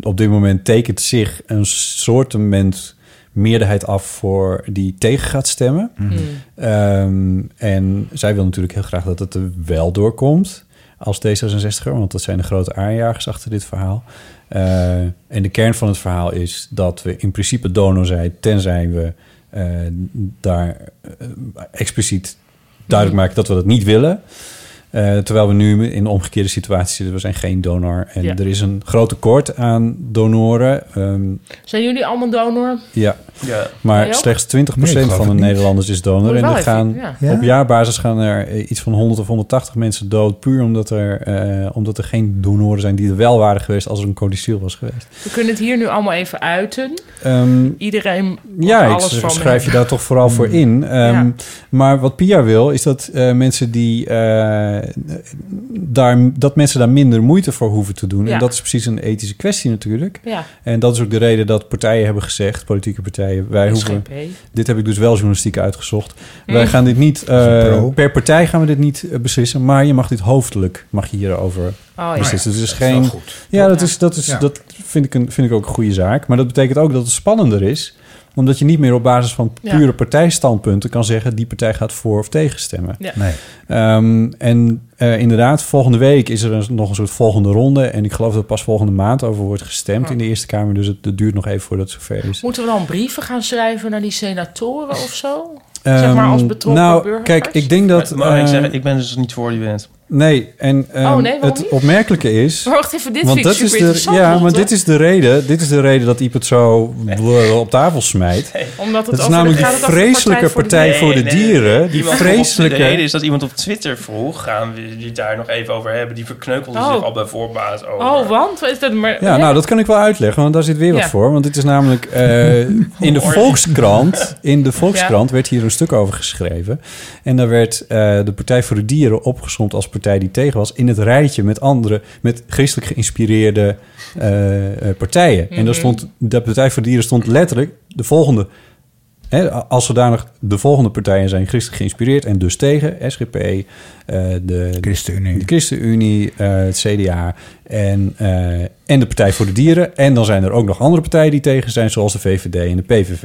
S3: op dit moment tekent zich een soortement meerderheid af voor die tegen gaat stemmen.
S5: Mhm.
S3: Ehm, en zij wil natuurlijk heel graag dat het er wel doorkomt als D66er, want dat zijn de grote aanjagers achter dit verhaal. Eh, en de kern van het verhaal is dat we in principe donor zijn, tenzij we eh, daar eh, expliciet duidelijk maken dat we dat niet willen. Eh, terwijl we nu in de omgekeerde situatie zitten. We zijn geen donor. En
S5: Ja.
S3: er is een groot tekort aan donoren. Ehm,
S5: Zijn jullie allemaal donor?
S3: ja.
S5: Ja.
S3: Maar
S5: Jij ook?
S3: slechts 20%
S5: Nee, ik geloof
S3: van de
S5: het niet.
S3: Nederlanders is
S5: Moet
S3: donor.
S5: je
S3: En
S5: wel
S3: er
S5: even-
S3: gaan,
S5: ja. Ja.
S3: op jaarbasis gaan er eh, iets van 100 of 180 mensen dood. Puur omdat er, eh, omdat er geen donoren zijn die er wel waren geweest als er een codicil was geweest.
S5: We kunnen het hier nu allemaal even uiten.
S3: Ehm,
S5: Iedereen.
S3: ja, ik
S5: alles van
S3: schrijf je
S5: hem.
S3: daar toch vooral voor
S5: Hmm.
S3: in. Ehm, Maar wat Pia wil, is dat, eh, mensen die, eh, daar, dat mensen daar minder moeite voor hoeven te doen.
S5: Ja.
S3: En dat is precies een ethische kwestie natuurlijk.
S5: Ja.
S3: En dat is ook de reden dat partijen hebben gezegd, politieke partijen...
S5: SGP.
S3: wij hoeven, dit heb ik dus wel journalistiek uitgezocht.
S5: Mm.
S3: Wij gaan dit niet,
S5: Dat is een
S3: eh,
S5: pro.
S3: per partij gaan we dit niet eh, beslissen... maar je mag dit hoofdelijk, mag je hierover
S5: Oh, ja.
S3: beslissen. Dus
S5: Dat
S3: het
S5: is
S3: is geen...
S5: wel goed.
S3: Ja, dat, is, dat, is,
S5: Ja.
S3: dat vind, ik een, vind ik ook een goede zaak. Maar dat betekent ook dat het spannender is... omdat je niet meer op basis van
S5: Ja.
S3: pure partijstandpunten kan zeggen... die partij gaat voor of tegen stemmen.
S5: Ja. Nee.
S3: Ehm, en eh, inderdaad, volgende week is er een- nog een soort volgende ronde. En ik geloof dat pas volgende maand over wordt gestemd
S5: Oh.
S3: in de Eerste Kamer. Dus het, het duurt nog even voordat het zover is.
S5: Moeten we dan brieven gaan schrijven naar die senatoren of zo? zeg maar als
S3: Ehm,
S5: betrokken
S3: nou,
S5: burgers?
S3: Kijk, ik denk dat.
S2: Maar, maar ik,
S3: eh,
S2: zeg, ik ben dus niet voor die wens.
S3: Nee, en ehm,
S5: Oh, nee, waarom
S3: het
S5: niet?
S3: opmerkelijke is.
S5: Maar wacht even, dit
S3: want
S5: vind ik
S3: dat is
S5: super
S3: de,
S5: interessant,
S3: Ja, maar
S5: Lotte.
S3: dit is, de reden, dit is de reden dat Iep het zo op tafel smijt.
S5: Omdat het
S3: dat is
S5: over-
S3: namelijk die
S5: gaat het over de
S3: vreselijke Partij voor de Dieren. Die
S2: Iemand vroeg op- De reden
S3: vreselijke.
S2: is dat iemand op Twitter vroeg, gaan we het daar nog even over hebben? Die verkneukelde
S5: Oh.
S2: zich al bij voorbaat over.
S5: Oh, want? Is dat maar,
S3: Ja, nou, dat kan ik wel uitleggen, want daar zit weer wat
S5: Ja.
S3: voor. Want dit is namelijk eh, in de Volkskrant. In de Volkskrant werd hier een stuk over geschreven. En daar werd eh, de Partij voor de Dieren opgesomd als partij die tegen was. In het rijtje met andere, met christelijk geïnspireerde eh, eh, partijen. En
S9: Mhm.
S3: daar stond, de Partij voor de Dieren stond letterlijk de volgende. Hè, als zodanig de volgende partijen zijn christelijk geïnspireerd en dus tegen SGP, eh, de
S4: ChristenUnie,
S3: de ChristenUnie eh, het CDA en, eh, en de Partij voor de Dieren. En dan zijn er ook nog andere partijen die tegen zijn, zoals de VVD en de PVV.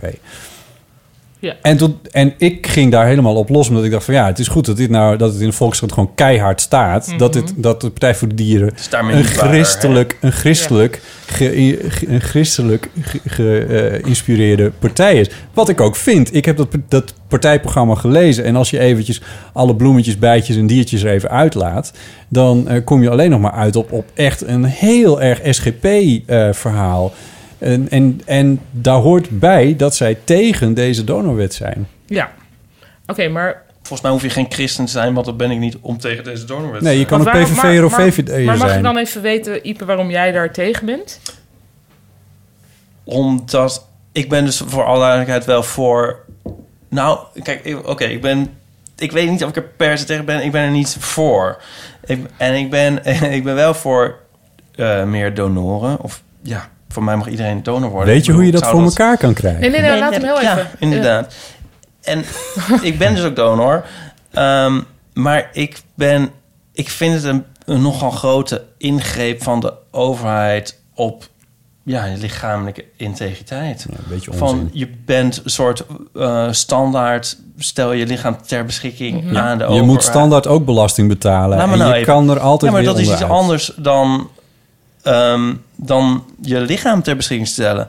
S5: Ja.
S3: En, tot, en ik ging daar helemaal op los, omdat ik dacht van ja, het is goed dat, dit nou, dat het in de Volkskrant gewoon keihard staat.
S5: Mhm.
S3: dat, het, dat de Partij voor de Dieren
S2: daarmee
S3: een
S2: niet waar, hè?
S3: christelijk, een christelijk, ge- ge- een christelijk geïnspireerde partij is. Wat ik ook vind. Ik heb dat, dat partijprogramma gelezen. En als je eventjes alle bloemetjes, bijtjes en diertjes er even uitlaat... dan eh, kom je alleen nog maar uit op, op echt een heel erg SGP-verhaal. eh, en, en, en daar hoort bij dat zij tegen deze donorwet zijn.
S5: Ja. Oké, maar...
S2: Volgens mij hoef je geen christen te zijn, want dat ben ik niet om tegen deze donorwet
S3: Nee, je kan een PVV'er of VVD'er
S5: Maar mag ik
S3: zijn.
S5: dan even weten, Ipe, waarom jij daar tegen bent?
S2: Omdat ik ben dus voor alle duidelijkheid wel voor. Nou, kijk, ik- oké, ik ben. Ik weet niet of ik er per se tegen ben. Ik ben er niet voor. Ik, en ik ben, ik ben wel voor eh, meer donoren. Of ja, voor mij mag iedereen donor worden.
S3: Weet je
S2: Ik
S3: hoe je
S2: bedoel, ik
S3: dat voor
S2: zou
S3: elkaar kan krijgen?
S5: Nee, nee, nee, laat hem heel
S2: ja,
S5: even.
S2: inderdaad. En ik ben dus ook donor. Ehm, maar ik ben... Ik vind het een, een nogal grote ingreep van de overheid op ja, je lichamelijke integriteit.
S3: een beetje
S2: van
S3: onzin.
S2: je bent een soort eh, standaard, stel je lichaam ter beschikking
S3: Ja.
S2: aan de
S3: je
S2: overheid.
S3: moet standaard ook belasting betalen.
S2: Laat me
S3: en
S2: nou
S3: je
S2: even.
S3: kan er altijd
S2: Ja, maar
S3: weer
S2: dat is iets
S3: onderuit.
S2: anders dan, ehm, dan je lichaam ter beschikking stellen.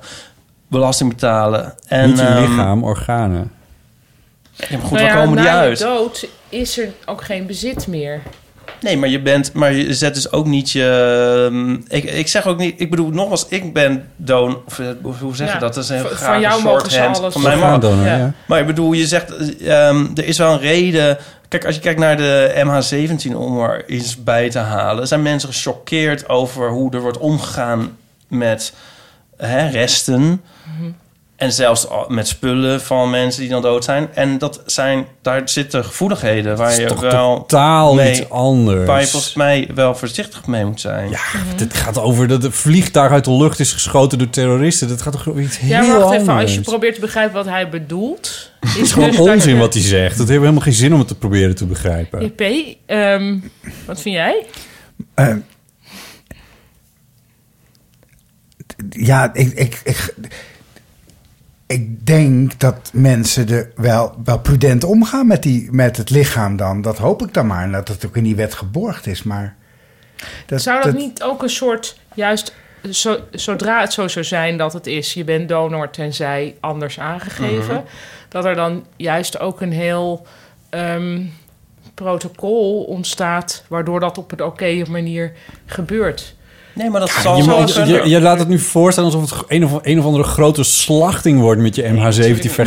S2: Belasting betalen. En,
S3: Niet je
S2: ehm,
S3: lichaam, organen.
S2: Ja, maar goed,
S5: Nou
S2: waar
S5: ja,
S2: komen die
S5: na je
S2: uit?
S5: dood is er ook geen bezit meer.
S2: Nee, maar je bent, maar je zet dus ook niet je. ehm, Ik, ik zeg ook niet, ik bedoel nogmaals, ik ben don. Of, eh, hoe zeg je
S5: Ja,
S2: dat? Dat is een
S5: van-
S2: heel
S5: van
S2: grave
S5: jou mogen ze
S2: shorthand.
S5: alles.
S2: Van mij
S3: Orgaan
S2: mag-
S3: donor, Ja. ja.
S2: Maar ik bedoel, je zegt, ehm, er is wel een reden. Kijk, als je kijkt naar de MH17 om er iets bij te halen, zijn mensen gechoqueerd over hoe er wordt omgegaan met hè, resten.
S5: Mhm.
S2: En zelfs al- met spullen van mensen die dan dood zijn. En dat zijn, daar zitten gevoeligheden waar
S3: is
S2: je
S3: toch
S2: wel
S3: totaal
S2: mee-
S3: iets anders?
S2: Waar je volgens mij wel voorzichtig mee moet zijn.
S3: Ja,
S5: Mhm.
S3: dit gaat over dat een vliegtuig uit de lucht is geschoten door terroristen. Dat gaat toch over iets
S5: Ja,
S3: heel
S5: maar wacht
S3: anders?
S5: even. Als je probeert te begrijpen wat hij bedoelt... Is
S3: het is gewoon
S5: dus dat
S3: onzin
S5: je-
S3: wat hij zegt. Dat heeft helemaal geen zin om het te proberen te begrijpen.
S5: JP, ehm, wat vind jij?
S4: Eh, t- ja, ik, ik, ik, ik denk dat mensen er wel, wel prudent omgaan met, die, met het lichaam dan. Dat hoop ik dan maar. En dat het ook in die wet geborgd is. Maar dat,
S5: Zou dat, niet ook een soort... Juist zo, zodra het zo zou zijn dat het is... je bent donor tenzij anders aangegeven...
S2: Mhm.
S5: dat er dan juist ook een heel... ehm, protocol ontstaat... waardoor dat op een oké manier gebeurt.
S2: Nee, maar dat
S5: Ja,
S2: zal
S3: je,
S2: wel
S3: je-
S2: kunnen.
S3: je- je laat het nu voorstellen alsof het een of, een of andere grote slachting wordt met je MH17 vergelijking.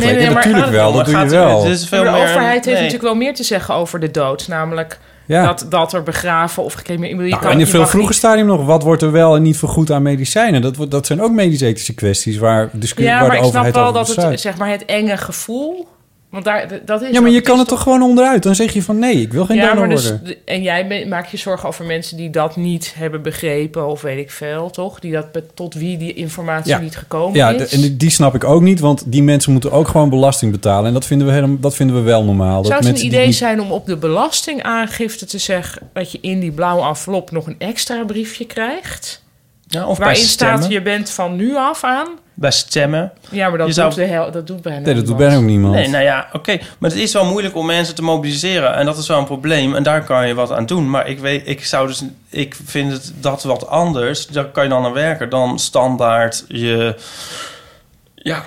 S5: Nee, nee,
S3: Ja,
S5: maar
S3: natuurlijk
S5: gaat-
S3: wel,
S5: maar
S3: dat doe je
S5: gaat-
S3: wel.
S2: dit is veel
S5: Maar de
S2: meer-
S5: overheid heeft
S2: nee.
S5: natuurlijk wel meer te zeggen over de dood. Namelijk
S3: Ja.
S5: dat, dat er begraven of gecremeerd... ik bedoel, je
S3: Nou,
S5: kan-
S3: en in
S5: je
S3: veel
S5: mag
S3: vroeger stadium nog, wat wordt er wel en niet vergoed aan medicijnen? Dat, wordt- dat zijn ook medisch-ethische kwesties waar discussie
S5: Ja,
S3: waar
S5: maar
S3: de
S5: ik snap
S3: overheid
S5: wel
S3: over
S5: dat het,
S3: besluit.
S5: zeg maar, het enge gevoel... Want daar, dat is
S3: ja, maar
S5: wat
S3: je
S5: het
S3: kan
S5: is
S3: het toch gewoon onderuit? Dan zeg je van nee, ik wil geen
S5: ja,
S3: donor
S5: maar dus,
S3: worden.
S5: en jij me- maakt je zorgen over mensen die dat niet hebben begrepen, of weet ik veel, toch? Die dat, be- tot wie die informatie niet gekomen
S3: ja,
S5: is.
S3: de- en die- die snap ik ook niet, want die mensen moeten ook gewoon belasting betalen. En dat vinden we, helemaal- dat vinden we wel
S5: Zou
S3: normaal. dat
S5: het een
S3: mensen
S5: idee
S3: die,
S5: zijn om op de belastingaangifte te zeggen dat je in die blauwe envelop nog een extra briefje krijgt?
S2: Ja, of bij
S5: waarin staat
S2: stemmen.
S5: je bent van nu af aan.
S2: Bij stemmen.
S5: Ja, maar dat,
S2: Je
S5: doet,
S2: zou-
S5: de hel, dat doet bijna
S3: Nee, dat doet
S5: niemand.
S3: bijna ook niemand.
S2: Nee, nou ja, oké. Maar het is wel moeilijk om mensen te mobiliseren. En dat is wel een probleem. En daar kan je wat aan doen. Maar ik, weet, ik, zou dus, ik vind het dat wat anders. Daar kan je dan aan werken. Dan standaard je... Ja,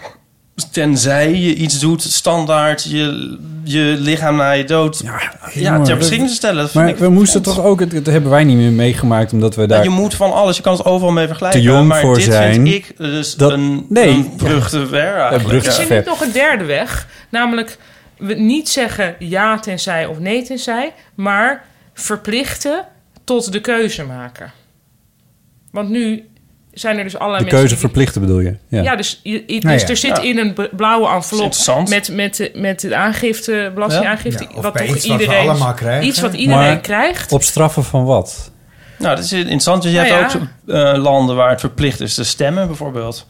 S2: tenzij je iets doet. Standaard je, je lichaam na je dood. Ja, ja
S3: Jongen,
S2: ter
S3: we-
S2: beschikking te stellen. Dat vind
S3: Maar
S2: ik
S3: we moesten toch ook, het, het hebben wij niet meer meegemaakt, omdat we daar...
S2: je moet van alles, je kan het overal mee vergelijken.
S3: Te jong
S2: maar
S3: voor
S2: dit
S3: zijn.
S2: vind ik dus
S3: Dat-
S2: een,
S3: nee.
S2: een brug te ver eigenlijk.
S3: brug te
S2: Ja.
S5: Is er niet dus nog een derde weg? Namelijk we niet zeggen ja tenzij of nee tenzij, maar verplichten tot de keuze maken. Want nu zijn er dus allerlei
S3: De
S5: mensen
S3: keuze
S5: die-
S3: verplichten bedoel je? Ja,
S5: Ja, dus, je- je- dus
S3: Nou ja.
S5: er zit
S3: Ja.
S5: in een b- blauwe envelop
S3: interessant.
S5: met, met, de- met de aangifte, belastingaangifte,
S2: Ja. Ja, of
S5: wat
S2: bij
S5: toch
S2: iets wat we
S5: iedereen,
S2: allemaal krijgen.
S5: iets wat iedereen
S2: Maar-
S5: krijgt.
S3: Op straffen van wat?
S2: Nou, dat is interessant. Dus je
S5: Nou
S2: hebt
S5: ja.
S2: ook eh, landen waar het verplicht is te stemmen, bijvoorbeeld.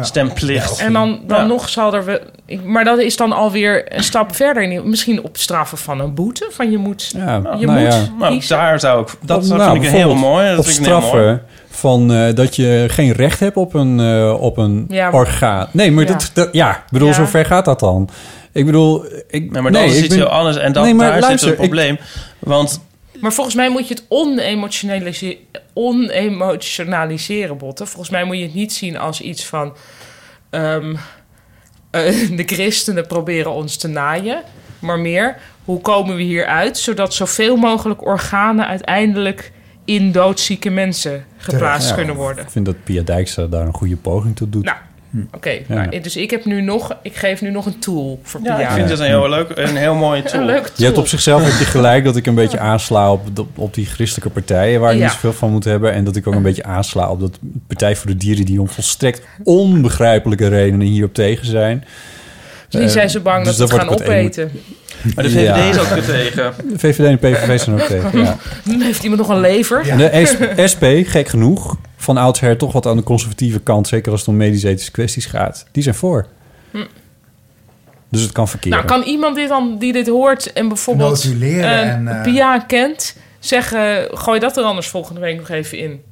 S2: Stemplicht.
S5: En dan, dan
S2: Ja.
S5: nog zal er... we- ik- maar dat is dan alweer een stap verder. in- Misschien op straffen van een boete. Van je moet... je
S3: nou
S5: moet
S3: ja.
S2: Nou, daar zou ik... Dat
S3: Nou,
S2: vind ik heel
S3: bijvoorbeeld
S2: mooi. Dat
S3: op
S2: vind ik heel
S3: straffen
S2: mooi.
S3: van eh, dat je geen recht hebt op een, eh, op een
S2: Ja.
S3: orgaan. Nee, maar
S2: Ja.
S3: dat, dat- ja, ik bedoel,
S2: Ja.
S3: zo ver gaat dat dan. Ik bedoel, ik,
S2: Nee, maar dat
S3: nee,
S2: is
S3: ik
S2: iets
S3: ben-
S2: heel anders. En dat,
S3: Nee, maar
S2: daar
S3: luister,
S2: zit
S3: ik-
S2: een probleem. Want
S5: Maar volgens mij moet je het onemotionalise- onemotionaliseren, Botten. Volgens mij moet je het niet zien als iets van... ehm, eh, de christenen proberen ons te naaien. Maar meer, hoe komen we hier uit... zodat zoveel mogelijk organen uiteindelijk... in doodzieke mensen geplaatst
S3: Ja,
S5: kunnen worden.
S3: Ik vind dat Pia Dijkstra daar een goede poging toe doet.
S5: Oké, nou, dus ik heb nu nog... ik geef nu nog een tool voor
S2: ja,
S5: Pia.
S2: ik vind het een heel, leuk, een heel mooie tool.
S5: Een leuk
S3: Je hebt op zichzelf heb je gelijk dat ik een beetje aansla op, de- op die christelijke partijen waar ik
S5: Ja.
S3: niet zoveel van moet hebben. En dat ik ook een beetje aansla op dat Partij voor de Dieren die om volstrekt onbegrijpelijke redenen hierop tegen zijn.
S5: Misschien
S3: Eh,
S5: zijn ze bang
S3: dus
S5: dat we
S3: daar
S5: het gaan
S3: word ik wat eng-
S5: opeten.
S2: Maar de VVD
S3: Ja.
S2: is ook er tegen.
S3: De VVD en de PVV zijn ook tegen, ja.
S5: Dan heeft iemand nog een lever.
S3: De S- SP, gek genoeg, van oudsher toch wat aan de conservatieve kant, zeker als het om medisch-ethische kwesties gaat, die zijn voor.
S5: Hm.
S3: Dus het kan verkeerd.
S5: Nou, kan iemand dit dan, die dit hoort en bijvoorbeeld
S3: Notuleren
S5: eh,
S3: en, eh,
S5: Pia kent, zeggen: gooi dat er anders volgende week nog even in.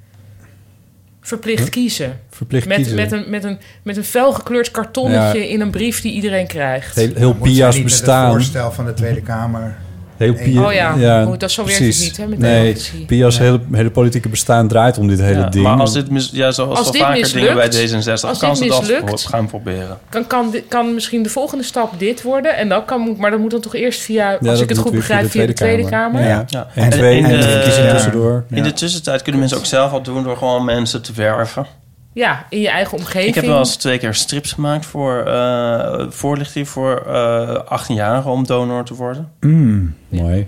S5: Verplicht
S3: Huh?
S5: kiezen.
S3: Verplicht
S5: met,
S3: kiezen.
S5: Met een, met een, met een felgekleurd kartonnetje
S3: Ja.
S5: in een brief die iedereen krijgt.
S3: Heel- heel
S4: Moeten we
S3: Pia's
S4: niet met
S3: bestaan.
S4: het voorstel van de Tweede Kamer.
S3: Heel
S4: Nee.
S3: Pia-
S5: Oh ja, oh, dat- zo werkt het
S3: precies.
S5: niet, hè, met
S3: nee,
S5: democratie.
S3: Pia's hele, hele politieke bestaan draait om dit hele
S2: Ja,
S3: ding.
S2: maar als dit, mis- ja, zoals
S5: Als
S2: al
S5: dit
S2: vaker dingen bij
S5: mislukt-
S2: D66,
S5: als
S2: kan
S5: dit
S2: ze dat
S5: mislukt-
S2: voor- gaan proberen.
S5: Kan, kan, dit- kan misschien de volgende stap dit worden. En dan kan, maar dat moet dan toch eerst via, als
S2: dat
S5: ik het
S2: moet
S5: goed
S2: weer via
S5: begrijp,
S2: de
S5: via de
S2: Tweede
S5: Tweede Kamer.
S2: Ja.
S3: En twee- en drie
S2: de-
S3: verkiezingen tussendoor.
S2: In de tussentijd kunnen mensen ook zelf wat doen door gewoon mensen te werven.
S5: Ja, in je eigen omgeving.
S2: Ik heb wel eens twee keer strips gemaakt voor eh, voorlichting voor eh 18-jarigen om donor te worden.
S3: Mm, Mooi.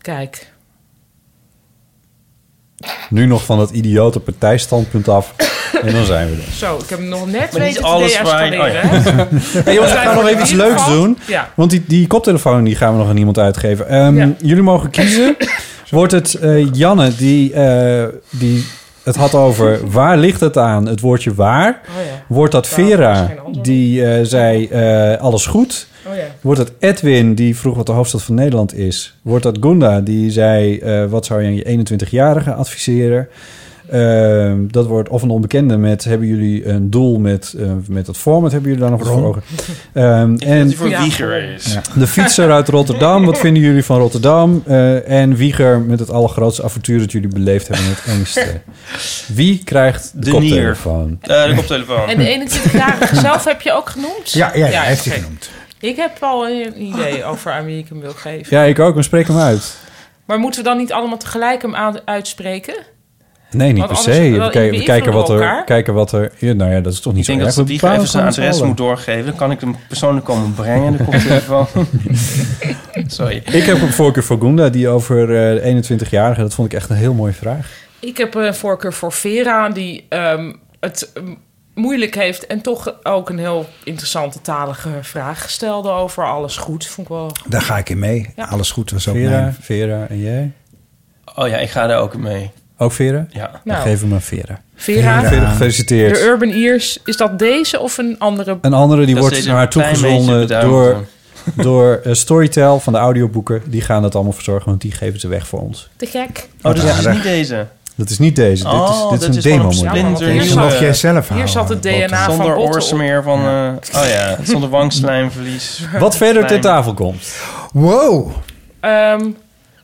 S5: Kijk.
S3: Nu nog van dat idiote partijstandpunt af. en dan zijn we er.
S5: Zo, ik heb hem nog net
S2: Maar niet
S5: weten te
S2: alles waar-
S5: deescaleren.
S2: oh ja.
S5: hè?
S3: Hey jongens, we gaan nog even iets leuks doen.
S5: Ja.
S3: Want die, die koptelefoon die gaan we nog aan iemand uitgeven. Ehm, Jullie mogen kiezen. Wordt het eh, Janne die, eh, die het had over waar ligt het aan, het woordje waar.
S5: Oh
S3: Wordt dat
S5: Nou,
S3: Vera die eh, zei eh, alles goed.
S5: Oh ja.
S3: Wordt dat Edwin die vroeg wat de hoofdstad van Nederland is. Wordt dat Gunda die zei eh, wat zou je aan je 21-jarige adviseren. Ehm, dat wordt of een onbekende met hebben jullie een doel met, eh, met dat format hebben jullie daar nog wat voor
S2: Ron.
S3: ogen. Ehm, en
S2: die voor Wieger is.
S3: Ja. De fietser uit Rotterdam, wat vinden jullie van Rotterdam? Eh, en Wieger met het allergrootste avontuur dat jullie beleefd hebben met angsten. Wie krijgt de,
S2: De
S3: koptelefoon?
S2: nier. Eh, de koptelefoon.
S5: En de 21-jarige zelf heb je ook genoemd?
S3: Ja, ja, ja, heeft hij
S5: oké.
S3: genoemd.
S5: Ik heb al een idee over aan wie ik hem wil geven.
S3: Ja, ik ook, maar spreek hem uit.
S5: Maar moeten we dan niet allemaal tegelijk hem aan- uitspreken?
S3: Nee, niet
S5: Want
S3: per
S5: anders
S3: se.
S5: wel-
S3: We, kijken- we kijken, wat
S5: elkaar.
S3: er, kijken wat er... Ja, nou ja, dat is toch niet
S2: Ik denk dat
S3: zo
S2: ze
S3: erg. We
S2: die
S3: bepalen
S2: even zijn
S3: gewoon met
S2: adres
S3: z'n
S2: moet doorgeven. Dan kan ik hem persoonlijk komen brengen. Dan komt hij van. Sorry.
S3: allen. Ik heb een voorkeur voor Gunda, die over eh, de 21-jarige... Dat vond ik echt een heel mooie vraag.
S5: Ik heb een voorkeur voor Vera, die ehm, het ehm, moeilijk heeft en toch ook een heel interessante talige vraag gestelde over alles goed. Vond ik wel.
S4: Daar ga ik in mee.
S5: Ja.
S4: Alles goed was ook
S3: Vera,
S4: mijn-
S3: Vera en jij?
S2: Oh ja, ik ga daar ook mee.
S3: Ook Vera?
S2: Ja.
S3: Dan
S5: Nou.
S3: geef hem aan Vera.
S5: Vera,
S3: Vera, gefeliciteerd.
S5: De Urban Ears, is dat deze of een andere?
S3: Een andere die
S5: Dat
S3: wordt
S5: is
S3: naar haar
S5: een klein
S3: toegezonden
S5: beetje
S3: door,
S5: beduimd,
S3: door eh, Storytel van de audioboeken. Die gaan dat allemaal verzorgen, want die geven ze weg voor ons.
S5: Te gek.
S2: Oh, dus dat is
S3: aardig.
S2: niet deze.
S3: Dat is niet deze.
S2: Oh,
S3: dit is, dit
S2: dat
S3: is een
S2: is gewoon
S3: demo.
S2: een splinter. Hier
S3: model.
S2: zat- Mag jij zelf
S5: Hier zat het DNA van
S2: Zonder
S5: Botte op.
S2: oorsmeer van... eh, oh ja, zonder wangslijmverlies.
S3: Wat verder ter tafel komt.
S4: Wow.
S5: Ehm,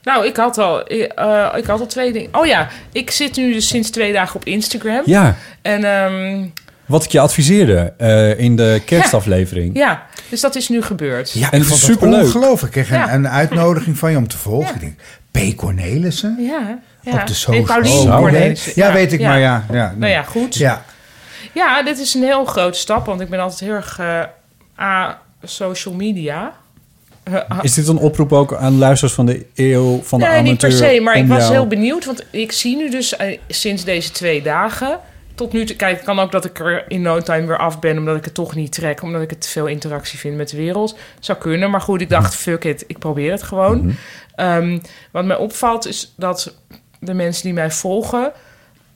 S5: nou, ik had al, ik, eh, ik had al twee dingen. Oh ja, ik zit nu dus sinds twee dagen op Instagram.
S3: Ja.
S5: En ehm,
S3: Wat ik je adviseerde eh, in de kerstaflevering.
S5: ja, dus dat is nu gebeurd.
S4: Ja,
S3: En
S4: en
S3: het
S4: het
S3: is
S4: is
S3: superleuk.
S4: Ongelooflijk. Ik kreeg een-
S5: Ja.
S4: een uitnodiging van je om te volgen. Ik denk, P. Cornelissen?
S5: Ja, ja.
S4: Op de
S5: Nee,
S4: social.
S5: Paulien
S4: Oh,
S5: Cornelis.
S4: nee. Ja, weet ik, maar ja. ja.
S5: Nou ja, goed.
S4: Ja.
S5: Ja, dit is een heel grote stap, want ik ben altijd heel erg eh a social media. Eh, ah,
S3: Is dit een oproep ook aan luisteraars van de eeuw van de
S5: nee,
S3: amateur?
S5: niet per se, maar ik
S3: om
S5: was
S3: jou-
S5: heel benieuwd, want ik zie nu dus eh, sinds deze twee dagen tot nu toe. Kijk, het kan ook dat ik er in no time weer af ben, omdat ik het toch niet trek, omdat ik het te veel interactie vind met de wereld. Zou kunnen, maar goed, ik dacht,
S3: Mhm.
S5: fuck it, ik probeer het gewoon. Ehm, wat mij opvalt is dat de mensen die mij volgen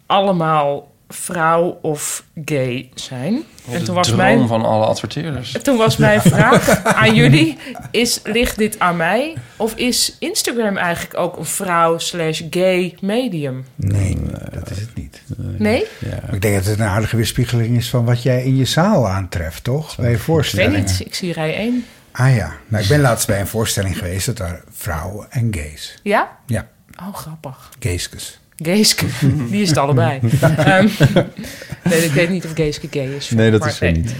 S5: allemaal vrouw of gay zijn.
S2: En toen was droom mijn... van alle adverteerders.
S5: Toen was mijn vraag aan jullie: is, ligt dit aan mij? Of is Instagram eigenlijk ook een vrouw slash gay medium?
S4: Nee, dat is het niet.
S5: Nee?
S4: Maar Ik denk dat het een aardige weerspiegeling is van wat jij in je zaal aantreft, toch? Bij je
S5: Ik weet
S4: voorstellingen.
S5: niet, ik zie rij 1.
S4: Ah ja. Nou, ik ben laatst bij een voorstelling geweest dat daar vrouwen en gays.
S5: Ja?
S4: Ja,
S5: Oh, grappig.
S4: gayskes.
S5: Geeske, die is het allebei. Ehm, nee, ik weet niet of Geeske gay is.
S3: Nee, dat
S5: maar
S3: is ze niet.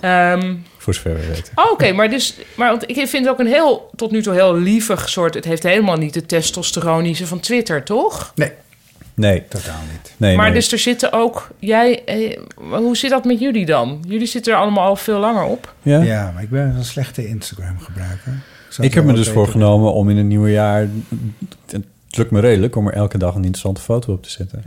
S5: Ehm,
S3: Voor zover we weten.
S5: Oh, Oké, maar, dus, maar want ik vind het ook een heel, tot nu toe heel lievig soort. Het heeft helemaal niet de testosteronische van Twitter, toch?
S4: Nee.
S3: Nee.
S4: Totaal niet.
S3: Nee,
S5: maar
S3: nee.
S5: dus er zitten ook. Jij, eh, hoe zit dat met jullie dan? Jullie zitten er allemaal al veel langer op.
S3: Ja?
S4: ja, maar ik ben een slechte Instagram gebruiker. zou
S3: Ik heb
S4: het
S3: me
S4: wel
S3: dus
S4: weten.
S3: voorgenomen om in het nieuwe jaar... Het lukt me redelijk om er elke dag een interessante foto op te zetten.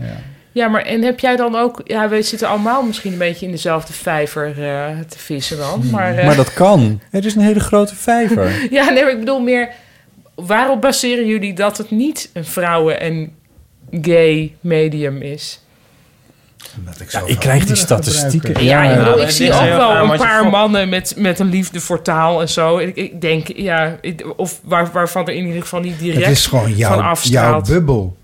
S5: Ja, maar en heb jij dan ook. Ja, we zitten allemaal misschien een beetje in dezelfde vijver eh, te vissen dan. Maar, eh,
S3: Hmm. Maar dat kan. Het is een hele grote vijver.
S5: Ja, nee, maar ik bedoel meer. Waarop baseren jullie dat het niet een vrouwen- en gay medium is?
S3: Ja, ik krijg die statistieken.
S5: Ja, ik, bedoel, ik
S2: het
S5: zie
S2: ligt
S5: ook
S2: er heel
S5: wel
S2: aan
S5: een
S2: wat je
S5: paar
S2: voor-
S5: mannen met, met een liefde voor taal en zo. Ik, ik denk, ja, ik- of waar, waarvan er in ieder geval niet direct
S4: Het is gewoon
S5: van
S4: jouw, jouw
S5: afstraalt.
S4: bubbel.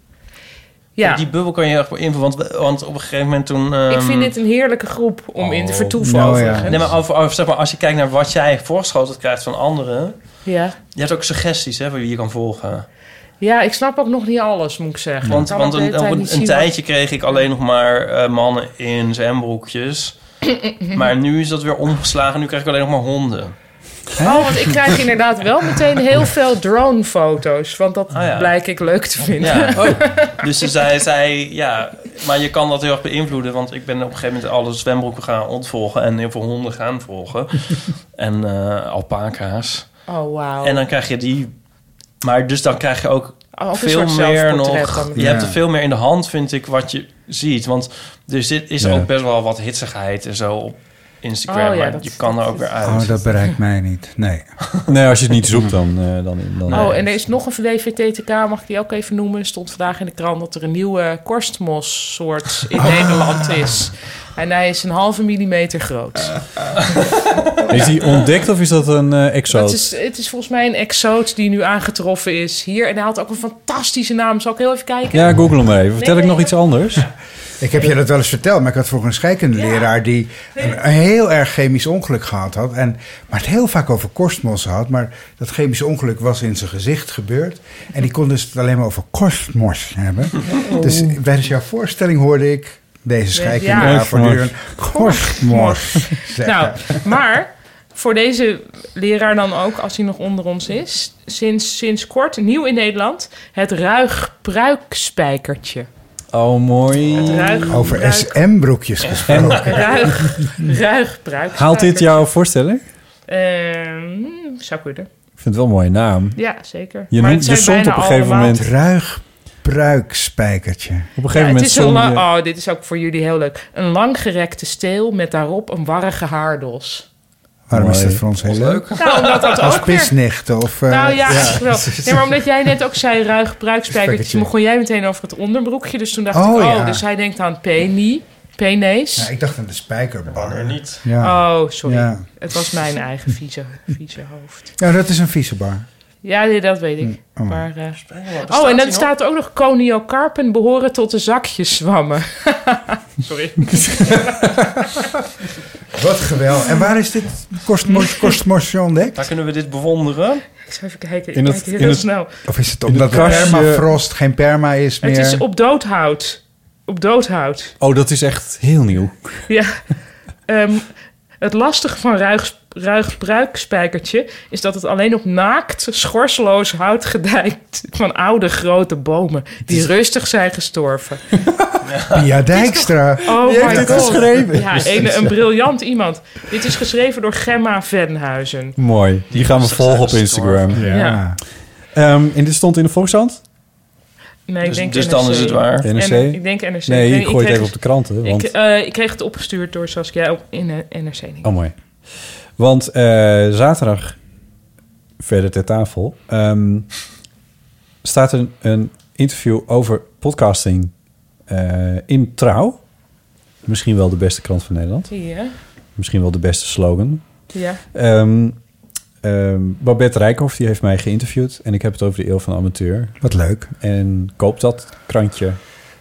S5: ja,
S2: Die bubbel kan je echt voor invullen. Want, want op een gegeven moment toen...
S5: ik
S2: ehm,
S5: vind dit een heerlijke groep om in
S3: Oh.
S5: te vertoeven
S2: nou ja.
S5: overigens.
S2: Nee, maar, over, over- zeg maar als je kijkt naar wat jij voorschoteld krijgt van anderen...
S5: Ja.
S2: Je hebt ook suggesties hè, voor wie je kan volgen.
S5: ja, ik snap ook nog niet alles, moet ik zeggen.
S2: Want,
S5: Ik kan
S2: want
S5: ook de
S2: een,
S5: hele tijd
S2: een,
S5: niet zien wat-
S2: tijdje kreeg ik alleen nog maar eh, mannen in zwembroekjes. maar nu is dat weer omgeslagen. Nu krijg ik alleen nog maar honden.
S5: Oh, want ik krijg inderdaad wel meteen heel veel drone-foto's. Want dat
S2: Oh ja.
S5: blijk ik leuk te vinden.
S2: Ja. Dus ze zei, zei, ja, maar je kan dat heel erg beïnvloeden. Want ik ben op een gegeven moment alle zwembroeken gaan ontvolgen. En heel veel honden gaan volgen. en eh alpaca's.
S5: Oh, wauw.
S2: En dan krijg je die... Maar dus dan krijg je ook
S5: Oh, ook een
S2: veel
S5: soort
S2: meer
S5: zelfportret
S2: nog...
S5: dan.
S2: Je
S5: Ja.
S2: hebt er veel meer in de hand, vind ik, wat je ziet. Want er zit, is
S4: Ja.
S2: ook best wel wat hitsigheid en zo op Instagram.
S5: Oh ja,
S2: maar
S5: dat-
S2: je kan er ook weer uit.
S4: Oh, dat bereikt mij niet. Nee.
S3: Nee, als je het niet zoekt, dan... eh, dan, dan
S5: Oh, en er is nog een WVTTK, mag ik die ook even noemen? Stond vandaag in de krant dat er een nieuwe korstmos-soort in
S3: Ah.
S5: Nederland is. En hij is een halve millimeter groot.
S3: Is die ontdekt of is dat een eh exoot?
S5: Het is, het is volgens mij een exoot die nu aangetroffen is hier. En hij had ook een fantastische naam. Zal ik heel even kijken?
S3: Ja, google hem even.
S5: Nee,
S3: Vertel ik
S5: nee,
S3: nog iets anders?
S4: Ik heb je dat wel eens verteld, maar ik had vroeger een scheikunde leraar die een, een heel erg chemisch ongeluk gehad had. En, maar het heel vaak over korstmos had, maar dat chemische ongeluk was in zijn gezicht gebeurd. En die kon dus het alleen maar over korstmos hebben.
S3: Oh.
S4: Dus tijdens jouw voorstelling hoorde ik deze scheikunde
S5: Ja.
S3: Nou,
S4: voortdurend korstmos. zeggen.
S5: Nou, maar voor deze leraar dan ook, als hij nog onder ons is, sinds, sinds kort nieuw in Nederland, het ruigpruikspijkertje.
S3: Oh, mooi.
S5: Het ruig-
S4: Over
S5: ruik-
S4: SM-broekjes gesproken.
S5: Ruig, ruigpruikspijkertje.
S3: Haalt dit jouw voorstelling?
S5: Ehm, zou kunnen.
S3: Ik vind het wel een mooie naam.
S5: Ja, zeker.
S3: Je,
S5: Maar
S3: noemt,
S5: het
S3: je
S5: zijn
S3: stond op
S5: bijna
S3: een gegeven
S5: allemaal-
S3: moment...
S4: Ruig pruikspijkertje.
S3: Op een
S5: Ja,
S3: gegeven
S5: het
S3: moment
S5: is een
S3: zong
S5: lang,
S3: je-
S5: oh, dit is ook voor jullie heel leuk. Een langgerekte steel met daarop een warrige haardos.
S4: Waarom is dat voor ons heel leuk?
S5: Nou, omdat dat
S4: Als
S5: ook weer-
S4: pisnichten of... eh,
S5: nou ja, eigenlijk wel. Nee, maar omdat jij net ook zei ruig gebruikspijkertje,
S4: Spijkertje.
S5: toen begon jij meteen over het onderbroekje. Dus toen dacht
S4: Oh,
S5: ik, oh,
S4: ja.
S5: dus hij denkt aan peni, penees.
S4: Ja, ik dacht aan de spijkerbanger.
S2: niet.
S5: Oh, sorry.
S4: Ja.
S5: Het was mijn eigen vieze, vieze hoofd.
S4: Ja, dat is een vieze bar.
S5: Ja, nee, dat weet ik.
S4: Oh.
S5: Maar, eh,
S2: staat
S5: oh, en
S2: hij
S5: dan
S2: nog?
S5: staat er ook nog coniocarpen behoren tot de zakjeszwammen. Sorry.
S4: Wat geweldig. En waar is dit Kostmos kost ontdekt?
S2: Waar kunnen we dit bewonderen?
S5: Ik zou even kijken. Ik
S4: In
S5: kijk
S4: het-
S5: heel
S4: in het-
S5: snel.
S4: Of is het
S3: In het
S4: omdat de
S3: kastje-
S4: permafrost geen perma is meer?
S5: Het is op doodhout. Op doodhout.
S3: Oh, dat is echt heel nieuw.
S5: Ja. Ehm, het lastige van ruig, ruigbruikspijkertje is dat het alleen op naakt, schorseloos hout gedijkt van oude grote bomen die rustig zijn gestorven.
S4: Pia Dijkstra.
S5: Oh
S4: Die
S5: my
S4: heeft dit
S5: God.
S4: geschreven.
S5: Ja, een, een briljant iemand. Dit is geschreven door Gemma Venhuizen.
S3: Mooi. Die gaan we volgen op Instagram.
S5: Ja. Ja.
S3: Ehm, en dit stond in de Volkskrant?
S5: Nee, ik
S2: Dus-
S5: denk
S2: dus
S5: NRC.
S2: dan is het waar.
S3: NRC?
S5: En- ik denk NRC.
S3: Nee,
S5: ik,
S3: ik gooi het
S5: kreeg
S3: even op de kranten, want-
S5: Ik, eh, ik kreeg het opgestuurd door Saskia op- in eh, NRC. Niet.
S3: Oh, mooi. Want eh, zaterdag, verder ter tafel, ehm, staat een, een interview over podcasting eh, in Trouw. Misschien wel de beste krant van Nederland.
S5: Ja.
S3: Misschien wel de beste slogan.
S5: Ja.
S3: Ehm, ehm, Babette Rijkhoff die heeft mij geïnterviewd. En ik heb het over de eeuw van de amateur.
S4: Wat leuk.
S3: En koop dat krantje,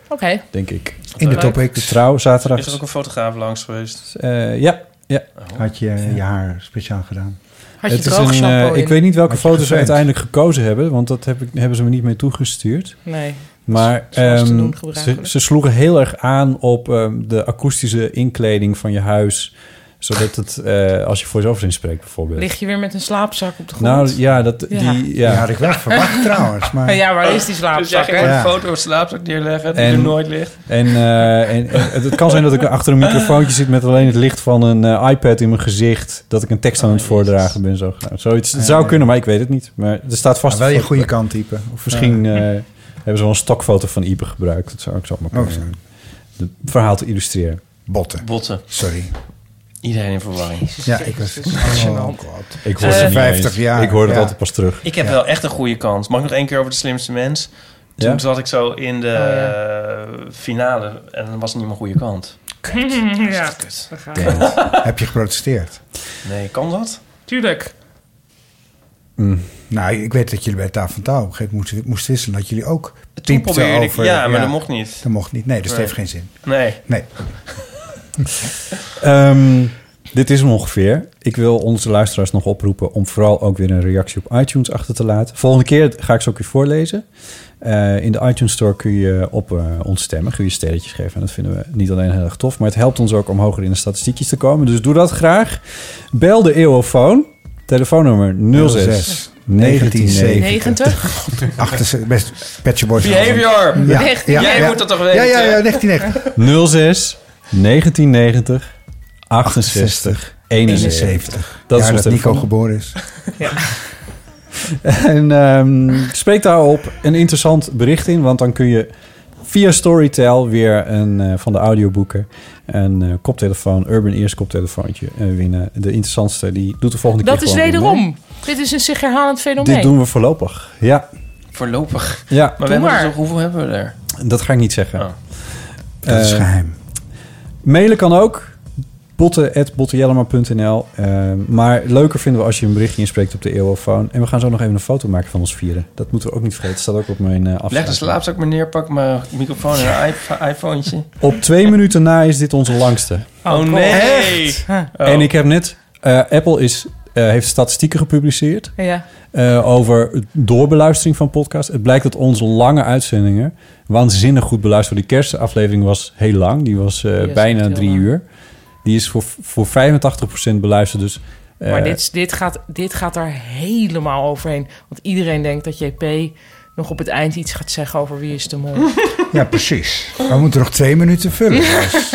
S5: Oké.
S3: denk ik.
S4: In de topics.
S3: Trouw, zaterdag.
S2: Is er ook een fotograaf langs geweest?
S3: Eh, ja, ja.
S4: Had je je haar speciaal gedaan?
S2: Had je
S3: is
S2: droog
S3: een,
S2: shampoo
S3: eh,
S2: in?
S3: Ik weet niet welke
S4: Had je
S3: foto's ze
S4: geframed?
S3: uiteindelijk gekozen hebben, want dat heb ik, hebben ze me niet mee toegestuurd.
S5: Nee.
S3: Maar
S5: Zoals te
S3: ehm,
S5: doen
S3: ze,
S5: gebruikelijk.
S3: ze sloegen heel erg aan op ehm, de akoestische inkleding van je huis, zodat het, eh, als je voor jezelf inspreekt bijvoorbeeld.
S5: Lig je weer met een slaapzak op de grond?
S3: nou ja, dat, Die, ja.
S4: had ik wel verwacht trouwens. Maar...
S5: Ja, waar is die slaapzak,
S2: Dus jij ging
S5: hè?
S2: gewoon
S5: Ja.
S2: een foto van de slaapzak neerleggen die er nooit ligt.
S3: En, eh, en eh, het, het kan zijn dat ik achter een microfoontje zit met alleen het licht van een eh, iPad in mijn gezicht. Dat ik een tekst aan het voordragen ben. Zo. Nou, zoiets. Het zou
S4: Oh, Ja.
S3: kunnen, maar ik weet het niet. Maar er staat vast.
S4: Maar wel
S3: een
S4: je
S3: foto
S4: goede
S3: bij.
S4: kant typen.
S3: Of misschien
S4: Ja.
S3: eh, hebben ze wel een stokfoto van Ipe gebruikt. Dat zou ik zo maar kunnen.
S4: Oh, zo.
S3: doen. Het verhaal te illustreren.
S4: Botten.
S2: Botten.
S4: Sorry.
S2: Iedereen in verwarring.
S4: Ja, ik was...
S2: Gênant.
S4: Oh, God.
S3: Ik hoor het niet eens. Ik hoor het altijd pas terug.
S2: Ik heb wel echt een goede kans. Mag ik nog één keer over de slimste mens? Toen
S3: Ja.
S2: zat ik zo in de
S5: Oh,
S2: eh, finale en dan was het niet mijn goede kant.
S5: ja, daar gaat het.
S4: Heb je geprotesteerd?
S2: Nee, kan dat?
S5: Tuurlijk.
S2: Mm.
S4: Nou, ik weet dat jullie bij tafel van touw op een gegeven moment moesten- moesten wisselen. Dat jullie ook piepten
S2: probeerde ik-
S4: over...
S2: ja, maar dat mocht niet.
S4: Dat mocht niet. Nee, dus het
S2: Nee.
S4: heeft geen zin.
S2: Nee.
S4: Nee.
S3: Ehm, dit is hem ongeveer. Ik wil onze luisteraars nog oproepen om vooral ook weer een reactie op iTunes achter te laten. Volgende keer ga ik ze ook weer voorlezen. Eh, in de iTunes Store kun je op eh, ons stemmen, kun je sterretjes geven. En dat vinden we niet alleen heel erg tof, maar het helpt ons ook om hoger in de statistiekjes te komen. Dus doe dat graag. Bel de Eeuwofoon. Telefoonnummer 06
S5: 1990.
S4: 78, best Pet Shop Boys.
S2: Behavior. Echt? Jij moet dat toch weten?
S4: Ja, ja, ja, 1990.
S3: 06 1990 68 71.
S4: Dat
S3: is
S4: ja,
S3: ons
S4: dat Nico
S3: telefoon.
S4: geboren is.
S3: En ehm, spreek daarop een interessant bericht in, want dan kun je via Storytel weer een, eh, van de audioboeken een eh, koptelefoon, Urban Ears koptelefoontje eh, winnen. De interessantste, die doet de volgende
S5: Dat
S3: keer
S5: is
S3: gewoon weer
S5: wederom.
S3: mee.
S5: Dit is een zich herhalend fenomeen.
S3: Dit doen we voorlopig. Ja.
S2: Voorlopig?
S3: Ja.
S2: Maar, we
S3: Doe
S2: hebben
S3: maar.
S2: dus ook- hoeveel hebben we er?
S3: Dat ga ik niet zeggen.
S4: Dat is
S3: Eh,
S4: geheim.
S3: Mailen kan ook. botten.bottejellema.nl Eh, Maar leuker vinden we als je een berichtje inspreekt op de eeuwofoon. En we gaan zo nog even een foto maken van ons vieren. Dat moeten we ook niet vergeten. Dat staat ook op mijn eh
S2: Leg de
S3: afspraak.
S2: slaapzak maar neer, pak mijn microfoon en een iPhone- iPhonetje.
S3: Op twee minuten na is dit onze langste.
S2: Oh, nee. Oh, Echt? Huh.
S5: Oh.
S3: En ik heb net... eh, Apple is, eh, heeft statistieken gepubliceerd...
S5: Ja.
S3: eh, over doorbeluistering van podcasts. Het blijkt dat onze lange uitzendingen... waanzinnig goed beluisterd worden. Die kerstaflevering was heel lang. Die was eh,
S5: Die was echt
S3: bijna
S5: heel
S3: drie uur. Die is voor, voor 85% beluisterd. Dus
S5: Maar dit, is- dit, gaat, dit gaat daar helemaal overheen. Want iedereen denkt dat JP nog op het eind iets gaat zeggen over wie is de mol.
S4: Ja, precies. We moeten nog twee minuten vullen. dus.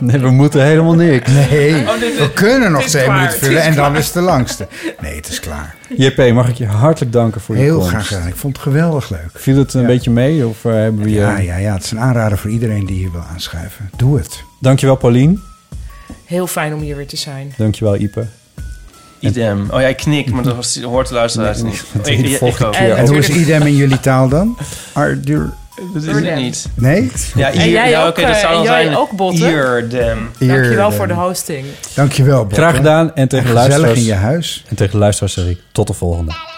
S3: Nee, we moeten helemaal niks.
S4: Nee,
S5: Oh, dit-
S4: we kunnen nog
S5: het is
S4: twee
S5: klaar,
S4: minuten
S5: het is
S4: vullen en dan
S5: klaar.
S4: is het de langste. Nee, het is klaar.
S3: JP, mag ik je hartelijk danken voor je
S4: Heel
S3: komst.
S4: graag gedaan. Ik vond het geweldig leuk.
S3: Viel het een beetje mee? Of eh, hebben we je...
S4: Ja, ja, ja, het is een aanrader voor iedereen die hier wil aanschuiven. Doe het.
S3: Dankjewel Paulien.
S5: Heel fijn om hier weer te zijn.
S3: Dankjewel Ipe.
S2: Idem. Oh, jij knikt, maar dat was- hoort de luisteraars
S3: Nee,
S2: niet.
S3: dat
S2: Ik-
S3: is de
S2: ik-
S3: volgende
S2: ik ook.
S3: keer.
S4: En hoe is idem in jullie taal dan? Ardur.
S2: Dat is het niet.
S4: Nee?
S2: Ja,
S5: En
S2: hier,
S5: jij
S2: ja,
S5: ook,
S2: oké, dat
S5: eh,
S2: zou dan
S5: en jij
S2: zijn.
S5: ook, Botte?
S2: Ierdem.
S5: Dankjewel
S3: Eer,
S5: voor de
S3: eh,
S5: hosting.
S4: Dankjewel Bob.
S3: Graag gedaan en tegen de
S4: Gezellig
S3: luisteraars.
S4: in je huis.
S3: En tegen de luisteraars zeg ik tot de volgende.